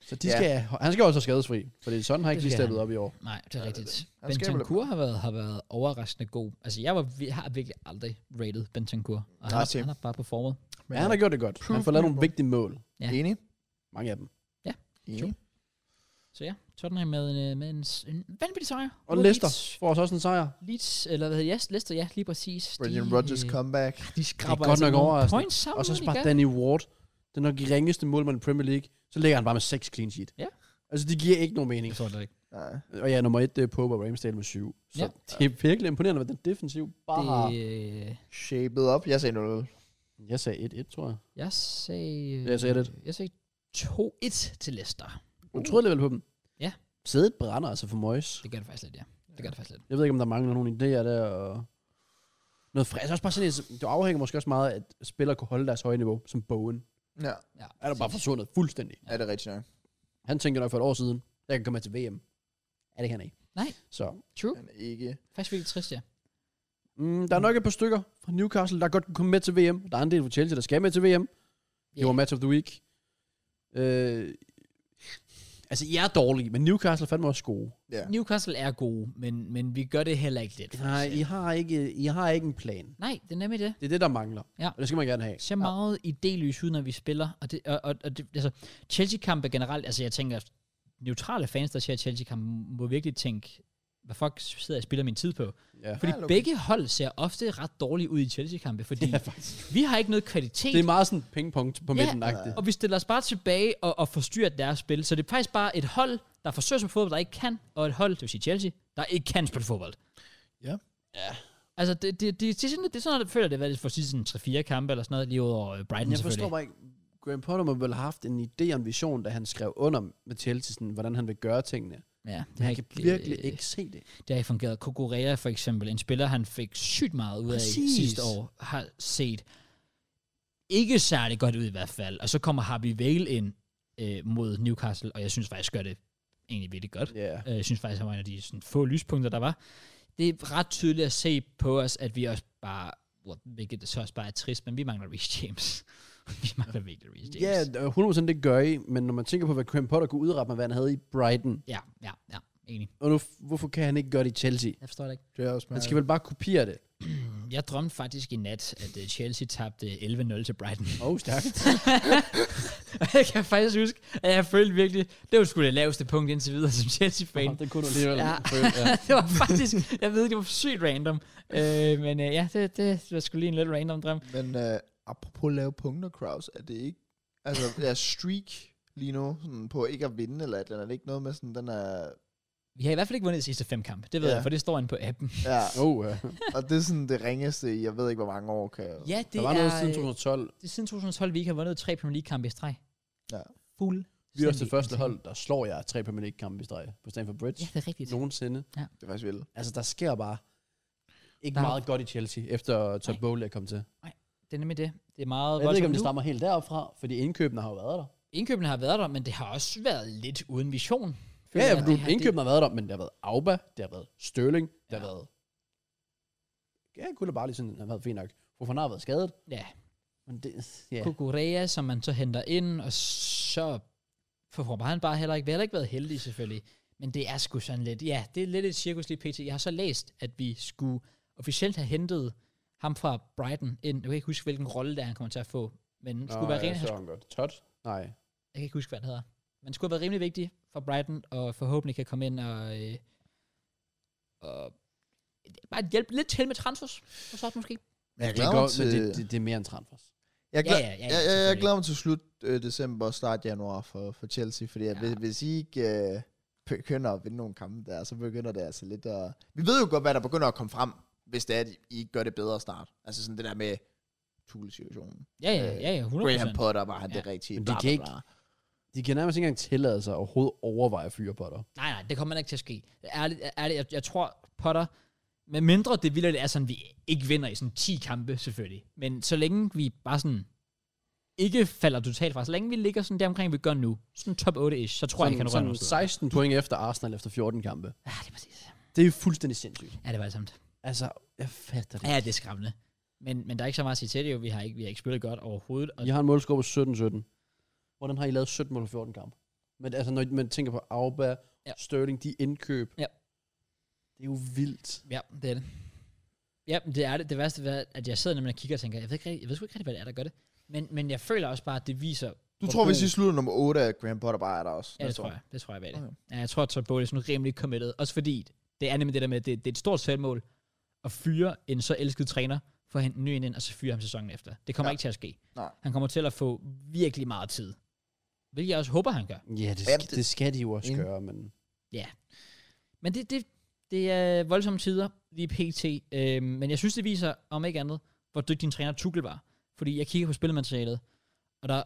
Speaker 2: Så de
Speaker 3: Ja.
Speaker 2: skal, han skal også være skadesfri, fordi sådan har ikke
Speaker 1: Det
Speaker 2: lige
Speaker 1: skal
Speaker 2: steppet op i år.
Speaker 1: Nej, det er rigtigt.
Speaker 3: Han skaber lidt-
Speaker 1: Bentancur har været, har været overraskende god. Altså, jeg var, vi- har virkelig aldrig rated Bentancur. Og han,
Speaker 3: Nej,
Speaker 1: er,
Speaker 3: same.
Speaker 1: han er bare performet.
Speaker 2: Men
Speaker 3: øh,
Speaker 2: han har gjort det godt. Han får lavet nogle vigtige mål.
Speaker 1: Ja.
Speaker 3: Enig?
Speaker 2: Mange af dem.
Speaker 3: Enig.
Speaker 1: Så ja, Tottenham med en, øh, med en, s- en vanvittig sejr.
Speaker 2: Og
Speaker 1: Mod
Speaker 2: Leicester
Speaker 1: Leeds.
Speaker 2: får os også en sejr.
Speaker 1: Leeds, eller hvad hedder det? Yes, Leicester, ja, lige præcis.
Speaker 3: Brendan
Speaker 1: De,
Speaker 3: Rodgers
Speaker 1: øh,
Speaker 3: comeback.
Speaker 1: De skraber
Speaker 2: godt
Speaker 1: altså
Speaker 2: nok
Speaker 1: nogle
Speaker 2: overraskende.
Speaker 1: points sammen.
Speaker 2: Og så
Speaker 1: de
Speaker 2: sparer
Speaker 1: gør.
Speaker 2: Danny Ward. Det er nok de ringeste målmand i Premier League. Så ligger han bare med seks clean sheet.
Speaker 1: Ja.
Speaker 2: Altså, det giver ikke nogen mening.
Speaker 1: Jeg tror det ikke.
Speaker 3: Ja.
Speaker 2: Og ja, nummer et, det er Pope og Ramsdale med syv. Så
Speaker 1: Ja.
Speaker 2: det er virkelig imponerende, hvad den defensiv bare har.
Speaker 1: Det, øh,
Speaker 3: Shaped up. Jeg sagde 0
Speaker 2: Jeg sagde 1-1, tror jeg.
Speaker 1: jeg sagde... øh,
Speaker 2: Jeg sagde det.
Speaker 1: Jeg sagde 2-1 til Leicester.
Speaker 2: Du troede alligevel på dem.
Speaker 1: Ja.
Speaker 2: Sædet brænder altså for Moyes.
Speaker 1: Det gør det faktisk lidt, ja. Det gør det faktisk lidt.
Speaker 2: Jeg ved ikke, om der mangler nogle idéer der. Og noget frisk. Også bare sådan, et- det afhænger måske også meget af, at spillere kunne holde deres høje niveau, som Bowen.
Speaker 3: Ja, Uh.
Speaker 1: Ja,
Speaker 2: Er der bare forsvundet fuldstændig.
Speaker 3: er det rigtigt nok.
Speaker 2: Han tænkte nok for et år siden, jeg kan komme til VM. Ja, det kan han ikke.
Speaker 1: Nej.
Speaker 2: Så
Speaker 1: True.
Speaker 3: Han er ikke...
Speaker 1: Faktisk virkelig trist, ja.
Speaker 2: mm, der er nok et par stykker fra Newcastle, der godt kunne komme med til VM. Der er en del fra Chelsea, der skal med til VM. Yeah. Det var match of the week. Øh, altså, I er dårlige, men Newcastle er fandme også gode.
Speaker 3: Ja.
Speaker 1: Newcastle er gode, men, men vi gør det heller ikke lidt. for os
Speaker 2: Nej, I
Speaker 1: selv.
Speaker 2: har ikke, I har ikke en plan.
Speaker 1: Nej, det er nemlig det.
Speaker 2: Det er det, der mangler.
Speaker 1: Ja.
Speaker 2: Og det skal man gerne have.
Speaker 1: Så meget ja. idéløs ud, når vi spiller. Og, det, og, og, og det, altså, Chelsea-kampe generelt, altså jeg tænker, neutrale fans, der ser Chelsea-kampe, må virkelig tænke, hvad fuck sidder jeg og spiller min tid på?
Speaker 2: Ja.
Speaker 1: Fordi
Speaker 3: Ja,
Speaker 1: ja,
Speaker 3: okay.
Speaker 1: begge hold ser ofte ret dårligt ud i Chelsea-kampe, fordi ja, vi har ikke noget kvalitet.
Speaker 2: Det er meget sådan ping-pong på midten ja.
Speaker 1: Og vi stiller os bare tilbage og, og forstyrrer deres spil. Så det er faktisk bare et hold, der forsøger sig på fodbold, der ikke kan, og et hold, det vil sige Chelsea, der ikke kan spille fodbold.
Speaker 3: Ja.
Speaker 2: Ja.
Speaker 1: Altså, det, det, det, det, er sådan, det er sådan, jeg føler, det har været for sidste sådan 3-4 kampe eller sådan noget, lige ud over øh, Brighton
Speaker 2: Jeg forstår
Speaker 1: selvfølgelig.
Speaker 2: bare ikke, Graham Potter må vel have haft en idé og en vision, da han skrev under med Chelsea, sådan, hvordan han vil gøre tingene.
Speaker 1: Ja, det
Speaker 2: Men
Speaker 1: har
Speaker 2: han
Speaker 1: ikke,
Speaker 2: kan virkelig
Speaker 1: øh,
Speaker 2: ikke se det.
Speaker 1: Det har ikke fungeret. Kokorea for eksempel, en spiller, han fik sygt meget ud af
Speaker 2: Præcis.
Speaker 1: sidste år, har set ikke særlig godt ud i hvert fald. Og så kommer Harvey Vale ind øh, mod Newcastle, og jeg synes faktisk, gør det egentlig virkelig godt.
Speaker 2: Ja.
Speaker 1: Øh, Jeg synes faktisk, han var en af de sådan, få lyspunkter, der var. Det er ret tydeligt at se på os, at vi også bare, well, hvilket det så også bare er trist, men vi mangler Reece James. vi mangler virkelig Reece
Speaker 2: Ja,
Speaker 1: James.
Speaker 2: 100% det gør I, men når man tænker på, hvad Graham Potter kunne udrette med, hvad han havde i Brighton,
Speaker 1: Ja, ja, ja, enig.
Speaker 2: og nu, hvorfor kan han ikke gøre det i Chelsea?
Speaker 1: Jeg forstår det ikke.
Speaker 3: Det er også
Speaker 2: Han
Speaker 3: mærkeligt.
Speaker 2: skal vel bare kopiere det.
Speaker 1: Mm. Jeg drømte faktisk i nat, at øh, Chelsea tabte 11-0 til Brighton.
Speaker 2: Åh, oh, stærkt.
Speaker 1: Og jeg kan faktisk huske, at jeg følte virkelig, det var sgu det laveste punkt indtil videre som Chelsea-fan.
Speaker 2: det kunne du alligevel.
Speaker 1: Ja.
Speaker 2: føle, ja.
Speaker 1: det var faktisk, jeg ved ikke, det var sygt random. Øh, men øh, ja, det, det, var sgu lige en lidt random drøm.
Speaker 3: Men øh, apropos lave punkter, Kraus, er det ikke... Altså, er streak lige nu sådan på ikke at vinde eller et eller andet? Er det ikke noget med sådan, den er...
Speaker 1: Vi har i hvert fald ikke vundet de sidste fem kampe, det ved
Speaker 3: Ja.
Speaker 1: jeg, for det står inde på appen.
Speaker 3: Ja,
Speaker 2: Oh, ja.
Speaker 3: og det er sådan det ringeste i, jeg ved ikke, hvor mange år kan...
Speaker 1: Ja, det
Speaker 2: Der var noget
Speaker 1: er,
Speaker 2: siden
Speaker 1: øh,
Speaker 2: 2012.
Speaker 1: det er siden 2012, vi ikke har vundet tre Premier League-kampe i streg.
Speaker 3: Ja.
Speaker 1: Fuld.
Speaker 2: Vi er også det første hold, der slår jer tre Premier League-kampe i streg på Stamford Bridge.
Speaker 1: Ja, det er rigtigt.
Speaker 2: Nogensinde.
Speaker 3: Det er faktisk vildt.
Speaker 2: Altså, der sker bare ikke
Speaker 1: Der-
Speaker 2: der... meget godt i Chelsea, efter Todd
Speaker 1: Nej.
Speaker 2: Bowley er kommet til.
Speaker 1: Det er nemlig det. Det er meget
Speaker 2: Jeg ved ikke, om
Speaker 1: voldsomt
Speaker 2: det
Speaker 1: nu.
Speaker 2: stammer helt deropfra, fordi indkøbene har jo været der.
Speaker 1: Indkøbene har været der, men det har også været lidt uden vision.
Speaker 2: Ja,
Speaker 1: jeg.
Speaker 2: ja, du,
Speaker 1: Det har-
Speaker 2: indkøbene har været der, men det har været Auba, det har været Sterling, det har
Speaker 1: Ja.
Speaker 2: været... Ja, kunne bare lige sådan, han har været fint nok. Hvorfor han har været skadet,
Speaker 1: Ja,
Speaker 2: men det... Ja.
Speaker 1: Kukurea, som man så henter ind, og så forformer han bare heller ikke. Vi har heller ikke været heldige, selvfølgelig. Men det er sgu sådan lidt, ja, det er lidt et cirkus lige pt. Jeg har så læst, at vi skulle officielt have hentet ham fra Brighton ind. Jeg kan ikke huske, hvilken rolle det er, han kommer til at få. Men Nå, skulle være rimelig, han,
Speaker 2: så han godt. Todd? Nej.
Speaker 1: jeg kan ikke huske, hvad han hedder. Men skulle have været rimelig vigtig for Brighton, og forhåbentlig kan komme ind og, øh, og bare hjælpe lidt til med transfers, og så måske.
Speaker 3: Men jeg
Speaker 2: Det,
Speaker 3: glæder
Speaker 2: går,
Speaker 3: mig
Speaker 2: men
Speaker 3: til...
Speaker 2: det, det, det, er mere end transfers.
Speaker 3: Jeg
Speaker 1: Ja,
Speaker 3: glæder,
Speaker 1: ja, ja, ja,
Speaker 3: jeg, jeg, jeg
Speaker 1: selvfølgelig.
Speaker 3: glæder mig til slut øh, december og start januar for, for Chelsea, fordi ja.
Speaker 1: Ja.
Speaker 3: hvis, hvis I ikke øh, begynder at vinde nogle kampe der, så begynder det altså lidt at... Vi ved jo godt, hvad der begynder at komme frem, hvis det er, at I ikke gør det bedre start. Altså sådan det der med Tuchel-situationen.
Speaker 1: Ja, ja, ja, ja 100%.
Speaker 3: Graham Potter var han ja. det
Speaker 1: Ja.
Speaker 3: rigtige.
Speaker 2: Men de kan ikke- De kan nærmest ikke engang tillade sig at overhovedet overveje at fyre på dig.
Speaker 1: Nej, nej, det kommer ikke til at ske. Ærligt, ærligt jeg, jeg tror, Potter, med mindre det vildt er sådan, vi ikke vinder i sådan 10 kampe, selvfølgelig. Men så længe vi bare sådan ikke falder totalt fra, så længe vi ligger sådan der omkring, vi gør nu, sådan top 8-ish, så tror jeg, vi kan
Speaker 2: Sådan,
Speaker 1: røre
Speaker 2: sådan
Speaker 1: noget. sted.
Speaker 2: 16 point efter Arsenal efter 14 kampe.
Speaker 1: Ja, det er præcis.
Speaker 2: Det er fuldstændig sindssygt.
Speaker 1: Ja, det var samt.
Speaker 2: Altså, jeg fatter det.
Speaker 1: Ja, det er skræmmende. Men, men der er ikke så meget at sige til det jo. Vi har ikke, vi har ikke spillet godt overhovedet. Og
Speaker 2: I har en målscore på 17-17. Hvordan har I lavet 17 mål på 14 kampe? Men altså, når man tænker på Auba,
Speaker 1: Ja.
Speaker 2: ja. Sterling, de indkøb.
Speaker 1: Ja.
Speaker 2: Det er jo vildt.
Speaker 1: Ja, det er det. Ja, men det er det. Det værste er, at jeg sidder nemlig og kigger og tænker, jeg ved, ikke, rigtig- jeg ved sgu ikke rigtig, hvad det er, der gør det. Men, men jeg føler også bare, at det viser,
Speaker 3: Du
Speaker 1: hvor
Speaker 3: tror, hvis
Speaker 1: god-
Speaker 3: I slutter nummer 8, at Graham Potter bare er der også?
Speaker 1: Ja, det
Speaker 3: næste
Speaker 1: tror
Speaker 3: år?
Speaker 1: jeg. Det tror jeg, hvad det er.
Speaker 3: Okay.
Speaker 1: Ja, jeg tror, at Todd Bowley er sådan rimelig committed. Også fordi, det er nemlig det der med, at det, det er et stort selvmål at fyre en så elsket træner, få hente en ny ind, og så fyre ham sæsonen efter. Det kommer
Speaker 3: Ja.
Speaker 1: ja. ikke til at ske.
Speaker 3: Nej.
Speaker 1: Han kommer til at få virkelig meget tid. Hvilket jeg også håber, han gør.
Speaker 2: Ja, det,
Speaker 3: Ja,
Speaker 2: sk- det skal de jo også
Speaker 3: Enig.
Speaker 2: gøre, men...
Speaker 1: Men det, det, det er voldsomme tider, lige pt. Øh, men jeg synes, det viser, om ikke andet, hvor dygtig din træner Tuchel var. Fordi jeg kigger på spillematerialet, og der,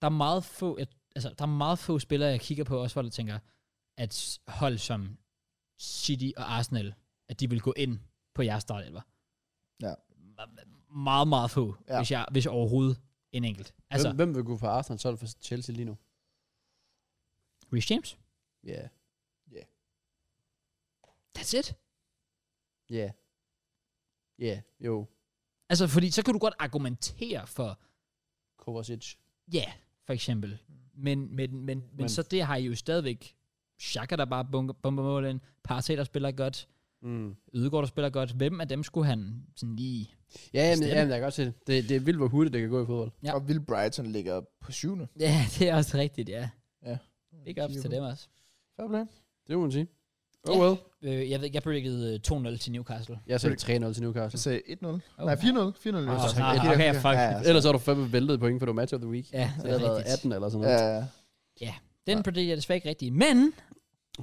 Speaker 1: der, er meget få, jeg, altså, der er meget få spillere, jeg kigger på, også hvor jeg tænker, at s- hold som City og Arsenal, at de vil gå ind på jeres startelver.
Speaker 3: Ja.
Speaker 1: Me- Meget, meget få,
Speaker 3: Ja.
Speaker 1: ja. hvis, jeg, hvis overhovedet en enkelt.
Speaker 2: Altså,
Speaker 1: Altså,
Speaker 2: hvem, hvem vil gå fra Arsenal 12 for Chelsea lige nu?
Speaker 1: Rich James?
Speaker 2: Ja. Yeah.
Speaker 3: Ja.
Speaker 1: That's it.
Speaker 2: Ja. Yeah. Ja, yeah, jo.
Speaker 1: Altså, fordi så kan du godt argumentere for,
Speaker 2: Kovacic.
Speaker 1: ja, yeah, for eksempel. Men, men, men, men, men,
Speaker 2: Men-
Speaker 1: så det har I jo stadigvæk Shaka, der bare bunker, bomber målen. Partey, der spiller godt.
Speaker 2: Mm.
Speaker 1: Ødegaard, der spiller godt. Hvem af dem skulle han sådan lige...
Speaker 2: Ja, jamen,
Speaker 1: Bestemt.
Speaker 2: jamen, jeg kan godt se det. det. Det er vildt, hvor hurtigt det kan gå i fodbold.
Speaker 1: Ja.
Speaker 3: Ja. Og Will Brighton ligger på syvende.
Speaker 1: Ja, det er også rigtigt, ja.
Speaker 3: Ja.
Speaker 1: Big ups til dem også.
Speaker 3: Fair play.
Speaker 2: Det må man sige. Oh
Speaker 1: Ja.
Speaker 2: well.
Speaker 1: Øh, jeg ved, ikke, jeg predicted øh, 2-0 til Newcastle.
Speaker 2: Jeg sagde 3-0 til
Speaker 3: Jeg
Speaker 2: Newcastle.
Speaker 3: sagde 1-0.
Speaker 1: Oh.
Speaker 3: Nej, 4-0. 4-0.
Speaker 1: Ah,
Speaker 3: Ah,
Speaker 1: ah, okay, fuck.
Speaker 3: Ja, ja.
Speaker 2: Altså- Ellers har du fandme væltet point, for du er match of the week.
Speaker 1: Ja,
Speaker 2: Så
Speaker 1: det
Speaker 2: det
Speaker 1: er
Speaker 2: har været
Speaker 1: rigtigt.
Speaker 2: 18 eller sådan
Speaker 3: ja,
Speaker 2: noget.
Speaker 3: ja.
Speaker 1: Den
Speaker 2: Ja.
Speaker 1: predicted jeg desværre ikke rigtigt. Men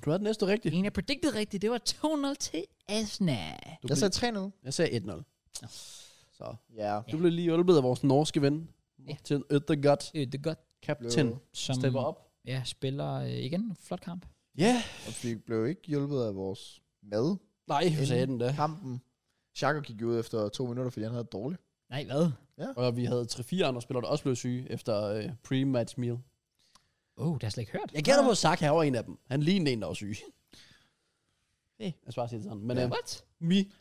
Speaker 2: Du har den næste rigtigt.
Speaker 1: en, jeg predicted rigtigt, det var 2-0 til Asna.
Speaker 2: Du
Speaker 3: Jeg
Speaker 2: blev-
Speaker 3: sagde 3-0.
Speaker 2: jeg sagde 1-0.
Speaker 1: Nå.
Speaker 2: Så
Speaker 3: Ja.
Speaker 2: du blev lige hjulpet af vores norske ven.
Speaker 1: Ja.
Speaker 2: Til Øttergaard.
Speaker 1: Øh, Det er det godt,
Speaker 2: Captain.
Speaker 1: som
Speaker 2: Stepper op.
Speaker 1: Ja, spiller øh, igen. Flot kamp.
Speaker 2: Ja.
Speaker 3: Og vi blev ikke hjulpet af vores mad.
Speaker 2: Nej, hvor sagde den da.
Speaker 3: Kampen. Chaka gik jo ud efter to minutter, fordi han havde det dårligt.
Speaker 1: Nej, hvad?
Speaker 2: Og vi havde 3-4 andre spillere, der også blev syge efter øh, pre-match meal.
Speaker 1: Åh, oh, det har jeg slet ikke hørt.
Speaker 2: Jeg gætter på, at Saka var en af dem. Han lignede en, der var syg. Hey. Jeg skal bare sige det sådan. Men
Speaker 3: Ja.
Speaker 2: ja. øh,
Speaker 1: What?
Speaker 2: vi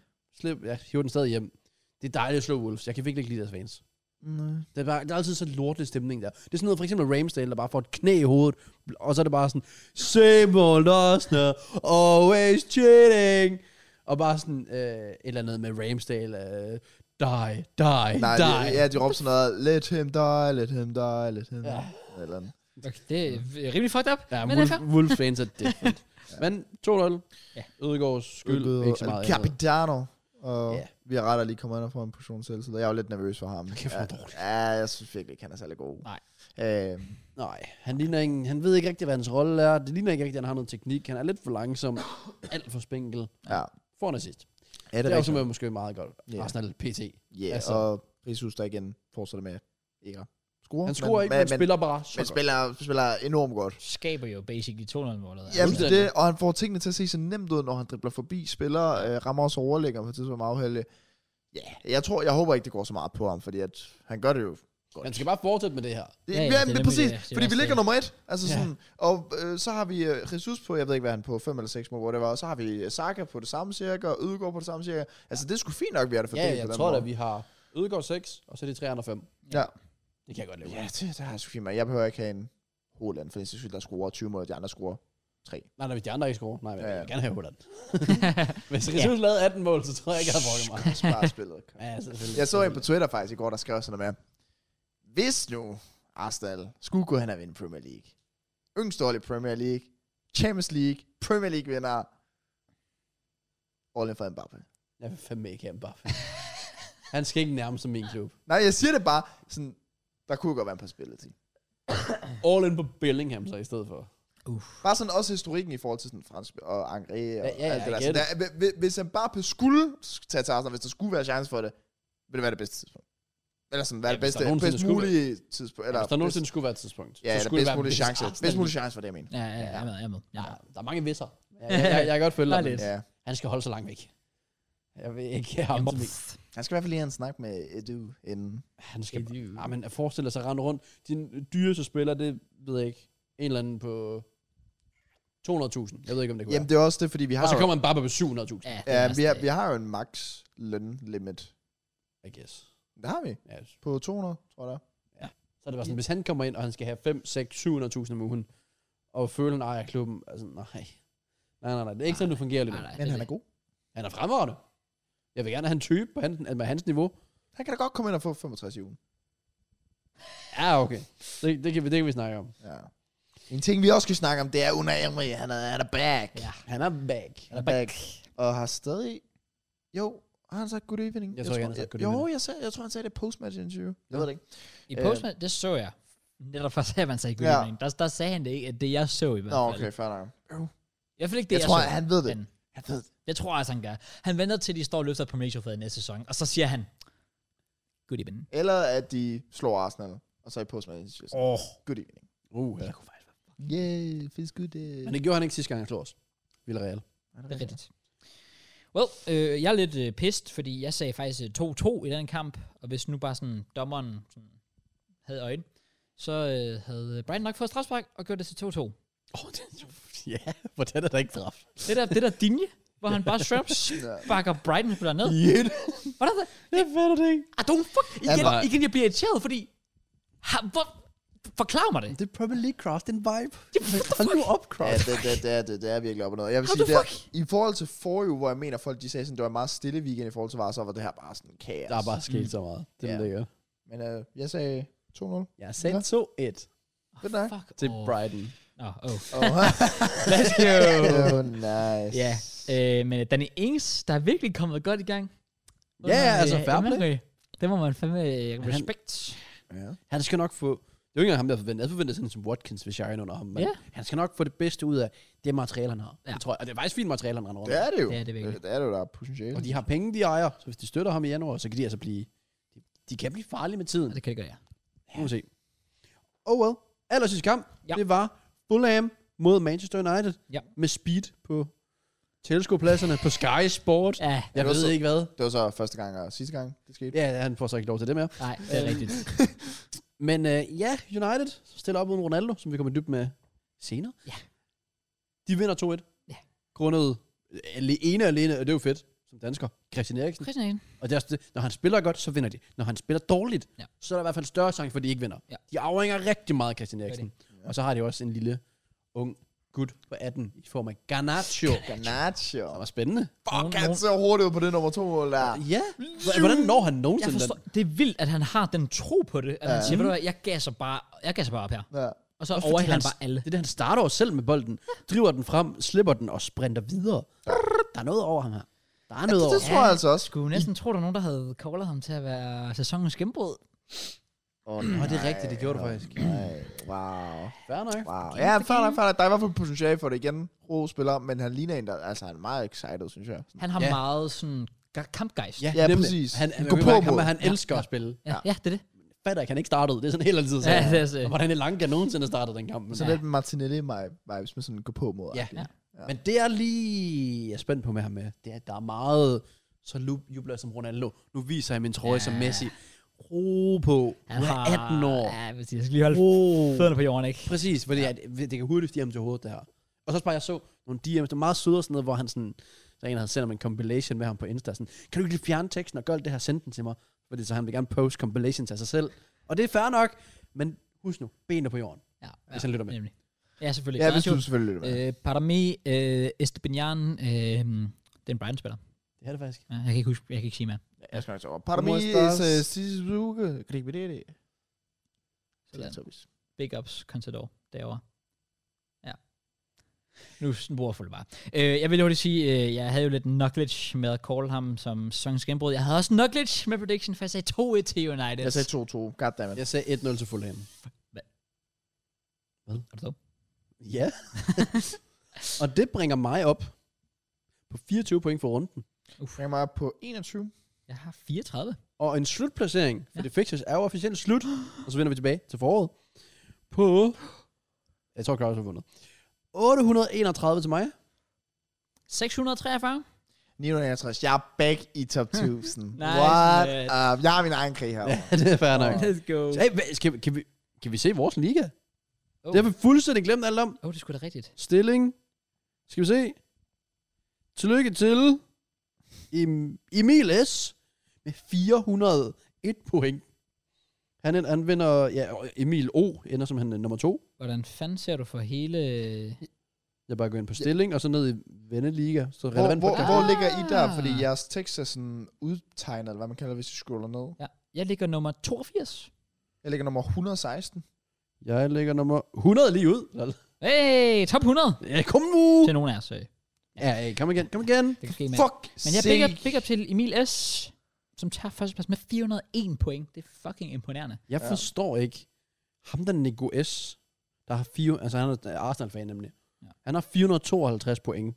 Speaker 2: slip, jeg hiver den stadig hjem. Det er dejligt at slå Wolves. Jeg kan virkelig ikke lide deres fans.
Speaker 3: Nej.
Speaker 2: Det er, bare, der er altid så lortelig stemning der. Det er sådan noget, for eksempel Ramsdale, der bare får et knæ i hovedet, og så er det bare sådan, same old Arsenal, always cheating. Og bare sådan øh, et eller andet med Ramsdale, øh, die, die,
Speaker 3: Nej, de,
Speaker 2: die.
Speaker 3: ja, de råbte sådan noget, let him die, let him die, let him
Speaker 2: Ja.
Speaker 3: die. Eller andet.
Speaker 1: Okay, det er rimelig fucked up.
Speaker 2: Ja,
Speaker 1: men
Speaker 2: Wolf,
Speaker 1: derfor...
Speaker 2: Wolf fans er different. Men 2-0.
Speaker 1: Ja.
Speaker 2: Ja. Ødegaards skyld.
Speaker 3: Udbyder
Speaker 2: ikke så meget. altså.
Speaker 3: El Capitano. Og
Speaker 2: Ja.
Speaker 3: yeah. vi har ret at lige komme ind og få en portion selv, så jeg er jo lidt nervøs for ham.
Speaker 2: Kæft, hvor
Speaker 3: ja,
Speaker 2: dårligt.
Speaker 3: ja, jeg synes virkelig ikke, han er særlig god.
Speaker 1: Nej.
Speaker 3: Øh,
Speaker 2: Nej, han, ligner ikke, han ved ikke rigtig, hvad hans rolle er. Det ligner ikke rigtig, at han har noget teknik. Han er lidt for langsom. Alt for spinkel.
Speaker 3: ja.
Speaker 2: Får en assist. Det
Speaker 3: Ja, det
Speaker 2: er,
Speaker 3: er
Speaker 2: også
Speaker 3: rigtigt.
Speaker 2: med, måske meget godt.
Speaker 3: Ja.
Speaker 2: Yeah. Arsenal PT.
Speaker 3: Ja,
Speaker 2: altså-
Speaker 3: altså. og Prisus der igen fortsætter med ikke at score.
Speaker 2: Han scorer ikke, men, men, spiller bare så
Speaker 3: men
Speaker 2: godt.
Speaker 3: spiller, spiller enormt godt.
Speaker 1: Skaber jo basically Altså, 200-målet.
Speaker 3: Ja,
Speaker 2: Jamen,
Speaker 3: det, og han får tingene til at se så nemt ud, når han dribler forbi spillere, øh, rammer også overlægger på et tidspunkt med afhælde. Ja, jeg tror, jeg håber ikke, det går så meget på ham, fordi at han gør det jo godt.
Speaker 2: Han skal bare fortsætte med det her.
Speaker 1: Ja,
Speaker 3: Det, ja,
Speaker 1: ja,
Speaker 3: ja,
Speaker 1: det er
Speaker 3: det
Speaker 1: nemlig
Speaker 3: er
Speaker 1: det,
Speaker 3: præcis,
Speaker 1: det er
Speaker 3: fordi
Speaker 1: også
Speaker 3: vi
Speaker 1: det.
Speaker 3: ligger nummer et. Altså
Speaker 2: Ja.
Speaker 3: ja. sådan, og øh, så har vi øh, Jesus på, jeg ved ikke, hvad han er på, 5 eller 6 mål, hvor det var, og så har vi øh, Saka på det samme cirka, og Ødegaard på det samme cirka. Altså, det er sgu fint nok, vi har det
Speaker 2: Ja,
Speaker 3: fordelt
Speaker 2: jeg
Speaker 3: på den
Speaker 2: tror da,
Speaker 3: måde.
Speaker 2: vi har Ødegaard 6, og så er det 3 andre 5.
Speaker 3: Ja.
Speaker 2: Det kan jeg godt leve.
Speaker 3: Ja,
Speaker 2: Yeah.
Speaker 3: det, det har jeg sgu fint med. Jeg behøver ikke have en Holland, for det er sgu, der scorer 20 mål, og de andre scorer 3.
Speaker 2: Nej, nej, hvis de andre ikke scorer. Nej, men
Speaker 3: Ja,
Speaker 2: jeg
Speaker 3: ja.
Speaker 2: vil gerne have Holland. hvis Jesus lavede 18 mål, så tror jeg ikke, jeg havde brokket mig.
Speaker 3: Spar spillet.
Speaker 2: Ja, selvfølgelig.
Speaker 3: Jeg så en på Twitter faktisk i går, der skrev sådan noget med, hvis nu Arsenal skulle gå hen og vinde Premier League, yngste hold i Premier League, Champions Legue, Premier League vinder, all in for Mbappé.
Speaker 2: Jeg vil fandme ikke have Mbappé. Han skal ikke nærme sig min klub.
Speaker 3: Nej, jeg siger det bare, sådan, der kunne godt være en possibility.
Speaker 2: All in på Bellingham så i stedet for.
Speaker 3: Bare sådan også historikken i forhold til sådan fransk og Angre og ja,
Speaker 2: ja,
Speaker 3: alt det
Speaker 2: jeg
Speaker 3: der.
Speaker 2: get
Speaker 3: Sådan, der hvi- hvis han bare skulle tage til Arsenal, hvis der skulle være chance for det, ville det være det bedste tidspunkt. Eller sådan, hvad er
Speaker 2: Ja,
Speaker 3: det
Speaker 2: hvis der
Speaker 3: bedste,
Speaker 2: nogensinde
Speaker 3: bedst
Speaker 2: skulle
Speaker 3: mulige tidspunkt.
Speaker 2: Hvis der
Speaker 3: Eller bedst-
Speaker 2: nogensinde skulle være et tidspunkt, så
Speaker 3: Ja, eller
Speaker 2: skulle
Speaker 3: bedst
Speaker 2: være
Speaker 3: mulige
Speaker 2: bedst
Speaker 3: chance.
Speaker 2: Arsenal.
Speaker 3: Bedst mulige chance, var det, jeg mener.
Speaker 1: ja, ja, ja, jeg er med, jeg er med. Ja.
Speaker 2: Ja, der er mange visser. Jeg, jeg, jeg, jeg kan godt følge
Speaker 1: Der er
Speaker 2: dig, men
Speaker 1: lidt.
Speaker 3: Ja.
Speaker 2: Han skal holde sig langt væk. Jeg vil ikke have ham til væk.
Speaker 3: Han skal i hvert fald lige have en snak med Edu inden.
Speaker 2: Han skal bare... Ja, Ah, men at forestille sig at rende rundt. Din dyreste spiller, det ved jeg ikke. En eller anden på 200.000. Jeg ved ikke, om det kunne
Speaker 3: Jamen, det er også det, fordi vi
Speaker 2: være.
Speaker 3: har
Speaker 2: Og så
Speaker 3: jo,
Speaker 2: kommer en bare på 700.000.
Speaker 1: Ja, det er
Speaker 3: ja,
Speaker 1: også
Speaker 3: vi, har,
Speaker 1: det.
Speaker 3: vi har jo en max lønlimit.
Speaker 2: I guess.
Speaker 3: Det har vi.
Speaker 2: Ja,
Speaker 3: På 200, tror jeg.
Speaker 2: så er det bare sådan, hvis han kommer ind, og han skal have 5, 6, 700.000 om ugen, og føler, han ejer klubben, altså nej. Nej, nej, nej. Det er ikke sådan, det fungerer lige nu.
Speaker 1: Nej, nej,
Speaker 3: Men
Speaker 1: det
Speaker 3: han er
Speaker 1: det.
Speaker 3: god.
Speaker 2: Han er fremragende. Jeg vil gerne have en type på hans, med hans niveau.
Speaker 3: Han kan da godt komme ind og få 65 i ugen.
Speaker 2: Ja, okay. Det, det, kan, vi, det kan vi snakke om.
Speaker 3: Ja. En ting, vi også skal snakke om, det er Unai Emery. Han er, han er back.
Speaker 1: Ja.
Speaker 2: Han er back.
Speaker 3: Han er back. Og har stadig... Jo, har han sagt good evening?
Speaker 2: Jeg tror ikke, han har sagt good evening.
Speaker 3: Jo, jeg, sagde, jeg tror, han sagde det post-match interview. Jeg
Speaker 2: Ja.
Speaker 3: ved det ikke.
Speaker 1: I
Speaker 3: Øh,
Speaker 1: Postman, det så jeg. Netop først, at man sagde good
Speaker 3: Ja.
Speaker 1: evening. Der, der sagde han det ikke, at det jeg så i hvert
Speaker 3: Nå,
Speaker 1: fald.
Speaker 3: okay, fair nok. Jo.
Speaker 1: I hvert fald ikke det,
Speaker 3: Jeg
Speaker 1: jeg,
Speaker 3: tror,
Speaker 1: så.
Speaker 3: han ved det.
Speaker 1: Men
Speaker 3: Han ved det.
Speaker 1: det tror jeg også, han gør. Han venter til, de står og løfter på Majorfaget næste sæson, og så siger han, good evening.
Speaker 3: Eller at de slår Arsenal, og så i postmatch interview.
Speaker 1: Åh, oh,
Speaker 3: Good evening.
Speaker 2: Uh, ja.
Speaker 3: Yeah, feels good. Uh.
Speaker 2: Men det gjorde han ikke sidste gang, han slog os. Villarreal.
Speaker 1: det er rigtigt. Well, øh, jeg er lidt øh, pissed, fordi jeg sagde faktisk øh, 2-2 i den kamp, og hvis nu bare sådan dommeren sådan, havde øjne, så øh, havde Brian nok fået strafspark og gjort det til 2-2.
Speaker 2: Åh, oh, ja, hvordan er der ikke straf?
Speaker 1: Det der, det der dinje, hvor han bare straight up bakker Brighton spiller ned.
Speaker 2: Yeah.
Speaker 1: Hvad er det?
Speaker 2: Jeg fatter det ikke.
Speaker 1: Ah, don't fuck. Igen,
Speaker 2: Ja, bare-
Speaker 1: igen, jeg bliver irriteret, fordi... Ha, hvor, forklar mig det.
Speaker 2: Det er Premier League Craft, en vibe.
Speaker 1: Hold nu
Speaker 2: op,
Speaker 3: Ja, det, det, det, er, det, det er virkelig op og noget. Jeg vil
Speaker 1: How
Speaker 3: sige,
Speaker 1: the
Speaker 3: det er, i forhold til forrige uge, hvor jeg mener, folk de sagde, sådan, det var en meget stille weekend i forhold til Varsov, var det her bare sådan kaos.
Speaker 2: Der er bare sket så meget. Det
Speaker 3: Ja.
Speaker 2: er lækker.
Speaker 3: Men øh, jeg sagde 2-0.
Speaker 2: Jeg sagde 2-1
Speaker 3: Det er dig.
Speaker 1: Ah, Fuck.
Speaker 2: til
Speaker 1: off.
Speaker 2: Brighton.
Speaker 1: Nå, oh.
Speaker 3: Oh,
Speaker 1: Let's go.
Speaker 3: oh, nice.
Speaker 1: Ja, øh, men Danny Ings, der er virkelig kommet godt i gang.
Speaker 2: Ja, altså, fair play.
Speaker 1: play. Det må man fandme øh,
Speaker 2: Han-
Speaker 1: respekt.
Speaker 3: ja.
Speaker 2: Han skal nok få... Det er jo ikke engang ham, der forventer. Jeg forventer sådan som Watkins, hvis jeg er inde under ham. Men
Speaker 1: Ja.
Speaker 2: han skal nok få det bedste ud af det materiale, han har.
Speaker 1: Ja.
Speaker 2: Det tror jeg. Og det er faktisk fint materiale, han render rundt.
Speaker 3: Det er det jo. Øh,
Speaker 1: Ja, det er virkelig.
Speaker 3: det er det jo, der er potentiale.
Speaker 2: Og de har penge, de ejer. Så hvis de støtter ham i januar, så kan de altså blive... De, de kan blive farlige med tiden.
Speaker 1: Ja, det kan det gøre, ja.
Speaker 2: Nu må vi se. Oh well. Aller sidste kamp,
Speaker 1: Ja.
Speaker 2: ja. det var Fulham mod Manchester United.
Speaker 1: Ja.
Speaker 2: Med speed på tilskuerpladserne på Sky Sport. Ja.
Speaker 1: Ja,
Speaker 2: Jeg
Speaker 3: Det var
Speaker 2: ved
Speaker 3: så-
Speaker 2: ikke hvad.
Speaker 3: Det var så første gang og sidste gang, det skete.
Speaker 2: Ja, han får så ikke lov til det mere.
Speaker 1: nej, det er rigtigt.
Speaker 2: Men øh, ja, United stiller op mod Ronaldo, som vi kommer dybt med senere.
Speaker 1: Ja.
Speaker 2: De vinder 2-1.
Speaker 1: Ja.
Speaker 2: Grundet øh, alene alene, og det er jo fedt, som dansker, Christian Eriksen.
Speaker 1: Christian Eriksen.
Speaker 2: Og det er også det, når han spiller godt, så vinder de. Når han spiller dårligt,
Speaker 1: Ja.
Speaker 2: ja. så er der i hvert fald større chance for, at de ikke vinder.
Speaker 1: Ja.
Speaker 2: De afhænger rigtig meget af Christian
Speaker 1: er
Speaker 2: Eriksen. Ja. Og så har de også en lille ung gut på 18 i form af Garnacho. Det
Speaker 3: Garnaccio.
Speaker 2: var spændende.
Speaker 3: Fuck,
Speaker 1: Nogen-
Speaker 3: han
Speaker 1: nogen-
Speaker 3: ser hurtigt ud på det nummer to mål der.
Speaker 2: Ja. Hvordan når han
Speaker 1: Ah. Jeg
Speaker 2: nogensinde
Speaker 1: forstår,
Speaker 2: den?
Speaker 1: det er vildt, at han har den tro på det. At ja. han siger, ved du hvad, jeg gasser bare, jeg gasser bare op her.
Speaker 3: Ja.
Speaker 1: Og så
Speaker 2: Også fordi
Speaker 1: overhælder han
Speaker 2: han-
Speaker 1: bare alle.
Speaker 2: Det er det, han starter jo selv med bolden, driver den frem, slipper den og sprinter videre. Der er noget over ham her. Der er noget
Speaker 3: Det,
Speaker 2: over.
Speaker 3: det tror jeg altså også.
Speaker 1: Skulle næsten tro, der er nogen, der havde callet ham til at være sæsonens gennembrud.
Speaker 3: Åh, oh,
Speaker 2: Nå, det er rigtigt, det gjorde du faktisk.
Speaker 3: Nej, wow.
Speaker 2: Fair nok.
Speaker 3: Wow. Ja, fair nok, fair nok. Der er i hvert fald potentiale for det igen. Ro spiller, men han ligner en, der altså, han er meget excited, synes jeg.
Speaker 1: Han har
Speaker 2: Ja.
Speaker 1: meget sådan ga- kampgejst.
Speaker 3: Ja,
Speaker 2: nemlig.
Speaker 3: præcis.
Speaker 2: Han, han,
Speaker 3: Gå
Speaker 2: han,
Speaker 3: på
Speaker 2: han, han,
Speaker 3: mod.
Speaker 2: han elsker at spille.
Speaker 1: ja, ja det er det.
Speaker 2: Fatter ikke, han ikke startede. Det er sådan helt altid
Speaker 1: Ja,
Speaker 2: sådan.
Speaker 1: det er så-
Speaker 2: Og Hvordan Elanga nogensinde startede den kamp. Men,
Speaker 3: Så
Speaker 1: Ja.
Speaker 3: ja. lidt Martinelli-vibes med sådan gå på mod.
Speaker 2: Ja.
Speaker 1: Ja.
Speaker 3: Ja.
Speaker 2: men det er lige... Jeg er spændt på med ham med. Det er, der er meget... Så lu- jubler jeg som Ronaldo. Nu viser jeg min trøje ja. som
Speaker 1: Ja.
Speaker 2: Messi. Ro på.
Speaker 1: Han
Speaker 2: Du er 18 år.
Speaker 1: Ja, præcis. Jeg skal lige holde
Speaker 2: Ro.
Speaker 1: fødderne på jorden, ikke?
Speaker 2: Præcis, fordi ja. at, det kan hurtigt stige ham til hovedet, det her. Og så bare, jeg så nogle DM's, der er meget søde og sådan noget, hvor han sådan, der er en, der havde sendt ham en compilation med ham på Insta, sådan, kan du ikke lige fjerne teksten og gøre alt det her, send den til mig? Fordi så han vil gerne poste compilations af sig selv. Og det er fair nok, men husk nu, benene på jorden.
Speaker 1: Ja, ja.
Speaker 2: Hvis han lytter med.
Speaker 1: Nemlig. Ja, selvfølgelig.
Speaker 3: Ja, hvis
Speaker 1: Ignacio,
Speaker 3: du selvfølgelig lytter med.
Speaker 1: Øh, Parami, øh, Estebinian, øh, det er en Brighton-spiller.
Speaker 2: Det er det faktisk.
Speaker 1: Ja, jeg kan ikke huske, jeg kan ikke sige mere.
Speaker 3: Jeg skal nok tage over. Parmi
Speaker 1: øh,
Speaker 2: Como estas?
Speaker 3: Suzuki. Gribidere.
Speaker 1: Sådan. Big ups, Contador, derovre. Ja. Nu bruger jeg det bare. Øh, jeg vil jo lige sige, øh, jeg havde jo lidt knowledge med at call ham som sæsonens gennembrud. Jeg havde også knowledge med prediction, for jeg sagde 2-1 til United.
Speaker 3: Jeg sagde 2-2. Goddammit.
Speaker 2: Jeg sagde 1-0 til Fulham.
Speaker 1: Er du dum?
Speaker 2: Ja. og det bringer mig op på 24 point for runden.
Speaker 3: Jeg mig op på 21.
Speaker 1: Jeg har 34.
Speaker 2: Og en slutplacering, for
Speaker 1: Ja.
Speaker 2: ja. det fixes er jo officielt slut, og så vender vi tilbage til foråret, på, jeg tror Kraus har vundet, 831 til mig,
Speaker 1: 643.
Speaker 3: 961. Jeg er back i top 1000.
Speaker 1: Nice,
Speaker 3: What
Speaker 1: man.
Speaker 3: up? Jeg har min egen krig her.
Speaker 2: Ja, det er fair nok.
Speaker 1: Let's go.
Speaker 2: Hey, hva- skal, vi- kan, vi, kan vi se vores liga? Oh.
Speaker 1: Oh.
Speaker 2: Det har vi fuldstændig glemt alt om.
Speaker 1: Åh, oh, det er sgu da rigtigt.
Speaker 2: Stilling. Skal vi se. Tillykke til em, Emil S. med 401 point. Han, han vinder, ja, og Emil O. ender som han er nummer to.
Speaker 1: Hvordan fanden ser du for hele...
Speaker 2: Jeg bare går ind på stilling, og så ned i venneliga. Så
Speaker 3: Hvor,
Speaker 2: relevant
Speaker 3: hvor,
Speaker 2: podcast.
Speaker 3: hvor ligger I der? Fordi
Speaker 1: Ah.
Speaker 3: jeres tekst er sådan udtegnet, eller hvad man kalder det, hvis I scroller ned.
Speaker 1: Ja, jeg ligger nummer 82.
Speaker 3: Jeg ligger nummer 116.
Speaker 2: Jeg ligger nummer 100 lige ud. Lol.
Speaker 1: Hey, top 100!
Speaker 2: Ja, kom nu!
Speaker 1: Til nogen af os. øh.
Speaker 2: Ja, ja, kom igen, kom igen.
Speaker 1: Det kan ske, mand.
Speaker 2: Fuck
Speaker 1: Men jeg big up,
Speaker 2: sake.
Speaker 1: big up til Emil S., som tager førsteplads med 401 point. Det er fucking imponerende.
Speaker 2: Jeg
Speaker 3: Ja.
Speaker 2: forstår ikke. Ham der Nico S, der har fire, altså han er Arsenal-fan nemlig.
Speaker 1: Ja.
Speaker 2: Ja. Han har 452 point.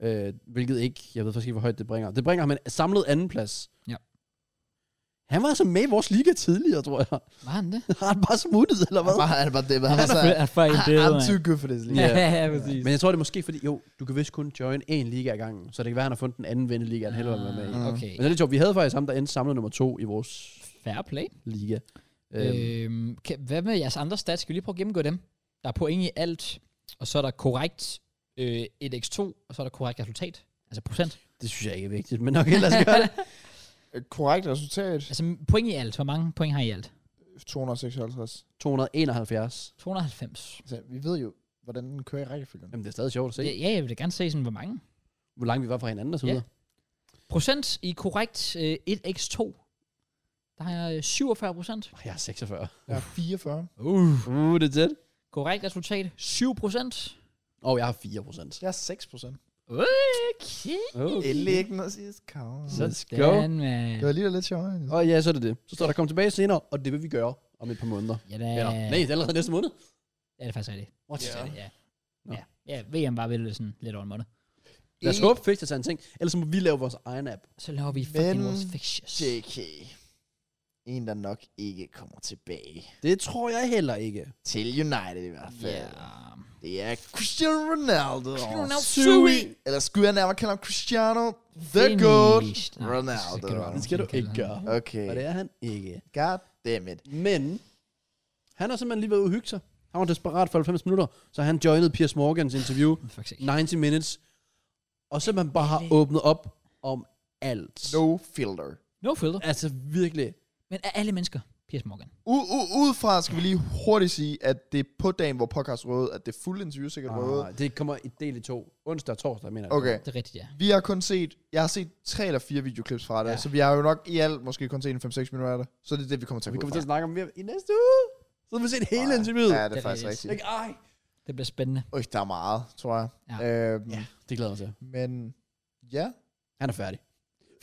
Speaker 2: Ja. Øh, hvilket ikke, jeg ved faktisk ikke, hvor højt det bringer. Det bringer ham en samlet anden plads.
Speaker 1: Ja.
Speaker 2: Han var altså med i vores liga tidligere, tror jeg.
Speaker 1: Var han det?
Speaker 2: Har han bare smuttet, eller hvad?
Speaker 3: Han er bare det, han
Speaker 1: Han
Speaker 3: er så...
Speaker 1: er
Speaker 2: Ah,
Speaker 1: fucking død,
Speaker 3: Ah, I'm
Speaker 1: mand.
Speaker 3: too good for this league.
Speaker 1: Ja, ja, præcis.
Speaker 2: Men jeg tror, det er måske fordi, jo, du kan vist kun join en liga ad gangen, så det kan være, han har fundet den anden venneliga, han hellere vil være med i.
Speaker 1: Ah,
Speaker 2: Men
Speaker 3: Mm.
Speaker 1: Okay,
Speaker 2: det er lidt sjovt, vi havde faktisk ham, der endte samlet nummer to i vores
Speaker 1: fair play.
Speaker 2: liga. Øhm,
Speaker 1: Øhm, kan, hvad med jeres andre stats? Skal vi lige prøve at gennemgå dem? Der er point i alt, og så er der korrekt øh, 1x2, og så er der korrekt resultat. Altså procent.
Speaker 2: Det synes jeg ikke er vigtigt, men nok ellers gør det.
Speaker 3: Et korrekt resultat.
Speaker 1: Altså point i alt. Hvor mange point har I i alt?
Speaker 3: 256.
Speaker 2: 271.
Speaker 1: 290.
Speaker 3: Altså, vi ved jo, hvordan den kører i rækkefølgen.
Speaker 2: Jamen, det er stadig sjovt at se,
Speaker 1: Ja, ja, jeg vil da gerne se sådan, hvor mange.
Speaker 2: hvor langt vi var fra hinanden og så
Speaker 1: Ja.
Speaker 2: videre.
Speaker 1: Procent i korrekt øh, 1x2. Der har jeg øh, 47 procent.
Speaker 2: Åh, Jeg er 46.
Speaker 3: Jeg er 44.
Speaker 1: Uh.
Speaker 2: Uh, det er tæt.
Speaker 1: Korrekt resultat 7 procent.
Speaker 2: Og jeg har 4 procent.
Speaker 3: Jeg er 6 procent.
Speaker 1: Okay.
Speaker 2: Okay.
Speaker 3: noget sidst,
Speaker 2: Så skal go.
Speaker 1: Sådan, man.
Speaker 3: Det var alligevel lidt sjovere. end-
Speaker 2: Og ja, så er det det. Så står der, kom tilbage senere, og det vil vi gøre om et par måneder.
Speaker 1: Ja, da,
Speaker 2: Eller, nej, det er allerede næste måned.
Speaker 1: ja, det er faktisk rigtigt.
Speaker 2: What?
Speaker 1: Ja.
Speaker 2: Yeah.
Speaker 1: Ja.
Speaker 2: Nå.
Speaker 1: Ja. ja, VM var vel sådan lidt over en måned.
Speaker 2: Lad os håbe, Fixers er en ting. Ellers så må vi lave vores egen app.
Speaker 1: Så laver vi fucking
Speaker 3: Men-
Speaker 1: vores fixtures.
Speaker 3: JK. En, der nok ikke kommer tilbage.
Speaker 2: Det tror jeg heller ikke.
Speaker 3: Til United i hvert
Speaker 1: Ja.
Speaker 3: Det er Cristiano Ronaldo.
Speaker 1: Cristiano Ronaldo.
Speaker 2: Sui.
Speaker 3: Eller skulle jeg nærmere kalde ham Cristiano The
Speaker 1: Finished.
Speaker 3: Goat
Speaker 1: Nej,
Speaker 3: Ronaldo.
Speaker 1: så kan du-
Speaker 2: Det skal du ikke gøre.
Speaker 3: Okay.
Speaker 2: Og det er han ikke.
Speaker 3: God damn it.
Speaker 2: Men han har simpelthen lige været ude at hygge sig. Han var desperat for 90 minutter, så han joinede Piers Morgans interview,
Speaker 1: For eksempel.
Speaker 2: 90 Minutes, og simpelthen bare har åbnet op om alt.
Speaker 3: No filter.
Speaker 1: No filter.
Speaker 2: Altså virkelig.
Speaker 1: Men af alle mennesker, Piers Morgan.
Speaker 3: U- u- udefra skal vi lige hurtigt sige, at det er på dagen, hvor podcast røde, at det er fuld interview sikkert røde.
Speaker 2: Ah, det kommer i del i to. Onsdag og torsdag, mener jeg.
Speaker 3: Okay.
Speaker 1: Det er rigtigt, ja.
Speaker 3: Vi har kun set, jeg har set tre eller fire videoklips fra det,
Speaker 2: Ja.
Speaker 3: ja. så vi har jo nok i alt måske kun set en 5-6 minutter af det. Så det er det, vi kommer til at
Speaker 2: Vi
Speaker 3: gå
Speaker 2: kommer
Speaker 3: ud
Speaker 2: til at
Speaker 3: fra.
Speaker 2: snakke om mere i næste uge. Så har vi set hele interviewet.
Speaker 3: Ah, Ja, det er
Speaker 1: Det er
Speaker 3: faktisk
Speaker 1: rigtigt.
Speaker 3: rigtigt.
Speaker 2: Ikke, ej.
Speaker 1: Det bliver spændende.
Speaker 3: Øj, der er meget, tror jeg. Ja. Øhm,
Speaker 2: Ja,
Speaker 3: ja.
Speaker 2: det glæder jeg mig til.
Speaker 3: Men ja.
Speaker 2: Han er færdig.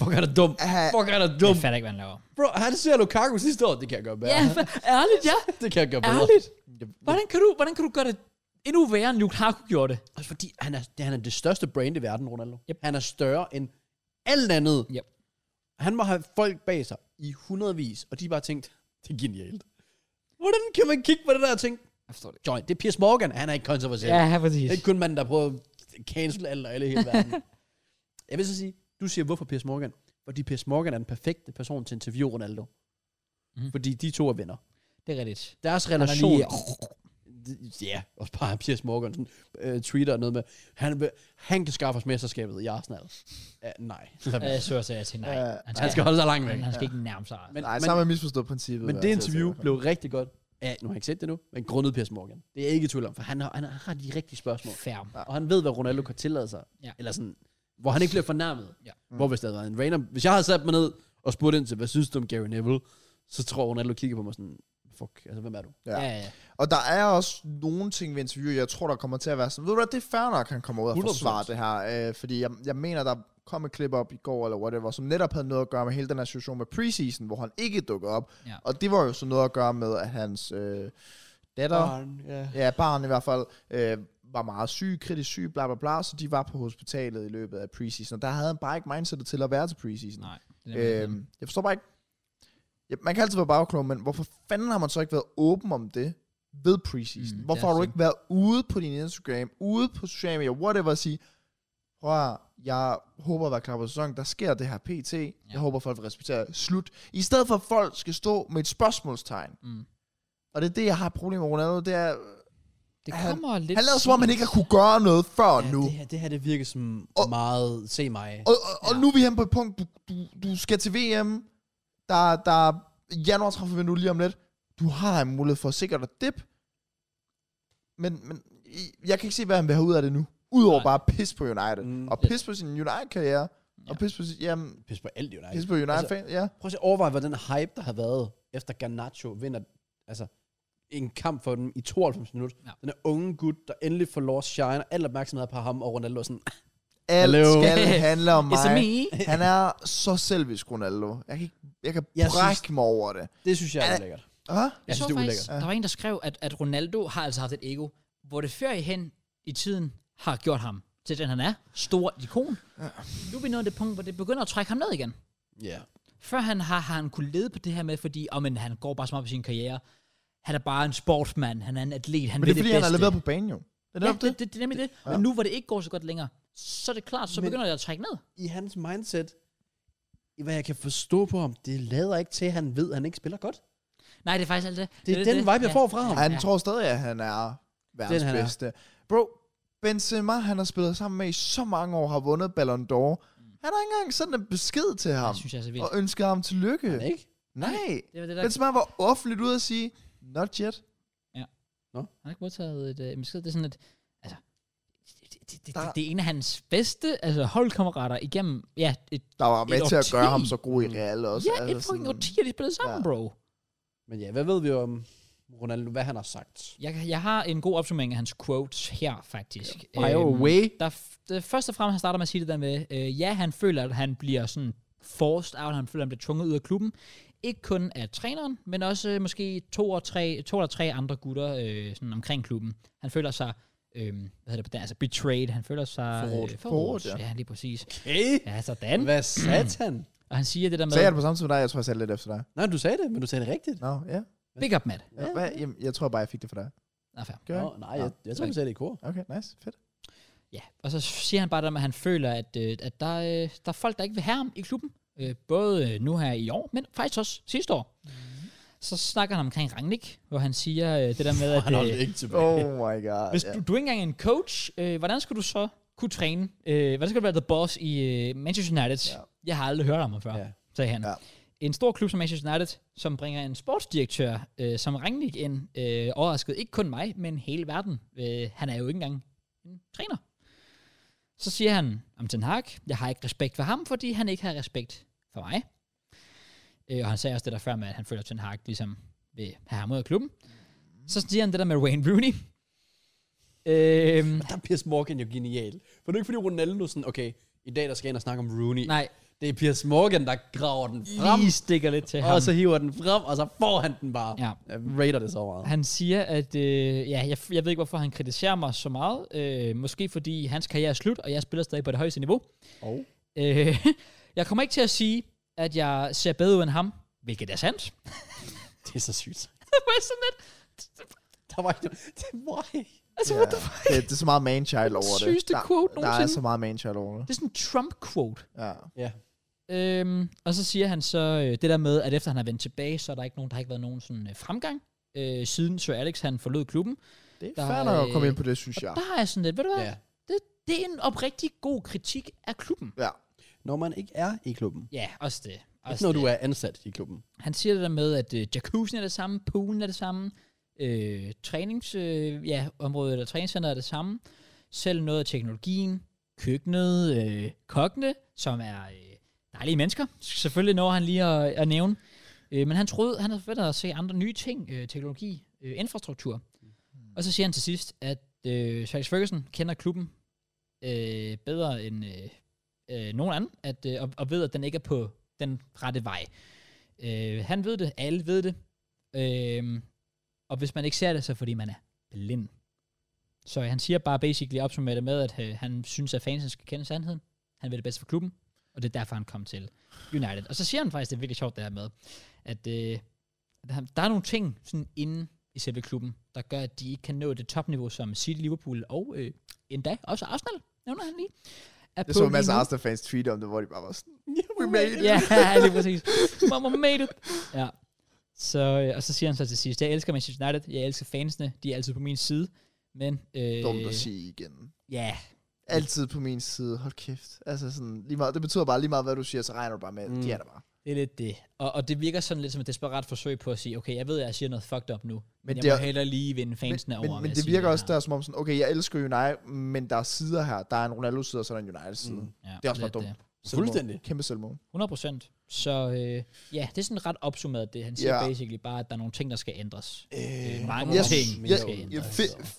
Speaker 2: Fuck, han er dum.
Speaker 3: Aha,
Speaker 2: Fuck, han er
Speaker 1: Jeg
Speaker 2: dum.
Speaker 1: fatter ikke, hvad han laver.
Speaker 2: Bro, han ser Lukaku sidste år. Det kan jeg gøre bedre.
Speaker 1: Ja, fa- ærligt, ja.
Speaker 2: Det kan jeg gøre bedre.
Speaker 1: Ærligt.
Speaker 3: jeg, jeg,
Speaker 1: Hvordan kan du, hvordan kan du gøre det endnu værre, end Lukaku gjorde det?
Speaker 2: Også fordi han er, det- han er det største brand i verden, Ronaldo.
Speaker 1: Yep.
Speaker 2: Han er større end alt andet.
Speaker 1: Yep.
Speaker 2: Han må have folk bag sig i hundredvis, og de har bare tænkt, det er genialt. Hvordan kan man kigge på det der og tænke,
Speaker 1: Jeg forstår det.
Speaker 2: joint, det er Piers Morgan, han er ikke konservativ.
Speaker 1: Ja, præcis.
Speaker 2: Det er ikke kun manden, der prøver at cancel alt og alle i hele verden. jeg vil så sige, du siger, hvorfor Piers Morgan? Fordi Piers Morgan er den perfekte person til at interviewe Ronaldo.
Speaker 1: Mhm.
Speaker 2: Mm. Fordi de to er venner.
Speaker 1: Det er rigtigt.
Speaker 2: Deres
Speaker 1: Han er
Speaker 2: relation...
Speaker 1: lige...
Speaker 2: Ja, også bare Piers Morgan sådan, øh, tweeter noget med, han, vil- han kan skaffe os mesterskabet i Arsenal. Uh, nej.
Speaker 1: Øh, så sagde jeg til nej.
Speaker 3: Ja,
Speaker 1: Han
Speaker 2: han skal holde sig langt væk.
Speaker 1: han, han skal ikke nærme sig.
Speaker 2: Men,
Speaker 3: nej,
Speaker 2: men,
Speaker 3: så har man misforstået princippet.
Speaker 2: men
Speaker 3: i
Speaker 2: det
Speaker 3: hvert fald,
Speaker 2: interview
Speaker 3: så-
Speaker 2: blev rigtig godt. Ja, nu har jeg ikke set det nu, men grundet Piers Morgan. Det er jeg ikke i tvivl om, for han har, han har de rigtige spørgsmål.
Speaker 1: Færm.
Speaker 2: Og han ved, hvad Ronaldo kan tillade sig.
Speaker 1: Ja.
Speaker 2: Eller sådan, hvor han ikke bliver fornærmet.
Speaker 1: Ja.
Speaker 2: Hvor hvis der havde været en random... Hvis jeg havde sat mig ned og spurgt ind til, hvad synes du om Gary Neville? Så tror Ronaldo kigger på mig sådan, fuck, altså hvem er du?
Speaker 1: Ja,
Speaker 3: Ja.
Speaker 1: ja, ja.
Speaker 3: Og der er også nogle ting ved interviewet, jeg tror, der kommer til at være sådan, ved du hvad, det er fair nok, han kommer ud og
Speaker 2: 100%.
Speaker 3: forsvarer det her. Øh, fordi jeg, jeg mener, der kom et klip op i går, eller whatever, som netop havde noget at gøre med hele den her situation med preseason, hvor han ikke dukkede op.
Speaker 1: Ja.
Speaker 3: Og det var jo så noget at gøre med, at hans øh, datter, barn.
Speaker 2: ja.
Speaker 3: ja, barn i hvert fald, øh, var meget syg, kritisk syg, bla bla bla, så de var på hospitalet i løbet af preseason, og der havde han bare ikke mindsetet til at være til preseason.
Speaker 1: Nej. Det er nemlig-
Speaker 3: Øhm, jeg forstår bare ikke. Ja, man kan altid være bagklog, men hvorfor fanden har man så ikke været åben om det ved preseason?
Speaker 1: Mm,
Speaker 3: Mm,
Speaker 1: det
Speaker 3: hvorfor
Speaker 1: er
Speaker 3: har du
Speaker 1: sådan.
Speaker 3: ikke været ude på din Instagram, ude på social media, whatever, og sige, prøv at høre, jeg håber at være klar på sæsonen, der sker det her pt. Ja. Jeg håber, folk vil respektere det." slut. I stedet for, at folk skal stå med et spørgsmålstegn.
Speaker 1: Mm.
Speaker 3: Og det er det, jeg har et problem med Ronaldo, det er,
Speaker 1: Det
Speaker 3: han-
Speaker 1: kommer lidt...
Speaker 3: han lader som om, han ikke har kunne gøre noget før
Speaker 2: Ja,
Speaker 3: nu.
Speaker 2: Det her, det her, det virker som og,
Speaker 3: Og-
Speaker 2: meget, se mig.
Speaker 3: Og, og, og
Speaker 1: Ja.
Speaker 3: nu er vi hen på et punkt, du, du, du skal til VM, der, der er januar træffer vi nu lige om lidt. Du har en mulighed for at sikre dig dip, men, men i- jeg kan ikke se, hvad han vil have ud af det nu. Udover
Speaker 1: Nej.
Speaker 3: bare pis på United.
Speaker 2: Mm.
Speaker 3: Mm. Og pis på sin United-karriere. Ja. Og pis på, sin, jamen,
Speaker 2: Pis på alt, jo nej.
Speaker 3: pis på United
Speaker 2: Altså-
Speaker 3: altså, fan, ja.
Speaker 2: Prøv at se- overvej, hvad den hype, der har været, efter Garnacho vinder altså, en kamp for dem i 92 minutter.
Speaker 1: Ja.
Speaker 2: Ja. Den her unge gut, der endelig får lov at shine, og al opmærksomhed på ham og Ronaldo. er Sådan, "Ah,
Speaker 3: Alt
Speaker 2: Hello.
Speaker 3: skal handle om
Speaker 1: It's a me.
Speaker 3: mig. Han er så selvisk, Ronaldo. Jeg kan, ikke- jeg kan
Speaker 2: Jeg
Speaker 3: jeg
Speaker 2: synes-
Speaker 3: brække mig over det.
Speaker 2: det synes jeg er
Speaker 3: Ja.
Speaker 2: lækkert.
Speaker 3: Ah?
Speaker 1: Jeg
Speaker 2: Jeg
Speaker 1: så
Speaker 2: synes, det er
Speaker 1: faktisk,
Speaker 2: ulækkert.
Speaker 1: der var en, der skrev, at, at Ronaldo har altså haft et ego, hvor det før i hen i tiden har gjort ham til den, han er. Stor ikon. Nu er vi nået det punkt, hvor det begynder at trække ham ned igen.
Speaker 2: Ja.
Speaker 1: Før han har, har han kunne lede på det her med, fordi oh, men han går bare så meget på sin karriere. Han er bare en sportsmand, han er en atlet, han
Speaker 3: Men det
Speaker 1: vil
Speaker 3: er fordi,
Speaker 1: det
Speaker 3: han har
Speaker 1: bedste.
Speaker 3: leveret på banen jo. Det er
Speaker 1: Ja,
Speaker 3: ja,
Speaker 1: det, det, det, er nemlig det. Men nu, hvor det ikke går så godt længere, så er det klart, så
Speaker 2: Men-
Speaker 1: begynder det at trække ned.
Speaker 2: I hans mindset, i hvad jeg kan forstå på ham, det lader ikke til, at han ved, at han ikke spiller godt.
Speaker 1: Nej, det er faktisk alt det.
Speaker 2: Det er den vibe, jeg får fra ham.
Speaker 3: Han ja. tror stadig, at han er verdens
Speaker 2: Den, han er.
Speaker 3: bedste. Bro,
Speaker 1: Det Mm. synes jeg er så vildt.
Speaker 3: og ønsket ham tillykke.
Speaker 2: Men ikke?
Speaker 3: Nej,
Speaker 1: Det var det, der
Speaker 3: Benzema var offentligt ude at sige, not yet.
Speaker 1: Han har ikke modtaget et øh, besked. Det er sådan, at altså, det, det, det,
Speaker 3: Der-
Speaker 1: det, det er en af hans bedste altså, holdkammerater igennem ja, et,
Speaker 3: Der var med
Speaker 1: Et
Speaker 3: til at
Speaker 1: årti.
Speaker 3: gøre ham så god i Real også. altså
Speaker 1: ja, et fucking
Speaker 3: sådan-
Speaker 1: årti, at de spillede sammen,
Speaker 3: Ja.
Speaker 1: ja. bro.
Speaker 2: Men ja, hvad ved vi om Ronaldo, hvad han har sagt?
Speaker 1: Jeg, jeg har en god opsummering af hans quotes her, faktisk.
Speaker 2: By
Speaker 1: Øhm,
Speaker 2: the way.
Speaker 1: der, f- det, først og fremmest han starter med at sige det der med, øh, ja, han føler, at han bliver sådan forced out, han føler, at han bliver tvunget ud af klubben. Ikke kun af træneren, men også øh, måske to, og tre, to eller tre andre gutter øh, sådan omkring klubben. Han føler sig, øh, hvad hedder det på dansk, altså betrayed. Han føler sig øh,
Speaker 2: Forrådt.
Speaker 1: forrådt.
Speaker 3: Forrådt,
Speaker 1: Ja. ja, lige præcis.
Speaker 2: Hey,
Speaker 1: Ja, sådan.
Speaker 2: hvad sagde han?
Speaker 1: Og han siger det der med,
Speaker 3: Sagde jeg det på samme tid med dig? Jeg tror, jeg sagde lidt efter dig.
Speaker 2: Nej, du sagde det, men du sagde det rigtigt.
Speaker 3: Nå, ja.
Speaker 1: big up, Matt.
Speaker 3: ja. Hvad? Jamen, jeg tror bare, jeg fik det for dig.
Speaker 1: Nå, fair.
Speaker 3: Gør jeg?
Speaker 2: Nå, nej, jeg, jeg tror, du sagde det i kor.
Speaker 3: Okay, nice. Fedt.
Speaker 1: Ja, og så siger han bare det med, at han føler, at, øh, at der, øh, der er folk, der ikke vil have ham i klubben. Øh, både øh, nu her i år, men faktisk også sidste år. Mm. Så snakker han omkring Rangnick, hvor han siger øh, det der med,
Speaker 2: Han holdt
Speaker 1: at øh,
Speaker 2: ikke tilbage.
Speaker 3: Oh my god.
Speaker 1: hvis
Speaker 3: ja.
Speaker 1: du, du er ikke engang er en coach, øh, hvordan skulle du så kunne træne? Øh, hvordan skal du være the boss i øh, Manchester United?
Speaker 3: Ja.
Speaker 1: Ja. Jeg har aldrig hørt om ham før,
Speaker 2: Ja.
Speaker 1: ja. sagde han.
Speaker 3: Ja.
Speaker 1: Ja. En stor klub som Manchester United, som bringer en sportsdirektør øh, som Rangnick ind, øh, overrasket ikke kun mig, men hele verden. Øh, han er jo ikke engang en træner. Så siger han om Ten Hag, jeg har ikke respekt for ham, fordi han ikke har respekt for mig. Øh, og han sagde også det der før med, at han føler, at Ten Hag ligesom vil have ham ud af klubben. Så siger han det der med Wayne Rooney. Øhm,
Speaker 2: Der er Piers Morgan jo genial. For det er ikke fordi Ronaldo sådan, okay, i dag der skal jeg ind og snakke om Rooney.
Speaker 1: nej,
Speaker 2: Det er Piers Morgan, der graver den frem,
Speaker 1: lige stikker lidt til ham.
Speaker 2: og så hiver den frem, og så får han den bare.
Speaker 1: Ja.
Speaker 2: Jeg rater det så meget.
Speaker 1: Han siger, at øh, ja, jeg, jeg ved ikke, hvorfor han kritiserer mig så meget. Øh, måske fordi hans karriere er slut, og jeg spiller stadig på det højeste niveau.
Speaker 2: Og
Speaker 1: Øh, jeg kommer ikke til at sige, at jeg ser bedre ud end ham, hvilket er sandt.
Speaker 2: det er så sygt.
Speaker 1: det var sådan lidt,
Speaker 2: Der var ikke det, why?
Speaker 1: altså,
Speaker 3: Ja.
Speaker 1: yeah. what the fuck?
Speaker 3: Det, det er så meget man-child over det.
Speaker 1: Sygeste
Speaker 3: Der-
Speaker 1: quote
Speaker 3: Der er
Speaker 1: nogensinde.
Speaker 3: så meget man-child over det.
Speaker 1: Det er sådan en Trump-quote.
Speaker 3: Ja.
Speaker 2: Ja.
Speaker 1: Øhm, og så siger han så øh, det der med, at efter han er vendt tilbage, så er der ikke nogen, der har ikke været nogen sådan øh, fremgang, øh, siden Sir Alex han forlod klubben.
Speaker 3: Det er
Speaker 1: Der
Speaker 3: fair
Speaker 1: er,
Speaker 3: nok at komme
Speaker 1: øh,
Speaker 3: ind på det, synes jeg.
Speaker 1: Der er jeg sådan lidt, ved du hvad,
Speaker 2: ja.
Speaker 1: det, det er en oprigtig god kritik af klubben.
Speaker 3: Ja.
Speaker 2: Når man ikke er i klubben.
Speaker 1: Ja, også det.
Speaker 2: Ikke
Speaker 1: Også
Speaker 2: når
Speaker 1: det.
Speaker 2: du er ansat i klubben.
Speaker 1: Han siger det der med, at øh, jacuzzien er det samme, poolen er det samme, øh, trænings, øh, ja, området eller træningscenter er det samme, selv noget af teknologien, køkkenet, øh, kokkene, som er øh, dejlige mennesker. Selvfølgelig når han lige at, at nævne. Øh, men han troede, han havde forventet at se andre nye ting, øh, teknologi, øh, infrastruktur. Og så siger han til sidst, at øh, Charles Ferguson kender klubben øh, bedre end øh, øh, nogen anden, at, øh, og, og ved, at den ikke er på den rette vej. Øh, han ved det, alle ved det. Øh, og hvis man ikke ser det, så er det, fordi man er blind. Så han siger bare basically opsummeret det med, at øh, han synes, at fansen skal kende sandheden. Han vil det bedste for klubben, og det er derfor, han kom til United. Og så siger han faktisk, det er virkelig sjovt det her med, at øh, at han- der er nogle ting sådan inde i selve klubben, der gør, at de ikke kan nå det topniveau, som City, Liverpool og øh, endda også Arsenal, nævner han lige. Er
Speaker 3: Jeg
Speaker 1: på
Speaker 3: så
Speaker 1: lige
Speaker 3: en masse
Speaker 1: nu.
Speaker 3: Arsenal-fans tweet om det, hvor de bare var sådan, we made it.
Speaker 1: Ja, lige præcis. Mama made it. Ja. Så, øh, og så siger han så til sidst, jeg elsker Manchester United, jeg elsker fansene, de er altid på min side, men... Øh,
Speaker 3: Dumt at sige igen.
Speaker 1: Ja,
Speaker 3: Altid på min side. Hold kæft. Altså sådan, lige meget, det betyder bare lige meget, hvad du siger, så regner du bare med, mm. de er der bare.
Speaker 1: det er lidt det. Og, og det virker sådan lidt som et desperat forsøg på at sige, okay, jeg ved, at jeg siger noget fucked up nu, men, men jeg
Speaker 3: det
Speaker 1: må
Speaker 3: er-
Speaker 1: hellere lige vinde fansene
Speaker 3: men,
Speaker 1: over.
Speaker 3: men,
Speaker 1: ved
Speaker 3: men
Speaker 1: at
Speaker 3: det
Speaker 1: sige
Speaker 3: virker
Speaker 1: her.
Speaker 3: også der som om sådan, okay, jeg elsker United, men der er sider her. Der er en Ronaldo-side, og så er der en United-side. Mm.
Speaker 1: Ja,
Speaker 3: det er også
Speaker 1: lidt
Speaker 3: bare dumt. Selvmål.
Speaker 2: Fuldstændig.
Speaker 3: Kæmpe selvmål.
Speaker 1: 100 procent. Så øh, ja, det er sådan ret opsummeret det. Han siger
Speaker 3: Ja.
Speaker 1: yeah. basically bare, at der er nogle ting, der skal ændres.
Speaker 2: Øh,
Speaker 1: mange
Speaker 3: Jeg,
Speaker 1: ting,
Speaker 3: jeg,
Speaker 1: men
Speaker 3: jeg,
Speaker 1: skal
Speaker 3: jeg,
Speaker 2: altså.
Speaker 1: ændres,
Speaker 3: fe-
Speaker 1: så.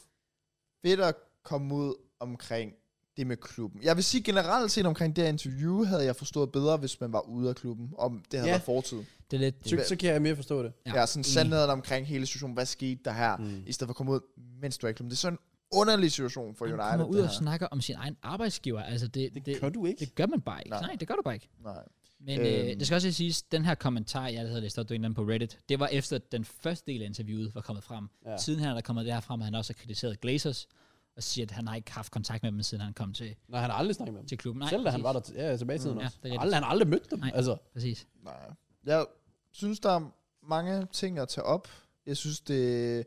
Speaker 3: fedt at komme ud omkring det med klubben. Jeg vil sige generelt set omkring det her interview, havde jeg forstået bedre, hvis man var ude af klubben, om det havde
Speaker 2: Ja.
Speaker 3: været fortid.
Speaker 1: Det er lidt det.
Speaker 2: Så, så kan jeg mere forstå det.
Speaker 1: Ja,
Speaker 3: Ja, sådan
Speaker 1: enig.
Speaker 3: sandheden omkring hele situationen. Hvad skete der her? Mm.
Speaker 2: Mm.
Speaker 3: I stedet for at komme ud, mens du er i klubben. Det er sådan en underlig situation for United.
Speaker 1: Han kommer ud
Speaker 3: det
Speaker 1: og
Speaker 3: her.
Speaker 1: snakker om sin egen arbejdsgiver. Altså, det, det, det,
Speaker 2: Kan du ikke?
Speaker 1: det gør man bare ikke.
Speaker 3: Nej.
Speaker 1: Nej, det gør du bare ikke.
Speaker 3: Nej.
Speaker 1: Men
Speaker 3: Øhm.
Speaker 1: øhm. øh, det skal også lige siges, den her kommentar, jeg havde læst op, det var en eller anden på Reddit, det var efter, at den første del af interviewet var kommet frem.
Speaker 2: Ja.
Speaker 1: Ja. Siden her er der kommet det her frem, at han også har kritiseret Glazers, og siger, at han har ikke haft kontakt med dem, siden han kom til,
Speaker 2: Nej, han har aldrig snakket med dem.
Speaker 1: til klubben. Nej,
Speaker 2: Selv da han
Speaker 1: præcis.
Speaker 2: var der til- ja, tilbage i tiden
Speaker 1: Mm, ja,
Speaker 2: også.
Speaker 1: det er rigtigt.
Speaker 2: Aldrig- han har aldrig mødt dem.
Speaker 1: Nej.
Speaker 2: Altså,
Speaker 1: Præcis.
Speaker 3: Nej. Jeg synes, der er mange ting at tage op. Jeg synes, det...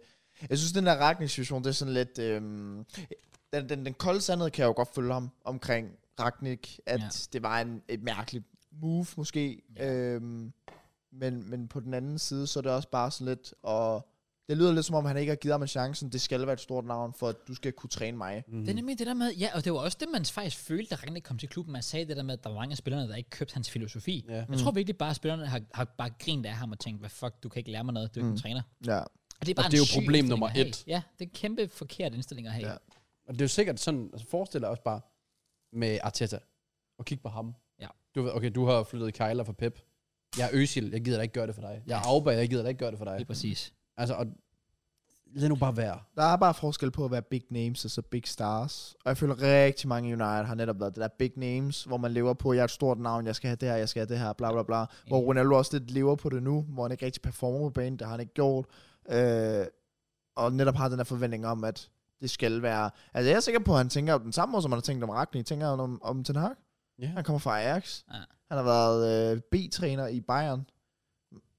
Speaker 3: Jeg synes, den her ragningssituation, det er sådan lidt... Øhm, den, den, den kolde sandhed kan jeg jo godt følge ham omkring Ragnik, at
Speaker 1: Ja.
Speaker 3: ja. det var en, et mærkeligt move måske.
Speaker 1: Ja.
Speaker 3: Ja. Øhm, men, men på den anden side, så er det også bare sådan lidt, og det lyder lidt som om, han ikke har givet ham en chance, sådan, det skal være et stort navn, for at du skal kunne træne mig.
Speaker 2: Mhm.
Speaker 1: Mm. Det er nemlig det der med, ja, og det var også det, man faktisk følte, da Ragnik kom til klubben. Man sagde det der med, at der var mange af spillerne, der ikke købte hans filosofi.
Speaker 2: Ja.
Speaker 1: Jeg tror virkelig bare, at spillerne har, har bare grint af ham og tænkt, hvad fuck, du kan ikke lære mig noget, du er
Speaker 2: Mhm.
Speaker 1: ikke en træner.
Speaker 3: Ja.
Speaker 1: Og det er bare
Speaker 2: Og det er
Speaker 1: en
Speaker 2: jo
Speaker 1: syg
Speaker 2: problem
Speaker 1: indstilling
Speaker 2: nummer
Speaker 1: at have.
Speaker 2: et.
Speaker 1: Ja, det er en kæmpe forkert indstilling at have. Ja.
Speaker 3: Ja.
Speaker 2: Og det er jo sikkert sådan, altså forestil dig også bare med Arteta, og kig på ham.
Speaker 1: Ja.
Speaker 2: Du ved, okay, du har flyttet Kejler for Pep. Jeg er Øsil, jeg gider da ikke gøre det for dig. Jeg er Auba, jeg gider da ikke gøre det for dig.
Speaker 1: Lige præcis.
Speaker 2: Altså, og lad nu bare være.
Speaker 3: Der er bare forskel på at være big names og så big stars. Og jeg føler rigtig mange i United har netop været det der big names, hvor man lever på, jeg er et stort navn, jeg skal have det her, jeg skal have det her, bla bla bla. Hvor Ronaldo også lidt lever på det nu, hvor han ikke rigtig performer på banen, det har han ikke gjort. Øh, og netop har den her forventning om, at det skal være... Altså jeg er sikker på, at han tænker om den samme måde, som han har tænkt om Ragni, tænker han om, om Ten Hag.
Speaker 2: Ja.
Speaker 3: Han kommer fra Ajax.
Speaker 1: Ja.
Speaker 3: Han har været øh, B-træner i Bayern.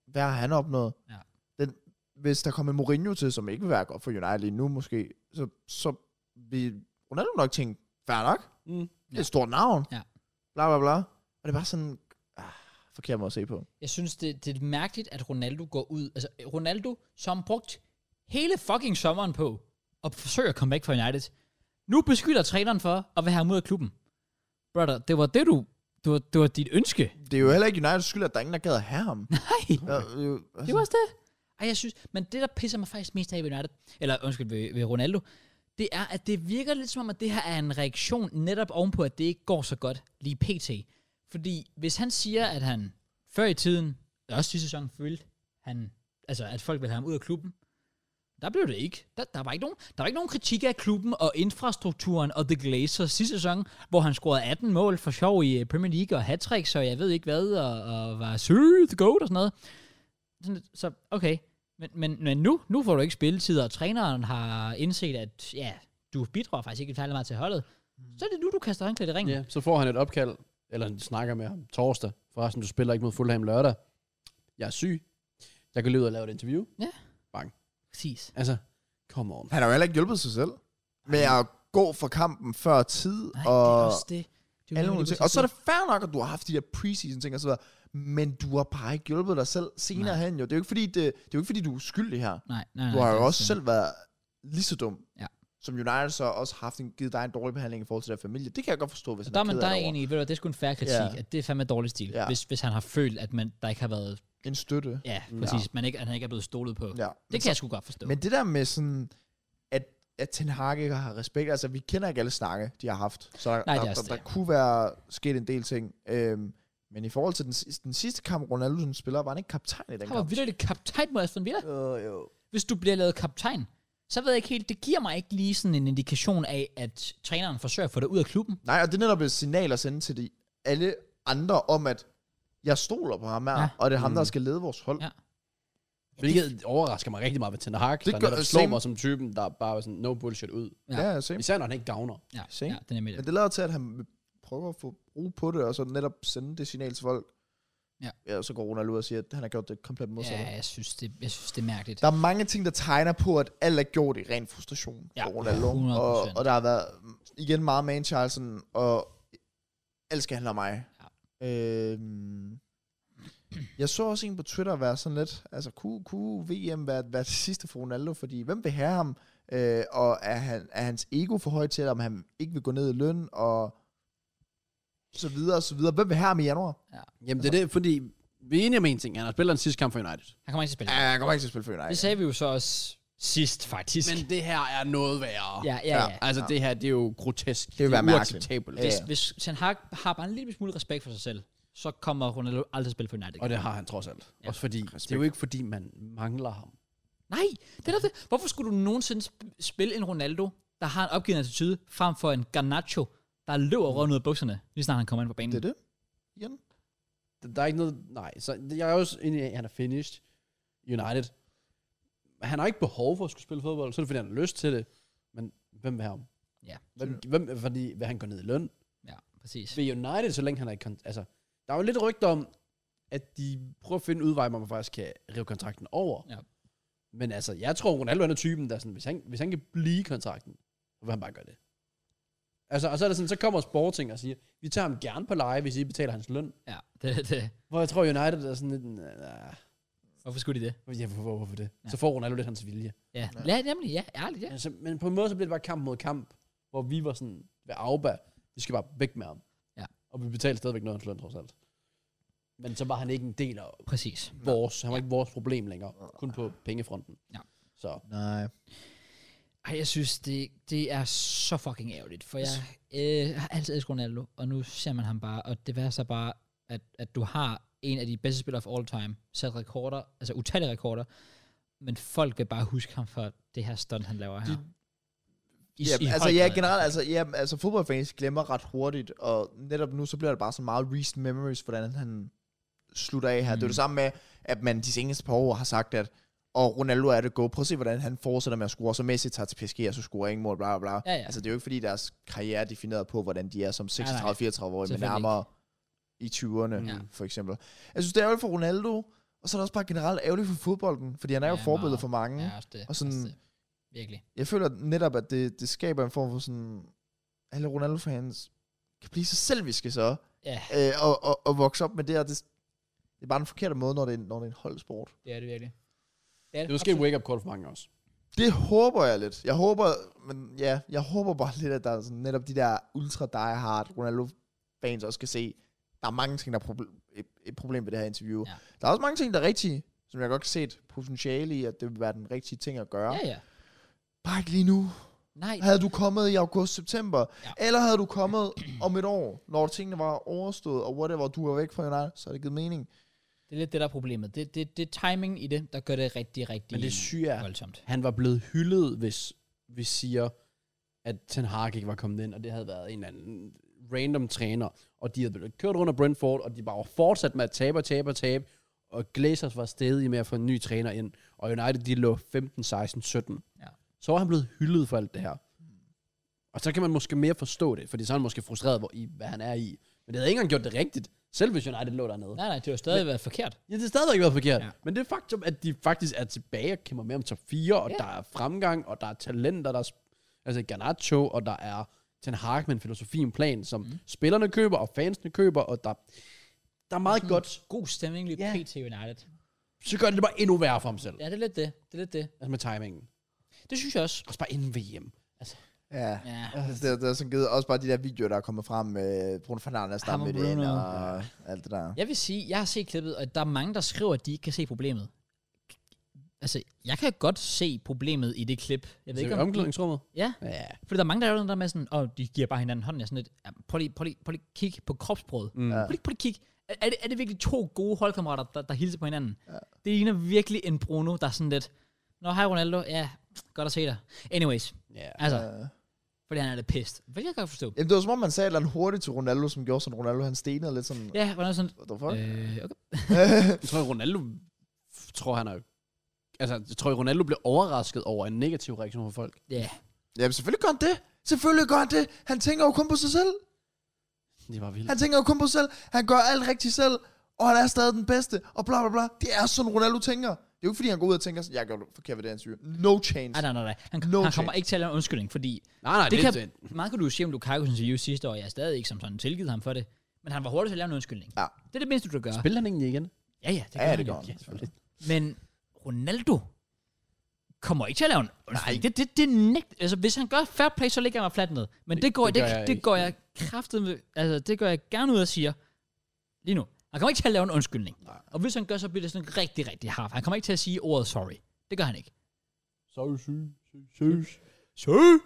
Speaker 3: Hvad har han opnået?
Speaker 1: Ja.
Speaker 3: Den, hvis der kommer Mourinho til, som ikke vil være godt for United lige nu måske, så, så vil Ronaldo nok tænke, fair nok,
Speaker 2: Mm.
Speaker 3: det er et stort navn.
Speaker 1: Ja.
Speaker 3: Bla bla bla. Og det er bare sådan, ah, forkert måde at se på.
Speaker 1: Jeg synes, det, det er mærkeligt, at Ronaldo går ud. Altså, Ronaldo, som brugt hele fucking sommeren på at forsøge at komme væk fra United, nu beskylder træneren for at være ham ud af klubben. Brother, det var det, du... Det var, det var dit ønske.
Speaker 3: Det er jo heller ikke Uniteds skyld, at der er ingen, der gad at have ham.
Speaker 1: Nej,
Speaker 3: Der, er jo-
Speaker 1: det
Speaker 3: altså,
Speaker 1: var også det. Ej, jeg synes... Men det, der pisser mig faktisk mest af ved United, eller undskyld, ved, ved Ronaldo, det er, at det virker lidt som om, at det her er en reaktion netop ovenpå, at det ikke går så godt lige pt. Fordi hvis han siger, at han før i tiden, også sidste sæson, følte, han, altså, at folk ville have ham ud af klubben, der blev det ikke. Der, der, var ikke nogen, der var ikke nogen kritik af klubben og infrastrukturen og The Glazers sidste sæson, hvor han scorede 18 mål for sjov i øh, Premier League og hat og jeg ved ikke hvad, og, og var søde the goat og sådan noget. Sådan, lidt, så okay, men, men, men nu, nu får du ikke spilletid, og træneren har indset, at ja, du bidrager faktisk ikke særlig meget til holdet.
Speaker 3: Mm.
Speaker 1: Så er det nu, du kaster håndklædet i ringen.
Speaker 2: Ja, så får han et opkald, eller han snakker med ham torsdag. Forresten, du spiller ikke mod Fulham lørdag. Jeg er syg. Jeg kan løbe ud og lave et interview.
Speaker 1: Præcis.
Speaker 2: Altså, come on.
Speaker 3: Han har jo heller ikke hjulpet sig selv. Med at gå fra kampen før tid.
Speaker 1: Nej, det
Speaker 3: og...
Speaker 1: er også det. det er jo
Speaker 3: alle
Speaker 1: noget,
Speaker 3: mulige
Speaker 1: det
Speaker 3: ting. Og så er det fair nok, at du har haft de der preseason ting og så videre, men du har bare ikke hjulpet dig selv senere
Speaker 1: Nej.
Speaker 3: hen jo. Det er jo ikke fordi, det, det er jo ikke fordi du er uskyldig her.
Speaker 1: Nej, nej, nej,
Speaker 3: Du har
Speaker 1: det er
Speaker 3: jo også
Speaker 1: det.
Speaker 3: selv været lige så dum,
Speaker 1: Ja.
Speaker 3: som United så også har haft en, givet dig en dårlig behandling i forhold til der familie. Det kan Altså, jeg godt forstå, hvis
Speaker 1: Så
Speaker 3: han
Speaker 1: der,
Speaker 3: er
Speaker 1: er man,
Speaker 3: ked
Speaker 1: der
Speaker 3: af
Speaker 1: er
Speaker 3: det over.
Speaker 1: egentlig, ved du, hvad, det er sgu en fair kritik,
Speaker 3: Ja.
Speaker 1: at det er fandme dårlig stil,
Speaker 3: Ja.
Speaker 1: hvis, hvis han har følt, at man, der ikke har været,
Speaker 3: En støtte.
Speaker 1: ja, præcis, man ikke, at han ikke er blevet stolet på.
Speaker 3: Ja.
Speaker 1: Det kan jeg sgu godt forstå.
Speaker 3: Men det der med sådan, at, at Ten Hag ikke har respekt, altså vi kender ikke alle snakke, de har haft. Så der,
Speaker 1: Nej, det er
Speaker 3: der,
Speaker 1: også
Speaker 3: der, der
Speaker 1: det.
Speaker 3: kunne være sket en del ting. Øhm, men i forhold til den, si- den sidste kamp, Ronaldo som spiller, var han ikke kaptajn i den
Speaker 1: han var
Speaker 3: kamp.
Speaker 1: vildt kaptajn mod Aston Villa.
Speaker 3: Øh, jo.
Speaker 1: Hvis du bliver lavet kaptajn, så ved jeg ikke helt, det giver mig ikke lige sådan en indikation af, at træneren forsøger at få dig ud af klubben.
Speaker 3: Nej, og det er netop et signal at sende til de alle andre om, at jeg stoler på ham her,
Speaker 1: Ja. Mm.
Speaker 3: ja. og det er ham, der skal lede vores hold.
Speaker 1: Ja.
Speaker 3: Ja.
Speaker 2: Hvilket overrasker mig rigtig meget ved Ten Hag, det der
Speaker 3: gør-
Speaker 2: netop slår
Speaker 3: same.
Speaker 2: mig som typen, der bare er sådan, no bullshit ud.
Speaker 1: Ja.
Speaker 3: Ja, ja same.
Speaker 2: Især når han ikke gavner.
Speaker 1: Ja,
Speaker 3: Se.
Speaker 1: ja det er nemlig det.
Speaker 3: Men det lader til, at han vil prøve at få ro på det, og så netop sende det signal til folk.
Speaker 1: Ja.
Speaker 3: ja og så går Ronald ud og siger, at han har gjort det komplet modsatte.
Speaker 1: Ja, jeg synes, det, jeg synes, det er mærkeligt.
Speaker 3: Der er mange ting, der tegner på, at alt er gjort i ren frustration
Speaker 1: Ja,
Speaker 3: ja, for Ronaldo. Og,
Speaker 1: 100%.
Speaker 3: og der har været mm, igen meget man Charlesen, og alt skal handle om mig. Ja. Øhm, jeg så også en på Twitter være sådan lidt, altså kunne, kunne VM være, være det sidste for Ronaldo, fordi hvem vil have ham, øh, og er, han, er hans ego for højt til, om han ikke vil gå ned i løn, og så videre, og så videre. Hvem vil have ham i januar?
Speaker 2: Jamen det er det, fordi vi er enige om en ting. Han har spillet den sidste kamp for United.
Speaker 1: Han kommer ikke til at spille.
Speaker 3: Ja, Ah, jeg kommer ikke til at spille for United.
Speaker 1: Det sagde vi jo så også sidst, faktisk.
Speaker 2: Men det her er noget værre.
Speaker 1: ja, ja, ja.
Speaker 2: Altså det her, det er jo grotesk. Det,
Speaker 3: vil
Speaker 2: er
Speaker 3: være mærkeligt.
Speaker 2: uacceptabelt.
Speaker 3: Ja.
Speaker 1: Hvis, hvis Ten Hag har bare en lille smule respekt for sig selv, så kommer Ronaldo aldrig til at spille for United.
Speaker 2: Og det har han trods alt.
Speaker 1: Ja.
Speaker 2: Ja. Også fordi, det er jo ikke fordi, man mangler ham.
Speaker 1: Nej, det er da det. Hvorfor skulle du nogensinde sp- spille en Ronaldo, der har en opgivende attitude, frem for en Garnacho, der løber rundt ud af bukserne, lige snart han kommer ind på banen?
Speaker 3: Det er det. Igen.
Speaker 2: Der- Der er ikke noget... Nej, så det- jeg er også enig i, at han er finished. United. Han har ikke behov for at skulle spille fodbold, så er det fordi, han har lyst til det. Men hvem vil have ham?
Speaker 1: Ja,
Speaker 2: Hvem, hvem fordi, vil han gå ned i løn?
Speaker 1: ja, præcis.
Speaker 2: Ved United, så længe han er i kont- Altså, der er jo lidt rygter om, at de prøver at finde en udvej, hvor man faktisk kan rive kontrakten over.
Speaker 1: Ja.
Speaker 2: Men altså, jeg tror, Ronaldo han er typen, der er sådan, hvis han, hvis han kan blive i kontrakten, så vil han bare gøre det. Altså, og så er det sådan, så kommer Sporting og siger, vi tager ham gerne på leje, hvis I betaler hans løn.
Speaker 1: Ja, det, det.
Speaker 2: Hvor jeg tror, United er sådan lidt, nah,
Speaker 1: Hvorfor skulle de det?
Speaker 2: ja, hvorfor, hvorfor det? Så får Ronaldo lidt hans vilje.
Speaker 1: Ja, ja nemlig, ja, ærligt, ja.
Speaker 2: Altså, men på en måde, så blev det bare kamp mod kamp, hvor vi var sådan ved Auba, vi skal bare væk med ham.
Speaker 1: Ja.
Speaker 2: Og vi betalte stadigvæk noget af hans løn, trods alt. Men så var han ikke en del af
Speaker 1: Præcis.
Speaker 2: vores, han var ikke vores problem længere, kun på pengefronten.
Speaker 1: Ja.
Speaker 2: Så
Speaker 3: Nej.
Speaker 1: Ej, jeg synes, det, det er så fucking ærgerligt, for jeg øh, har altid elsket Ronaldo, og nu ser man ham bare, og det værste er bare, at, at du har en af de bedste spillere of all time, sat rekorder, altså utallige rekorder, men folk vil bare huske ham for det her stunt, han laver her. I,
Speaker 3: Ja, altså
Speaker 1: høj
Speaker 3: ja,
Speaker 1: grad.
Speaker 3: generelt, altså, ja, altså fodboldfans glemmer ret hurtigt, og netop nu, så bliver det bare så meget recent memories, hvordan han slutter af her. Mm. Det er jo det samme med, at man de seneste par år har sagt, at og Ronaldo er det gode. Prøv at se, hvordan han fortsætter med at score. Så Messi tager til PSG, og så scorer ingen mål, bla bla bla.
Speaker 1: Ja, ja.
Speaker 3: Altså, det er jo ikke, fordi deres karriere er defineret på, hvordan de er som
Speaker 1: nej.
Speaker 3: 36-34-årige, men
Speaker 1: Selvfølgelig Mm.
Speaker 3: nærmere i 20'erne,
Speaker 1: Ja.
Speaker 3: ja. for eksempel. Jeg synes, det er ærgerligt for Ronaldo, og så er det også bare generelt ærgerligt for fodbolden, fordi han er jo
Speaker 1: Ja,
Speaker 3: forbillede
Speaker 1: meget.
Speaker 3: for mange.
Speaker 1: Ja, også det.
Speaker 3: Og sådan-
Speaker 1: også det. Virkelig.
Speaker 3: Jeg føler netop, at det, det skaber en form for sådan... Alle Ronaldo-fans kan blive så selviske så,
Speaker 1: Ja,
Speaker 3: øh, og, og, og vokse op med det, og det, det er bare den forkerte måde, når det, er- når det er en holdsport.
Speaker 1: det er det virkelig.
Speaker 2: det er måske et wake-up call for mange også.
Speaker 3: Det håber jeg lidt. Jeg håber, men ja, jeg håber bare lidt, at der er sådan netop de der ultra die hard Ronaldo-fans også kan se, der er mange ting, der er proble- et, et problem ved det her interview.
Speaker 1: Ja.
Speaker 3: Ja. Der er også mange ting, der er rigtige, som jeg godt kan se et potentiale i, at det vil være den rigtige ting at gøre.
Speaker 1: Ja,
Speaker 3: Ja.
Speaker 1: ja.
Speaker 3: Bare ikke lige nu.
Speaker 1: Nej,
Speaker 3: Havde du kommet i august-september,
Speaker 1: Ja.
Speaker 3: ja. eller havde du kommet om et år, når tingene var overstået, og whatever, du var væk fra United, så har det givet mening.
Speaker 1: det er lidt det, der er problemet. Det, det, det er timingen i det, der gør det rigtig, rigtig
Speaker 2: Men det syge er,
Speaker 1: voldsomt.
Speaker 2: han var blevet hyldet, hvis vi siger, at Ten Hag ikke var kommet ind, og det havde været en eller anden random træner, og de havde blevet kørt rundt af Brentford, og de bare var fortsat med at tabe og tabe og tabe, og Glazers var stedig med at få en ny træner ind, og United de lå 15, 16, 17.
Speaker 1: Ja.
Speaker 2: Så var han blevet hyldet for alt det her. Og så kan man måske mere forstå det, fordi så er han måske frustreret hvor, i, hvad han er i. Men det havde ikke engang gjort det rigtigt, selv hvis United lå dernede.
Speaker 1: Nej, nej, det har jo stadig været forkert.
Speaker 2: Ja, det har stadigvæk været forkert.
Speaker 1: Ja.
Speaker 2: Ja. Men det faktum, at de faktisk er tilbage og kæmper med om top 4, og
Speaker 1: Ja.
Speaker 2: ja. der er fremgang, og der er talenter, der er sp- altså Garnacho, og der er Ten Hag med en filosofi, en plan, som mm. spillerne køber, og fansene køber, og der, der er meget mm. godt.
Speaker 1: God stemning lige
Speaker 2: Ja.
Speaker 1: pt. United.
Speaker 2: Så gør det det bare endnu værre for ham selv.
Speaker 1: Ja, det er lidt det. Det er lidt det.
Speaker 2: Altså med timingen.
Speaker 1: Det synes jeg også.
Speaker 2: Også bare inden VM. Altså,
Speaker 3: Ja.
Speaker 1: Ja.
Speaker 3: Altså, det, er- det er sådan givet også bare de der videoer, der er kommet frem med Bruno Fernandes, der
Speaker 1: Ham og
Speaker 3: med det ind,
Speaker 1: Bruno.
Speaker 3: og alt det der.
Speaker 1: Jeg vil sige, jeg har set klippet, og der er mange, der skriver, at de ikke kan se problemet. Altså, jeg kan godt se problemet i det klip. Jeg ved
Speaker 2: så
Speaker 1: ikke,
Speaker 2: i
Speaker 1: om...
Speaker 2: omklædningsrummet.
Speaker 1: Ja,
Speaker 2: Ja.
Speaker 1: fordi der er mange, der er jo den der med sådan, og de giver bare hinanden hånden. Jeg er sådan lidt, ja, prøv lige, prøv lige, prøv lige at kigge på kropsproget. Mm. Prøv, lige, prøv lige at kigge. Er, er, det, er det virkelig to gode holdkammerater, der, der hilser på hinanden? Ja. Det ligner virkelig en Bruno, der er sådan lidt, Nå, hej Ronaldo, ja, godt at se dig. Anyways,
Speaker 2: Ja.
Speaker 1: altså, ja.
Speaker 3: Ja.
Speaker 1: fordi han er lidt pissed. Hvilket jeg godt forstå.
Speaker 3: Øh. Jamen, det var som om, man sagde et eller andet hurtigt til Ronaldo, som gjorde sådan, Ronaldo han stenede lidt sådan,
Speaker 1: Ja, hvordan sådan,
Speaker 3: what the fuck?
Speaker 1: øh, okay.
Speaker 2: Jeg tror, Ronaldo tror han er Altså, jeg tror, Ronaldo blev overrasket over en negativ reaktion fra folk.
Speaker 1: Ja,
Speaker 3: Jamen, selvfølgelig gør han det. Selvfølgelig gør han det. Han tænker jo kun på sig selv.
Speaker 2: Det var vildt.
Speaker 3: Han tænker jo kun på sig selv. Han gør alt rigtigt selv. Og han er stadig den bedste. Og bla bla bla. Det er sådan, Ronaldo tænker. Det er jo ikke, fordi han går ud og tænker sådan, jeg gør det forkert ved det, han siger. No chance.
Speaker 1: Ej, nej, nej, nej. Han,
Speaker 3: No
Speaker 1: no han kommer
Speaker 3: chance.
Speaker 1: ikke til at lave en undskyldning, fordi
Speaker 2: Nej, nej,
Speaker 1: det,
Speaker 2: det,
Speaker 1: kan, meget kunne du jo sige om Lukaku's interview sidste år, jeg er stadig ikke som sådan tilgivet ham for det, men han var hurtig til at lave en undskyldning.
Speaker 3: Ja.
Speaker 1: Det er det mindste, du kan gøre.
Speaker 2: Spiller han egentlig igen?
Speaker 1: Ja, ja, det
Speaker 3: Ja,
Speaker 1: gør han
Speaker 3: det
Speaker 1: jo.
Speaker 3: gør han.
Speaker 1: Men Ronaldo kommer ikke til at lave en undskyldning. Det, det, det nægt, altså, hvis han gør fair play, så ligger han mig fladt ned. Men det, det går, det, det,
Speaker 2: det gør
Speaker 1: jeg
Speaker 2: jeg
Speaker 1: det
Speaker 2: ikke.
Speaker 1: går jeg kraftet med, altså, det går jeg gerne ud og siger lige nu. Han kommer ikke til at lave en undskyldning. Nej. Og hvis han gør, så bliver det sådan rigtig, rigtig hard. Han kommer ikke til at sige ordet sorry. Det gør han ikke.
Speaker 2: Sorry, sorry, sorry, sorry.
Speaker 1: Sir?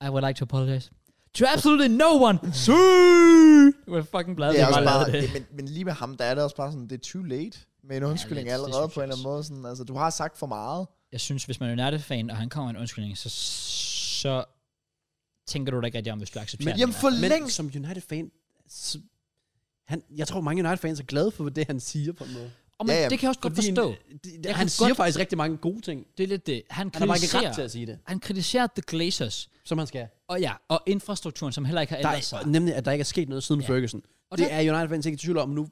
Speaker 1: I would like to apologize. To absolutely no one. Sir! Det var fucking blad,
Speaker 3: det er også
Speaker 1: bare
Speaker 3: bare, det, men, men lige med ham, der er det også bare sådan, det er too late med en undskyldning
Speaker 1: lidt,
Speaker 3: ja,
Speaker 1: det
Speaker 3: allerede
Speaker 1: synes
Speaker 3: på en
Speaker 1: jeg
Speaker 3: eller anden måde. Sådan, altså, du har sagt for meget.
Speaker 1: Jeg synes, hvis man er United-fan, og han kommer med en undskyldning, så, så tænker du da ikke rigtig om, hvis du accepterer
Speaker 3: Jamen
Speaker 1: det.
Speaker 3: for
Speaker 2: Men
Speaker 3: længst.
Speaker 2: som United-fan, så- han, jeg tror mange United-fans er glade for det, han siger på en måde.
Speaker 1: Og man,
Speaker 3: Ja, ja,
Speaker 1: det kan jeg også godt
Speaker 2: Fordi en-
Speaker 1: forstå.
Speaker 2: det-
Speaker 1: Jeg
Speaker 2: det, han
Speaker 1: kan
Speaker 2: siger
Speaker 1: godt-
Speaker 2: faktisk rigtig mange gode ting.
Speaker 1: Det er lidt det. Han
Speaker 2: Han har bare ikke
Speaker 1: kritiserer,
Speaker 2: ret til at sige det,
Speaker 1: han kritiserer The Glazers,
Speaker 2: som han skal.
Speaker 1: og ja, og infrastrukturen, som heller ikke har
Speaker 2: Der
Speaker 1: ændret sig.
Speaker 2: er, nemlig, at der ikke er sket noget siden
Speaker 1: Ja.
Speaker 2: ja. Ferguson.
Speaker 1: Og
Speaker 2: Og det
Speaker 1: der-
Speaker 2: er United-fans ikke i tvivl om nu.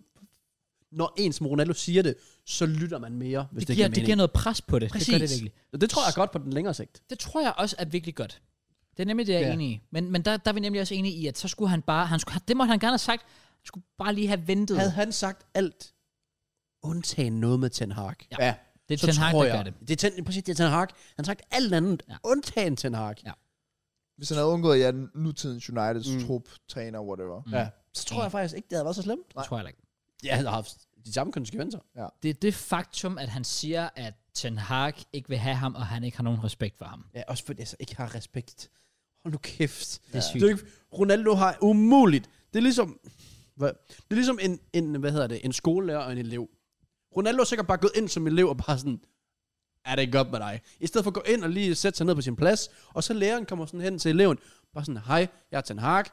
Speaker 2: Når en som Ronaldo siger det, så lytter man mere, hvis
Speaker 1: Det
Speaker 2: det,
Speaker 1: giver,
Speaker 2: giver
Speaker 1: det giver noget pres på det. Det gør det
Speaker 2: Præcis.
Speaker 1: virkelig.
Speaker 2: Og det tror jeg er godt på den længere sigt.
Speaker 1: Det tror jeg også er virkelig godt. Det er nemlig det, jeg er
Speaker 2: Ja.
Speaker 1: enig i. Men, men der, der er vi nemlig også enige i, at så skulle han bare, han skulle, det måtte han gerne have sagt, han skulle bare lige have ventet.
Speaker 2: Havde han sagt alt, undtagen noget med Ten Hag,
Speaker 1: Ja.
Speaker 2: ja
Speaker 1: det er Ten Hag, der gør det.
Speaker 2: Det er ten, præcis, det er Ten Hag. Han har sagt alt andet,
Speaker 1: Ja.
Speaker 2: ja. undtagen Ten Hag.
Speaker 1: Ja.
Speaker 3: Hvis han havde undgået, ja, nutidens Uniteds
Speaker 2: Mm.
Speaker 3: mm. trup, træner, whatever.
Speaker 1: Mm.
Speaker 2: ja. Så tror jeg faktisk ikke, det havde været så slemt.
Speaker 1: Det tror jeg heller ikke.
Speaker 2: Ja, han har haft de samme konsekvenser.
Speaker 1: Det er det faktum, at han siger, at Ten Hag ikke vil have ham, og han ikke har nogen respekt for ham.
Speaker 2: Ja, også fordi jeg så ikke har respekt. Hold nu kæft.
Speaker 1: Det er
Speaker 2: Det
Speaker 1: sygt.
Speaker 2: er jo ikke, Ronaldo har umuligt. Det er ligesom, hvad, det er ligesom en, en, hvad hedder det, en skolelærer og en elev. Ronaldo er sikkert bare gået ind som elev og bare sådan, er det ikke godt med dig? I stedet for at gå ind og lige sætte sig ned på sin plads, og så læreren kommer sådan hen til eleven, bare sådan, hej, jeg er Ten Hag,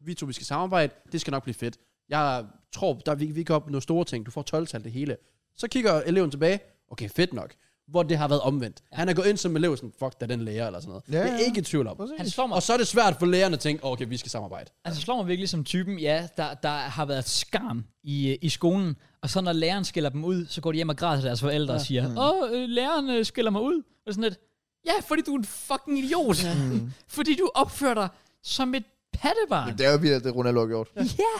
Speaker 2: vi to, vi skal samarbejde, det skal nok blive fedt. Jeg tror, der, vi, vi kan opnå store ting, du får 12 tal det hele. Så kigger eleven tilbage, okay, fedt nok. Hvor det har været omvendt. Han er gået ind som elev, sådan, fuck, der den lærer, eller sådan noget.
Speaker 3: Ja,
Speaker 2: det er
Speaker 3: ja.
Speaker 2: ikke i tvivl om.
Speaker 1: Han slår mig,
Speaker 2: Og så er det svært for lærerne at tænke, okay, vi skal samarbejde.
Speaker 1: altså slår mig virkelig som typen, ja, der, der har været skarn i, øh, i skolen, og så når læreren skiller dem ud, så går de hjem og græder til deres forældre ja. og siger,
Speaker 2: Mm.
Speaker 1: åh, øh, læreren øh, skiller mig ud. Og sådan lidt, ja, fordi du er en fucking idiot. Mm. fordi du opfører dig som et pattebarn.
Speaker 3: Jamen, det er jo vildt, at det Ronaldo har gjort.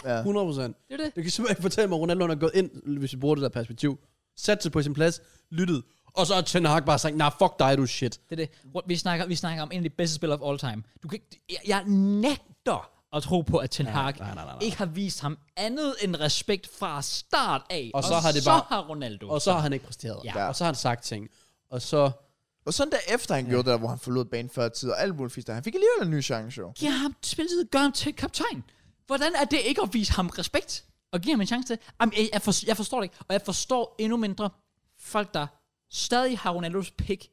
Speaker 1: Ja,
Speaker 2: 100 procent.
Speaker 1: det er det.
Speaker 2: Du kan simpelthen ikke fortælle mig, at Ronaldo er gået ind, hvis vi bruger det der perspektiv, sat sig på sin plads, lyttet, og så har Ten Hag bare sagt, nej, nah, fuck dig, du er shit.
Speaker 1: Det er det. Rundt- Vi snakker, vi snakker om en af de bedste spillere of all time. Du kan ikke, jeg, jeg nægter at tro på, at Ten Hag
Speaker 2: nej, nej, nej, nej.
Speaker 1: ikke har vist ham andet end respekt fra start af.
Speaker 2: Og så har det bare-
Speaker 1: så har Ronaldo.
Speaker 2: Og så har han ikke præsteret.
Speaker 1: Ja.
Speaker 2: Og så har han sagt ting. Og så...
Speaker 3: Og sådan der efter, han ja. gjorde det der, hvor han forlod banen før tid, og alt muligt fisk, der. han fik alligevel en ny chance, jo.
Speaker 1: Giv ham spilletid, gør ham til kaptajn. Hvordan er det ikke at vise ham respekt? Og give ham en chance til? Jamen, jeg, jeg, for, jeg forstår det ikke. Og jeg forstår endnu mindre folk, der stadig har Ronaldos pik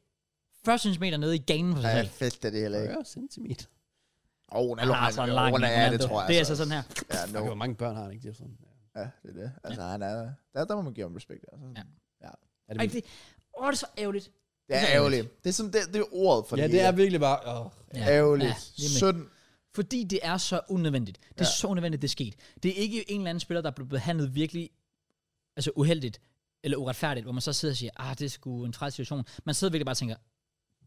Speaker 1: 40 cm nede i ganen for sig
Speaker 3: Ja,
Speaker 1: selv.
Speaker 3: fedt det hele, ikke?
Speaker 2: Ja, centimeter.
Speaker 3: Åh, oh, Ronaldo har
Speaker 1: altså en
Speaker 3: en
Speaker 1: lang
Speaker 3: lang ja, det
Speaker 1: Ronaldo.
Speaker 3: tror jeg.
Speaker 1: Det er altså sådan her.
Speaker 3: Ja, no.
Speaker 2: No. Hvor mange børn har han ikke? Det er sådan. Ja.
Speaker 3: ja, det er det. Altså, han er, der, der må man give ham respekt. Altså.
Speaker 1: Ja.
Speaker 2: Er det,
Speaker 1: Ej, det, åh, det er så ærgerligt.
Speaker 3: Det er ærgerligt. Det er, sådan, det, det er ordet for
Speaker 2: ja,
Speaker 3: det
Speaker 2: det er
Speaker 3: hele.
Speaker 2: virkelig bare... Oh.
Speaker 3: ærgerligt.
Speaker 1: Ja, lige med.
Speaker 3: Synd.
Speaker 1: Fordi det er så unødvendigt. Det er ja. så unødvendigt, det er sket. Det er ikke en eller anden spiller, der blev behandlet virkelig altså uheldigt eller uretfærdigt, hvor man så sidder og siger, ah, det er sgu en træt situation. Man sidder virkelig bare og tænker,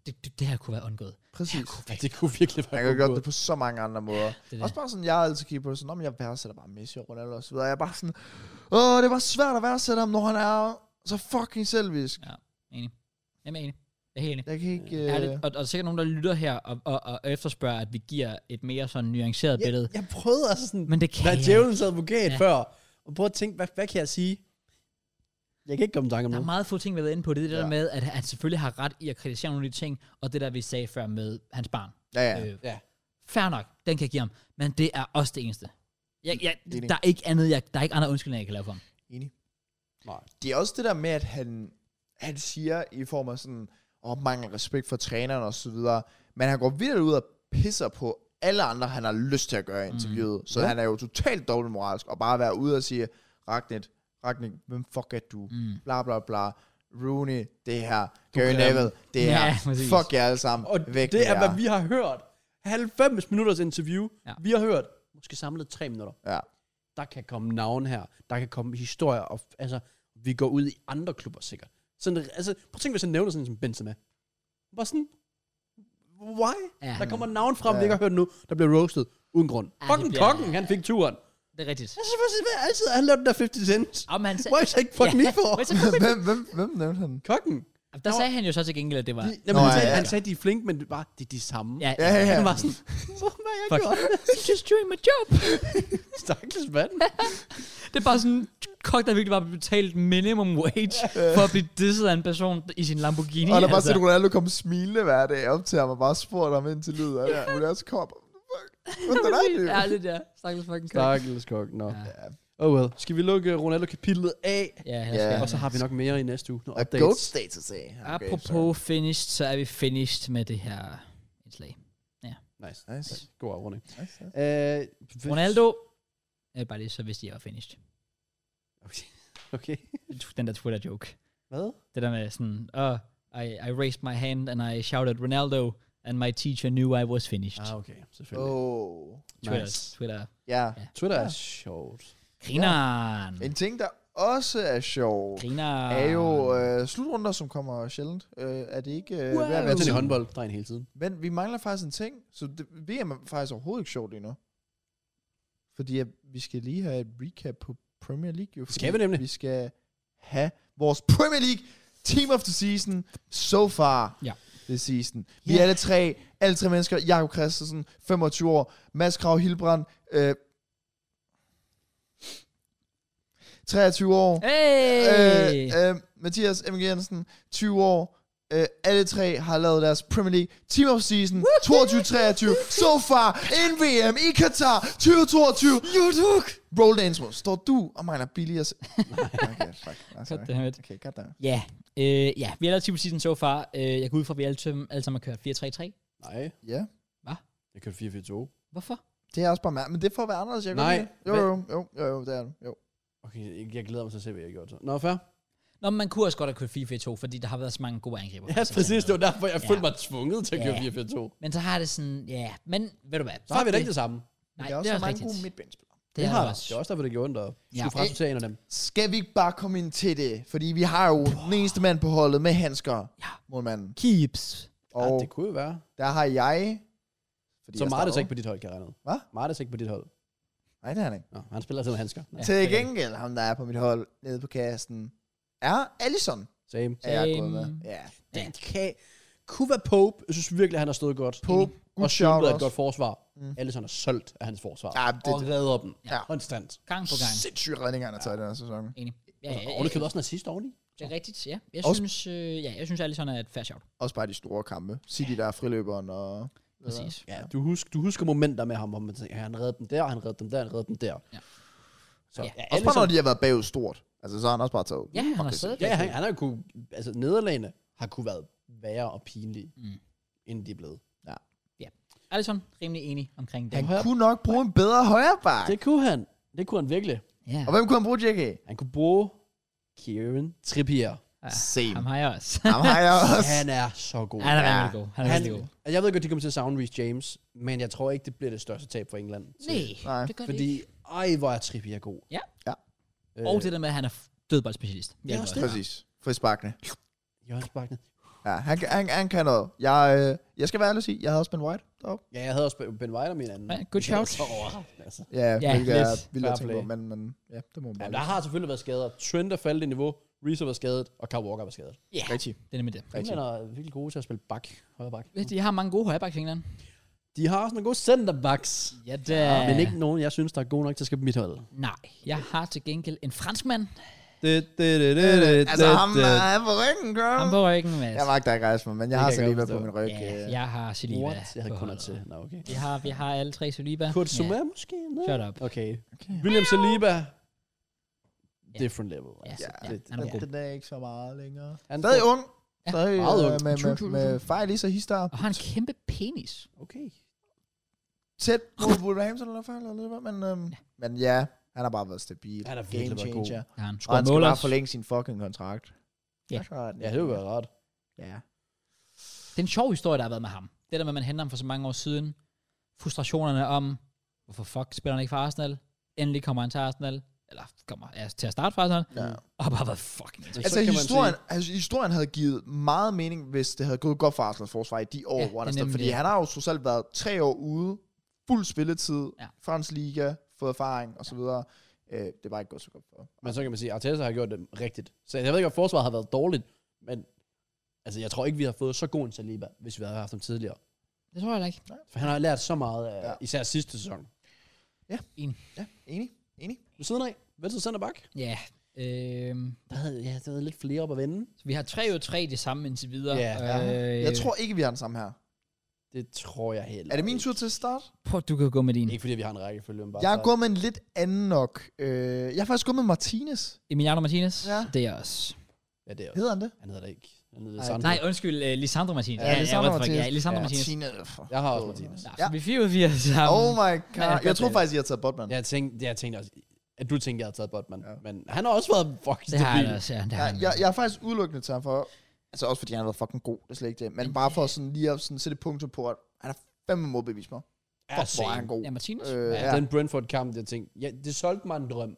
Speaker 1: det, det, det her kunne være undgået.
Speaker 3: Præcis.
Speaker 2: Ja, det kunne virkelig være
Speaker 3: Man kan gøre
Speaker 2: god.
Speaker 3: det på så mange andre måder.
Speaker 1: det er det.
Speaker 3: Også bare sådan, jeg er altid kigget på det sådan, om jeg værdsætter bare Messi og Ronaldo og så videre. Jeg er bare sådan, åh, det var svært at værdsætte ham, når han er så fucking selvisk.
Speaker 1: Enig. Jamen, enig. Jeg er helt enig.
Speaker 3: Jeg kan ikke...
Speaker 1: Er
Speaker 3: Øh,
Speaker 1: det, og, og der er sikkert nogen, der lytter her og, og, og efterspørger, at vi giver et mere sådan nuanceret billede.
Speaker 2: Jeg, jeg prøvede altså sådan...
Speaker 1: Men det kan
Speaker 2: Hvad
Speaker 1: jeg
Speaker 2: djævelens advokat
Speaker 1: Ja.
Speaker 2: ja. før. Og prøve at tænke, hvad, hvad kan jeg sige? Jeg kan ikke komme i tanke om
Speaker 1: Der er
Speaker 2: noget.
Speaker 1: meget få ting, vi har været inde på. Det er det ja. der
Speaker 3: Ja.
Speaker 1: med, at han selvfølgelig har ret i at kritisere nogle af de ting, og det der, vi sagde før med hans barn.
Speaker 3: ja, ja.
Speaker 1: Øh,
Speaker 2: Ja.
Speaker 1: Fair nok, den kan jeg give ham. Men det er også det eneste. Jeg, jeg,
Speaker 3: Enig.
Speaker 1: der er ikke andet, jeg, der er ikke andre undskyldninger, jeg kan lave for ham.
Speaker 3: Enig.
Speaker 2: Nej.
Speaker 3: Det er også det der med, at han, han siger i form af sådan, og mangel respekt for træneren og så videre, men han går videre ud og pisser på alle andre, han har lyst til at gøre i interviewet. Mm. Så
Speaker 2: Ja.
Speaker 3: ja. han er jo totalt dobbeltmoralsk, og bare være ude og sige, Ragnet, Ragnet, hvem fuck er du? Mm. Bla bla bla. Rooney, det her. Gary
Speaker 2: kan
Speaker 3: Neville, det
Speaker 1: Ja,
Speaker 3: her.
Speaker 1: præcis.
Speaker 3: fuck jer alle sammen.
Speaker 2: Og
Speaker 3: Væk
Speaker 2: Væk det
Speaker 3: med
Speaker 2: er,
Speaker 3: jer.
Speaker 2: hvad vi har hørt. 90 minutters interview.
Speaker 1: Ja.
Speaker 2: Ja. Vi har hørt, måske samlet 3 minutter.
Speaker 3: Ja.
Speaker 2: Der kan komme navn her. Der kan komme historier. Og, f- altså, vi går ud i andre klubber sikkert. Sådan, altså, prøv at tænke, hvis han nævner sådan en som Benzema. Bare sådan, why?
Speaker 1: Ja,
Speaker 2: Ja, der
Speaker 1: han-
Speaker 2: kommer navn frem, ja.
Speaker 3: Ja.
Speaker 2: vi ikke har hørt nu, der bliver roasted uden grund.
Speaker 1: Ja,
Speaker 2: Ja,
Speaker 1: det
Speaker 2: Fucking
Speaker 1: bliver-
Speaker 2: bliver... kokken, han fik turen.
Speaker 1: Det er rigtigt.
Speaker 2: Altså, for sig, altid, han lavede den der 50 cent.
Speaker 1: Om han
Speaker 2: Why is ikke fuck me for?
Speaker 1: Men så kom vi-
Speaker 3: hvem, hvem, hvem nævnte han?
Speaker 2: Kokken.
Speaker 1: der sagde han jo så til gengæld, at det var...
Speaker 2: De, jamen,
Speaker 3: Nå,
Speaker 2: han,
Speaker 3: ja,
Speaker 2: sagde,
Speaker 3: ja,
Speaker 2: han
Speaker 3: ja.
Speaker 2: sagde, de er flinke, men det er bare, det er de samme.
Speaker 1: Ja,
Speaker 3: Ja, ja, ja.
Speaker 2: Han var sådan, hvorfor har jeg
Speaker 1: Fuck.
Speaker 2: gjort det?
Speaker 1: I'm just doing my job.
Speaker 2: Stakkels mand.
Speaker 1: det er bare sådan en kok, der virkelig bare blev betalt minimum wage for at blive disset af en person i sin Lamborghini. altså.
Speaker 3: Og der var sådan, Ronaldo kom smilende hver dag op til ham, og bare spurgte ham ind til lyder. Ja. Og det også kom. Fuck. Hvordan er det?
Speaker 1: Ja, det der. Stakkels fucking kok.
Speaker 2: Stakkels kok, nå.
Speaker 1: Ja.
Speaker 2: Oh well. Skal vi lukke Ronaldo-kapitlet af?
Speaker 1: Ja, her
Speaker 3: Ja.
Speaker 1: skal
Speaker 2: Og så har vi nok mere i næste uge. Nogle
Speaker 3: A
Speaker 2: updates.
Speaker 3: goat status, eh?
Speaker 1: Apropos finished, så er vi finished med det her indslag.
Speaker 2: Nice.
Speaker 3: Nice.
Speaker 2: God afrunding.
Speaker 3: nice, nice.
Speaker 2: Uh,
Speaker 1: Ronaldo, øh, bare lige så vidste jeg, jeg var finished.
Speaker 2: Okay.
Speaker 1: Den der Twitter-joke.
Speaker 2: Hvad?
Speaker 1: Det der med sådan, uh, I, I raised my hand and I shouted Ronaldo, and my teacher knew I was finished.
Speaker 2: Ah,
Speaker 1: Oh,
Speaker 2: okay. Selvfølgelig. Oh.
Speaker 3: Oh.
Speaker 1: Twitter,
Speaker 2: nice.
Speaker 1: Twitter.
Speaker 3: Ja.
Speaker 2: Twitter er sjovt.
Speaker 1: Grineren.
Speaker 3: En ting, der også er sjov,
Speaker 1: Griner.
Speaker 3: er jo øh, slutrunder, som kommer sjældent. Øh, er det ikke øh, wow. hver hver
Speaker 2: Sådan i
Speaker 3: tid?
Speaker 2: håndbold, drengen hele tiden.
Speaker 3: Men vi mangler faktisk en ting, så det, VM er faktisk overhovedet ikke sjovt lige nu. Fordi at vi skal lige have et recap på Premier League. Jo,
Speaker 2: Skal
Speaker 3: fordi
Speaker 2: vi nemlig?
Speaker 3: Vi skal have vores Premier League Team of the Season so far
Speaker 1: Ja.
Speaker 3: this season. Vi
Speaker 1: Ja.
Speaker 3: er alle tre, alle tre mennesker, Jakob Christensen, 25 år, Mads Krav Hilbrand, øh, 23 år,
Speaker 1: Hey! Øh, øh.
Speaker 3: øh, øh, Mathias M. Jensen, 20 år. Øh, alle tre har lavet deres Premier League Team of Season 22-23. So far, in VM i Qatar 2022. YouTube. Roll Dance Står du og mine billigere... se- okay, fuck. Nej, sorry.
Speaker 1: Goddammit.
Speaker 3: Okay, goddammit.
Speaker 1: Ja. Øh, ja, vi har lavet typisk season so far. Øh, jeg går ud fra, at vi alle, sammen- alle sammen har kørt 4-3-3.
Speaker 2: Nej,
Speaker 3: Ja.
Speaker 2: jeg kørte 4-4-2.
Speaker 1: Hvorfor?
Speaker 3: Det er også bare mærkeligt. Men det får være anderledes, jeg
Speaker 2: Nej,
Speaker 3: Jo, jo, jo, jo, jo, det er det. Jo.
Speaker 2: Okay, jeg, jeg glæder mig til at se, hvad jeg gjorde så. Nå, fair.
Speaker 1: Nå, men man kunne også godt have kørt 4-4-2, fordi der har været så mange gode angriber.
Speaker 2: Ja, præcis. Det var derfor, jeg
Speaker 1: Ja.
Speaker 2: følte mig tvunget til at køre
Speaker 1: Ja.
Speaker 2: 4-4-2.
Speaker 1: Men så har det sådan, ja, yeah. men ved du hvad?
Speaker 2: Så har vi
Speaker 1: fuck
Speaker 2: da ikke det samme.
Speaker 3: Men
Speaker 1: Nej,
Speaker 3: der er
Speaker 1: det
Speaker 3: også
Speaker 1: er
Speaker 3: så mange
Speaker 1: rigtigt.
Speaker 3: gode midtbanespillere.
Speaker 1: Det
Speaker 2: Det
Speaker 1: har
Speaker 2: har
Speaker 1: det
Speaker 2: Det
Speaker 1: også.
Speaker 2: er også derfor, det gjorde ondt at
Speaker 1: Ja.
Speaker 2: skulle frasortere en af dem.
Speaker 3: Skal vi ikke bare komme ind til det? Fordi vi har jo den eneste mand på holdet med handsker.
Speaker 1: Ja.
Speaker 3: Målmanden.
Speaker 1: Keeps.
Speaker 2: Og
Speaker 3: Og
Speaker 2: ja, Ah, det kunne jo være.
Speaker 3: der har jeg... Fordi
Speaker 2: Så
Speaker 3: jeg
Speaker 2: Martes
Speaker 3: starter-
Speaker 2: ikke på dit hold, kan jeg regne ud.
Speaker 3: Hvad?
Speaker 2: Martes ikke på dit hold.
Speaker 3: Nej, det er han ikke.
Speaker 2: Nå, han spiller til handsker. Ja.
Speaker 3: Ja, Til
Speaker 1: det er
Speaker 3: gengæld, ham der er på mit hold nede på kassen, er Allison.
Speaker 2: Same.
Speaker 3: Er jeg
Speaker 1: Same.
Speaker 3: gået med. Ja.
Speaker 2: Den kan... Kunne være Pope. Jeg synes virkelig, han har stået godt. Mm.
Speaker 3: Pope,
Speaker 2: Og
Speaker 3: good shout
Speaker 2: Sjøen er et
Speaker 3: også.
Speaker 2: godt forsvar. Mm. Allison er solgt af hans forsvar.
Speaker 3: Ja, det-
Speaker 2: og redder dem.
Speaker 3: Ja.
Speaker 2: Konstant.
Speaker 1: Gang på gang.
Speaker 3: Sindssyge redninger, han har taget i den her sæson.
Speaker 1: Enig. Ja, ja,
Speaker 2: Og det kan også en assist oveni.
Speaker 1: Det er rigtigt, ja. Jeg
Speaker 3: Også-
Speaker 1: synes, øh, ja, jeg synes Alisson er et færre shout.
Speaker 3: Også bare de store kampe. City, der er friløberen og...
Speaker 1: Præcis.
Speaker 2: Ja, du, husk, du husker momenter med ham, hvor man tænker, han redder den der, han redder den der, han redder den der.
Speaker 1: Ja.
Speaker 2: Så,
Speaker 1: Ja.
Speaker 2: ja.
Speaker 3: Også bare, når de har været bagud stort. Altså, så har han også bare taget.
Speaker 1: Ja, han har
Speaker 3: Fuck
Speaker 1: siddet
Speaker 2: Ja, han, han har kunne, altså nederlagene har kunne været værre og pinlige,
Speaker 1: Mm.
Speaker 2: mm. end de er blevet.
Speaker 1: Alisson, rimelig enig omkring det.
Speaker 3: Han
Speaker 2: højre-
Speaker 3: kunne nok bruge en bedre højre back.
Speaker 2: Det kunne han. Det kunne han virkelig.
Speaker 1: Ja,
Speaker 3: Og hvem kunne han bruge, JK?
Speaker 2: Han kunne bruge Kieran Trippier.
Speaker 1: Ja,
Speaker 3: Same.
Speaker 1: ham har jeg også.
Speaker 3: Ham har jeg også.
Speaker 2: Han er så god.
Speaker 1: Han er
Speaker 3: Ja.
Speaker 1: rimelig god. Han er
Speaker 2: Han,
Speaker 1: rimelig god.
Speaker 2: altså, jeg ved godt, de kommer til at savne Reece James, men jeg tror ikke, det bliver det største tab for England. til-
Speaker 1: Nej,
Speaker 3: Nej,
Speaker 1: det gør det ikke.
Speaker 2: Fordi, ej, hvor er Trippier god.
Speaker 1: Ja.
Speaker 3: Ja.
Speaker 2: Øh,
Speaker 1: Og det der med, at han er f- dødboldspecialist.
Speaker 2: Det er også det.
Speaker 3: Præcis. Frisbakkene.
Speaker 2: Hjørnsbakkene.
Speaker 3: Ja, han, kan- han, han kan noget. Jeg, øh, jeg skal være ærlig og sige, jeg havde også Ben White deroppe.
Speaker 2: Ja, jeg havde også Ben- Ben White og min anden.
Speaker 1: Ja, good
Speaker 2: Det er
Speaker 1: shout.
Speaker 2: Så overraskende, altså.
Speaker 3: Ja,
Speaker 1: Ja,
Speaker 3: ja hvilket er
Speaker 1: lidt.
Speaker 3: vildt at
Speaker 2: Fair
Speaker 3: tænke på,
Speaker 2: play.
Speaker 3: men, men ja, det må man
Speaker 2: Ja,
Speaker 3: bare
Speaker 2: der har selvfølgelig været skader. Trent er faldet i niveau. Reese var skadet, og Kyle Walker var skadet.
Speaker 1: Ja,
Speaker 3: lige- Rigtig.
Speaker 1: det er nemlig det.
Speaker 2: England er virkelig gode til at spille bak, højre bak.
Speaker 1: Ved du, De har mange gode højrebacks i England.
Speaker 2: De har også nogle gode centerbacks,
Speaker 1: Ja, det
Speaker 2: ja. men ikke nogen, jeg synes, der er gode nok til at skabe mit hold.
Speaker 1: Nej, jeg har til gengæld en franskmand. Øh,
Speaker 3: Altså, ham er på ryggen, girl.
Speaker 1: Han på ryggen, Mads.
Speaker 3: Jeg magter ikke rejse mig, men jeg
Speaker 2: Det
Speaker 3: har
Speaker 2: kan jeg
Speaker 3: Saliba
Speaker 2: godt
Speaker 3: på
Speaker 2: forstå.
Speaker 3: min ryg.
Speaker 1: Ja,
Speaker 3: øh.
Speaker 1: jeg har Saliba.
Speaker 2: What? Jeg havde
Speaker 1: på
Speaker 2: kun
Speaker 1: holdet.
Speaker 2: til. Nå, okay.
Speaker 1: Vi har, vi har alle tre Saliba.
Speaker 2: Kurt Zuma måske? Nej.
Speaker 1: Shut up.
Speaker 2: Okay. William Saliba. Different level.
Speaker 1: Ja,
Speaker 2: Altså.
Speaker 1: ja,
Speaker 3: Ja, det,
Speaker 1: han er god.
Speaker 3: den, den er ikke så meget længere.
Speaker 2: Han
Speaker 3: Stadig
Speaker 2: får-
Speaker 3: ung.
Speaker 1: Ja.
Speaker 3: Stadig
Speaker 2: Meget
Speaker 3: øh,
Speaker 2: ung.
Speaker 3: med,
Speaker 1: True,
Speaker 3: med,
Speaker 1: true,
Speaker 3: med
Speaker 1: true.
Speaker 3: fejl i sig histar.
Speaker 1: Og har en kæmpe penis.
Speaker 2: Okay.
Speaker 3: Tæt mod Wolverhampton eller fejl eller hvad, men, øhm, men ja, han har bare været stabil.
Speaker 2: Han har virkelig været god.
Speaker 3: changer.
Speaker 1: Har han
Speaker 3: Og han
Speaker 1: scoret
Speaker 3: skal
Speaker 1: mål
Speaker 3: bare
Speaker 1: også.
Speaker 3: forlænge sin fucking kontrakt.
Speaker 1: Ja.
Speaker 3: Så er den-
Speaker 2: Ja, det var ret.
Speaker 3: Ja.
Speaker 1: Det er en sjov historie, der har været med ham. Det der med, at man henter ham for så mange år siden. Frustrationerne om, hvorfor fuck spiller han ikke for Arsenal? Endelig kommer han til Arsenal. Eller kommer ja, til at starte for Arsenal.
Speaker 3: Ja.
Speaker 1: Og har bare været fucking irriterende.
Speaker 3: Altså,
Speaker 2: Så kan man
Speaker 3: historien, altså, historien havde givet meget mening, hvis det havde gået godt for Arsenals forsvar i de år,
Speaker 1: Ja,
Speaker 3: ja,
Speaker 1: det er
Speaker 3: hvor han stod.
Speaker 1: nemlig
Speaker 3: Fordi
Speaker 1: det.
Speaker 3: han har jo trods alt været tre år ude, fuld spilletid,
Speaker 1: Ja.
Speaker 3: ja. fransk liga, fået erfaring osv. Øh, det var ikke gået så godt for.
Speaker 2: Men så kan man sige, at Arteta har gjort det rigtigt. Så jeg ved ikke, om forsvaret har været dårligt, men altså, jeg tror ikke, vi har fået så god en Saliba, hvis vi havde haft ham tidligere.
Speaker 1: Det tror jeg heller ikke.
Speaker 2: For han har lært så meget, af,
Speaker 3: Ja.
Speaker 2: ja. især sidste sæson.
Speaker 3: Ja, enig, enig.
Speaker 2: Ved siden af, venstre center bak.
Speaker 1: Ja. Øhm,
Speaker 2: Der havde, ja, der havde lidt flere op at vende.
Speaker 1: så vi har 3 ud af 3 det samme indtil videre.
Speaker 2: Ja.
Speaker 1: øh,
Speaker 3: Jeg tror ikke, vi har den samme her.
Speaker 2: Det tror jeg heller.
Speaker 3: Er det min
Speaker 2: ikke.
Speaker 3: tur til at starte?
Speaker 1: Prøv, du kan gå med din.
Speaker 2: Ikke fordi vi har en rækkefølge, men bare
Speaker 3: Jeg er
Speaker 2: start.
Speaker 3: gået med en lidt anden nok. Øh, jeg har faktisk gået med Martinez.
Speaker 1: Emiliano Martinez.
Speaker 3: Ja.
Speaker 1: Det er også.
Speaker 2: Ja, det er også.
Speaker 3: Hedder han det?
Speaker 2: Han hedder det ikke. Han hedder
Speaker 3: Nej,
Speaker 2: Sandro.
Speaker 1: Nej, undskyld. Uh, Lisandro Martinez.
Speaker 3: Lisandro
Speaker 1: ja, what the fuck, Ja,
Speaker 3: Martinez.
Speaker 1: Lisandro Martinez.
Speaker 3: Martinez. for-
Speaker 2: Jeg har også Martinez.
Speaker 1: Ja,
Speaker 3: Ja.
Speaker 1: så vi er 4 ud af 4 sammen.
Speaker 3: Oh my
Speaker 1: Ja, jeg
Speaker 3: god. Jeg tror
Speaker 1: godt-
Speaker 3: faktisk, I har taget Botman.
Speaker 2: Jeg tænkte, jeg tænkte også, at du tænkte, at jeg havde taget Botman.
Speaker 3: Ja.
Speaker 2: Ja. Men han har også været fucking
Speaker 1: Det har
Speaker 2: stabil.
Speaker 1: jeg også, ja. Det har
Speaker 3: Ja,
Speaker 1: han.
Speaker 3: jeg, jeg er faktisk udelukkende til ham for, altså også fordi han har været fucking god, det er slet ikke det, men bare for sådan lige at sådan sætte et punktum på, at han er fandme modbevist mig.
Speaker 2: Ja,
Speaker 3: Fuck, hvor er
Speaker 2: same.
Speaker 3: han god.
Speaker 1: Ja, Martinez.
Speaker 3: Øh,
Speaker 2: Ja,
Speaker 3: ja.
Speaker 2: Den Brentford-kamp, jeg tænkte, ja, det solgte mig en drøm.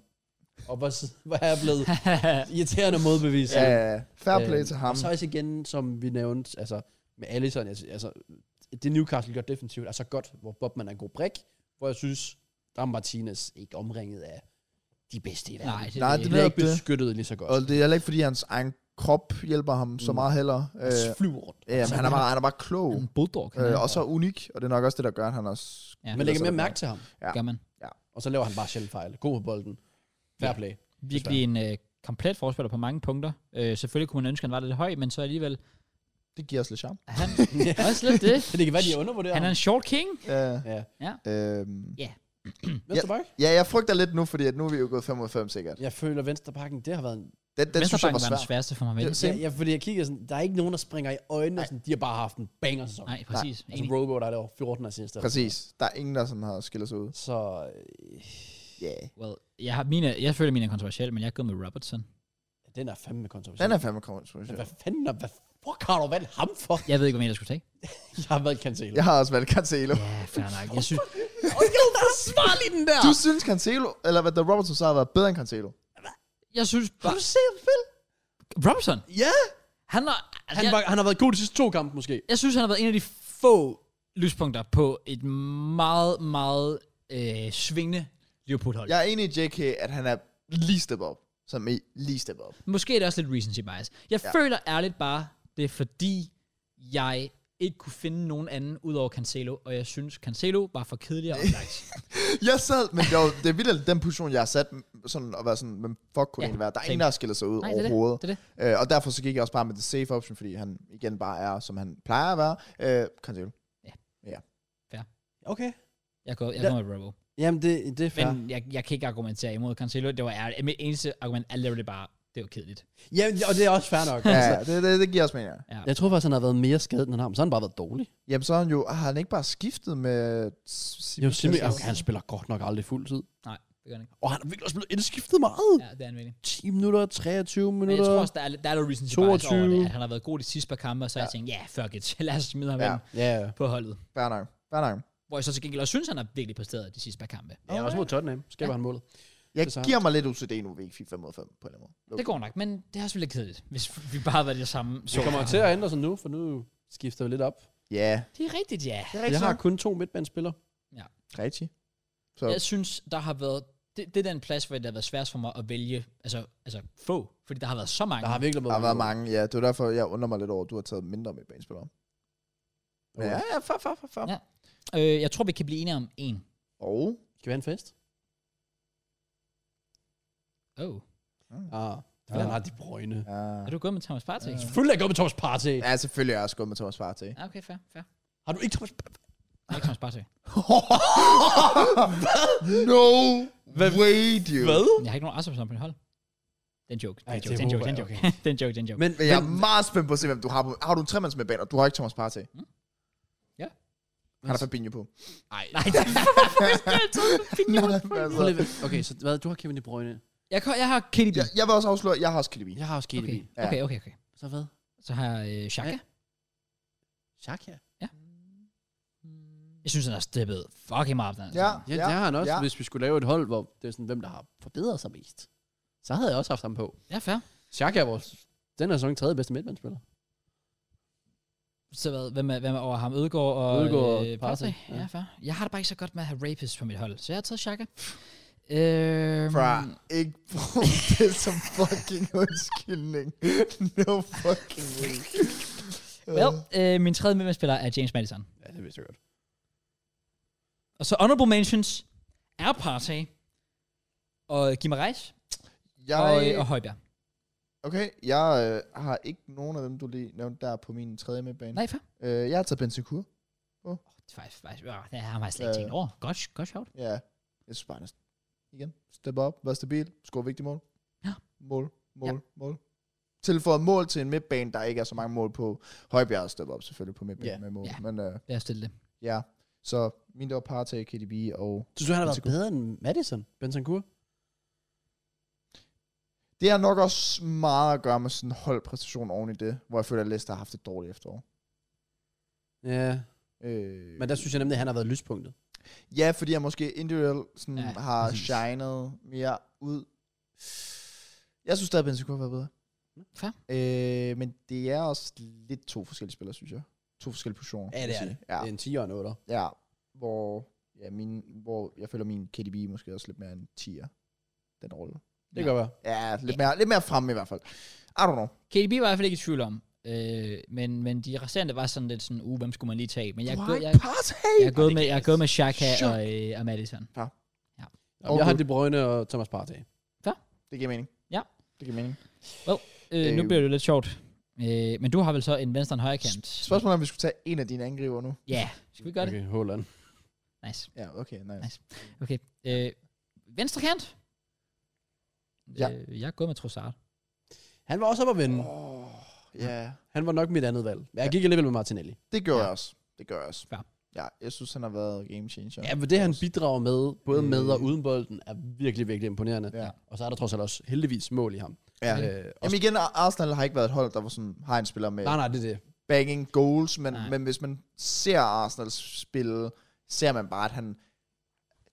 Speaker 2: Og hvor, s- hvor er jeg blevet irriterende modbevist.
Speaker 3: Ja, ja, ja. Fair play
Speaker 2: Øhm,
Speaker 3: til ham.
Speaker 2: Og så også igen, som vi nævnte, altså med Allison, altså, altså det Newcastle gør defensivt er så godt, hvor Bobman er en god brik, hvor jeg synes, der er Martinez ikke omringet af de bedste i verden.
Speaker 1: Nej, det,
Speaker 3: Nej,
Speaker 1: Nej,
Speaker 2: det
Speaker 1: det,
Speaker 3: det-
Speaker 2: bliver
Speaker 3: er
Speaker 2: ikke
Speaker 3: det.
Speaker 2: beskyttet lige så godt.
Speaker 3: Og det er heller ikke, fordi hans egen krop hjælper ham så
Speaker 2: Mm. Altså,
Speaker 3: meget heller.
Speaker 2: Han
Speaker 3: Øh,
Speaker 2: flyver rundt.
Speaker 3: ja, men han er, bare, han er bare klog.
Speaker 1: er en bulldog. han er.
Speaker 3: Øh, og så unik, og det er nok også det, der gør, at han også...
Speaker 1: Ja.
Speaker 2: Man lægger mere mærke til ham,
Speaker 3: ja.
Speaker 1: Gør man.
Speaker 2: og så laver han bare sjældent fejl. God på bolden. Fair
Speaker 1: Ja.
Speaker 2: play.
Speaker 1: Virkelig en øh, komplet forspiller på mange punkter. Øh, selvfølgelig kunne man ønske, at han var lidt høj, men så alligevel
Speaker 3: Det giver os lidt charme.
Speaker 1: er han også lidt det.
Speaker 2: Men det kan være, de undervurderer
Speaker 1: Han er
Speaker 2: ham.
Speaker 1: en short king.
Speaker 3: Ja.
Speaker 2: Ja.
Speaker 3: Øhm,
Speaker 2: Venstre bak?
Speaker 3: ja, jeg frygter lidt nu, fordi at nu er vi jo gået 5 mod 5 sikkert.
Speaker 2: Jeg føler, venstrebakken, det har været en...
Speaker 3: Den, den synes jeg
Speaker 1: Venstrebanken
Speaker 3: var
Speaker 1: var
Speaker 3: svær.
Speaker 1: den sværeste for mig.
Speaker 3: Det-
Speaker 1: Vel?
Speaker 3: Same.
Speaker 2: Ja, fordi jeg kigger sådan, der er ikke nogen, der springer i øjnene, og sådan, de har bare haft en banger sæson.
Speaker 1: Nej, præcis.
Speaker 2: Altså,
Speaker 1: Enig.
Speaker 2: Rogo, der er over 14 assist. eller
Speaker 3: Præcis. Der er ingen, der sådan har skilt sig ud.
Speaker 2: Så øh,
Speaker 3: Yeah.
Speaker 1: Well, jeg, har mine, jeg føler, mine er kontroversielle, men jeg er gået med Robertson.
Speaker 2: den er fandme kontroversiel.
Speaker 3: Den er fandme
Speaker 2: Men
Speaker 3: kontroversiel.
Speaker 2: hvad fanden er, hvad fuck har du valgt ham for?
Speaker 1: Jeg ved ikke, hvad mere jeg skulle tage.
Speaker 2: Jeg har været Cancelo.
Speaker 3: Jeg har også valgt Cancelo.
Speaker 1: Ja, fair nok. Jeg synes,
Speaker 2: Og jeg er forsvarlig den der!
Speaker 3: Du synes Cancelo, eller hvad, The Robertson så har været bedre end Cancelo?
Speaker 1: jeg synes
Speaker 2: har
Speaker 1: bare...
Speaker 2: du set Phil?
Speaker 1: Robertson,
Speaker 2: Ja!
Speaker 1: han har... Altså,
Speaker 2: Han,
Speaker 1: jeg,
Speaker 2: var, han har været god de sidste to kampe måske.
Speaker 1: jeg synes, han har været en af de få lyspunkter på et meget, meget øh, svingende Liverpool-hold. Ja.
Speaker 3: Jeg er enig i JK, at han er lige step op. Som i lige step op.
Speaker 1: Måske er det også lidt recency bias. Jeg ja.
Speaker 3: Ja.
Speaker 1: føler ærligt bare, det er fordi, jeg ikke kunne finde nogen anden ud over Cancelo, og jeg synes, Cancelo var for kedelig og oplagt.
Speaker 3: Jeg sad, men det, var, det er vildt den position, jeg har sat, sådan at være sådan, men fuck
Speaker 1: Ja,
Speaker 3: kunne ja, egentlig være. Der er
Speaker 1: same.
Speaker 3: ingen, der har skilt sig ud
Speaker 1: Nej, det er det.
Speaker 3: overhovedet.
Speaker 1: Det er det.
Speaker 3: Øh, og derfor så gik jeg også bare med the safe option, fordi han igen bare er, som han plejer at være. Øh, Cancelo.
Speaker 2: Okay.
Speaker 1: Jeg går, jeg
Speaker 2: Ja.
Speaker 1: går med Robo.
Speaker 2: Jamen, det, det er fair. Men,
Speaker 1: Men jeg, jeg kan ikke argumentere imod Cancelo. Det var ærligt. Mit eneste argument er literally bare, det var kedeligt.
Speaker 2: Jamen, og det er også fair nok.
Speaker 3: Ja,
Speaker 2: altså.
Speaker 3: det, det, det giver os mening. ja.
Speaker 2: Jeg tror faktisk, han har været mere skadet, end han har, men så har han bare været dårlig.
Speaker 3: Jamen så har han jo, har han ikke bare skiftet med... S-
Speaker 2: Jo, simpelthen,
Speaker 3: Cancelo?
Speaker 2: okay, han spiller godt nok aldrig fuld tid.
Speaker 1: Nej, det gør han ikke.
Speaker 2: Og han er virkelig også blevet indskiftet meget.
Speaker 1: Ja, det er han virkelig.
Speaker 2: 10 minutter, 23
Speaker 1: Men
Speaker 2: minutter.
Speaker 1: jeg tror også, der er, lidt- der er lidt reason to bias over
Speaker 2: 22.
Speaker 1: det, at han har været god de sidste par kampe, og så har jeg tænkt, ja, yeah, fuck it, lad os smide ham
Speaker 3: Ja.
Speaker 1: ja. ind
Speaker 2: Ja, ja.
Speaker 1: på holdet.
Speaker 3: Fair nok. Fair nok.
Speaker 1: Hvor jeg så til gengæld også synes, han har virkelig præsteret de sidste par kampe.
Speaker 2: Ja, også mod Tottenham. Skaber
Speaker 1: Ja.
Speaker 2: han målet.
Speaker 3: Jeg
Speaker 2: Det er så-
Speaker 3: giver mig lidt OCD nu, vi ikke fik 5 mod 5 på en eller anden måde.
Speaker 1: Det går nok, men det er også lidt kedeligt, hvis vi bare havde været det samme.
Speaker 2: Så kommer til at ændre sig nu, for nu skifter vi lidt op.
Speaker 3: Ja,
Speaker 1: Det er rigtigt, ja.
Speaker 3: det er
Speaker 2: Jeg
Speaker 3: rigtigt.
Speaker 2: har kun to midtbandspillere.
Speaker 3: Rigtigt. Så
Speaker 1: Jeg synes, der har været... Det, det er den plads, hvor det har været svært for mig at vælge, altså, altså få, fordi der har været så mange.
Speaker 2: Der har virkelig
Speaker 3: der
Speaker 2: været,
Speaker 3: har været mange, ja. Det var derfor, jeg undrer mig lidt over, at du har taget mindre med banespillere. Men
Speaker 2: Okay.
Speaker 3: Ja, ja, for, for, for, for.
Speaker 1: Ja. øh, jeg tror, vi kan blive enige om en.
Speaker 3: Og
Speaker 2: Skal vi have en fest?
Speaker 1: Oh.
Speaker 2: Ah, det
Speaker 3: Ja.
Speaker 2: var ja. de brøgne.
Speaker 3: Ja.
Speaker 1: Er du gået med Thomas Partey? Ja.
Speaker 2: Selvfølgelig er jeg gået med Thomas Partey.
Speaker 3: ja, selvfølgelig er jeg også gået med Thomas Partey.
Speaker 1: Okay, fair, fair.
Speaker 2: Har du ikke Thomas Partey?
Speaker 1: Jeg er ikke Thomas Partey.
Speaker 3: no way, dude.
Speaker 2: Hvad?
Speaker 1: Men Jeg har ikke nogen Arsenal på mit hold. Den joke. Den
Speaker 2: Ej,
Speaker 1: joke,
Speaker 2: det
Speaker 1: den joke,
Speaker 2: håber
Speaker 1: den
Speaker 2: jeg,
Speaker 1: joke. den joke, den joke.
Speaker 2: Men,
Speaker 3: Men jeg er meget spændt på at se, hvem du har på. Har du en tremands med baner? Du har ikke Thomas Partey.
Speaker 1: Mm. Ja.
Speaker 3: Han er Fabinho på.
Speaker 2: nej.
Speaker 1: Nej, det
Speaker 3: Altså,
Speaker 2: Prøv lige at- Okay, så hvad, du har Kevin De Bruyne.
Speaker 1: jeg, jeg har Kelly B.
Speaker 3: Jeg, jeg vil også afsløre, jeg har også Kilibi.
Speaker 2: Jeg har også Kevin.
Speaker 1: okay.
Speaker 2: Okay.
Speaker 3: Ja.
Speaker 1: okay, okay, okay.
Speaker 2: Så hvad?
Speaker 1: Så har jeg øh, Shaka.
Speaker 2: Ja. Shaka.
Speaker 1: Jeg synes, han har steppet fucking meget op den her
Speaker 3: Ja,
Speaker 1: sæson.
Speaker 2: Ja, ja, det har han også.
Speaker 3: ja.
Speaker 2: Ja. Hvis vi skulle lave et hold, hvor det er sådan, hvem der har forbedret sig mest, så havde jeg også haft ham på.
Speaker 1: Ja, fair.
Speaker 2: Shaka er vores, den her sæson tredje bedste midtbanespiller.
Speaker 1: Så hvad, hvem, er, hvem er over ham? Ødegaard og øh,
Speaker 2: Ødegaard og
Speaker 1: Partey.
Speaker 2: Partey,
Speaker 1: Ja.
Speaker 2: ja.
Speaker 1: fair. Jeg har det bare ikke så godt med at have Rapist på mit hold, så jeg har taget Shaka. Øhm,
Speaker 3: Fra ikke brug det som fucking undskyldning. No fucking way.
Speaker 1: Well, øh, min tredje medspiller er James Madison.
Speaker 2: Ja, det vidste jeg godt.
Speaker 1: Og så honorable mentions er Partey og Gimareis og,
Speaker 3: Jeg,
Speaker 1: og Højbjerg.
Speaker 3: okay, jeg øh, har ikke nogen af dem, du lige nævnte der på min tredje medbane.
Speaker 1: Nej, fair.
Speaker 3: Øh, jeg har taget Bentancur.
Speaker 1: Faktisk, faktisk, ja, det har jeg slet ikke
Speaker 3: Øh.
Speaker 1: tænkt over. Godt, godt sjovt.
Speaker 3: Ja, jeg synes bare, han er igen, step op, vær stabil, score vigtige mål.
Speaker 1: Ja.
Speaker 3: Mål, mål,
Speaker 1: Ja.
Speaker 3: ja. mål. Tilføjet mål til en midtbane, der ikke er så mange mål på. Højbjerg er step op selvfølgelig på midtbanen
Speaker 2: Ja.
Speaker 3: med mål.
Speaker 1: Ja.
Speaker 3: Men øh,
Speaker 1: Lad os stille det.
Speaker 3: ja, så min der var Partey, KDB og...
Speaker 2: Synes du, han har været
Speaker 3: Bentancur.
Speaker 2: bedre end Madison? Bentancur?
Speaker 3: Det har nok også meget at gøre med sådan en holdpræstation oven i det, hvor jeg føler, at Leicester har haft et dårligt efterår.
Speaker 2: Ja,
Speaker 3: Øh,
Speaker 2: men der synes jeg nemlig, at han har været lyspunktet.
Speaker 3: Ja, fordi jeg måske individuelt sådan
Speaker 1: Ja,
Speaker 3: ja, har
Speaker 1: præcis.
Speaker 3: præcis. shined mere ud. Jeg synes stadig, at Benzema kunne have været
Speaker 1: Fair.
Speaker 3: bedre. Øh, men det er også lidt to forskellige spillere, synes jeg. To forskellige positioner.
Speaker 2: Ja,
Speaker 3: vil
Speaker 2: det
Speaker 3: jeg
Speaker 2: er
Speaker 3: sige.
Speaker 2: Det er en 10'er og en 8'er.
Speaker 3: Ja, ja. Hvor, ja, min, hvor jeg føler, min KDB måske også lidt mere en 10'er. Den rolle.
Speaker 2: Det gør jeg.
Speaker 3: Ja, lidt mere, lidt mere frem i hvert fald. I don't know.
Speaker 1: KDB var jeg i hvert fald ikke i tvivl om. Øh, men, men de resterende var sådan lidt sådan, uh, hvem skulle man lige tage? Men jeg, er gået- jeg, jeg, er gået med, jeg er gået med Shaka
Speaker 3: Shaq.
Speaker 1: og, øh, og Madison.
Speaker 2: Jamen, Jeg har De Bruyne og Thomas Partey.
Speaker 3: Det giver mening.
Speaker 1: Ja.
Speaker 3: Det giver mening.
Speaker 1: Øh, nu
Speaker 3: Øh.
Speaker 1: bliver det lidt sjovt. Øh, men du har vel så en venstre og en højre kant?
Speaker 3: Spørgsmålet er, om vi skulle tage en af dine angriber nu.
Speaker 1: Ja, skal vi gøre okay.
Speaker 2: Okay, Holland.
Speaker 1: det? Nice.
Speaker 3: Ja, okay, nice.
Speaker 1: Nej. Okay. Øh, venstre kant?
Speaker 3: Ja.
Speaker 1: Øh, jeg er gået med Trossard.
Speaker 2: Han var også op at vinde.
Speaker 3: Oh, ja.
Speaker 2: Han var nok mit andet valg. Men jeg gik alligevel med Martinelli.
Speaker 3: Det gør
Speaker 1: Ja.
Speaker 3: ja. jeg også. Det gør jeg også.
Speaker 1: Fair.
Speaker 3: Ja, jeg synes, han har været game changer.
Speaker 2: Ja, for det han bidrager med, både med og
Speaker 3: Øh.
Speaker 2: uden bolden, er virkelig, virkelig imponerende.
Speaker 3: Ja.
Speaker 2: Og så er der trods alt også heldigvis mål i ham.
Speaker 3: ja.
Speaker 2: Øh,
Speaker 3: Øh,
Speaker 2: også,
Speaker 3: Jamen igen, Ar- Arsenal har ikke været et hold, der var sådan, har en spiller med
Speaker 2: nej, nej, det er det.
Speaker 3: banging goals, men,
Speaker 1: Nej.
Speaker 3: men hvis man ser Arsenal spille, ser man bare, at han...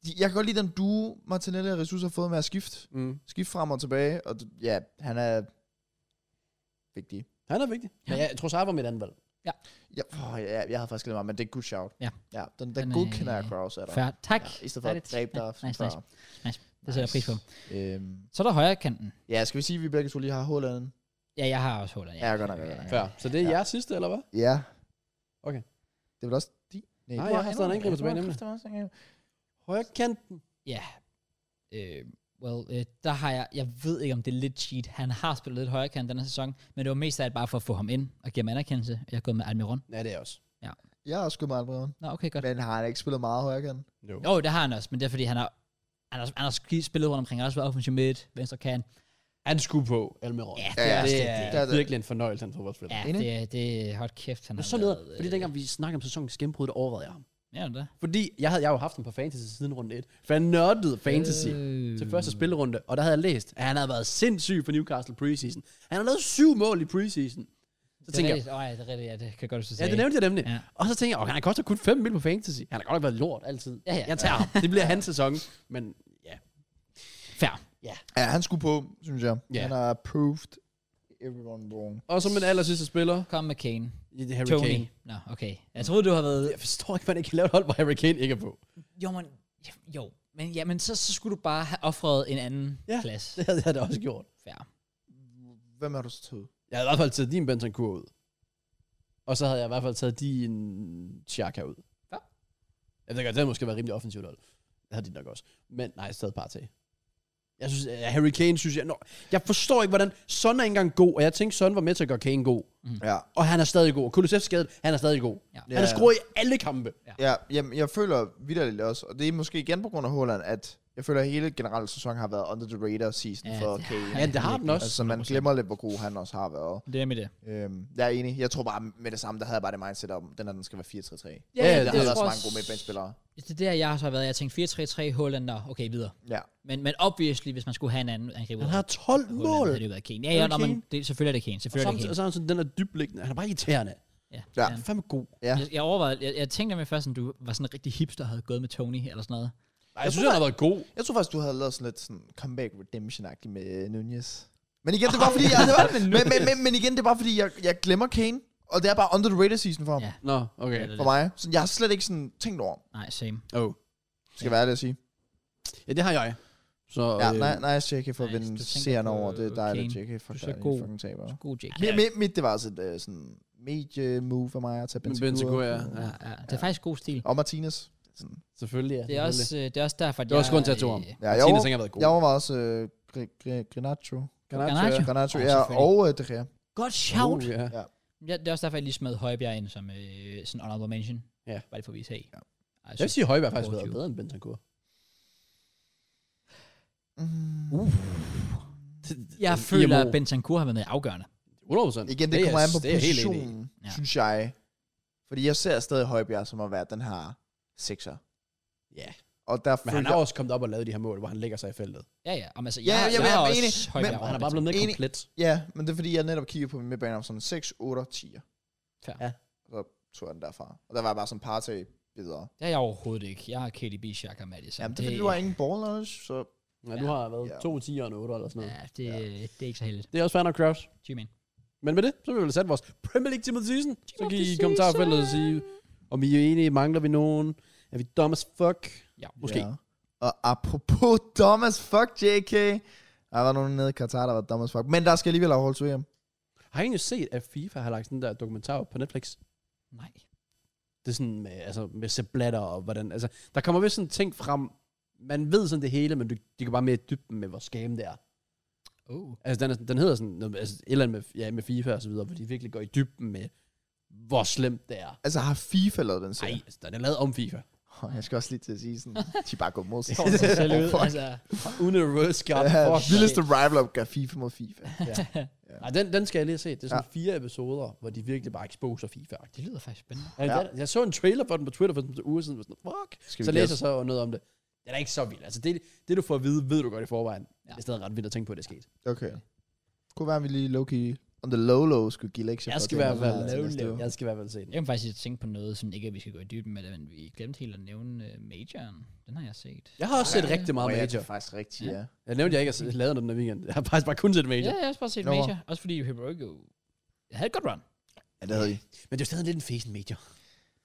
Speaker 3: De- Jeg kan godt lide den duo, Martinelli og Jesus har fået med at skifte.
Speaker 2: Mm.
Speaker 3: Skifte frem og tilbage, og d- ja, han er vigtig.
Speaker 2: Han er vigtig. Men jeg tror, var mit andet valg.
Speaker 3: Ja, åh, ja, jeg havde faktisk glemt mig, men det er good shout.
Speaker 1: Ja.
Speaker 3: ja den, den
Speaker 1: Han er-
Speaker 3: godkender jeg Kraus af dig.
Speaker 1: Fair. Tak.
Speaker 3: Ja, I stedet for
Speaker 1: Dejligt.
Speaker 3: at dræbe dig.
Speaker 1: Ja,
Speaker 3: som
Speaker 1: nice, nice.
Speaker 3: før.
Speaker 1: Det sætter jeg pris på.
Speaker 3: Øhm,
Speaker 1: Så er der højre kanten.
Speaker 3: ja, skal vi sige, at vi begge to lige har Håland?
Speaker 1: Ja, jeg har også Holland.
Speaker 3: Ja, godt nok, godt nok.
Speaker 2: Fair. Så det er
Speaker 3: Ja.
Speaker 2: jeres sidste, eller hvad?
Speaker 3: Ja.
Speaker 2: Okay.
Speaker 3: Det er vel også de...
Speaker 2: Nej,
Speaker 3: du
Speaker 2: jeg har stadig en angriber
Speaker 3: Ja, du har
Speaker 2: tilbage, nemlig.
Speaker 3: kraftigt også en angriber.
Speaker 2: Højre kanten.
Speaker 1: Ja. Øh, well, øh, der har jeg, jeg ved ikke om det er lidt cheat. Han har spillet lidt højre kant den her sæson, men det var mest af alt bare for at få ham ind og give ham anerkendelse. Jeg er gået med Almiron.
Speaker 2: Ja, det er jeg også.
Speaker 3: Jeg har også gået meget bredere.
Speaker 1: Nå, okay, godt.
Speaker 3: Men har han ikke spillet meget højere kan?
Speaker 2: Jo.
Speaker 1: Jo, det har han også, men det er fordi, han har, han har, han har ski- spillet rundt omkring. Han har også været offensiv midt, venstre kant.
Speaker 2: Han skulle på Almiron.
Speaker 1: Ja,
Speaker 2: Ja,
Speaker 1: det
Speaker 3: Ja,
Speaker 1: er også
Speaker 2: det
Speaker 1: det.
Speaker 2: er
Speaker 1: det.
Speaker 3: det.
Speaker 2: virkelig en fornøjelse, han fodboldspiller.
Speaker 1: Ja,
Speaker 3: Enig.
Speaker 1: det, er- det er hold kæft, han
Speaker 2: Men
Speaker 1: har
Speaker 2: så leder,
Speaker 1: været,
Speaker 2: fordi
Speaker 1: øh,
Speaker 2: dengang vi snakkede om sæsonens gennembrud, der overvejede jeg ham.
Speaker 1: Ja, det er.
Speaker 2: Fordi jeg, havde, jeg har jo haft ham på fantasy siden runde 1. For jeg nørdede fantasy.
Speaker 1: Øh,
Speaker 2: til første spillerunde, og der havde jeg læst, at han havde været sindssyg for Newcastle preseason. Han har lavet syv mål i preseason. Så
Speaker 1: Det er
Speaker 2: tænker jeg,
Speaker 1: rigtigt. Åh, ja, det er rigtigt. Ja, det kan jeg godt, du
Speaker 2: ja,
Speaker 1: sagde.
Speaker 2: det nævnte jeg nemlig.
Speaker 1: Ja.
Speaker 2: Ja. Og så tænker jeg, okay, han koster kun 5 mil på fantasy. Han har godt nok været lort altid.
Speaker 1: Ja, ja.
Speaker 2: Jeg tager ham. Det bliver hans sæson, men ja.
Speaker 1: Fair.
Speaker 3: Ja, han skulle på, synes jeg.
Speaker 2: Ja.
Speaker 3: Han har proved everyone wrong.
Speaker 2: Og så min aller sidste spiller,
Speaker 1: Kom med Kane.
Speaker 2: Harry
Speaker 1: Tony.
Speaker 2: Kane.
Speaker 1: Nå, okay. Jeg troede, du har været...
Speaker 2: Jeg forstår ikke, hvordan jeg kan lave et hold, hvor Harry Kane ikke er på.
Speaker 1: Jo, men... Jo, men, ja, men så, så skulle du bare have offret en anden
Speaker 2: Ja.
Speaker 1: plads.
Speaker 2: Det havde jeg da også gjort.
Speaker 1: Fair.
Speaker 3: Hvem har du så taget?
Speaker 2: Jeg havde i hvert fald taget din Bentancur ud. Og så havde jeg i hvert fald taget din Chaka ud.
Speaker 1: Ja.
Speaker 2: Jeg ved godt, det havde måske været rimelig offensivt hold. Det havde de nok også. Men nej, jeg havde bare til. Jeg synes, at Harry Kane synes jeg... Nå, jeg forstår ikke, hvordan... Son er ikke engang god, og jeg tænkte, Son var med til at gøre Kane god.
Speaker 3: Ja.
Speaker 2: Og han er stadig god. Og Kulusevski skadet, han er stadig god.
Speaker 1: Ja.
Speaker 2: Han har scoret i alle kampe.
Speaker 3: Ja, jamen, jeg føler vidderligt også, og det er måske igen på grund af Holland, at jeg føler, at hele generelle sæson har været under the radar season
Speaker 1: Ja,
Speaker 3: for
Speaker 1: det
Speaker 3: Kane.
Speaker 2: Ja, det har den også.
Speaker 3: Altså, man glemmer lidt, hvor god han også har været.
Speaker 1: Det er med det.
Speaker 3: Øhm, jeg er enig. Jeg tror bare, med det samme, der havde jeg bare det mindset om, den her, den skal være 4-3-3. Ja,
Speaker 1: Ja,
Speaker 2: ja,
Speaker 3: der
Speaker 2: det
Speaker 3: har været
Speaker 1: tror
Speaker 3: så
Speaker 1: jeg
Speaker 3: mange gode
Speaker 1: også.
Speaker 3: midtbanespillere.
Speaker 1: Det er der, jeg har så været. Jeg tænkte 4-3-3, Hollander. Okay, videre.
Speaker 3: Ja.
Speaker 1: Men, men obviously, hvis man skulle have en anden angriber...
Speaker 2: Han har 12
Speaker 1: Haaland,
Speaker 2: mål.
Speaker 1: havde det jo været Kane. Ja, ja,
Speaker 2: Er det
Speaker 1: nå, men
Speaker 2: Kane?
Speaker 1: det, selvfølgelig er det Kane.
Speaker 2: Og,
Speaker 1: Selvfølgelig er det Kane.
Speaker 2: samtidig, og så er han sådan den der dybliggende. Han er bare irriterende.
Speaker 1: Ja.
Speaker 3: Ja.
Speaker 2: Han er fandme god.
Speaker 3: Ja.
Speaker 1: Jeg, jeg overvejede, jeg, jeg tænkte nemlig først, at du var sådan en rigtig hipster, havde gået med Tony eller sådan noget.
Speaker 2: Ej, jeg synes, han har været god.
Speaker 3: Jeg tror faktisk, du havde lavet sådan lidt sådan comeback redemption med Nunez. Men igen, det var fordi, jeg, det var, men, men, men, men igen, det var fordi, jeg, jeg glemmer Kane, og det er bare under the radar season for ham.
Speaker 1: Ja.
Speaker 3: Ja.
Speaker 2: Nå, okay.
Speaker 1: Eller
Speaker 3: For
Speaker 1: lidt.
Speaker 3: mig. Så jeg har slet ikke sådan tænkt over,
Speaker 1: Nej, same.
Speaker 2: Oh.
Speaker 3: skal ja. være ærlig at sige.
Speaker 2: Ja, det har jeg. Så,
Speaker 3: Ja,
Speaker 2: øh,
Speaker 3: nej, nej, JK for at
Speaker 1: nice,
Speaker 3: vinde
Speaker 1: du tænker
Speaker 3: serien
Speaker 1: på
Speaker 3: over. Det er dejligt,
Speaker 1: Kane.
Speaker 3: JK. Fuck,
Speaker 1: Du er så
Speaker 3: dig, din
Speaker 1: god.
Speaker 3: Fucking taber.
Speaker 1: God Jake.
Speaker 3: Mit, mit, mit, det var også et øh, sådan medie-move for mig at tage Benzema.
Speaker 2: Bentancur, ja.
Speaker 1: Ja, ja. Det er faktisk god stil.
Speaker 3: Og Martinez. Sådan.
Speaker 2: Selvfølgelig, ja.
Speaker 1: Det er, også, øh, det er også derfor, at
Speaker 2: Det er også grund til at tog ham.
Speaker 1: øh,
Speaker 3: Ja, jeg,
Speaker 2: Martinez
Speaker 3: over,
Speaker 2: ikke har været god.
Speaker 3: jeg overvejede også øh, Gr- Gr- Granacho.
Speaker 1: Garnacho.
Speaker 3: Granacho,
Speaker 1: Åh,
Speaker 3: ja.
Speaker 1: selvfølgelig.
Speaker 3: Og øh, De Gea.
Speaker 1: Godt shout.
Speaker 2: Uh, ja.
Speaker 1: Ja, det er også derfor, jeg lige smed Højbjerg ind som øh, sådan honorable mention.
Speaker 2: Ja.
Speaker 1: Bare lige for at vise af.
Speaker 3: Ja.
Speaker 1: Altså,
Speaker 2: Jeg vil sige, at Højberg faktisk har været
Speaker 1: 22.
Speaker 2: bedre end Bentancur.
Speaker 3: Mm.
Speaker 1: Uh. jeg føler, at Bentancur har været med i afgørende.
Speaker 2: 100%.
Speaker 3: Igen, det, det kommer
Speaker 2: er-
Speaker 3: an på
Speaker 2: det er jeg helt enig i.
Speaker 3: positionen,
Speaker 1: Ja.
Speaker 3: ja. synes jeg. Fordi jeg ser stadig Højbjerg som at være den her sekser.
Speaker 2: Ja,
Speaker 3: Og der
Speaker 2: men han er også kommet op og lavet de her mål, hvor han lægger sig i feltet.
Speaker 1: Ja, ja. Om, altså,
Speaker 3: Ja,
Speaker 1: jeg,
Speaker 3: jeg
Speaker 1: jeg,
Speaker 3: vil-
Speaker 1: har
Speaker 3: jeg er
Speaker 1: også
Speaker 3: enig,
Speaker 1: Højbjerg
Speaker 3: men-
Speaker 2: Og
Speaker 1: over
Speaker 2: han er bare blevet mere
Speaker 3: Enig.
Speaker 2: komplet.
Speaker 3: Ja, men det er fordi, jeg netop kigger på min midtbane om sådan 6, 8, 10.
Speaker 1: Fair.
Speaker 2: Ja.
Speaker 3: Og så tog jeg den derfra. Og der var jeg bare sådan partag videre.
Speaker 1: Det er jeg overhovedet ikke. Jeg har KDB, Shaq og Madison.
Speaker 3: Jamen, det er fordi, du har ingen ball knowledge, så
Speaker 2: Ja, du har været
Speaker 3: Ja.
Speaker 2: to 10 og en 8 eller sådan noget.
Speaker 1: Ja, det, ja. det er ikke så heldigt.
Speaker 2: Det er også fair nok, Kraus.
Speaker 1: G-man.
Speaker 2: Men med det, så vil vi vel sætte vores Premier League Team of the Season.
Speaker 1: Team
Speaker 2: Så
Speaker 1: of
Speaker 2: kan
Speaker 1: the
Speaker 2: I i kommentarfeltet
Speaker 1: season.
Speaker 2: sige, om I er enige, mangler vi nogen? Er vi dumb as fuck?
Speaker 1: Ja.
Speaker 2: Måske.
Speaker 3: Ja. Og apropos dumb as fuck, JK. Der var nogen nede i Katar, der var dumb as fuck. Men der skal alligevel afholdes VM.
Speaker 2: Har I egentlig set, at FIFA har lagt sådan der dokumentar op på Netflix?
Speaker 1: Nej.
Speaker 2: Det er sådan med, altså, med sablatter og hvordan... Altså, der kommer vist sådan ting frem. Man ved sådan det hele, men du, de går bare mere i dybden med, hvor skam det er.
Speaker 1: Oh.
Speaker 2: Altså, den, er, sådan- den hedder sådan noget, med- altså, et eller andet med, ja, med FIFA og så videre, hvor de virkelig går i dybden med, hvor slemt det er.
Speaker 3: Altså har FIFA lavet den
Speaker 2: Nej,
Speaker 3: serie?
Speaker 2: altså, den er lavet om FIFA.
Speaker 3: Oh, jeg skal også lige til at sige sådan, de er bare gået mod sig.
Speaker 1: Får sig selv ud.
Speaker 3: Fuck.
Speaker 1: altså,
Speaker 2: Uden at reverse card.
Speaker 3: Ja,
Speaker 2: Fuck.
Speaker 3: vildeste rival gør FIFA mod FIFA.
Speaker 2: Nej, den, den skal jeg lige se. Det er sådan ja. fire episoder, hvor de virkelig bare exposer FIFA.
Speaker 1: det lyder faktisk spændende.
Speaker 2: Ja. Jeg, jeg så en trailer for den på Twitter for sådan en uge siden, og sådan, fuck.
Speaker 3: Skal vi
Speaker 2: Så læser
Speaker 3: gætte?
Speaker 2: jeg så noget om det. Det er da ikke så vildt. Altså, det, det du får at vide, ved du godt i forvejen.
Speaker 1: Ja.
Speaker 2: Ja. Det er stadig ret vildt at tænke på, at det er sket.
Speaker 3: Okay. Kunne være, at vi lige low-key on the low-low skulle give lektier.
Speaker 2: Jeg
Speaker 3: for
Speaker 2: skal i
Speaker 3: det,
Speaker 2: hvert
Speaker 3: når vi har til næste
Speaker 2: fald,
Speaker 3: uge.
Speaker 2: jeg skal i hvert fald se den.
Speaker 1: Jeg kan faktisk tænke på noget, som ikke, at vi skal gå i dybden med det, men vi glemte helt at nævne uh, majoren. Den har jeg set.
Speaker 2: Jeg har også set
Speaker 1: Ja.
Speaker 2: rigtig meget
Speaker 3: Åh, ja, det
Speaker 2: Major.
Speaker 3: er faktisk rigtigt, ja.
Speaker 2: Jeg nævnte, jeg ikke har lavet den den weekend. Jeg har faktisk bare kun set Major.
Speaker 1: Ja, jeg har også bare set
Speaker 3: Nå.
Speaker 1: Major. Også fordi Hyperogo havde et godt run.
Speaker 3: Ja, det havde vi.
Speaker 2: Men det er jo stadig lidt en fesen Major.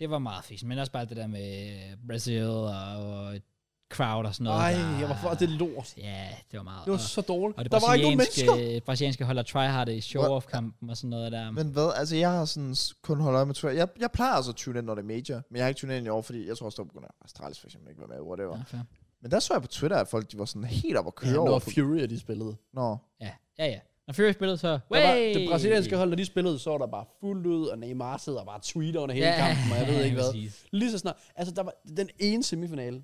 Speaker 1: Det var meget fisk, men også bare det der med øh, Brazil og, og crowd og sådan noget.
Speaker 2: Nej,
Speaker 1: der-
Speaker 2: jeg var for, det er lort.
Speaker 1: Ja, det var meget.
Speaker 2: Det var
Speaker 1: og-
Speaker 2: så dårligt.
Speaker 1: Og det
Speaker 2: Der var ikke nogen mennesker.
Speaker 1: brasilianske, brasilianske holder tryhard i show-off-kampen og sådan noget der.
Speaker 3: Men hvad, altså jeg har sådan s- kun holdt øje med Twitter. Jeg, jeg plejer altså at tune ind, når det er major, men jeg har ikke tunet ind i år, fordi jeg tror også, der på grund af Astralis for eksempel ikke var med, whatever.
Speaker 1: Ja,
Speaker 3: Ja.
Speaker 1: fair.
Speaker 3: Men der så jeg på Twitter, at folk de var sådan helt op at køre
Speaker 2: Ja,
Speaker 3: ja,
Speaker 2: når
Speaker 3: over. For...
Speaker 2: Fury er de spillede.
Speaker 3: Nå,
Speaker 1: ja, ja, ja. Når Fury spillede, så...
Speaker 2: Der var,
Speaker 1: Way!
Speaker 2: det brasilianske hold, når de spillede, så var der bare fuldt ud, og Neymar sidder og bare tweeter under hele
Speaker 1: Ja,
Speaker 2: kampen, og jeg ved ikke hvad.
Speaker 1: præcis.
Speaker 2: Lige så snart. Altså, der var den ene semifinale.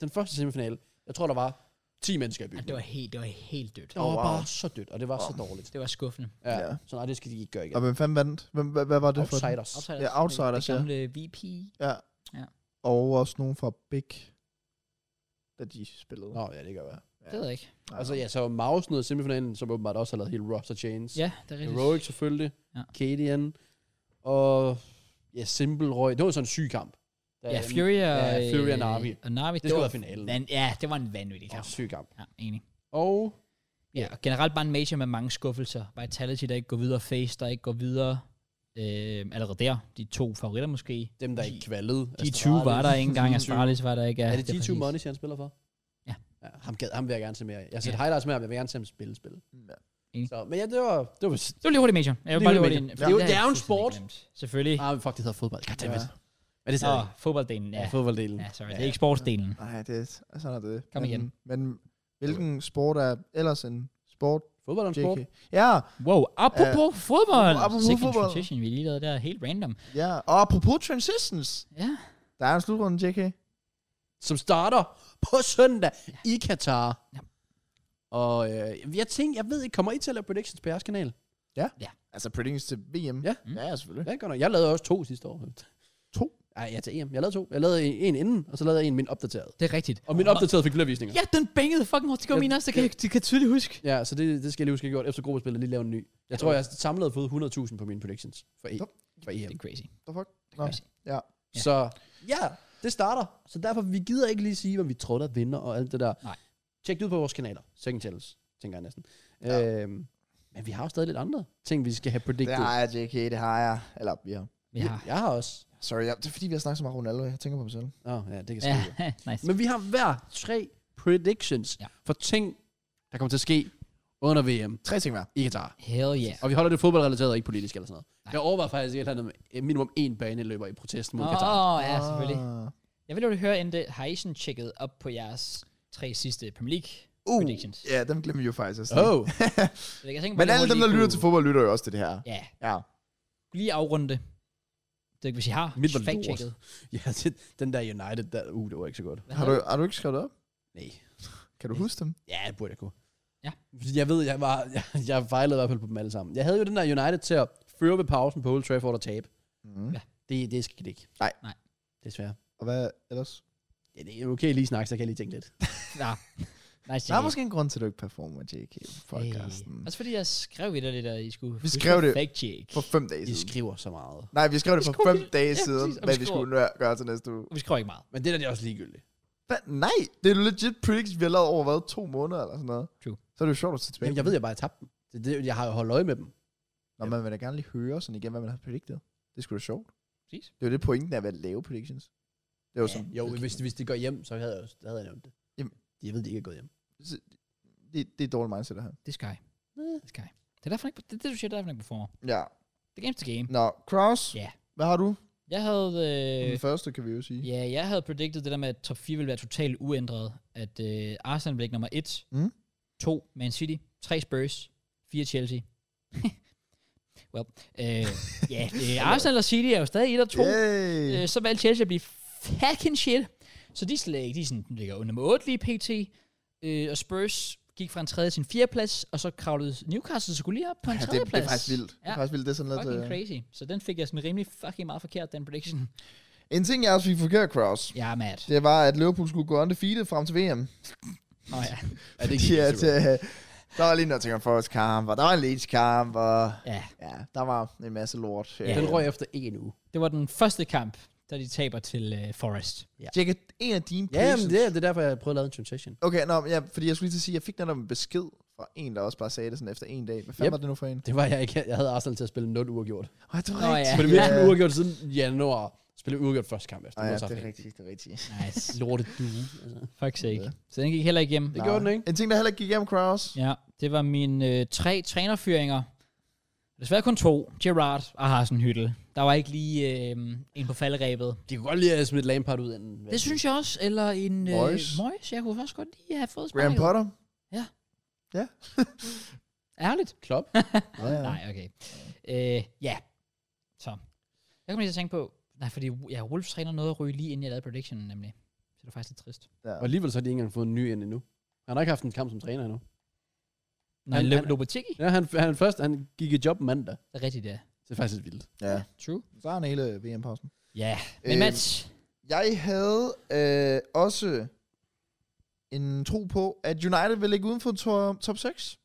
Speaker 2: Den første semifinale. Jeg tror, der var 10 mennesker i
Speaker 1: Ja,
Speaker 2: byen.
Speaker 1: det var helt, det var helt dødt.
Speaker 2: det var
Speaker 3: Oh, wow.
Speaker 2: bare så dødt, og det var så dårligt.
Speaker 1: Det var skuffende.
Speaker 2: Ja.
Speaker 3: Ja.
Speaker 2: Så nej, det skal de ikke gøre igen.
Speaker 3: og hvem fanden vandt? Hvem, hvad, hvad var det for den?
Speaker 2: Outsiders.
Speaker 1: Outsiders.
Speaker 3: Ja, Outsiders,
Speaker 1: Det gamle VP.
Speaker 3: Og også nogen fra Big, da de spillede.
Speaker 2: Nå, ja, det kan være.
Speaker 1: Det ved jeg ikke.
Speaker 2: Altså, ja, så Maus nede i semifinalen, som åbenbart også har lavet hele roster chains.
Speaker 1: Ja, det er rigtigt.
Speaker 2: Heroic selvfølgelig.
Speaker 1: Ja.
Speaker 2: Ja. Kadian. Og ja, Simple Roy. Det var sådan en syg kamp. Der-
Speaker 1: Ja, Fury og...
Speaker 2: øh, Ja, Fury og
Speaker 1: øh,
Speaker 2: Na'Vi.
Speaker 1: Og Na'Vi.
Speaker 2: Det skulle være finalen.
Speaker 1: Men, ja, det var en vanvittig
Speaker 2: Det var
Speaker 1: kamp.
Speaker 2: en syg kamp.
Speaker 1: Ja, enig.
Speaker 2: Og
Speaker 1: Ja, og generelt bare en major med mange skuffelser. Vitality, der ikke går videre. Face, der ikke går videre. Øh, allerede der. De to favoritter måske.
Speaker 2: dem, der ikke kvalede.
Speaker 1: De
Speaker 2: Astralis.
Speaker 1: 20 var der ikke engang.
Speaker 2: 20.
Speaker 1: Astralis var der ikke. Ja,
Speaker 2: Er det
Speaker 1: er
Speaker 2: G2
Speaker 1: præcis.
Speaker 2: Money, han spiller for?
Speaker 1: Ja.
Speaker 2: ja ham, gad, ham vil jeg gerne se mere af. Jeg har set
Speaker 1: Ja. Mm.
Speaker 2: ja. highlights med ham, jeg vil gerne se ham spille spil.
Speaker 3: Ja.
Speaker 1: Enig.
Speaker 2: Så, men ja, det var... Det var
Speaker 1: Det var lige hurtigt major. Jeg vil
Speaker 2: Lige
Speaker 1: bare lige
Speaker 2: hurtigt
Speaker 1: hurtigt. ind,
Speaker 2: major.
Speaker 1: for
Speaker 2: Det er jo-
Speaker 1: har
Speaker 2: det er
Speaker 1: jeg
Speaker 2: jo en
Speaker 1: fuldstændig
Speaker 2: sport.
Speaker 1: glemt. Selvfølgelig.
Speaker 2: ah, men fuck, det hedder fodbold. God damn it.
Speaker 3: Ja.
Speaker 2: Men det
Speaker 1: Nå,
Speaker 2: er
Speaker 1: fodbolddelen. Ja,
Speaker 2: ja. fodbolddelen.
Speaker 1: ja sorry.
Speaker 2: Ja.
Speaker 1: Det er ikke sportsdelen.
Speaker 3: Nej, det er sådan er det.
Speaker 1: Kom
Speaker 3: men,
Speaker 1: igen.
Speaker 3: Men hvilken sport er ellers en sport,
Speaker 2: Fodbold er en sport.
Speaker 3: JK? Ja,
Speaker 1: Wow, apropos fodbold.
Speaker 3: apropos
Speaker 1: Sikke en
Speaker 3: fodbold.
Speaker 1: transition, vi lige lavede der. Helt random.
Speaker 3: ja. Og apropos transitions,
Speaker 1: Ja.
Speaker 3: der er en slutrunde, JK.
Speaker 2: Som starter på søndag i Katar.
Speaker 1: Ja.
Speaker 2: Og øh, jeg tænkte, jeg ved ikke, kommer I til at lave predictions på jeres kanal?
Speaker 3: Altså predictions til VM.
Speaker 2: Ja.
Speaker 1: Mm.
Speaker 3: ja selvfølgelig.
Speaker 2: Ja, godt nok. Jeg lavede også to sidste år.
Speaker 3: To?
Speaker 2: Nej, jeg til EM. Jeg lavede to. Jeg lavede en inden, og så lavede jeg en min opdateret.
Speaker 1: Det er rigtigt.
Speaker 2: Og min opdateret fik flere visninger.
Speaker 1: Ja, den bængede fucking hårdt. Det går
Speaker 2: Ja,
Speaker 1: min også. Det kan, jeg- det kan jeg tydeligt huske.
Speaker 2: Ja, så det, det skal jeg lige huske, jeg gjort efter gruppespillet, lige lave en ny. Jeg tror, jeg samlet har fået 100.000 på mine predictions for, e,
Speaker 3: Hop.
Speaker 2: for EM.
Speaker 1: Det er crazy.
Speaker 3: The fuck?
Speaker 1: Nå. Crazy. Ja.
Speaker 2: Så ja, det starter. Så derfor, vi gider ikke lige sige, hvem vi tror, der vinder og alt det der.
Speaker 1: Nej.
Speaker 2: Tjek det ud på vores kanaler. Second Tales, tænker jeg næsten.
Speaker 3: Ja.
Speaker 2: Ja. Øhm, men vi har jo stadig lidt andre ting, vi skal have
Speaker 3: Det
Speaker 2: predicted.
Speaker 3: har jeg, JK, det har jeg. Eller, vi har.
Speaker 1: Vi har.
Speaker 2: Jeg har også.
Speaker 3: Sorry, jeg, det er fordi, vi har snakket så meget om Ronaldo. Jeg tænker på mig selv.
Speaker 2: Åh, oh, ja, det kan ske.
Speaker 1: Ja,
Speaker 2: Ja.
Speaker 1: nice.
Speaker 2: Men vi har hver tre predictions
Speaker 1: Ja.
Speaker 2: ja. for ting, der kommer til at ske under VM
Speaker 3: Tre ting hver.
Speaker 2: i Katar.
Speaker 1: Hell yeah.
Speaker 2: Og vi holder det fodboldrelateret og ikke politisk eller sådan noget. Nej. Jeg overvejer faktisk et eller andet med eh, minimum én baneløber i protest mod
Speaker 1: Åh,
Speaker 2: oh. Katar.
Speaker 1: oh, ja, selvfølgelig.
Speaker 3: Ah.
Speaker 1: Jeg vil jo lige høre, inden det, har I sådan tjekket op på jeres tre sidste Premier League
Speaker 3: Uh,
Speaker 1: predictions?
Speaker 3: ja, dem glemmer vi jo faktisk også.
Speaker 2: Oh,
Speaker 1: Så jeg tænker,
Speaker 3: Men alle dem, der lytter til fodbold, lytter jo også til det her.
Speaker 1: Ja,
Speaker 3: Ja.
Speaker 1: lige afrunde det. Det er ikke, hvis I har
Speaker 2: Mit var lort.
Speaker 1: fact-checket.
Speaker 2: ja, det- den der United, der, uh, det var ikke så godt.
Speaker 1: Hvad
Speaker 3: Har du,
Speaker 1: hedder
Speaker 3: har du ikke skrevet det op?
Speaker 2: Nej.
Speaker 3: Kan du huske dem?
Speaker 2: Ja, det burde jeg kunne.
Speaker 1: Ja.
Speaker 2: Fordi Jeg ved, jeg, var, jeg, jeg fejlede i hvert fald på dem alle sammen. Jeg havde jo den der United til at føre ved pausen på Old Trafford og tabe.
Speaker 3: Mm.
Speaker 1: Ja.
Speaker 2: Det, det skal det ikke.
Speaker 3: Nej.
Speaker 1: Nej.
Speaker 2: Desværre.
Speaker 3: Og hvad ellers?
Speaker 2: Ja, det er okay lige snakke, så kan jeg lige tænke lidt.
Speaker 1: det? Ja. Nice,
Speaker 3: Der er
Speaker 1: JK.
Speaker 3: måske en grund til, at du ikke performer, JK, på podcasten.
Speaker 1: Også fordi jeg skrev i det lidt, at I skulle
Speaker 3: Vi skrev det
Speaker 1: fact check.
Speaker 3: For fem dage
Speaker 2: I
Speaker 3: siden.
Speaker 2: skriver så meget.
Speaker 3: Nej, vi skrev det
Speaker 1: Vi
Speaker 3: for
Speaker 1: skrev
Speaker 3: fem
Speaker 1: det.
Speaker 3: dage
Speaker 1: Ja,
Speaker 3: siden,
Speaker 1: præcis, og vi
Speaker 3: hvad vi
Speaker 1: skriver-
Speaker 3: skulle gøre til næste uge.
Speaker 1: Vi skrev ikke meget.
Speaker 2: Men det der, det er også ligegyldigt.
Speaker 3: Hva? Nej, det er legit predicts, vi har lavet over hvad, to måneder eller sådan noget.
Speaker 1: True.
Speaker 3: Så er det jo sjovt at se tilbage.
Speaker 2: Jamen, jeg ved, jeg bare har tabt dem. Det, er det, jeg har jo holdt øje med dem.
Speaker 3: Nå, man vil da gerne lige høre sådan igen, hvad man har predicted. Det skulle sgu da sjovt.
Speaker 1: Præcis.
Speaker 3: Det er jo det pointen af at lave predictions. Det er jo sådan,
Speaker 2: Jo, hvis, hvis de går hjem, så havde jeg, jo- havde jeg nævnt det.
Speaker 3: Jamen.
Speaker 2: Jeg ved, de ikke er gået hjem.
Speaker 3: det, det er et dårligt mindset det her.
Speaker 1: Det er Sky. Det er Sky. Det er derfor, han ikke, det, er det du siger, det er derfor, han ikke performer.
Speaker 3: Ja.
Speaker 1: Det er games to game.
Speaker 3: Nå, Kraus,
Speaker 1: Ja.
Speaker 3: hvad har du?
Speaker 1: Jeg havde... Øh,
Speaker 3: Den første, kan vi jo sige.
Speaker 1: Ja, jeg havde predicted det der med, at top 4 ville være totalt uændret. At øh, Arsenal blev nummer 1,
Speaker 3: Mm.
Speaker 1: 2 Man City, 3 Spurs, 4 Chelsea. well, øh, ja, øh, Arsenal og City er jo stadig 1 og 2.
Speaker 3: Yay.
Speaker 1: Øh, så valgte Chelsea at blive fucking shit. Så de, slet ikke, de er sådan, de ligger under nummer 8 lige pt. Øh, og Spurs gik fra en tredje til en fjerde plads, og så kravlede Newcastle så skulle lige op på en
Speaker 3: Ja,
Speaker 1: tredje
Speaker 3: det, det
Speaker 1: plads.
Speaker 3: er faktisk vildt. Ja. Det
Speaker 1: Ja.
Speaker 3: er faktisk vildt. Det er sådan lidt...
Speaker 1: Fucking
Speaker 3: øh,
Speaker 1: crazy. Så den fik jeg sådan rimelig fucking meget forkert, den prediction.
Speaker 3: En ting, jeg også fik forkert, Kraus,
Speaker 1: Jeg er mad.
Speaker 3: det var, at Liverpool skulle gå undefeated frem til VM.
Speaker 1: Nå ja.
Speaker 2: Er det
Speaker 3: Fordi at, øh, der var lige noget til en forårskamp, og der var en Leeds-kamp, og
Speaker 1: Ja.
Speaker 3: ja, der var en masse lort.
Speaker 1: Ja.
Speaker 2: Den røg efter en uge.
Speaker 1: Det var den første kamp, da de taber til øh, Forest.
Speaker 3: Tjekke en af dine
Speaker 2: Ja, men
Speaker 3: predictions.
Speaker 2: det, er- det er derfor, jeg prøvede at lave en transition.
Speaker 3: Okay, nå, men ja, fordi jeg skulle lige til at sige, at jeg fik netop en besked fra en, der også bare sagde det sådan efter en dag. Hvad fanden
Speaker 2: Yep.
Speaker 3: var det nu for en?
Speaker 2: Det var jeg ikke. Jeg havde Arsenal til at spille 0 uafgjort.
Speaker 3: Åh, det var
Speaker 1: Nå,
Speaker 3: rigtigt.
Speaker 1: ja.
Speaker 2: Men det virkelig yeah. uafgjort siden januar. Spillede uafgjort første kamp efter.
Speaker 3: Åh, ja,
Speaker 2: Modsat.
Speaker 3: det er rigtigt, Mm-hmm. det er rigtigt.
Speaker 1: Nice.
Speaker 2: Lorte due. Altså.
Speaker 1: Fuck sake. Så den gik heller ikke hjem.
Speaker 2: Det gjorde den ikke.
Speaker 3: En ting, der heller ikke gik igennem, Kraus.
Speaker 1: Ja, det var mine øh, tre trænerfyringer. Desværre kun to. Gerard og Harsen Hyttel. Der var ikke lige øh, en på falderæbet.
Speaker 2: De kunne godt lide at smide Lampard ud inden.
Speaker 1: Det synes jeg også. Eller en... Øh,
Speaker 3: Moyes.
Speaker 1: Moyes. Jeg kunne faktisk godt lige have fået
Speaker 3: Graham
Speaker 1: sparket.
Speaker 3: Potter.
Speaker 1: Ærligt.
Speaker 2: Klopp.
Speaker 3: Ja, ja.
Speaker 1: Nej, okay. Øh, ja. Så. Jeg kom lige til at tænke på... Nej, fordi ja, Wolves træner noget at ryge lige inden jeg lavede predictionen, nemlig. Så det var faktisk lidt trist.
Speaker 2: Og alligevel så har de ikke engang fået en ny ind endnu. Han har ikke haft en kamp som træner endnu.
Speaker 1: Nej,
Speaker 2: Han-
Speaker 1: Lo-
Speaker 2: han-
Speaker 1: Lopetegi.
Speaker 2: Ja, han, han, først, han gik i job mandag.
Speaker 1: Det er rigtigt, ja.
Speaker 2: Det er faktisk lidt vildt.
Speaker 3: ja.
Speaker 1: True.
Speaker 3: Så er en hele VM-pausen.
Speaker 1: Ja. Men
Speaker 3: Øhm,
Speaker 1: Mads,
Speaker 3: Jeg havde øh, også en tro på, at United ville ligge uden for to- top 6.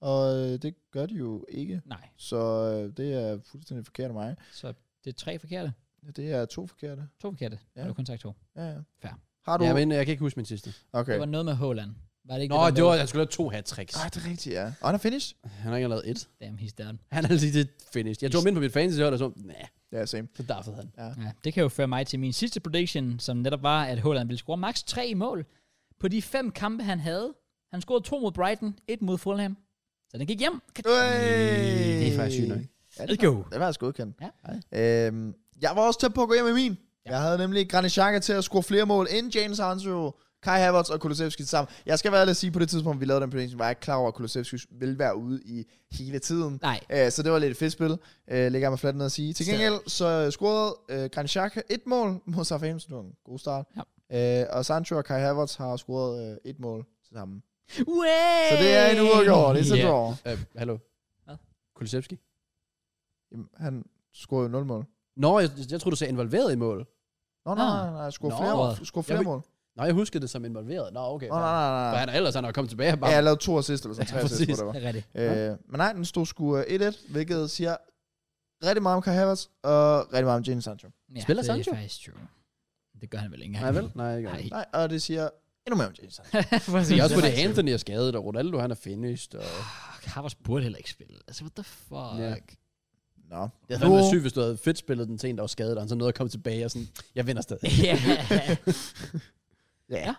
Speaker 3: Og øh, det gør de jo ikke.
Speaker 1: Nej,
Speaker 3: Så øh, det er fuldstændig forkert af mig.
Speaker 1: så det er tre forkerte.
Speaker 3: Det er to forkerte.
Speaker 1: To forkerte. Ja.
Speaker 3: Ja.
Speaker 1: Og du kun sagt to.
Speaker 3: Ja, ja.
Speaker 1: Fair.
Speaker 3: Har du?
Speaker 2: Ja, men øh, jeg kan ikke huske min sidste.
Speaker 1: Okay. Det
Speaker 3: okay.
Speaker 1: var noget med Holland. Var det ikke
Speaker 2: Nå,
Speaker 1: det, der
Speaker 2: det var,
Speaker 1: med-
Speaker 2: han skulle lave to hat tricks.
Speaker 3: Ah, det er rigtigt, ja. Og han er finished.
Speaker 2: Han har ikke lavet et.
Speaker 1: Damn, he's down.
Speaker 2: Han har lige det finished. Jeg tog ham ind på mit fantasy-hold, og så, nej,
Speaker 3: Ja, same.
Speaker 2: så daffede han.
Speaker 1: Ja, det kan jo føre mig til min sidste prediction, som netop var, at Holland ville score maks tre mål på de fem kampe, han havde. Han scorede to mod Brighton, et mod Fulham. Så den gik hjem.
Speaker 3: Øj!
Speaker 2: Det er faktisk sygt nok.
Speaker 3: Ja,
Speaker 1: Let's
Speaker 3: det,
Speaker 1: go.
Speaker 3: det var altså godkendt.
Speaker 1: Ja.
Speaker 3: Øhm, jeg var også tæt på at gå hjem med min. Ja. Jeg havde nemlig Granit Xhaka til at score flere mål end James Sancho, Kai Havertz og Kulusevski sammen. Jeg skal være ærlig at sige, på det tidspunkt, vi lavede den prediction, var jeg ikke klar over, at Kulusevski ville være ude i hele tiden.
Speaker 1: Nej,
Speaker 3: Øh, så det var lidt et fedt spil, øh, ligger jeg mig fladt ned at sige. Til gengæld så scorede øh, Granit Xhaka et mål mod Southampton. Det var en god start. Ja. Øh, og Sancho og Kai Havertz har scoret øh, et mål sammen.
Speaker 1: Uæh!
Speaker 3: Så det er en uafgjort. Det er så
Speaker 1: Ja.
Speaker 3: yeah.
Speaker 2: Øh, hallo.
Speaker 1: Hvad?
Speaker 2: Kulisevski?
Speaker 3: Jamen, han scorede jo nul mål.
Speaker 2: Nå, jeg, jeg troede, du sagde involveret i mål.
Speaker 3: Nå, nej, nej, nej, score
Speaker 2: Nå.
Speaker 3: flere mål. Score flere
Speaker 2: Jeg vil-
Speaker 3: mål.
Speaker 2: Nå, jeg huskede det som involveret. Nå, okay.
Speaker 3: Nå, nej, nej,
Speaker 2: For
Speaker 3: nej.
Speaker 2: han er ellers, han har kommet tilbage bare.
Speaker 3: Ja, jeg lavede to assist, eller sådan
Speaker 2: Ja,
Speaker 3: tre assist,
Speaker 2: præcis.
Speaker 3: hvor det
Speaker 1: Det er rigtigt.
Speaker 3: var. Øh, men nej, den stod sgu øh, 1-1, hvilket siger rigtig meget om Kai Havertz, og rigtig meget om Jane Sancho.
Speaker 1: Ja,
Speaker 2: Spiller
Speaker 1: det
Speaker 2: Sancho?
Speaker 1: er faktisk true. Det gør han vel ikke engang.
Speaker 2: Nej, vel? Nej, ikke.
Speaker 1: Nej.
Speaker 3: Nej, og det siger endnu mere om Jane Sancho.
Speaker 2: Det er
Speaker 1: Præcis.
Speaker 2: Altså, også fordi Anthony er skadet, og Ronaldo han er finished. Og...
Speaker 1: Fuck, Havertz burde heller ikke spille. Altså, what the fuck?
Speaker 2: Ja.
Speaker 3: Nå.
Speaker 2: Det havde været sygt, hvis du havde fedt spillet den til en, der var skadet, og han så nåede at komme tilbage og sådan, jeg vinder stadig.
Speaker 1: Ja.
Speaker 3: Ja.
Speaker 1: ja.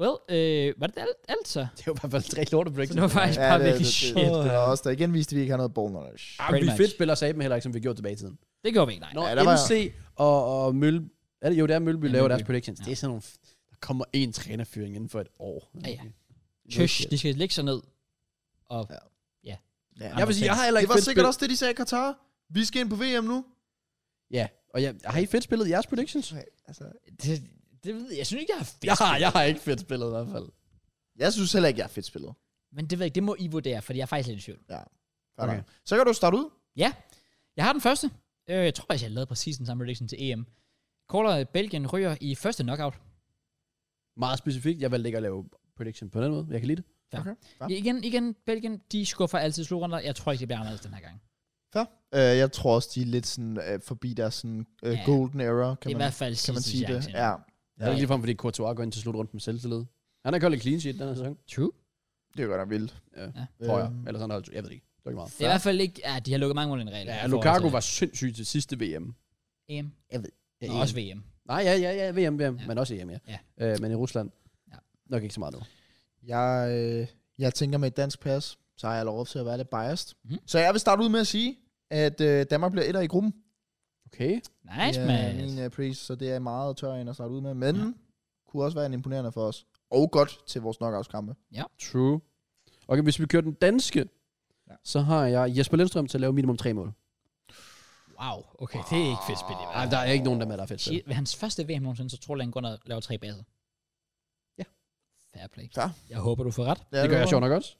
Speaker 1: Well, øh, var det alt, alt så?
Speaker 2: Det var i hvert fald tre lorte breaks.
Speaker 1: Det var faktisk
Speaker 3: Ja,
Speaker 1: bare
Speaker 3: det, det,
Speaker 1: virkelig
Speaker 3: det,
Speaker 1: shit.
Speaker 3: det, det, var også der igen viste, at vi ikke har noget ball knowledge.
Speaker 2: Ah,
Speaker 1: Pretty
Speaker 2: vi
Speaker 1: much.
Speaker 2: fedt spiller sagde dem heller ikke, som vi gjorde tilbage i tiden.
Speaker 1: Det gjorde vi ikke, nej.
Speaker 2: Når
Speaker 3: Ja,
Speaker 2: ja,
Speaker 3: der var-
Speaker 2: NC og, og Mølle, er det, jo, det er Mølleby,
Speaker 1: Ja,
Speaker 2: laver
Speaker 1: Mølleby.
Speaker 2: deres predictions. Det er sådan nogle, f- der kommer en trænerfyring inden for et år.
Speaker 1: Ja, ja.
Speaker 2: Okay.
Speaker 1: Tøsh, de skal lægge sig ned. Og
Speaker 3: Ja. Ja.
Speaker 2: Jeg vil sige, jeg har heller
Speaker 3: Det
Speaker 2: ikke
Speaker 3: var
Speaker 2: fedt
Speaker 3: sikkert
Speaker 2: spillet-
Speaker 3: også det, de sagde i Katar. Vi skal ind på VM nu.
Speaker 2: Ja, og jeg, har I fedt spillet jeres predictions?
Speaker 3: Altså,
Speaker 1: det, det ved jeg, jeg synes ikke, jeg har fedt.
Speaker 2: Jeg har, jeg har ikke fedt spillet i hvert fald.
Speaker 3: jeg synes heller ikke, jeg er fedt spillet.
Speaker 1: Men det ved jeg ikke, det må I vurdere, fordi jeg er faktisk lidt i tvivl.
Speaker 3: Fair
Speaker 2: Okay.
Speaker 3: nok. Så kan du starte ud.
Speaker 1: Ja, jeg har den første. Øh, jeg tror faktisk, jeg lavede præcis den samme prediction til EM. Caller Belgien ryger i første knockout.
Speaker 2: Meget specifikt, jeg valgte ikke at lave prediction på den måde. Jeg kan lide det.
Speaker 3: Ja.
Speaker 1: Igen, igen, Belgien, de skuffer altid slutrunder. Jeg tror ikke, det bliver anderledes den her gang.
Speaker 3: Fair. Øh, jeg tror også, de er lidt sådan, øh, forbi deres sådan, øh,
Speaker 1: Ja.
Speaker 3: golden era,
Speaker 1: Det er
Speaker 3: kan
Speaker 1: i
Speaker 3: man,
Speaker 1: hvert fald
Speaker 3: kan man
Speaker 1: sidste
Speaker 3: sige det.
Speaker 1: chance.
Speaker 3: Ja.
Speaker 2: Ja. Det er lige frem, fordi Courtois går ind til slutrunden med selvtillid. Han har koldt clean sheet den her sæson.
Speaker 1: True.
Speaker 3: Det er godt nok vildt.
Speaker 2: Tror jeg.
Speaker 3: Øhm.
Speaker 2: Eller sådan noget. Jeg ved det ikke. Det er ikke meget.
Speaker 1: Det er i hvert fald ikke... Ja, de har lukket mange mål i en regel.
Speaker 2: Ja, Lukaku var sindssyg til sidste VM.
Speaker 1: EM.
Speaker 2: Ja,
Speaker 1: Og også VM.
Speaker 2: Nej, ja, ja, ja, VM, VM,
Speaker 1: Ja.
Speaker 2: ja. men også EM, ja.
Speaker 1: Ja.
Speaker 2: Øh, men i Rusland,
Speaker 1: Ja.
Speaker 2: ja. nok ikke så meget nu.
Speaker 3: Jeg, øh, jeg tænker med et dansk pas, så har jeg lov til at være lidt biased.
Speaker 1: Mhm.
Speaker 3: Mm. Så jeg vil starte ud med at sige, at øh, Danmark bliver etter i gruppen.
Speaker 2: Okay.
Speaker 1: Nice,
Speaker 3: Det er
Speaker 1: man.
Speaker 3: min uh, priest, så det er meget tør en at starte ud med. Men ja. kunne også være en imponerende for os. Og godt til vores knockout-kampe.
Speaker 2: True. Okay, hvis vi kører den danske,
Speaker 3: Ja.
Speaker 2: ja. så har jeg Jesper Lindstrøm til at lave minimum tre mål.
Speaker 1: Wow. Okay, det er ikke fedt spil i
Speaker 2: Ej,
Speaker 1: verden.
Speaker 2: der er ikke nogen, der er med, der er fedt.
Speaker 1: Shit,
Speaker 2: spil.
Speaker 1: ved hans første VM nogensinde, så tror jeg, han går ned og laver tre baser.
Speaker 2: Ja.
Speaker 1: Fair play.
Speaker 3: Fair.
Speaker 1: Jeg håber, du får ret.
Speaker 2: Det gør jeg sjovt nok også.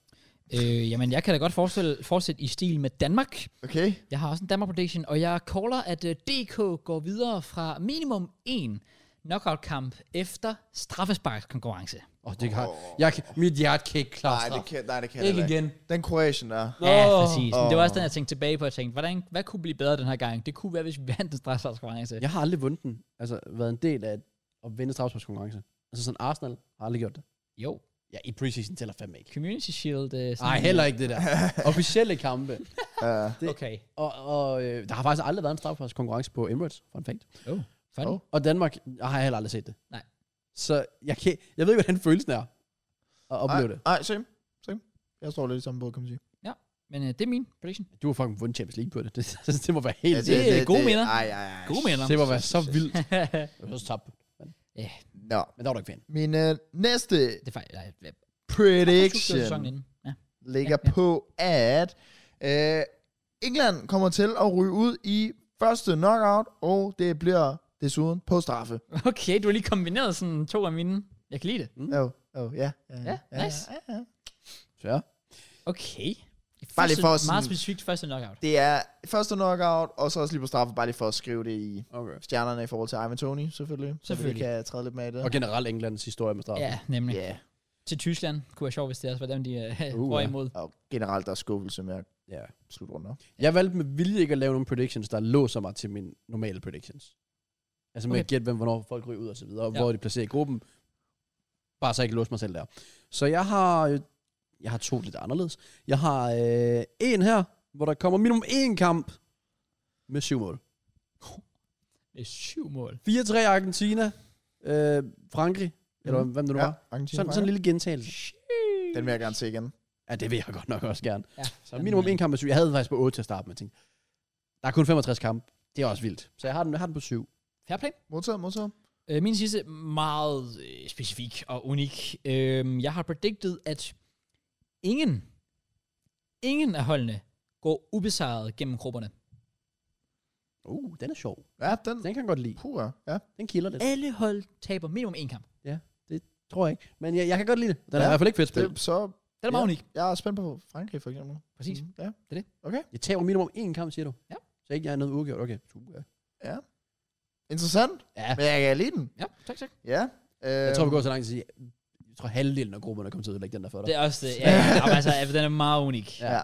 Speaker 1: Øh, jamen, jeg kan da godt forestille, fortsætte i stil med Danmark.
Speaker 3: Okay.
Speaker 1: Jeg har også en Danmark prediction, og jeg caller, at øh, DK går videre fra minimum en knockout-kamp efter straffesparkskonkurrence.
Speaker 2: Åh, oh, det har, jeg, kan- mit hjerte kan ikke klare
Speaker 3: Nej, det
Speaker 2: straf.
Speaker 3: kan, nej, det kan
Speaker 2: Ikke
Speaker 3: heller
Speaker 2: igen.
Speaker 3: Den Kroatien der.
Speaker 1: Ja, præcis. Men det var
Speaker 3: Åh.
Speaker 1: også den, jeg tænkte tilbage på. Jeg tænkte, hvordan, hvad kunne blive bedre den her gang? Det kunne være, hvis vi vandt en straffesparkskonkurrence. Ja.
Speaker 2: Jeg har aldrig vundet den. Altså, været en del af at vinde strafsparkskonkurrence. Altså sådan Arsenal har aldrig gjort det.
Speaker 1: Jo.
Speaker 2: Ja, i preseason tæller fandme ikke.
Speaker 1: Community Shield. Øh,
Speaker 2: Nej, heller ikke det der. Officielle kampe.
Speaker 1: Ah,
Speaker 3: Uh,
Speaker 2: det.
Speaker 1: Okay.
Speaker 2: Og, og øh, der har faktisk aldrig været en strafsparkskonkurrence på Emirates, fun fact.
Speaker 1: Oh, fun.
Speaker 3: Oh.
Speaker 2: Og Danmark jeg har heller aldrig set det.
Speaker 1: Nej.
Speaker 2: Så jeg, kan, jeg ved ikke, hvordan følelsen er at opleve det.
Speaker 3: Nej, same. Same. Jeg står lidt i samme båd, kan man sige.
Speaker 1: Men øh, det er min prediction.
Speaker 2: Du har fucking vundet Champions League på det. Det, det, må være helt...
Speaker 1: det- er gode minder.
Speaker 3: Ej, ej, ej.
Speaker 1: Gode minder.
Speaker 2: det må være så vildt. Det var så tabt.
Speaker 3: Nå.
Speaker 2: Men der var du ikke fan.
Speaker 3: Min øh, næste
Speaker 1: det er faktisk... Nej, hvad-
Speaker 3: prediction
Speaker 1: sæsonen inden. Ja.
Speaker 3: ligger
Speaker 1: Ja, ja.
Speaker 3: på, at øh, England kommer til at ryge ud i første knockout, og det bliver desuden på straffe.
Speaker 1: Okay, du har lige kombineret sådan to af mine. Jeg kan lide det.
Speaker 3: Jo, oh, oh, ja.
Speaker 1: Ja, nice.
Speaker 3: Ja, ja.
Speaker 2: Så ja.
Speaker 1: Okay.
Speaker 3: Bare lige for
Speaker 1: Første-
Speaker 3: sådan-
Speaker 1: Meget specifikt første knockout.
Speaker 3: Det er første knockout, og så også lige på straffe, bare lige for at skrive det i
Speaker 2: Okay.
Speaker 3: stjernerne i forhold til Ivan Tony, selvfølgelig.
Speaker 1: Selvfølgelig.
Speaker 3: Så vi kan træde lidt med i det.
Speaker 2: Og generelt Englands historie med straf.
Speaker 1: Ja, nemlig. Yeah.
Speaker 3: Ja,
Speaker 1: Til Tyskland kunne være sjovt, hvis det også var dem, de uh,
Speaker 2: Uh,
Speaker 1: uh, var
Speaker 2: ja.
Speaker 1: imod.
Speaker 3: og generelt der er skuffelse med at
Speaker 2: ja.
Speaker 3: slutte rundt om.
Speaker 2: Jeg valgte med vilje ikke at lave nogle predictions, der låser mig til mine normale predictions. Altså med
Speaker 1: Okay.
Speaker 2: okay. at gætte, hvem, hvornår folk ryger ud og så videre, og
Speaker 1: Ja.
Speaker 2: ja. hvor de placerer i gruppen. Bare så jeg ikke låser mig selv der. Så jeg har, øh, jeg har to lidt anderledes. Jeg har øh, en her, hvor der kommer minimum én kamp med syv mål.
Speaker 1: Det er syv mål.
Speaker 2: 4-3 Argentina, øh, Frankrig, eller
Speaker 3: Mhm.
Speaker 2: hvem det nu
Speaker 3: Ja,
Speaker 2: var.
Speaker 3: Argentina
Speaker 2: Sådan, sådan en lille gentagelse.
Speaker 3: Den vil jeg gerne se igen.
Speaker 2: Ja, det vil jeg godt nok også gerne.
Speaker 1: Ja,
Speaker 2: Så
Speaker 1: øh,
Speaker 2: minimum en kamp med syv. Jeg havde faktisk på 8 til at starte med. Jeg tænkte, der er kun 65 kampe. Det er også vildt. Så jeg har den, jeg har den på syv.
Speaker 1: Fair play.
Speaker 3: Modtaget, modtaget.
Speaker 1: Øh, Min sidste, meget øh, specifik og unik. Øhm, Jeg har predicted, at ingen, ingen af holdene går ubesejret gennem grupperne.
Speaker 2: Uh, den er sjov.
Speaker 3: Ja, den,
Speaker 2: Den kan jeg godt lide.
Speaker 3: puh, ja. ja.
Speaker 2: Den kilder lidt.
Speaker 1: Alle hold taber minimum en kamp.
Speaker 2: Tror jeg ikke. Men jeg, jeg kan godt lide det. Den er
Speaker 3: Ja.
Speaker 2: i hvert fald ikke fedt spil.
Speaker 3: Det, så
Speaker 1: Det er meget
Speaker 3: Ja.
Speaker 1: unik.
Speaker 3: jeg er spændt på Frankrig, for eksempel.
Speaker 1: Præcis.
Speaker 3: Mm, ja.
Speaker 2: Jeg taber minimum én kamp, siger du.
Speaker 1: Ja.
Speaker 2: Så ikke jeg er noget udgjort. Okay. Super. ja.
Speaker 3: Interessant,
Speaker 2: Ja.
Speaker 3: men jeg kan lide den.
Speaker 1: Ja, tak, tak.
Speaker 3: Ja. Øh,
Speaker 2: Jeg tror, vi går så langt til at sige, jeg tror halvdelen af grupperne kommer til at lægge den der for dig.
Speaker 1: Det er også det. Ja, ja, altså, den er meget unik.
Speaker 2: Ja.
Speaker 3: Ja.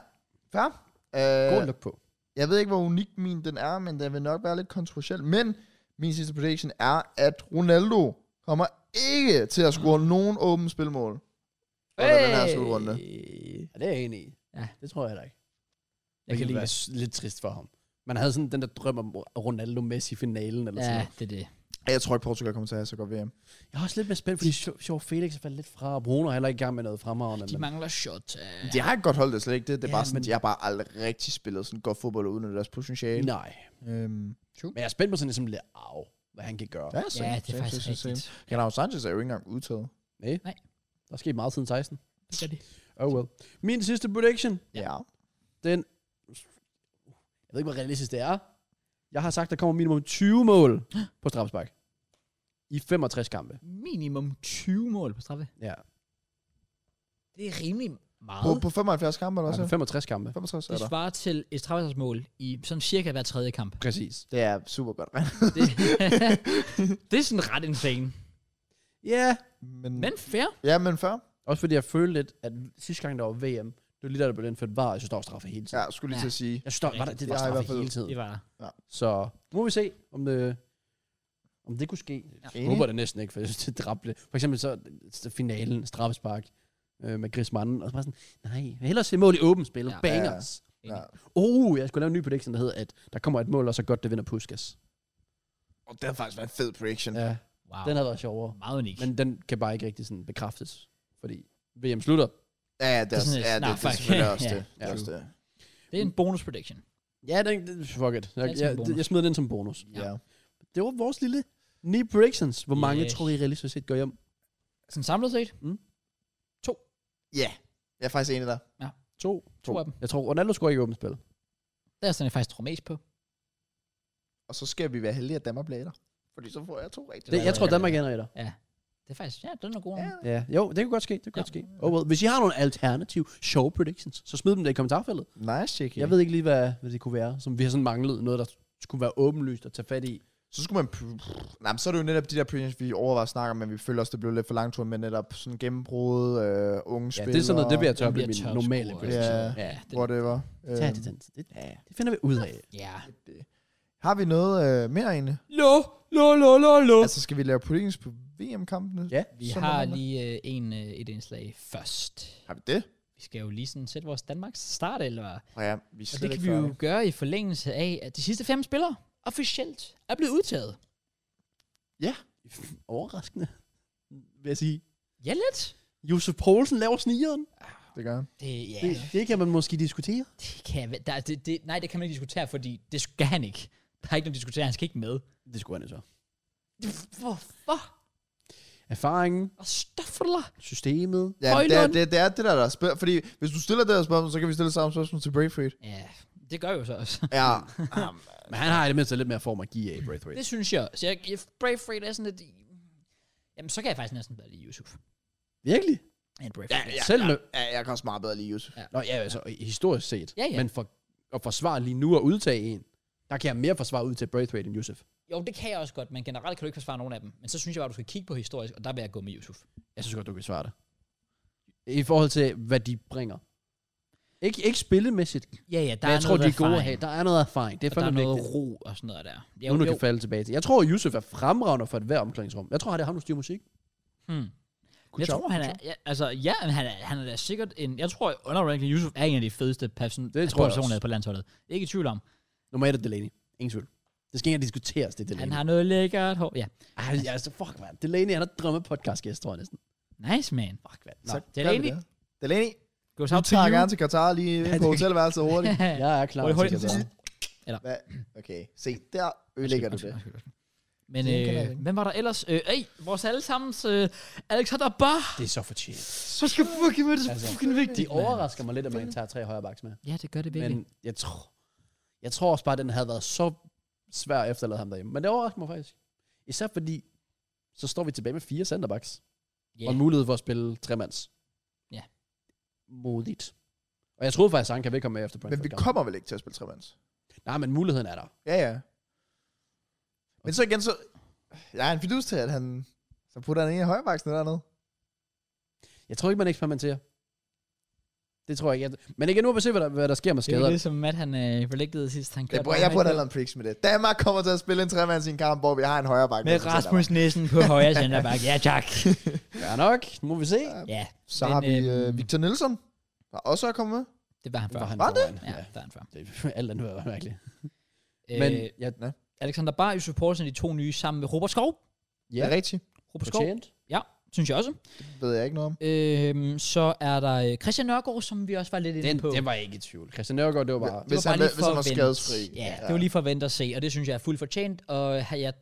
Speaker 3: Fair. Øh,
Speaker 2: God luk på.
Speaker 3: Jeg ved ikke, hvor unik min den er, men den vil nok være lidt kontroversiel. Men min sidste prediction er, at Ronaldo kommer ikke til at score nogen åbne spilmål under den her slutrunde.
Speaker 2: Ja, det er jeg enig i.
Speaker 1: Ja.
Speaker 2: Det tror jeg da ikke.
Speaker 1: Jeg kan lide det.
Speaker 2: det. Lidt trist for ham. Man havde sådan den der drøm om Ronaldo-Messi-finalen eller sådan
Speaker 1: Ja,
Speaker 2: noget.
Speaker 1: det er det.
Speaker 3: Jeg tror ikke, Portugal kommer til at have så godt VM.
Speaker 2: Jeg er også lidt mere spændt, fordi Sjov Felix er faldet lidt fra, og Bruno er heller ikke i gang med noget fremragende.
Speaker 1: De
Speaker 2: men-
Speaker 1: mangler shot. øh.
Speaker 3: De har ikke godt holdt det slet ikke. Det, det er
Speaker 2: Ja,
Speaker 3: bare sådan,
Speaker 2: men-
Speaker 3: de har bare aldrig rigtig spillet sådan godt fodbold uden deres potentiale.
Speaker 2: Nej.
Speaker 3: Øhm,
Speaker 2: Men jeg er spændt på sådan ligesom lidt af, hvad han kan gøre.
Speaker 3: ja,
Speaker 1: Ja, det er faktisk rigtigt.
Speaker 3: Renato Sanchez er jo ikke engang udtaget.
Speaker 2: Der er sket meget siden 16.
Speaker 1: Det gør de.
Speaker 2: Oh well. Min sidste prediction,
Speaker 1: Ja.
Speaker 3: Ja.
Speaker 2: den... Jeg ved ikke, hvor realistisk det er. Jeg har sagt, der kommer minimum 20 mål på straffespark. I 65 kampe.
Speaker 1: Minimum 20 mål på straffe.
Speaker 2: Ja,
Speaker 1: Det er rimelig
Speaker 3: På,
Speaker 1: meget.
Speaker 3: på 75 kampe eller
Speaker 2: altså.
Speaker 3: også?
Speaker 2: 65 kampe.
Speaker 3: 65 er
Speaker 1: Det
Speaker 3: der.
Speaker 1: svarer til et straffesparksmål i sådan cirka hver tredje kamp.
Speaker 2: Præcis.
Speaker 3: Det er super godt regnet.
Speaker 1: Det, det er sådan ret insane.
Speaker 2: Ja. Yeah.
Speaker 1: Men fair.
Speaker 3: Ja, men før.
Speaker 2: Også fordi jeg følte lidt, at sidste gang der var VM, det var lige da der blev indført var, jeg synes, der var straffe hele tiden.
Speaker 3: Ja, skulle lige til at sige.
Speaker 2: Jeg synes, der var, der, det var
Speaker 3: Jeg har i
Speaker 2: straffe
Speaker 3: hvert fald-
Speaker 2: hele tiden.
Speaker 1: Det var
Speaker 2: Så nu må vi se, om det, om Om det kunne ske. Jeg
Speaker 3: Enig.
Speaker 2: håber det næsten ikke, for jeg synes, det dræbte. det. For eksempel så så finalen, straffespark øh, med Griezmann. Og så bare sådan, nej, jeg vil hellere se mål i åbent spil.
Speaker 1: Ja.
Speaker 2: Ja. Bangers.
Speaker 1: Ja.
Speaker 4: Ja.
Speaker 2: Oh, jeg skulle lave en ny prediction, der hedder, at der kommer et mål, og så godt det vinder Puskas.
Speaker 3: Og det har faktisk været en fed prediction.
Speaker 2: Ja,
Speaker 1: Wow.
Speaker 2: den har været sjovere.
Speaker 1: meget unik. Men,
Speaker 2: Men den kan bare ikke rigtig sådan bekræftes, fordi VM slutter.
Speaker 3: Ja, ja, det er,
Speaker 1: er sådan
Speaker 3: også-
Speaker 1: et-
Speaker 3: ja, det,
Speaker 1: Nå,
Speaker 3: det, det er
Speaker 1: fuck.
Speaker 3: selvfølgelig også
Speaker 1: Ja.
Speaker 3: det. Det er
Speaker 2: Ja.
Speaker 3: også det.
Speaker 1: det er en bonus prediction.
Speaker 2: Ja, den, den- fuck it. Jeg,
Speaker 1: Altid en
Speaker 2: jeg,
Speaker 1: bonus.
Speaker 2: jeg smider den som bonus.
Speaker 1: Ja.
Speaker 3: Ja.
Speaker 2: Det var vores lille ni predictions. Hvor mange
Speaker 1: Yes.
Speaker 2: tror I realistisk set går hjem?
Speaker 1: Sådan samlet set,
Speaker 3: Ja, jeg er faktisk enig der.
Speaker 2: To.
Speaker 1: To af dem.
Speaker 2: Jeg tror, Ronaldo scorer ikke i åbent spil.
Speaker 1: der er sådan, jeg faktisk tror mest på.
Speaker 3: Og så skal vi være heldige, at Danmark bliver etter. Fordi så får jeg to rigtige.
Speaker 2: Det, jeg tror,
Speaker 1: Ja.
Speaker 2: Danmark ender i dig.
Speaker 1: Det er faktisk, ja, den er god. Ja.
Speaker 2: Ja. Jo, det kunne godt ske. Det kunne
Speaker 1: Ja.
Speaker 2: ja. godt ske. Oh, well. Hvis I har nogle alternative show predictions, så smid dem der i kommentarfeltet. Okay.
Speaker 3: Nice, Chicky.
Speaker 2: Jeg ved ikke lige, hvad, hvad det kunne være, som vi har sådan manglet. Noget, der skulle være åbenlyst at tage fat i.
Speaker 3: Så skulle man... pff, Nej, men så er det jo netop de der predictions, vi overvejer at snakke om, men vi føler også, det blev lidt for langt tur med netop sådan gennembrud, øh, unge
Speaker 2: Ja,
Speaker 3: spillere.
Speaker 2: det er sådan noget, det vil jeg tør
Speaker 1: den
Speaker 2: blive
Speaker 1: bliver
Speaker 2: min
Speaker 1: tør
Speaker 2: normale
Speaker 1: scoret.
Speaker 2: prediction.
Speaker 3: Ja.
Speaker 2: ja
Speaker 1: det,
Speaker 3: Whatever.
Speaker 2: Tag
Speaker 3: Øhm,
Speaker 2: det, den. Det, det finder vi ud af.
Speaker 1: ja.
Speaker 3: Har vi noget øh, mere egentlig?
Speaker 2: Lo, lo, lo, lo, lo.
Speaker 3: Altså, skal vi lave predictions på VM-kampene?
Speaker 2: Ja.
Speaker 1: Vi
Speaker 3: Sådan
Speaker 1: har
Speaker 3: er det.
Speaker 1: lige øh, en, øh, et indslag først.
Speaker 3: Har vi det?
Speaker 1: Vi skal jo lige sådan sætte vores Danmarks start, eller
Speaker 3: Og ja, vi er
Speaker 1: Og det
Speaker 3: slet ikke
Speaker 1: kan vi jo
Speaker 3: færdige.
Speaker 1: gøre i forlængelse af, at de sidste fem spillere officielt er blevet udtaget.
Speaker 2: Overraskende, vil jeg sige.
Speaker 1: Ja, lidt.
Speaker 2: Josef Poulsen laver snigeren.
Speaker 3: Det gør jeg.
Speaker 1: Det, ja,
Speaker 2: Det, det kan man måske diskutere.
Speaker 1: det kan, jeg- der, det, det, nej, det kan man ikke diskutere, fordi det skal han ikke. Der er ikke nogen diskutere, han skal ikke med.
Speaker 2: Det skulle han jo så.
Speaker 1: Hvorfor?
Speaker 2: Erfaringen,
Speaker 1: Og stoffler.
Speaker 2: systemet.
Speaker 3: Ja, det er,
Speaker 1: Højlund.
Speaker 3: det, det er det der, der er spørg- Fordi hvis du stiller det der spørgsmål, så kan vi stille samme spørgsmål til Braithwaite.
Speaker 1: Ja, det gør jo så også.
Speaker 3: Ja.
Speaker 1: Ah,
Speaker 2: Men han har i det mindste lidt mere form at give af, Braithwaite.
Speaker 1: Det synes jeg. Så jeg, jeg Braveheart er sådan lidt... Jamen, så kan jeg faktisk næsten bedre lide Yusuf.
Speaker 2: Virkelig?
Speaker 1: End Braveheart.
Speaker 3: Ja.
Speaker 2: Selv nu.
Speaker 3: ja, jeg kan også meget bedre lide Yusuf.
Speaker 2: Nå, ja, altså historisk set.
Speaker 1: Ja, ja.
Speaker 2: Men for at forsvare lige nu at udtage en, der kan jeg mere forsvare ud til Braithwaite end Yusuf.
Speaker 1: Jo, det kan jeg også godt, men generelt kan du ikke forsvare nogen af dem. Men så synes jeg bare, du skal kigge på historisk, og der vil jeg gå med Yusuf.
Speaker 2: Jeg synes godt, du kan svare det. I forhold til, hvad de bringer. Ikke, ikke spillemæssigt, der
Speaker 1: Ja, ja, der
Speaker 2: men
Speaker 1: er
Speaker 2: jeg tror, de
Speaker 1: noget
Speaker 2: er gode at
Speaker 1: erfaring.
Speaker 2: have. Der er noget erfaring. Det er
Speaker 1: og der er
Speaker 2: fandme
Speaker 1: noget
Speaker 2: vigtigt.
Speaker 1: ro og sådan noget der. Jo,
Speaker 2: Nu, nu
Speaker 1: jo.
Speaker 2: kan falde tilbage til. Jeg tror, at Yusuf er fremragende for et hver omklædningsrum. Jeg tror, at det er ham, der styrer musik.
Speaker 1: Hmm. Jeg tror, han er, ja, altså, ja, men han er, han er da sikkert en, jeg tror, underranking Yusuf er en af de fedeste person,
Speaker 2: tror jeg også.
Speaker 1: personer på landsholdet. Ikke i tvivl om.
Speaker 2: Nummer et er Delaney. Ingen tvivl. Det skal ikke engang diskuteres, det er Delaney.
Speaker 1: Han har noget lækkert hår. Ja,
Speaker 2: Ej, altså, fuck, man. Delaney, han er drømmepodcast-gæst, tror jeg næsten.
Speaker 1: nice man.
Speaker 2: Fuck, man.
Speaker 3: Så
Speaker 2: Nå,
Speaker 1: det er
Speaker 3: gør vi
Speaker 1: Delaney.
Speaker 3: det. Delaney,
Speaker 1: Go
Speaker 3: du
Speaker 1: out to
Speaker 3: tager
Speaker 1: you.
Speaker 3: gerne til Katar lige ind på
Speaker 2: det-
Speaker 3: hotelværelset hurtigt.
Speaker 2: jeg er klar
Speaker 1: Hurtigt,
Speaker 2: til
Speaker 1: hurtigt.
Speaker 2: Qatar.
Speaker 3: Hvad? Okay, se, der ødelægger du det.
Speaker 1: Men
Speaker 3: Det kan jeg
Speaker 1: øh,
Speaker 3: ikke.
Speaker 1: hvem var der ellers? Øh, ey, vores allesammens øh, Alexander Bar.
Speaker 2: Det er så fortjent.
Speaker 1: Så skal fucking med det
Speaker 2: Altså,
Speaker 1: fucking
Speaker 2: De
Speaker 1: vigtigt.
Speaker 2: overrasker mig lidt, at man tager tre højre baks med.
Speaker 1: Ja, det gør det virkelig.
Speaker 2: Men jeg tror, jeg tror også bare, at den havde været så svær at efterlade ham derhjemme. Men det overrasker mig faktisk. Især fordi, så står vi tilbage med fire centerbacks.
Speaker 1: Ja.
Speaker 2: Yeah. Og en mulighed for at spille tremands.
Speaker 1: Ja.
Speaker 2: Modigt. Og jeg troede faktisk, at han kan ikke komme med efter
Speaker 3: Men
Speaker 2: Brentford.
Speaker 3: vi
Speaker 2: kampen.
Speaker 3: kommer vel ikke til at spille tremands?
Speaker 2: Nej, men muligheden er der.
Speaker 3: Ja, ja. Men så igen, så... Jeg er en fidus til, at han... Så putter han en i højrebaksen eller noget.
Speaker 2: Jeg tror ikke, man eksperimenterer. Det tror jeg ikke. Jeg- Men igen, nu må vi se, hvad der, hvad der sker med
Speaker 1: Det er jo
Speaker 2: skader.
Speaker 1: det, som Matt han øh, forlægtede sidst. Han
Speaker 3: Jeg,
Speaker 1: kørte
Speaker 3: burde- jeg burde have lavet en pricks med det. Danmark kommer til at spille en tremands i en kamp, hvor vi har en højrebakke.
Speaker 1: med Rasmus Nissen på højre centerback. Ja, tak.
Speaker 2: Ja nok, nu må vi se.
Speaker 1: Ja,
Speaker 3: Så
Speaker 1: Men,
Speaker 3: har
Speaker 1: øhm,
Speaker 3: vi øh, Victor Nielsen, der også er kommet med.
Speaker 1: det var han
Speaker 2: Det
Speaker 1: før.
Speaker 2: var han
Speaker 3: Var det?
Speaker 2: foran.
Speaker 1: Ja,
Speaker 2: Ja.
Speaker 1: det var han før. Øh,
Speaker 2: Det, alt andet var mærkeligt. Men
Speaker 1: Men
Speaker 2: jeg,
Speaker 1: Alexander Bar, Yusuf Poulsen, de to nye sammen med Robert Skov.
Speaker 3: Ja.
Speaker 2: Ja.
Speaker 3: Det er rigtigt.
Speaker 1: Robert Skov,
Speaker 2: fortjent.
Speaker 1: synes jeg også.
Speaker 3: Det ved jeg ikke noget om.
Speaker 1: Øhm, så er der øh, Christian Nørgaard, som vi også var lidt inde
Speaker 2: Den,
Speaker 1: på.
Speaker 2: den var jeg ikke i tvivl. Christian Nørgaard, det var bare...
Speaker 3: Hvis
Speaker 1: bare
Speaker 3: han,
Speaker 1: lige
Speaker 3: hvis
Speaker 1: for
Speaker 3: han var
Speaker 1: at vente.
Speaker 3: skadesfri.
Speaker 1: Ja, det var lige for at vente og se, og det synes jeg er fuldt fortjent, og har jeg,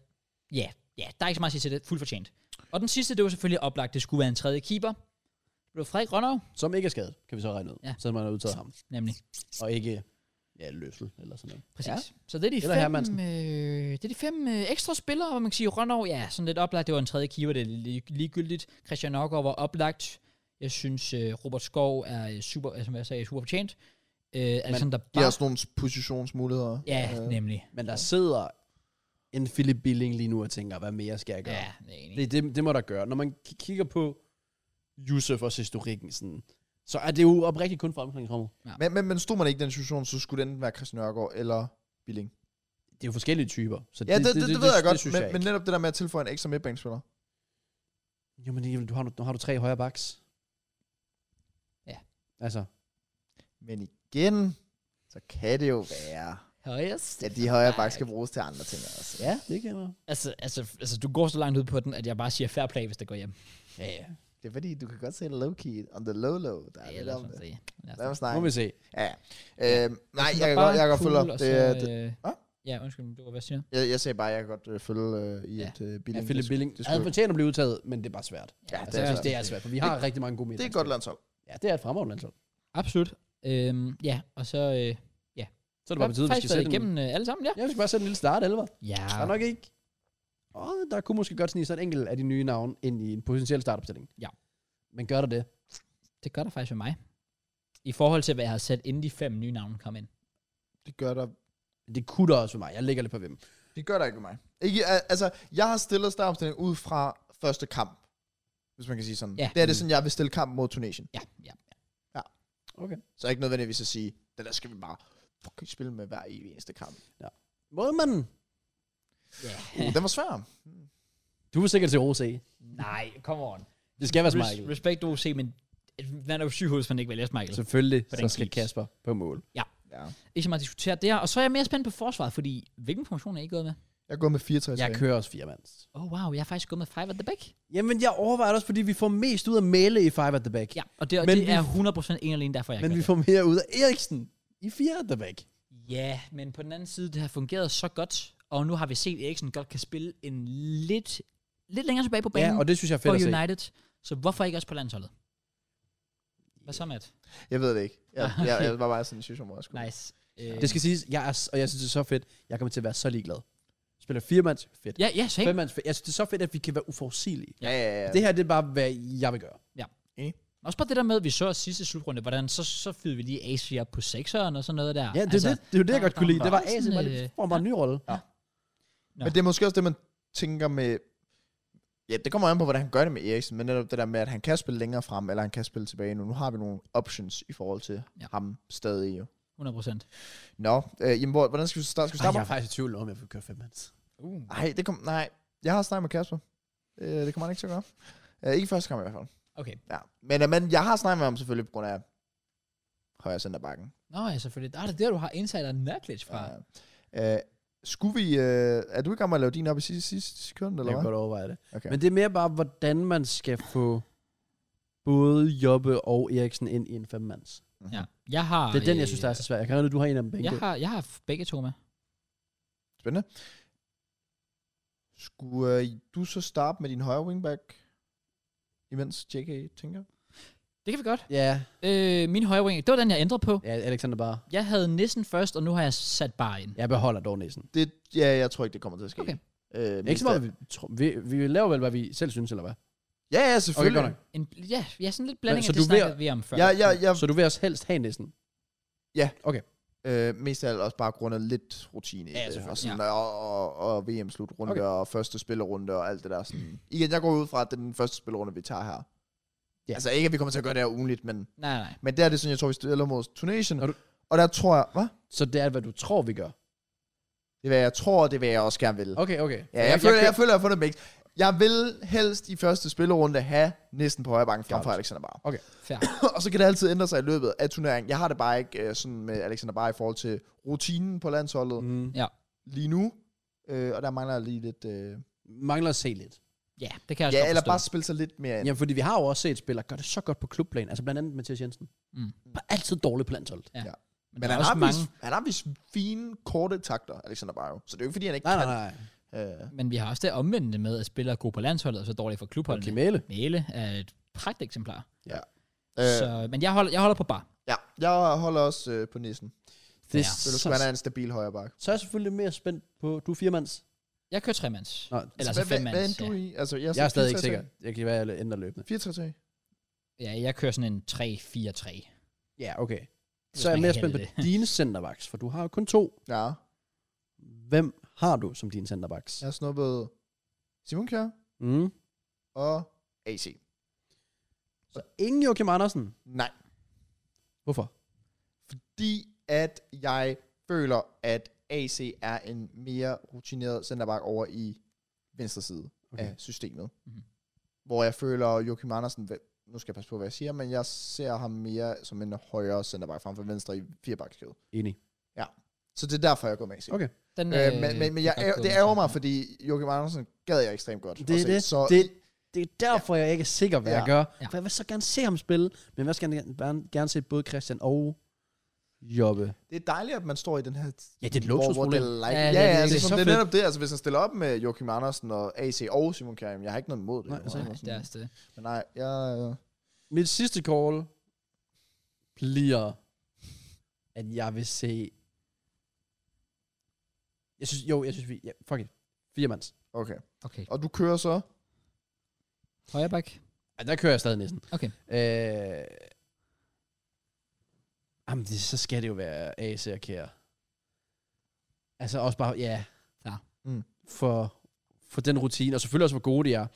Speaker 1: ja, ja, der er ikke så meget at sige til det, fuldt fortjent. Og den sidste, det var selvfølgelig oplagt, det skulle være en tredje keeper. Det blev Frederik Rønner,
Speaker 2: Som ikke er skadet, kan vi så regne ud.
Speaker 1: Ja.
Speaker 2: Ja. Så man har udtaget ham.
Speaker 1: nemlig.
Speaker 2: Og ikke ja, løsel eller sådan noget.
Speaker 1: Præcis. Ja.
Speaker 2: Ja.
Speaker 1: Så det er de
Speaker 2: Eller
Speaker 1: fem,
Speaker 2: Hermansen.
Speaker 1: øh, det er de fem øh, ekstra spillere, hvor man kan sige, Rønner, ja, sådan lidt oplagt, det var en tredje keeper, det er lig- ligegyldigt. Christian Nørgaard var oplagt. Jeg synes, øh, Robert Skov er øh, super, altså, som jeg sagde, super fortjent. Øh, Alexander
Speaker 3: De har
Speaker 1: Bart,
Speaker 3: sådan nogle positionsmuligheder.
Speaker 1: ja,
Speaker 3: Øh,
Speaker 1: nemlig.
Speaker 2: Men der sidder en Philip Billing lige nu og tænker, hvad mere skal jeg gøre?
Speaker 1: Ja,
Speaker 2: Ja.
Speaker 1: enig.
Speaker 2: Det, det, det må der gøre. Når man k- kigger på Yusuf og historikken, sådan, så er det jo oprigtigt kun fra omkring rummet.
Speaker 3: Men, men, men stod man ikke i den situation, så skulle det enten være Christian Nørgaard eller Billing.
Speaker 2: det er jo forskellige typer. Så
Speaker 3: Ja, det, det, det, det, ved jeg godt,
Speaker 2: synes
Speaker 3: men,
Speaker 2: jeg
Speaker 3: men netop det der med at tilføje en ekstra midtbanespiller.
Speaker 2: ikke. Jo, men Emil, du har, nu har du tre højre backs.
Speaker 1: Ja.
Speaker 2: Altså,
Speaker 3: Men igen, så kan det jo være,
Speaker 1: Højest.
Speaker 3: at de højere bak skal bruges til andre ting også. Ja,
Speaker 2: det kan jeg.
Speaker 1: Altså, altså, altså, du går så langt ud på den, at jeg bare siger fair play, hvis det går hjem. Ja, ja.
Speaker 3: det er fordi, du kan godt se low-key on the low-low. Der er Altså,
Speaker 1: Ja,
Speaker 3: lidt
Speaker 1: lad os
Speaker 3: om
Speaker 1: nu
Speaker 3: det.
Speaker 1: se. Lad os
Speaker 3: Lad mig
Speaker 2: Må
Speaker 3: snakke.
Speaker 2: vi se.
Speaker 3: Ja. Øhm, nej, jeg
Speaker 1: Det
Speaker 3: kan
Speaker 1: var
Speaker 3: godt, jeg kan godt
Speaker 1: cool,
Speaker 3: følge op.
Speaker 1: og
Speaker 3: Det,
Speaker 1: så,
Speaker 3: det,
Speaker 1: øh,
Speaker 3: Hva?
Speaker 1: Ja, undskyld, men du var hvad siger.
Speaker 3: jeg, jeg sagde bare, jeg kan godt øh, følge øh, i,
Speaker 1: Ja.
Speaker 3: at øh,
Speaker 2: Ja,
Speaker 3: Billing...
Speaker 2: Philip
Speaker 3: det,
Speaker 2: Billing
Speaker 3: det
Speaker 2: havde
Speaker 3: skulle-
Speaker 2: fortjent at blive udtaget, men det er bare svært.
Speaker 3: Ja,
Speaker 2: Altså,
Speaker 3: det er,
Speaker 2: jeg synes,
Speaker 3: det,
Speaker 2: det er svært, for vi har rigtig mange gode
Speaker 3: det er
Speaker 2: midtbanespillere.
Speaker 3: et godt landshold.
Speaker 2: Ja, det er et fremragende landshold.
Speaker 1: Absolut. Øhm, ja, og så... Øh,
Speaker 2: Så er det bare på tide, vi skal
Speaker 1: faktisk
Speaker 2: sætte
Speaker 1: været
Speaker 2: igennem.
Speaker 1: igennem øh, alle sammen, ja.
Speaker 2: Ja, vi skal bare sætte en lille start, Elver.
Speaker 1: Ja.
Speaker 2: Der er nok ikke... Åh, der kunne måske godt snige sig en enkelt af de nye navne ind i en potentiel startopstilling.
Speaker 1: Ja.
Speaker 2: Men gør der det?
Speaker 1: Det gør der faktisk med mig. I forhold til, hvad jeg har sat, inden de fem nye navne kom ind.
Speaker 3: Det gør der
Speaker 2: Det kunne der også for mig. Jeg ligger lidt på hvem.
Speaker 3: Det gør der ikke med mig.
Speaker 5: Ikke, al- altså, jeg har stillet startopstillingen ud fra første kamp, hvis man kan sige sådan.
Speaker 1: Ja.
Speaker 5: Det er det sådan, jeg vil stille kamp mod Tunesien.
Speaker 1: Ja, ja.
Speaker 3: Så ikke nødvendigvis at sige, det der skal vi bare fucking spille med hver evig eneste kamp.
Speaker 2: Måde man...
Speaker 1: ja.
Speaker 3: Uh, den var svær.
Speaker 2: Du vil sikkert til OC.
Speaker 1: Nej, come on.
Speaker 2: Det skal være Michael.
Speaker 1: Res- respekt OC, men man er jo syg hvis man ikke vælger Michael.
Speaker 2: Selvfølgelig,
Speaker 1: For
Speaker 2: så
Speaker 1: den
Speaker 2: skal
Speaker 1: pris.
Speaker 2: Kasper på mål.
Speaker 3: Ja.
Speaker 1: Ikke så meget at diskutere det her. Og så er jeg mere spændt på forsvaret, fordi hvilken funktion er I gået med?
Speaker 5: Jeg går med 64.
Speaker 2: Jeg kører også firemands.
Speaker 1: Oh wow, jeg har faktisk gået med five at the back.
Speaker 2: Jamen, jeg overvejer det også, fordi vi får mest ud af Mæle i five at the back.
Speaker 1: Ja, og det,
Speaker 2: Men
Speaker 1: men det
Speaker 2: vi-
Speaker 1: er 100% en og alene derfor, jeg
Speaker 2: Men
Speaker 1: gør
Speaker 2: vi
Speaker 1: det.
Speaker 2: får mere ud af Eriksen i fire at the back.
Speaker 1: Ja, men på den anden side, det har fungeret så godt, og nu har vi set, at Eriksen godt kan spille en lidt, lidt længere tilbage på
Speaker 2: Ja,
Speaker 1: banen
Speaker 2: og det synes jeg er
Speaker 1: for
Speaker 2: fedt at se.
Speaker 1: United. Så hvorfor ikke også på landsholdet? Hvad så, Matt?
Speaker 3: Jeg ved det ikke. Jeg,
Speaker 1: Ah, okay.
Speaker 3: jeg, jeg var bare i sådan en situation, hvor jeg skulle.
Speaker 1: Nice. Øh,
Speaker 2: Det skal siges, jeg er, s- og jeg synes, det er så fedt. Jeg kommer til at være så ligeglad. Spiller firemands, fedt.
Speaker 1: Ja, ja, same.
Speaker 2: Femmands, fedt. Jeg synes, det er så fedt, at vi kan være uforudsigelige.
Speaker 3: Ja, ja, ja.
Speaker 2: Ja. Det her, det er bare, hvad jeg vil gøre.
Speaker 1: Også bare det der med, at vi så sidste slutrunde, hvordan så, så fyrede vi lige AC op på sekseren og sådan noget der.
Speaker 2: Ja, det, altså, det, det er jo det, jeg
Speaker 1: der-
Speaker 2: godt kunne
Speaker 1: der
Speaker 2: lide.
Speaker 1: var
Speaker 2: Det var AC,
Speaker 1: sådan,
Speaker 2: bare
Speaker 1: øh,
Speaker 2: lige, får bare en ny rolle. Ja.
Speaker 5: Men det er måske også det, man tænker med...
Speaker 3: Ja, det kommer an på, hvordan han gør det med Eriksen, men netop det der med, at han kan spille længere frem, eller han kan spille tilbage nu. Nu har vi nogle options i forhold til
Speaker 1: Ja.
Speaker 3: ja. ham stadig jo.
Speaker 1: 100 procent.
Speaker 3: Nå, øh, jamen, hvor, hvordan skal vi starte? Skal vi
Speaker 2: Ej,
Speaker 3: starte?
Speaker 2: jeg er
Speaker 3: Ej,
Speaker 2: faktisk i tvivl om, jeg vil køre femmands.
Speaker 1: Uh.
Speaker 3: Nej, det kom, nej, jeg har snakket med Kasper. Øh, det kommer han ikke til at gøre. Øh, ikke første kamp i hvert fald.
Speaker 1: Okay.
Speaker 3: Ja. Men, øh, men jeg har snakket med ham selvfølgelig på grund af højre centerbakken.
Speaker 1: Nå ja, selvfølgelig. Der er det der, du har insider knowledge fra. Ja.
Speaker 3: Ja. Øh, skulle vi, øh, er du i gang med at lave din op i sidste, sidste sekund,
Speaker 2: Jeg
Speaker 3: eller
Speaker 2: kan
Speaker 3: hvad?
Speaker 2: godt overveje det.
Speaker 3: Okay.
Speaker 2: Men det er mere bare, hvordan man skal få både Jobbe og Eriksen ind i en femmands.
Speaker 1: ja. Jeg har... øh,
Speaker 2: Det er den, jeg synes, der er så svært. Jeg kan regne ud, du har en af dem begge.
Speaker 1: Jeg har, jeg har f- begge to med.
Speaker 3: Spændende.
Speaker 5: Skulle øh, du så starte med din højre wingback, imens JK tænker?
Speaker 1: Det kan vi godt.
Speaker 2: Ja,
Speaker 1: Øh, min højre wing, det var den, jeg ændrede på.
Speaker 2: ja Alexander bare.
Speaker 1: Jeg havde Nissen først, og nu har jeg sat bare ind.
Speaker 2: Jeg beholder dog næsen.
Speaker 3: Det, ja, jeg tror ikke, det kommer til at ske.
Speaker 1: Okay.
Speaker 3: Øh,
Speaker 2: Ikke så meget, vi, tror- vi, vi laver vel, hvad vi selv synes, eller hvad?
Speaker 3: Ja, ja, selvfølgelig.
Speaker 2: godt nok.
Speaker 1: En, ja, jeg er sådan lidt blanding,
Speaker 2: Men så
Speaker 1: af det
Speaker 2: du vil-
Speaker 1: snakkede vi om før.
Speaker 3: Ja, ja, ja.
Speaker 2: Så du vil også helst have næsten?
Speaker 3: Øh, mest af alt også bare grundet lidt rutine i
Speaker 2: Ja,
Speaker 3: det.
Speaker 2: selvfølgelig.
Speaker 3: Og, sådan, og, og, og VM-slutrunde
Speaker 2: Okay.
Speaker 3: okay. og første spillerunde og alt det der. Sådan. Igen, jeg går ud fra, at det er den første spillerunde, vi tager her.
Speaker 2: Ja.
Speaker 3: Ja. Altså ikke, at vi kommer til at gøre det her ugenligt, men,
Speaker 1: Nej, nej.
Speaker 3: men der er det sådan, jeg tror, vi stiller mod Tunesien.
Speaker 2: Er du-
Speaker 3: Og der tror jeg, hvad?
Speaker 2: Så det er, hvad du tror, vi gør.
Speaker 3: Det er, hvad jeg tror, og det er, hvad jeg også gerne vil.
Speaker 2: Okay, okay.
Speaker 3: Ja, jeg, jeg, føler, jeg, jeg føler, jeg har fundet mix. Jeg vil helst i første spillerunde have næsten på højre banken frem for
Speaker 2: Klart.
Speaker 3: Alexander Bar.
Speaker 1: Fair.
Speaker 3: og så kan det altid ændre sig i løbet af turneringen. Jeg har det bare ikke øh, sådan med Alexander Bar i forhold til rutinen på landsholdet mm.
Speaker 2: Mm.
Speaker 3: lige nu. Øh, og der mangler jeg lige lidt... Øh,
Speaker 2: Mangler at se lidt.
Speaker 1: Ja, det kan jeg også
Speaker 3: ja,
Speaker 1: godt
Speaker 3: eller
Speaker 1: forstå.
Speaker 3: bare spille sig lidt mere ind.
Speaker 2: Jamen, fordi vi har jo også set spillere gøre det så godt på klubplan. Altså blandt andet Mathias Jensen.
Speaker 1: Mm.
Speaker 2: Bare altid dårligt på landsholdet.
Speaker 1: Men,
Speaker 3: Men
Speaker 1: der er
Speaker 3: han
Speaker 1: også
Speaker 3: har,
Speaker 1: mange,
Speaker 3: vist, han har vist fine, korte takter, Alexander Barro. Så det er jo ikke, fordi han ikke
Speaker 2: Nej, nej,
Speaker 3: kan.
Speaker 2: nej.
Speaker 3: Øh,
Speaker 1: men vi har også det omvendte med, at spillere er gode på landsholdet, og så dårlige for klubholdet.
Speaker 2: Okay, Mæle.
Speaker 1: Mæle er et pragteksemplar.
Speaker 3: øh,
Speaker 1: Så, men jeg holder, jeg holder på bar.
Speaker 3: ja. Jeg holder også øh, på nissen.
Speaker 2: Det
Speaker 1: Ja.
Speaker 2: er
Speaker 3: Så,
Speaker 2: så,
Speaker 3: så han er en stabil højre bak.
Speaker 2: så er jeg selvfølgelig mere spændt på, du er firemands.
Speaker 1: Jeg kører tremands.
Speaker 2: Nå,
Speaker 1: Eller så
Speaker 5: Hvad, hvad, hvad
Speaker 1: femmands.
Speaker 5: endte du
Speaker 1: Ja.
Speaker 5: i? Altså, jeg,
Speaker 2: jeg er stadig ikke sikker. Jeg kan være, at jeg ændrer løbende.
Speaker 5: 4
Speaker 1: ja, jeg kører sådan en 3-4-3.
Speaker 2: Ja, okay.
Speaker 1: Hvis
Speaker 2: Så er jeg
Speaker 1: man
Speaker 2: mere
Speaker 1: kan
Speaker 2: spændt på
Speaker 1: kalde
Speaker 2: dine centerbacks, for du har jo kun to.
Speaker 3: Ja.
Speaker 2: Hvem har du som dine centerbacks?
Speaker 5: Jeg har snuppet Simon Kjær
Speaker 2: Mm.
Speaker 5: og...
Speaker 3: AC.
Speaker 2: Så ingen Joachim Andersen.
Speaker 3: Nej.
Speaker 2: Hvorfor?
Speaker 3: Fordi at jeg føler, at AC er en mere rutineret centerback over i venstre side okay. af systemet.
Speaker 1: Mhm.
Speaker 3: Mm-hmm. Hvor jeg føler Joachim Andersen, hvad- nu skal jeg passe på, hvad jeg siger, men jeg ser ham mere som en højere centerback frem for venstre i firebakskæde.
Speaker 2: Enig.
Speaker 3: Så det er derfor, jeg går med AC.
Speaker 2: Okay.
Speaker 1: Den,
Speaker 3: Øh, men men, men jeg,
Speaker 1: er godt
Speaker 3: er,
Speaker 1: gået,
Speaker 3: det
Speaker 1: Mads
Speaker 3: ærger mig,
Speaker 1: Andersen.
Speaker 3: fordi Joachim Andersen gad jeg ekstremt godt.
Speaker 2: Det
Speaker 3: at
Speaker 2: er
Speaker 3: se,
Speaker 2: det.
Speaker 3: Så
Speaker 2: det, det er derfor, jeg ikke er sikker, hvad
Speaker 3: Ja.
Speaker 2: jeg gør.
Speaker 1: Ja.
Speaker 2: For jeg vil så gerne se ham spille, men jeg vil også gerne, gerne, gerne se både Christian og Jobbe.
Speaker 3: det er dejligt, at man står i den her...
Speaker 2: Ja, det er et
Speaker 3: Hvor, hvor det
Speaker 2: luksusproblem.
Speaker 3: er
Speaker 1: Ja,
Speaker 3: like, ja,
Speaker 1: det er
Speaker 3: ja, ja,
Speaker 1: virkelig-
Speaker 3: det, er,
Speaker 2: så
Speaker 3: sådan, det er
Speaker 2: fedt.
Speaker 3: netop det. Altså, hvis han stiller op med Joachim Andersen og AC og Simon Kjær, jamen, jeg har ikke noget imod det.
Speaker 2: Nej,
Speaker 3: jo.
Speaker 2: altså
Speaker 1: Nej,
Speaker 3: Andersen.
Speaker 1: det er også det.
Speaker 3: Men nej, jeg... Øh,
Speaker 2: Mit sidste call bliver, at jeg vil se... Jeg synes, jo, jeg synes, vi... Ja, fuck it. Firemands.
Speaker 3: Okay.
Speaker 1: Okay.
Speaker 3: Og du kører så?
Speaker 1: Højre bak.
Speaker 2: Ja, der kører jeg stadig næsten.
Speaker 1: Okay.
Speaker 2: Øh, jamen, det, så skal det jo være AC og Kære. Altså også bare, ja.
Speaker 1: Ja.
Speaker 3: Mm.
Speaker 2: For, for den rutine, og selvfølgelig også, hvor gode de er.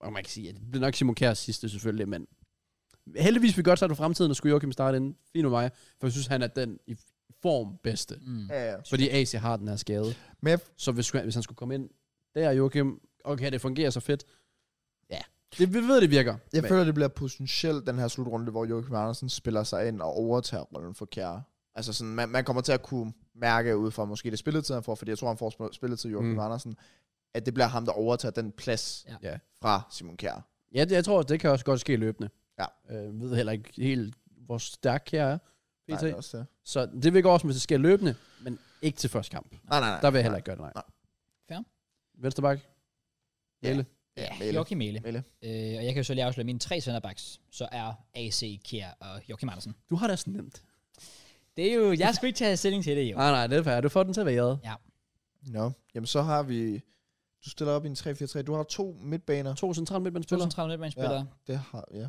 Speaker 2: Og man kan sige, at det bliver nok Simon Kjær sidste selvfølgelig, men heldigvis vi godt sig til fremtiden, og skulle Joachim starte inden. Fint med mig, for jeg synes, han er den i form bedste.
Speaker 1: Mm.
Speaker 3: Ja, ja.
Speaker 2: Fordi AC har den her skade.
Speaker 3: Men jeg,
Speaker 2: Så hvis, hvis han skulle komme ind der, Joachim, okay, det fungerer så fedt. Ja, det, vi ved, det virker.
Speaker 3: jeg
Speaker 2: Men-
Speaker 3: føler, det bliver potentielt den her slutrunde, hvor Joachim Andersen spiller sig ind og overtager rollen for Kjær. Altså sådan, man, man kommer til at kunne mærke ud fra måske det spilletid, han får, fordi jeg tror, han får spil- spilletid Joachim
Speaker 2: Mm.
Speaker 3: mm. Andersen, at det bliver ham, der overtager den plads
Speaker 1: Ja.
Speaker 2: Ja.
Speaker 3: fra Simon Kjær.
Speaker 2: Ja, det, jeg tror, det kan også godt ske løbende.
Speaker 3: Ja.
Speaker 2: Øh, ved heller ikke helt, hvor stærk jeg er.
Speaker 3: Nej,
Speaker 2: PT.
Speaker 3: det er også det.
Speaker 2: så det vil gå også, hvis det sker løbende, men ikke til første kamp.
Speaker 3: Nej, nej, nej.
Speaker 2: Der vil jeg heller ikke gøre det, nej.
Speaker 3: Nej.
Speaker 1: Fair.
Speaker 2: Vensterbak.
Speaker 3: Ja.
Speaker 2: Mæle.
Speaker 1: Ja,
Speaker 3: Mæhle.
Speaker 1: Joachim Mæle.
Speaker 3: Mæhle.
Speaker 1: Øh, og jeg kan jo så lige afsløre mine tre centerbacks, så er AC, Kier og Joachim Andersen.
Speaker 2: Du har det så nemt.
Speaker 1: Det er jo, jeg skulle ikke tage stilling til det jo.
Speaker 2: Nej, nej, det er fair. Du får den til at være.
Speaker 3: Nå, jamen så har vi... Du stiller op i en 3-4-3. Du har to midtbaner.
Speaker 2: To centrale midtbandspillere.
Speaker 1: 2030 midtbanespillere.
Speaker 3: Det har... Ja,
Speaker 1: Ja.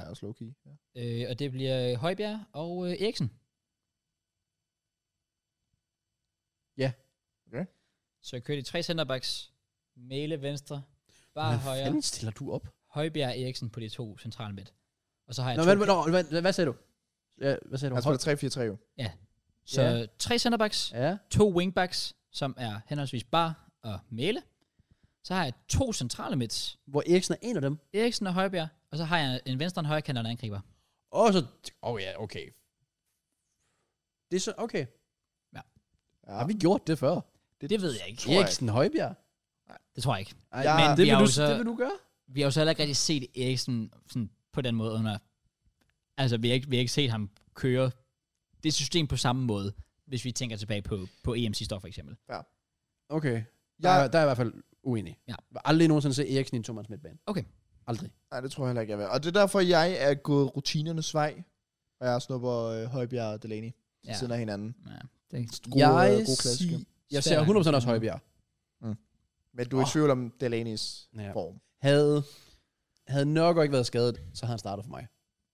Speaker 3: ja. også low-key. Ja.
Speaker 1: ja. Øh, og det bliver øh, Højbjerg og øh, Eriksen.
Speaker 2: Ja.
Speaker 3: Okay.
Speaker 1: Så jeg kører de tre centerbacks. Mæle venstre. Bare
Speaker 2: Hvad
Speaker 1: højre.
Speaker 2: fanden stiller du op?
Speaker 1: Højbjerg og Eriksen på de to centrale midt. Og så har jeg
Speaker 2: Nå,
Speaker 1: to,
Speaker 2: hvad, nå, hvad, hvad, hvad sagde du? Ja, hvad sagde du?
Speaker 3: Han spiller 3-4-3 jo.
Speaker 1: så
Speaker 2: ja.
Speaker 1: tre centerbacks,
Speaker 2: Ja.
Speaker 1: to wingbacks, som er henholdsvis Bar og Mæle. Så har jeg to centrale midts,
Speaker 2: Hvor Eriksen er en af dem.
Speaker 1: Eriksen og Højbjerg, og så har jeg en venstre og en højre kant og en angriber.
Speaker 2: Og så... Åh oh, ja, okay. Det er så... Okay.
Speaker 3: Ja.
Speaker 2: Har vi gjort det før?
Speaker 1: Det, det ved jeg ikke.
Speaker 3: Tror jeg
Speaker 2: Eriksen Højbjerg?
Speaker 1: Det tror jeg ikke.
Speaker 2: Ej,
Speaker 3: Ja,
Speaker 2: men det,
Speaker 1: vi
Speaker 2: vil
Speaker 1: har
Speaker 2: du,
Speaker 1: jo så-
Speaker 2: det vil du gøre?
Speaker 1: Vi har jo så heller ikke rigtig set Eriksen sådan på den måde under... Altså, vi har ikke, vi har ikke set ham køre det system på samme måde, hvis vi tænker tilbage på, på E EM sidste år, for eksempel.
Speaker 2: Okay. Der,
Speaker 3: Jeg-
Speaker 2: er- der er jeg i hvert fald uenig.
Speaker 1: Ja.
Speaker 2: Jeg har Aldrig nogensinde set Eriksen i en Thomas midtbane.
Speaker 1: Okay.
Speaker 2: Aldrig.
Speaker 3: Nej, det tror jeg heller ikke, jeg vil. Og det er derfor, jeg er gået rutinernes vej. Og jeg snupper øh, Højbjerg og Delaney ja.
Speaker 1: Ja.
Speaker 3: siden af hinanden.
Speaker 1: Ja, det,
Speaker 3: God,
Speaker 2: jeg,
Speaker 3: øh, god klassiker.
Speaker 2: sig- jeg ser
Speaker 1: Svær
Speaker 2: 100% også Højbjerg.
Speaker 3: Men du er i
Speaker 2: Åh.
Speaker 3: tvivl om Delaneys
Speaker 2: Ja.
Speaker 3: ja. form.
Speaker 2: Havde, havde nok ikke været skadet, så havde han startet for mig.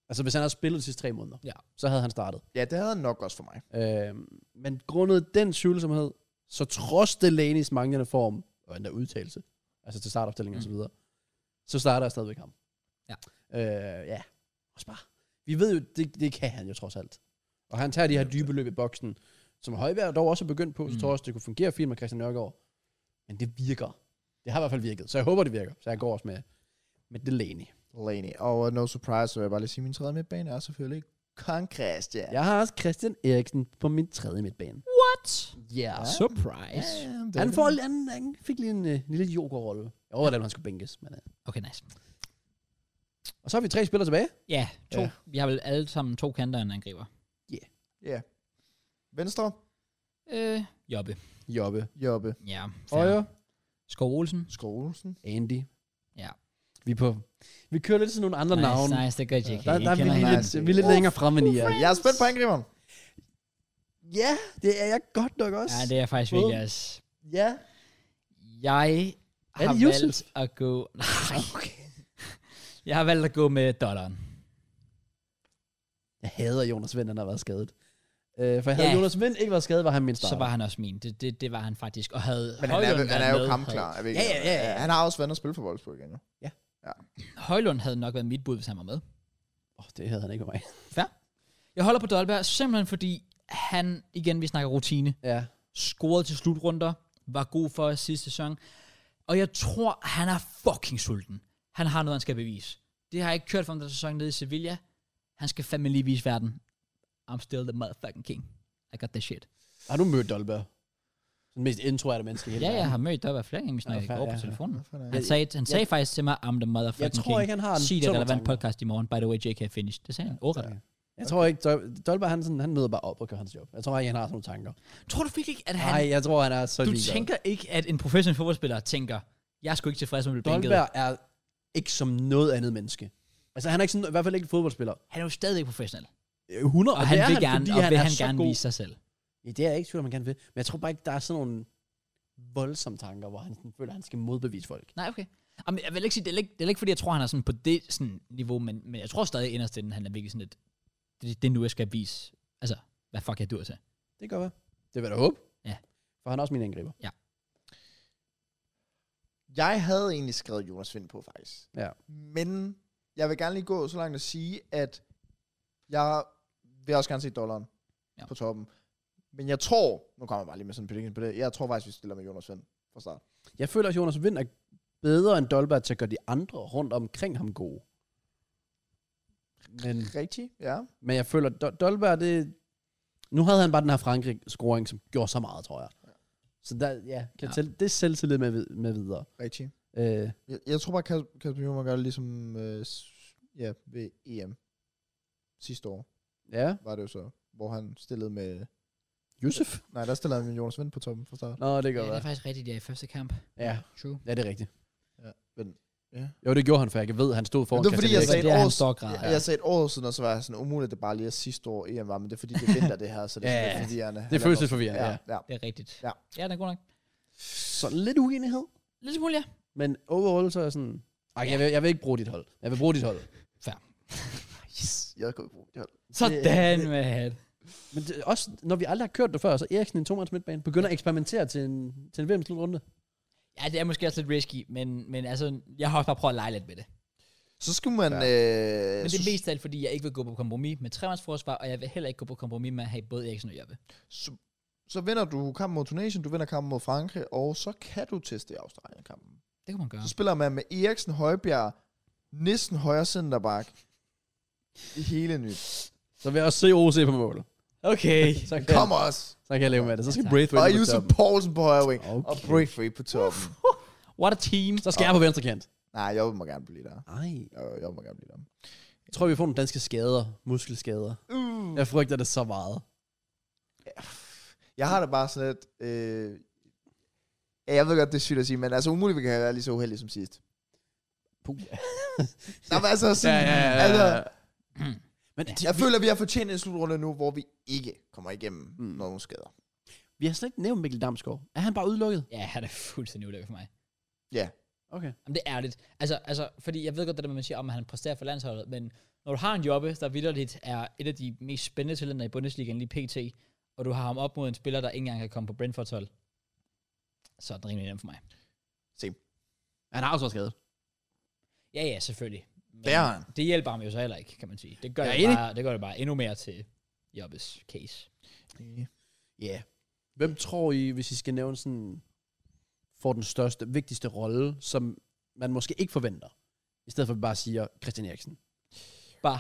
Speaker 2: Altså hvis han havde spillet de sidste tre måneder,
Speaker 1: Ja.
Speaker 2: så havde han startet.
Speaker 3: Ja, det havde han nok også for mig.
Speaker 2: Øhm, men grundet den tvivlsomhed, så trods Delaney's manglende form, og endda udtalelse, altså til startopstillingen
Speaker 1: Mm.
Speaker 2: og så videre, så starter jeg stadigvæk ham.
Speaker 1: Ja.
Speaker 2: Øh, ja. Også bare. Vi ved jo, det, det kan han jo trods alt. Og han tager de her dybe løb i boksen, som Højbjerg dog også er begyndt på, mm.
Speaker 1: Mm.
Speaker 2: så tror jeg også, det kunne fungere fint med Christian Nørgaard. Men det virker. Det har i hvert fald virket, så jeg håber, det virker. Så jeg går også med, med Delaney.
Speaker 3: Delaney. Og uh, no surprise, så vil jeg bare lige sige, at min tredje midtbane er selvfølgelig Kong Christian.
Speaker 2: Jeg har også Christian Eriksen på min tredje midtbane.
Speaker 1: What?
Speaker 2: Yeah.
Speaker 1: Surprise.
Speaker 3: det
Speaker 2: Han, får, han, han fik lige en øh, lille jokerrolle. Jeg overvejede, om han skulle bænkes. Men, øh.
Speaker 1: Okay, nice.
Speaker 2: Og så har vi tre spillere tilbage.
Speaker 1: Ja, to.
Speaker 3: Ja.
Speaker 1: Ja. Vi har vel alle sammen to kanter og en angriber.
Speaker 3: Ja. Venstre,
Speaker 1: Øh, Jobbe.
Speaker 2: Jobbe,
Speaker 3: Jobbe,
Speaker 1: Ja.
Speaker 2: Øjer,
Speaker 1: Skov Olsen.
Speaker 3: Skålsen.
Speaker 2: Andy.
Speaker 1: Ja.
Speaker 2: Vi, er på, vi kører lidt til nogle andre
Speaker 1: nice,
Speaker 2: navne.
Speaker 1: nice, det gør JK.
Speaker 2: Der, der er vi
Speaker 1: Kender
Speaker 2: lige
Speaker 1: ham.
Speaker 2: lidt, vi er lidt længere fremme end I er.
Speaker 3: Jeg er spændt på angriberen.
Speaker 2: Ja, det er jeg godt nok også.
Speaker 1: Ja, det er jeg faktisk
Speaker 2: Både-
Speaker 1: virkelig også.
Speaker 2: ja.
Speaker 1: Jeg
Speaker 2: Er
Speaker 1: har
Speaker 2: det Yusuf?
Speaker 1: valgt at gå... Nej. Okay. Jeg har valgt at gå med dollaren.
Speaker 2: Jeg hader at Jonas Vind, han har været skadet. Øh, for havde
Speaker 1: Ja.
Speaker 2: Jonas Vind ikke været skadet, var han min starter.
Speaker 1: Så var han også min. Det, det, det var han faktisk. Og havde
Speaker 3: Men han er,
Speaker 1: Højlund
Speaker 3: han
Speaker 1: været
Speaker 3: er jo
Speaker 1: med,
Speaker 3: kampklar. er vi ikke?
Speaker 1: Ja, ja, ja, ja.
Speaker 3: Han har også været at spille for Wolfsburg igen, jo.
Speaker 1: Havde, Højlund havde nok været mit bud, hvis han var med.
Speaker 2: oh, det havde han ikke med mig.
Speaker 1: Jeg holder på Dolberg, simpelthen fordi han, igen vi snakker rutine,
Speaker 2: Ja.
Speaker 1: scorede til slutrunder, var god for os sidste sæson. Og jeg tror, han er fucking sulten. Han har noget, han skal bevise. Det har jeg ikke kørt for ham den sæson nede i Sevilla. Han skal fandme lige vise verden. I'm still the motherfucking king. I got that shit.
Speaker 2: Har du mødt Dolberg? Den mest introverte menneske i hele
Speaker 1: Ja, jeg
Speaker 2: verden.
Speaker 1: har mødt dig hver flere gange, vi snakkede i
Speaker 2: fair,
Speaker 1: går på
Speaker 2: ja, ja.
Speaker 1: telefonen.
Speaker 6: Hvad fanden er
Speaker 1: Han sagde, han sagde faktisk til mig, I'm the motherfucking
Speaker 2: Jeg tror
Speaker 1: king.
Speaker 2: ikke, han har en
Speaker 1: Sig det,
Speaker 2: tømmer
Speaker 1: der var en
Speaker 2: tanker.
Speaker 1: podcast i morgen. By the way, JK finished. Det sagde han. Ja,
Speaker 2: Ja. Jeg tror ikke, Dol- Dolberg han, sådan, han møder bare op og gør hans job. Jeg tror ikke, han har sådan nogle tanker.
Speaker 1: Tror du virkelig ikke, at han...
Speaker 2: Nej, jeg tror, han er så
Speaker 1: du
Speaker 2: ligeglad.
Speaker 1: tænker ikke, at en professionel fodboldspiller tænker, jeg er sgu ikke tilfreds med at blive bænket.
Speaker 2: Dolberg er ikke som noget andet menneske. Altså, han er ikke sådan, i hvert fald ikke fodboldspiller.
Speaker 1: Han er jo stadig professionel.
Speaker 2: 100,
Speaker 1: Øh, Og, og han
Speaker 2: det er
Speaker 1: vil gerne,
Speaker 2: fordi
Speaker 1: og vil
Speaker 2: er
Speaker 1: han
Speaker 2: så
Speaker 1: gerne
Speaker 2: god.
Speaker 1: vise sig selv.
Speaker 2: Ja, det er jeg ikke tvivl, om, han gerne vil. Men jeg tror bare ikke, der er sådan nogle voldsomme tanker, hvor han sådan føler, at han skal modbevise folk.
Speaker 1: Nej, okay. Jamen, jeg vil ikke sige, det er ikke, det er ikke fordi, jeg tror, han er sådan på det sådan niveau, men, men jeg tror stadig inderst inden, han er virkelig sådan lidt, det, det er nu, jeg skal vise, altså, hvad fuck jeg dur til.
Speaker 2: Det gør jeg. Det vil jeg da håbe.
Speaker 1: Ja.
Speaker 2: For han er også min angriber.
Speaker 3: Jeg havde egentlig skrevet Jonas Vind på, faktisk.
Speaker 2: Ja.
Speaker 3: Men jeg vil gerne lige gå så langt at sige, at jeg vil også gerne se dollaren
Speaker 1: Ja.
Speaker 3: ja. på toppen. Men jeg tror, nu kommer jeg bare lige med sådan en prediction på det, jeg tror faktisk, vi stiller med Jonas Vind fra start.
Speaker 2: Jeg føler, at Jonas Vind er bedre end Dolberg til at gøre de andre rundt omkring ham gode. Men,
Speaker 3: Rigtig? Ja.
Speaker 2: men jeg føler, at Do- Dolberg, det... Nu havde han bare den her Frankrig-scoring, som gjorde så meget, tror jeg. Så der, ja, kan
Speaker 1: Ja.
Speaker 2: ja. Tælle, det er selvtillid med, vid- med videre.
Speaker 3: Rigtig.
Speaker 2: Øh,
Speaker 3: Jeg, jeg tror bare, Kas- Kasper Hjulmand gør det ligesom øh, s- ja, ved EM sidste år,
Speaker 2: ja,
Speaker 3: var det jo så, hvor han stillede med...
Speaker 2: Josef.
Speaker 3: Nej, der stillede han med Jonas Vind på toppen fra start.
Speaker 2: Nå, det
Speaker 1: Ja,
Speaker 2: gør
Speaker 1: det
Speaker 2: ja,
Speaker 1: er faktisk rigtigt, ja, i første kamp.
Speaker 2: ja.
Speaker 1: True.
Speaker 2: ja, det er rigtigt.
Speaker 3: Ja, men- ja.
Speaker 2: Jo, det gjorde han, for jeg kan ved, at han stod foran
Speaker 3: Men det er fordi,
Speaker 2: Christian
Speaker 3: jeg
Speaker 1: Det
Speaker 3: sagde
Speaker 1: er
Speaker 3: et
Speaker 1: der, han
Speaker 3: år,
Speaker 1: står og græder,
Speaker 3: jeg, jeg sagde altså, et år siden, og så var jeg sådan umuligt, at det bare lige er sidste år EM var, men det er fordi, det er vinter det her, så det er
Speaker 2: Ja,
Speaker 3: sådan
Speaker 2: ja,
Speaker 3: lidt forvirrende.
Speaker 2: Det føles lidt forvirrende, ja.
Speaker 3: ja. ja.
Speaker 1: Det er rigtigt.
Speaker 3: Ja.
Speaker 1: ja den er god nok.
Speaker 2: Så lidt uenighed.
Speaker 1: Lidt smule, ja.
Speaker 2: Men overall, så er jeg sådan... Ej, jeg vil, jeg vil ikke bruge dit hold. Jeg vil bruge dit hold.
Speaker 3: Yes, jeg kunne bruge det.
Speaker 1: Sådan, man.
Speaker 2: Men det, er også, når vi aldrig har kørt det før, så Eriksen i en tomands midtbane begynder at eksperimentere til en, til en VM-slutrunde.
Speaker 1: Ja, det er måske også lidt risky, men, men altså, jeg har også bare prøvet at lege lidt med det.
Speaker 3: Så skulle man...
Speaker 2: Ja.
Speaker 3: Ja. Øh,
Speaker 1: Men det
Speaker 3: så,
Speaker 1: er mest af alt, fordi jeg ikke vil gå på kompromis med tremandsforsvar, og jeg vil heller ikke gå på kompromis med at have både Eriksen og Jørgen.
Speaker 3: så, så vinder du kampen mod Tunesien, du vinder kampen mod Frankrig, og så kan du teste i Australien-kampen.
Speaker 1: Det kan man gøre.
Speaker 3: Så spiller man med Eriksen, Højbjerg, næsten højre centerback. I hele nyt.
Speaker 2: Så vil jeg også se OC på målet.
Speaker 1: Okay.
Speaker 2: Så kan,
Speaker 3: Kom os!
Speaker 2: så kan jeg leve med det. Så skal
Speaker 1: Ja,
Speaker 2: ja,
Speaker 1: tak.
Speaker 2: Braithwaite
Speaker 3: Og
Speaker 2: på
Speaker 3: Yusuf
Speaker 2: toppen.
Speaker 3: Poulsen på højre wing. Okay. Og
Speaker 2: Okay.
Speaker 3: Braithwaite på toppen.
Speaker 1: What a team.
Speaker 2: Så skal jeg på venstre kant.
Speaker 3: Nej, jeg må gerne blive der.
Speaker 2: Ej.
Speaker 3: Jeg, jeg må gerne blive der.
Speaker 2: Jeg tror, vi får nogle danske skader. Muskelskader.
Speaker 3: Uh.
Speaker 2: Jeg frygter det så meget.
Speaker 3: Jeg har det bare sådan lidt... Øh, ja, jeg ved godt, det er sygt at sige, men altså umuligt, vi kan være lige så uheldige som sidst.
Speaker 2: Puh.
Speaker 3: Nå, men altså, sådan, Altså,
Speaker 2: Men det,
Speaker 3: jeg føler, vi har fortjent en slutrunde nu, hvor vi ikke kommer igennem
Speaker 2: Mm.
Speaker 3: mm. nogen skader.
Speaker 2: vi har slet ikke nævnt Mikkel Damsgaard. Er han bare udelukket?
Speaker 1: Ja, han er fuldstændig ulykkelig for mig.
Speaker 2: Okay.
Speaker 1: Jamen, det er ærligt. Altså, altså, fordi jeg ved godt, det der med, at man siger, om at han præsterer for landsholdet, men når du har en jobbe, der vidderligt er et af de mest spændende talenter i Bundesligaen lige pt., og du har ham op mod en spiller, der ikke engang kan komme på Brentfords hold, så er den rimelig nem for mig.
Speaker 2: Han har også været skadet.
Speaker 1: Ja, ja, selvfølgelig. Men
Speaker 3: Det er han.
Speaker 1: det hjælper ham jo så heller ikke, kan man sige. Det gør,
Speaker 2: Jeg er
Speaker 1: det,
Speaker 2: enig.
Speaker 1: bare, det, gør det bare endnu mere til jobbes case.
Speaker 2: Ja. Yeah. Hvem tror I, hvis I skal nævne sådan, får den største, vigtigste rolle, som man måske ikke forventer, i stedet for at vi bare siger Christian Eriksen?
Speaker 1: Bare,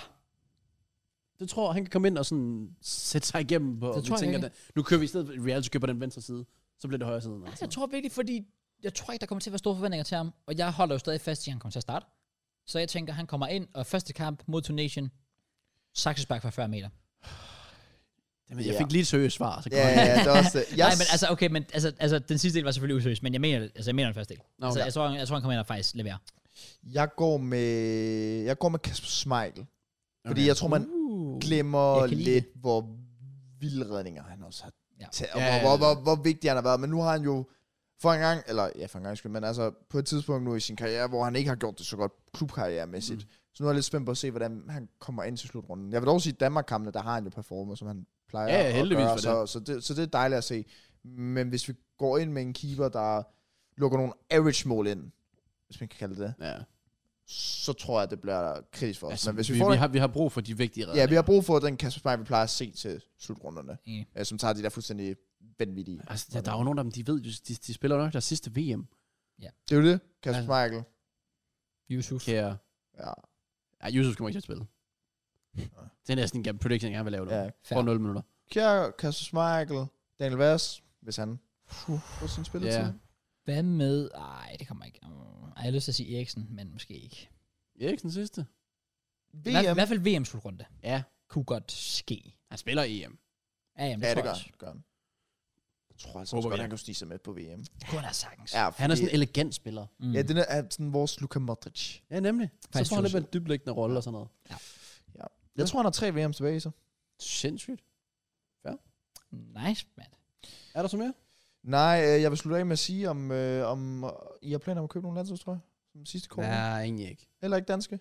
Speaker 2: Det tror han kan komme ind og sådan sætte sig igennem på,
Speaker 1: Det
Speaker 2: og vi
Speaker 1: tror jeg
Speaker 2: tænker,
Speaker 1: ikke.
Speaker 2: at nu kører vi i stedet for Real, så kører på den venstre side, så bliver det højre side.
Speaker 1: altså, jeg tror virkelig, fordi jeg tror ikke, der kommer til at være store forventninger til ham, og jeg holder jo stadig fast i, at han kommer til at starte. Så jeg tænker, han kommer ind, og første kamp mod Tunesien, saksespark fra 40 meter.
Speaker 2: Jamen, jeg
Speaker 3: Ja.
Speaker 2: fik lige et seriøst svar, så
Speaker 3: Ja, ja, ja, det er også det. Jeg,
Speaker 1: Nej, men altså, okay, men altså, altså, den sidste del var selvfølgelig useriøs, men jeg mener, altså, jeg mener den første del. Okay. Altså,
Speaker 2: okay.
Speaker 1: jeg, tror, han, jeg tror, han kommer ind og faktisk leverer.
Speaker 3: jeg, går med, jeg går med Kasper Schmeichel. Fordi jeg tror, man
Speaker 1: Uh.
Speaker 3: glemmer
Speaker 1: Jeg kan lide
Speaker 3: lidt, hvor vilde redninger han også har
Speaker 1: Ja.
Speaker 3: ja. taget, og
Speaker 2: Ja, ja,
Speaker 3: hvor,
Speaker 2: ja.
Speaker 3: hvor, hvor, hvor vigtig han har været. Men nu har han jo for en gang, eller ja, for en gang skyld, men altså på et tidspunkt nu i sin karriere, hvor han ikke har gjort det så godt klubkarrieremæssigt. Mm. Så nu er jeg lidt spændt på at se, hvordan han kommer ind til slutrunden. Jeg vil dog sige, at Danmark-kampene, der har han jo performet, som han plejer
Speaker 2: Ja, ja,
Speaker 3: at
Speaker 2: heldigvis
Speaker 3: gøre,
Speaker 2: for
Speaker 3: så, så, det, så det er dejligt at se. Men hvis vi går ind med en keeper, der lukker nogle average-mål ind, hvis man kan kalde det det,
Speaker 2: Ja.
Speaker 3: så tror jeg, det bliver kritisk for os.
Speaker 2: Altså,
Speaker 3: men hvis
Speaker 2: vi,
Speaker 3: vi,
Speaker 2: vi,
Speaker 3: får den-
Speaker 2: har, vi har brug for de vigtige redder.
Speaker 3: Ja, vi har brug for den Kasper Smeichel, vi plejer at se til slutrunderne.
Speaker 1: Enig.
Speaker 3: Mm. Som tager de der fuldstændig vanvittige.
Speaker 2: Altså, der, der er jo nogen af dem, de ved, de, de spiller nok deres sidste VM.
Speaker 3: Det er jo det, Kasper
Speaker 2: Altså-
Speaker 3: altså. Michael.
Speaker 1: Yusuf.
Speaker 2: Kære.
Speaker 3: Ja,
Speaker 2: Ja, Yusuf kommer ikke til at spille. Det er næsten en prediction, jeg vil lave nu. Ja,
Speaker 3: ja.
Speaker 2: for 0 minutter.
Speaker 3: Kjær, Kasper Michael, Daniel Vass, hvis han får sin spilletid.
Speaker 2: Ja.
Speaker 3: Yeah.
Speaker 1: Hvad med... Ej, det kommer ikke... Mm, ej, jeg har lyst til at sige Eriksen, men måske ikke.
Speaker 2: Eriksen sidste.
Speaker 1: I hvert- I
Speaker 3: VM.
Speaker 1: hvert fald VM slutrunde.
Speaker 2: Ja,
Speaker 1: Kunne godt ske.
Speaker 2: han spiller EM.
Speaker 1: Ja, jamen, det, tror
Speaker 3: Ja, det
Speaker 1: jeg
Speaker 3: gør
Speaker 1: også.
Speaker 3: han. det gør han. Jeg tror altså
Speaker 2: Håber
Speaker 3: også
Speaker 2: vi,
Speaker 3: godt,
Speaker 2: ja.
Speaker 3: han kan stige sig med på VM.
Speaker 1: Det kunne han have sagtens.
Speaker 3: Ja,
Speaker 2: Han er sådan en elegant spiller.
Speaker 1: Mm.
Speaker 3: Ja, den er, er sådan vores Luka Modric.
Speaker 2: Ja, nemlig. Så
Speaker 1: Faktisk
Speaker 2: får han lidt
Speaker 1: synes
Speaker 2: med en dyblæggende rolle og sådan noget.
Speaker 3: Jeg tror, han har tre VM tilbage i sig.
Speaker 2: Sindssygt.
Speaker 1: Nice, mand.
Speaker 2: Er der så mere?
Speaker 3: Nej, øh, jeg vil slutte af med at sige, om, øh, om øh, I har planer om at købe nogle landsholdstrøjer? Som sidste kort? Ja.
Speaker 2: egentlig ikke.
Speaker 3: Eller ikke danske?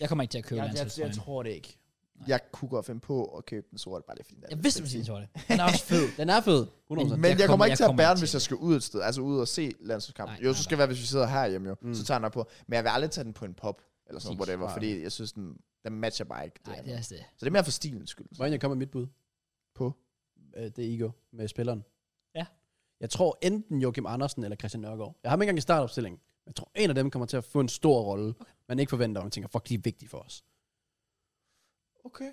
Speaker 1: Jeg kommer ikke til at købe
Speaker 2: Jeg,
Speaker 1: ja,
Speaker 2: jeg, jeg,
Speaker 1: landsholdstrøjen. Jeg,
Speaker 2: tror det ikke.
Speaker 1: Nej.
Speaker 3: Jeg kunne godt finde på at købe den sorte, bare lige fordi den er lidt
Speaker 1: vidste, du
Speaker 3: sexy.
Speaker 1: ville sige det. Den er også fed.
Speaker 2: Den er fed. 100%.
Speaker 1: Men-
Speaker 3: Men jeg, jeg kommer
Speaker 1: kommer-
Speaker 3: ikke til
Speaker 1: jeg
Speaker 3: at bære
Speaker 1: kommer
Speaker 3: den,
Speaker 1: til
Speaker 3: hvis jeg skal ud et sted. Altså ud og se landskampen.
Speaker 1: Nej,
Speaker 3: Jo,
Speaker 1: nej,
Speaker 3: så skal det være, hvis vi sidder herhjemme jo.
Speaker 2: Mm.
Speaker 3: Så tager jeg den op på. Men jeg vil aldrig tage den på en pop. Eller sådan
Speaker 1: Præcis.
Speaker 3: noget, whatever.
Speaker 2: Nej.
Speaker 3: Fordi jeg synes, den, den matcher bare ikke. Det
Speaker 1: Nej,
Speaker 3: her.
Speaker 1: det er også det.
Speaker 3: Så det er mere for stilens skyld.
Speaker 2: Må jeg komme med mit bud?
Speaker 3: På?
Speaker 2: Øh, det er Igor med spilleren.
Speaker 1: Ja.
Speaker 2: Jeg tror enten Joachim Andersen eller Christian Nørgaard. Jeg har dem ikke engang i startopstillingen. Men Jeg tror, en af dem kommer til at få en stor rolle, okay. man ikke forventer, og man tænker, fuck, de er vigtige for os.
Speaker 3: Okay.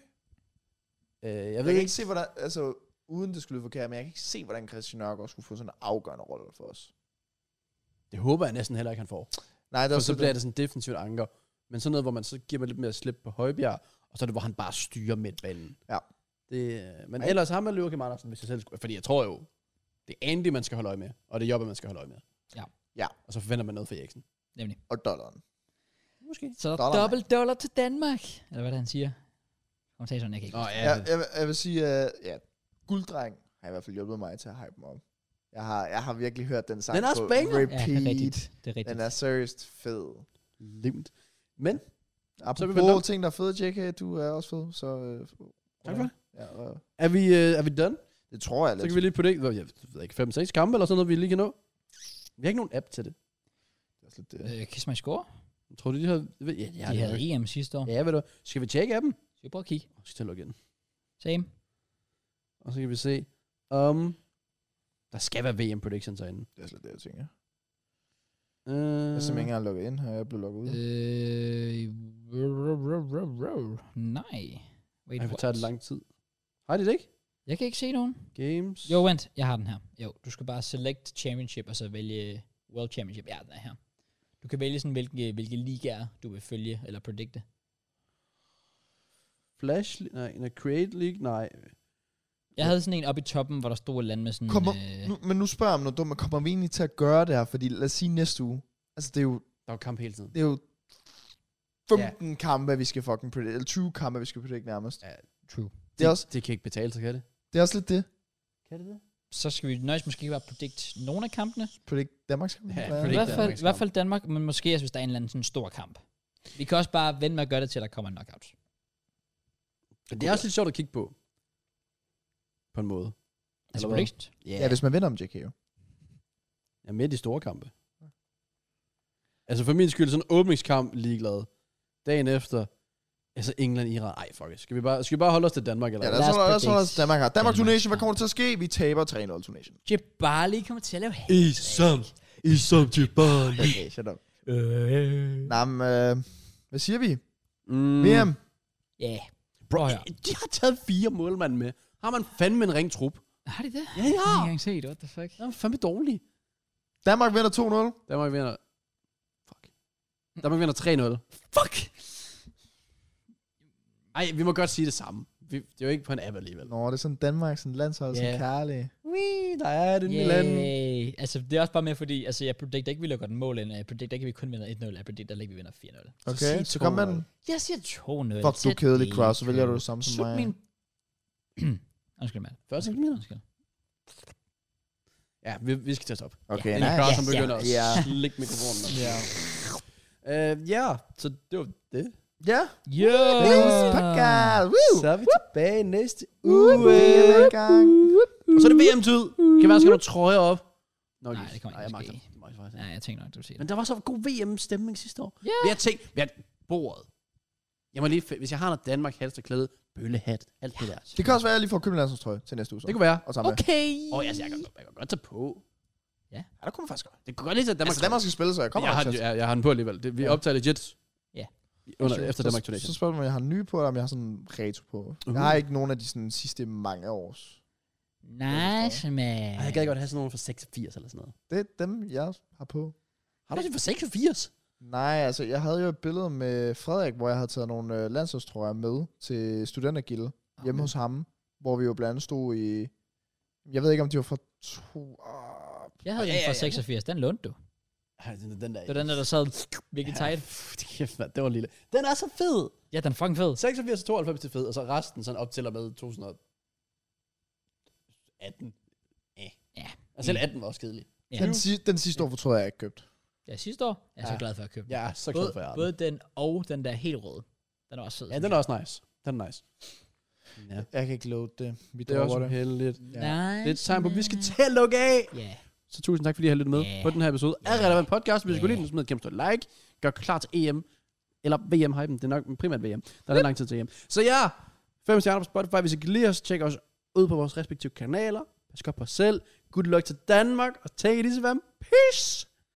Speaker 2: Øh, jeg ved
Speaker 3: Jeg, jeg kan ikke se, hvordan... Altså, uden det skulle lyde forkert, men jeg kan ikke se, hvordan Christian Nørgaard skulle få sådan en afgørende rolle for os.
Speaker 2: Det håber jeg næsten heller ikke, han får.
Speaker 3: Nej, det er
Speaker 2: For
Speaker 3: også
Speaker 2: så
Speaker 3: det.
Speaker 2: bliver det sådan defensivt anker. Men sådan noget, hvor man så giver man lidt mere slip på Højbjerg, og så er det, hvor han bare styrer midtbanen.
Speaker 3: Ja.
Speaker 2: Det, øh, men
Speaker 3: Ej.
Speaker 2: ellers har man Joachim Andersen, hvis jeg selv skulle. Fordi jeg tror jo, det er Andy, man skal holde øje med, og det er Jobbe, man skal holde øje med.
Speaker 1: Ja.
Speaker 3: Ja.
Speaker 2: Og så forventer man noget fra Eriksen.
Speaker 3: Og dollaren.
Speaker 2: Måske.
Speaker 1: Så
Speaker 3: Dollar, mand.
Speaker 1: dobbelt dollar til Danmark. Eller hvad er det, han siger. Hun sagde sådan, jeg kan
Speaker 2: Nå,
Speaker 1: ikke.
Speaker 2: ja,
Speaker 3: jeg,
Speaker 2: det-
Speaker 3: jeg, vil- jeg vil sige, at ja, Gulddreng har i hvert fald hjulpet mig til at hype mig op. Jeg har, jeg har virkelig hørt den sang
Speaker 2: Den er
Speaker 3: på
Speaker 2: banger.
Speaker 1: Ja, det er rigtigt.
Speaker 3: repeat.
Speaker 1: Det er rigtigt.
Speaker 3: den er seriøst fed.
Speaker 2: Limt. Men, vi vendt om.
Speaker 3: Apropos ting, der er fede, JK, du er også fed, så... Øh,
Speaker 2: tak for det.
Speaker 3: ja, øh,
Speaker 2: Er vi, øh, er vi done?
Speaker 3: det tror jeg
Speaker 2: Så
Speaker 3: lidt.
Speaker 2: kan vi lige putte, jeg ved ikke, 5-6 kampe eller sådan noget, vi lige kan nå. Vi har ikke nogen app til det.
Speaker 3: Det er også lidt, øh,
Speaker 1: Øh, Kiss My Score.
Speaker 2: Jeg tror, de havde... ved- Ja,
Speaker 1: Ja,
Speaker 2: ja,
Speaker 1: de havde EM sidste år. Ja.
Speaker 2: Ja, ved du. Skal vi tjekke appen?
Speaker 1: Så prøv at kigge.
Speaker 2: Jeg skal til at logge ind.
Speaker 1: Same.
Speaker 2: Og så kan vi se, om... Der skal være VM predictions herinde.
Speaker 3: det er også lidt det, jeg tænker.
Speaker 2: Uh,
Speaker 3: Jeg er simpelthen ikke engang logget ind her, jeg blev
Speaker 2: Mm.
Speaker 3: logget ud.
Speaker 1: Øh, ro- ro- ro- ro- ro. Nej. Wait,
Speaker 2: Ej, det
Speaker 1: what?
Speaker 2: tager det lang tid. Har de det ikke?
Speaker 1: Jeg kan ikke se nogen.
Speaker 2: Games.
Speaker 1: Jo, vent. Jeg har den her. Jo, du skal bare select championship, og så vælge World Championship. Ja, den er her. Du kan vælge sådan, hvilke, hvilke ligaer du vil følge eller predikte.
Speaker 2: Flash, nej, nej, Create League, nej.
Speaker 1: Jeg havde sådan en oppe i toppen, hvor der stod et eller andet med sådan...
Speaker 3: Kommer,
Speaker 1: øh,
Speaker 3: nu, men nu spørger jeg om noget dumt, men kommer vi egentlig til at gøre det her? Fordi lad os sige næste uge. Altså, det er jo,
Speaker 2: Der var kamp hele tiden.
Speaker 3: det er jo 15 kampe, vi skal fucking predict, eller 20 kampe, vi skal predict nærmest.
Speaker 1: True.
Speaker 3: Det er også,
Speaker 2: Det kan ikke betale sig, kan det?
Speaker 3: det er også lidt det.
Speaker 2: Kan det det?
Speaker 1: Så skal vi nøjes måske bare predikt nogle af kampene.
Speaker 3: Predict Danmarks kampe?
Speaker 2: Ja,
Speaker 1: I
Speaker 2: predict
Speaker 1: hvert, fald,
Speaker 2: Danmarks
Speaker 1: I hvert fald Danmark, men måske også, hvis der er en eller anden sådan stor kamp. Vi kan også bare vente med at gøre det til, at der kommer en knockout.
Speaker 2: Men det er også lidt sjovt at kigge på. På en måde.
Speaker 1: Altså
Speaker 2: Eller hvad?
Speaker 1: predict.
Speaker 3: Ja, hvis man vinder om JK jo.
Speaker 2: Jeg er med i de store kampe. Altså for min skyld, sådan en åbningskamp ligeglad. Dagen efter, altså England, Iran. Ej, fuck it. Skal vi bare, skal vi bare holde os til Danmark, eller
Speaker 3: Ja,
Speaker 2: hvad?
Speaker 3: lad os
Speaker 1: Lad os
Speaker 3: holde- lad os holde os
Speaker 1: predict
Speaker 3: Danmark her. Danmark
Speaker 1: Danmark.
Speaker 3: Tunation, hvad kommer der til at ske? Vi taber 3-0 Tunation.
Speaker 1: Jebali kommer til at lave
Speaker 2: I som, i som Jibali.
Speaker 3: Okay, shut up. Nej, men, øh, hvad siger vi?
Speaker 2: Mm.
Speaker 3: VM,
Speaker 1: Ja.
Speaker 2: Bro,
Speaker 1: Prøv at høre.
Speaker 2: de har taget fire målmand med. Har man fandme en ring trup?
Speaker 1: Øh, Har de det? Jeg
Speaker 2: Ja, ja.
Speaker 1: har ikke engang set, what the fuck.
Speaker 2: De er fandme dårlige.
Speaker 3: Danmark vinder 2-0.
Speaker 2: Danmark vinder... Fuck. Danmark vinder 3-0.
Speaker 1: Fuck!
Speaker 2: Ej, vi må godt sige det samme. Vi, det er jo ikke på en app alligevel.
Speaker 3: Nå, det er sådan Danmark, sådan landshold, yeah.
Speaker 2: Ja.
Speaker 3: sådan kærlig.
Speaker 2: Ui, der er det yeah. land.
Speaker 1: Yay. Altså, det er også bare med, fordi altså, jeg predicter ikke, vi lukker den mål ind. Jeg predicter ikke, at vi kun vinder 1-0. Jeg predicter ikke, at vi vinder 4-0.
Speaker 3: Okay,
Speaker 2: sig
Speaker 3: så, kom med
Speaker 2: 2-0.
Speaker 3: den.
Speaker 1: Jeg siger 2-0.
Speaker 3: Fuck, du er
Speaker 1: til
Speaker 3: kedelig,
Speaker 1: DK.
Speaker 3: Kraus, så vælger du det samme som
Speaker 1: Slut
Speaker 3: mig.
Speaker 1: min... Undskyld, mand.
Speaker 2: 40 centimeter.
Speaker 1: Undskyld.
Speaker 2: Ja, vi, vi skal til at stoppe.
Speaker 3: Okay,
Speaker 2: Ja,
Speaker 3: nej.
Speaker 2: Kraus,
Speaker 1: Ja,
Speaker 2: han begynder
Speaker 3: ja.
Speaker 2: at
Speaker 3: Ja.
Speaker 2: slikke mikrofonen. op.
Speaker 3: Ja.
Speaker 2: Øh, ja, så det var det.
Speaker 3: Ja,
Speaker 1: Yo!
Speaker 3: Blues Podcast. Woo!
Speaker 2: Så er vi tilbage næste uge.
Speaker 3: Woo! VM er i gang.
Speaker 2: Og så er det VM-tid. Kan være, skal du trøje op? Nå,
Speaker 1: Nej,
Speaker 2: Jesus.
Speaker 1: det kommer ikke
Speaker 2: jeg
Speaker 1: til at
Speaker 2: magter
Speaker 1: ske.
Speaker 2: det. Det må jeg faktisk ikke.
Speaker 1: Ja, jeg tænkte nok, du siger
Speaker 2: Men
Speaker 1: det.
Speaker 2: der var så god VM-stemning sidste år.
Speaker 1: Ja.
Speaker 2: Vi har tænkt, vi har bordet. Jeg må lige, hvis jeg har noget Danmark halsterklæde, bøllehat, alt det der.
Speaker 3: Det kan også være, at jeg lige får købt en landsholdstrøje til næste uge. Så.
Speaker 2: Det kunne være.
Speaker 3: og sammen okay.
Speaker 1: Okay.
Speaker 2: Åh, oh, altså, jeg kan, jeg kan godt tage på.
Speaker 3: Ja, der kunne man faktisk godt.
Speaker 2: Det kunne godt lige tage Danmark.
Speaker 3: Altså, Danmark skal spille, så jeg kommer
Speaker 2: jeg, har,
Speaker 3: nok til at-
Speaker 2: jeg, jeg har den på alligevel. Det, vi
Speaker 3: Ja.
Speaker 2: optager legit.
Speaker 1: Ja.
Speaker 2: Under,
Speaker 3: Så-
Speaker 2: efter
Speaker 3: så-
Speaker 2: Danmark
Speaker 3: Så
Speaker 2: Donation.
Speaker 3: spørger man, om jeg har en ny på, eller om jeg har sådan en retro på.
Speaker 2: Uh.
Speaker 3: Jeg har ikke nogen af de sådan, sidste mange års.
Speaker 1: Nice, man.
Speaker 2: Ej, jeg gad godt have sådan nogen for 86 eller sådan noget.
Speaker 3: Det er dem, jeg har på.
Speaker 2: Har du det for 86?
Speaker 3: Nej, altså, jeg havde jo et billede med Frederik, hvor jeg havde taget nogle øh, landsholdstrøjer med til studentergilde
Speaker 1: Ah,
Speaker 3: hjemme hos ham, hvor vi jo blandt andet stod i... Jeg ved ikke, om de var fra to... Ah,
Speaker 1: Jeg havde
Speaker 2: Ja,
Speaker 1: en
Speaker 2: ja,
Speaker 1: fra
Speaker 2: ja.
Speaker 1: 86. Den lånte du.
Speaker 2: Ej, den, den der.
Speaker 1: Det var den der, der sad virkelig tight.
Speaker 2: Pff, det kæft, mand. Det var lille. Den er så fed.
Speaker 1: Ja, den er fucking fed.
Speaker 2: 86 92 til fed, og så resten sådan op til og med 2018. Eh.
Speaker 1: Ja.
Speaker 2: Og selv 18 var også kedelig.
Speaker 1: Ja.
Speaker 3: den, si- den sidste år fortrød jeg, jeg ikke købte.
Speaker 1: Ja, sidste år. Jeg er så
Speaker 2: Ja.
Speaker 1: glad for at købe den.
Speaker 2: Jeg er så glad
Speaker 1: Både,
Speaker 2: for jer.
Speaker 1: både den og den der helt røde. Den er også fed.
Speaker 2: Ja, den er også nice. Den er nice. Ja.
Speaker 7: Jeg kan ikke load det. Vi
Speaker 2: Det er også
Speaker 7: det.
Speaker 2: heldigt.
Speaker 1: Ja. Nice,
Speaker 2: Det er et tegn på, at vi skal
Speaker 1: man.
Speaker 2: til at lukke af.
Speaker 1: Ja.
Speaker 2: Så tusind tak, fordi I har lyttet med
Speaker 1: Ja.
Speaker 2: yeah. på den her episode af
Speaker 1: Ja.
Speaker 2: Relevant Podcast. Hvis I
Speaker 1: Ja.
Speaker 2: kunne lide den, så smid et kæmpe stort like. Gør klar til EM. Eller VM-hypen. Det er nok primært VM. Der er lang tid til EM. Så ja, fem stjerner på Spotify. Hvis I kan lide os, tjek os ud på vores respektive kanaler. Pas godt på os selv. Good luck til Danmark. Og take it easy, fam. Peace!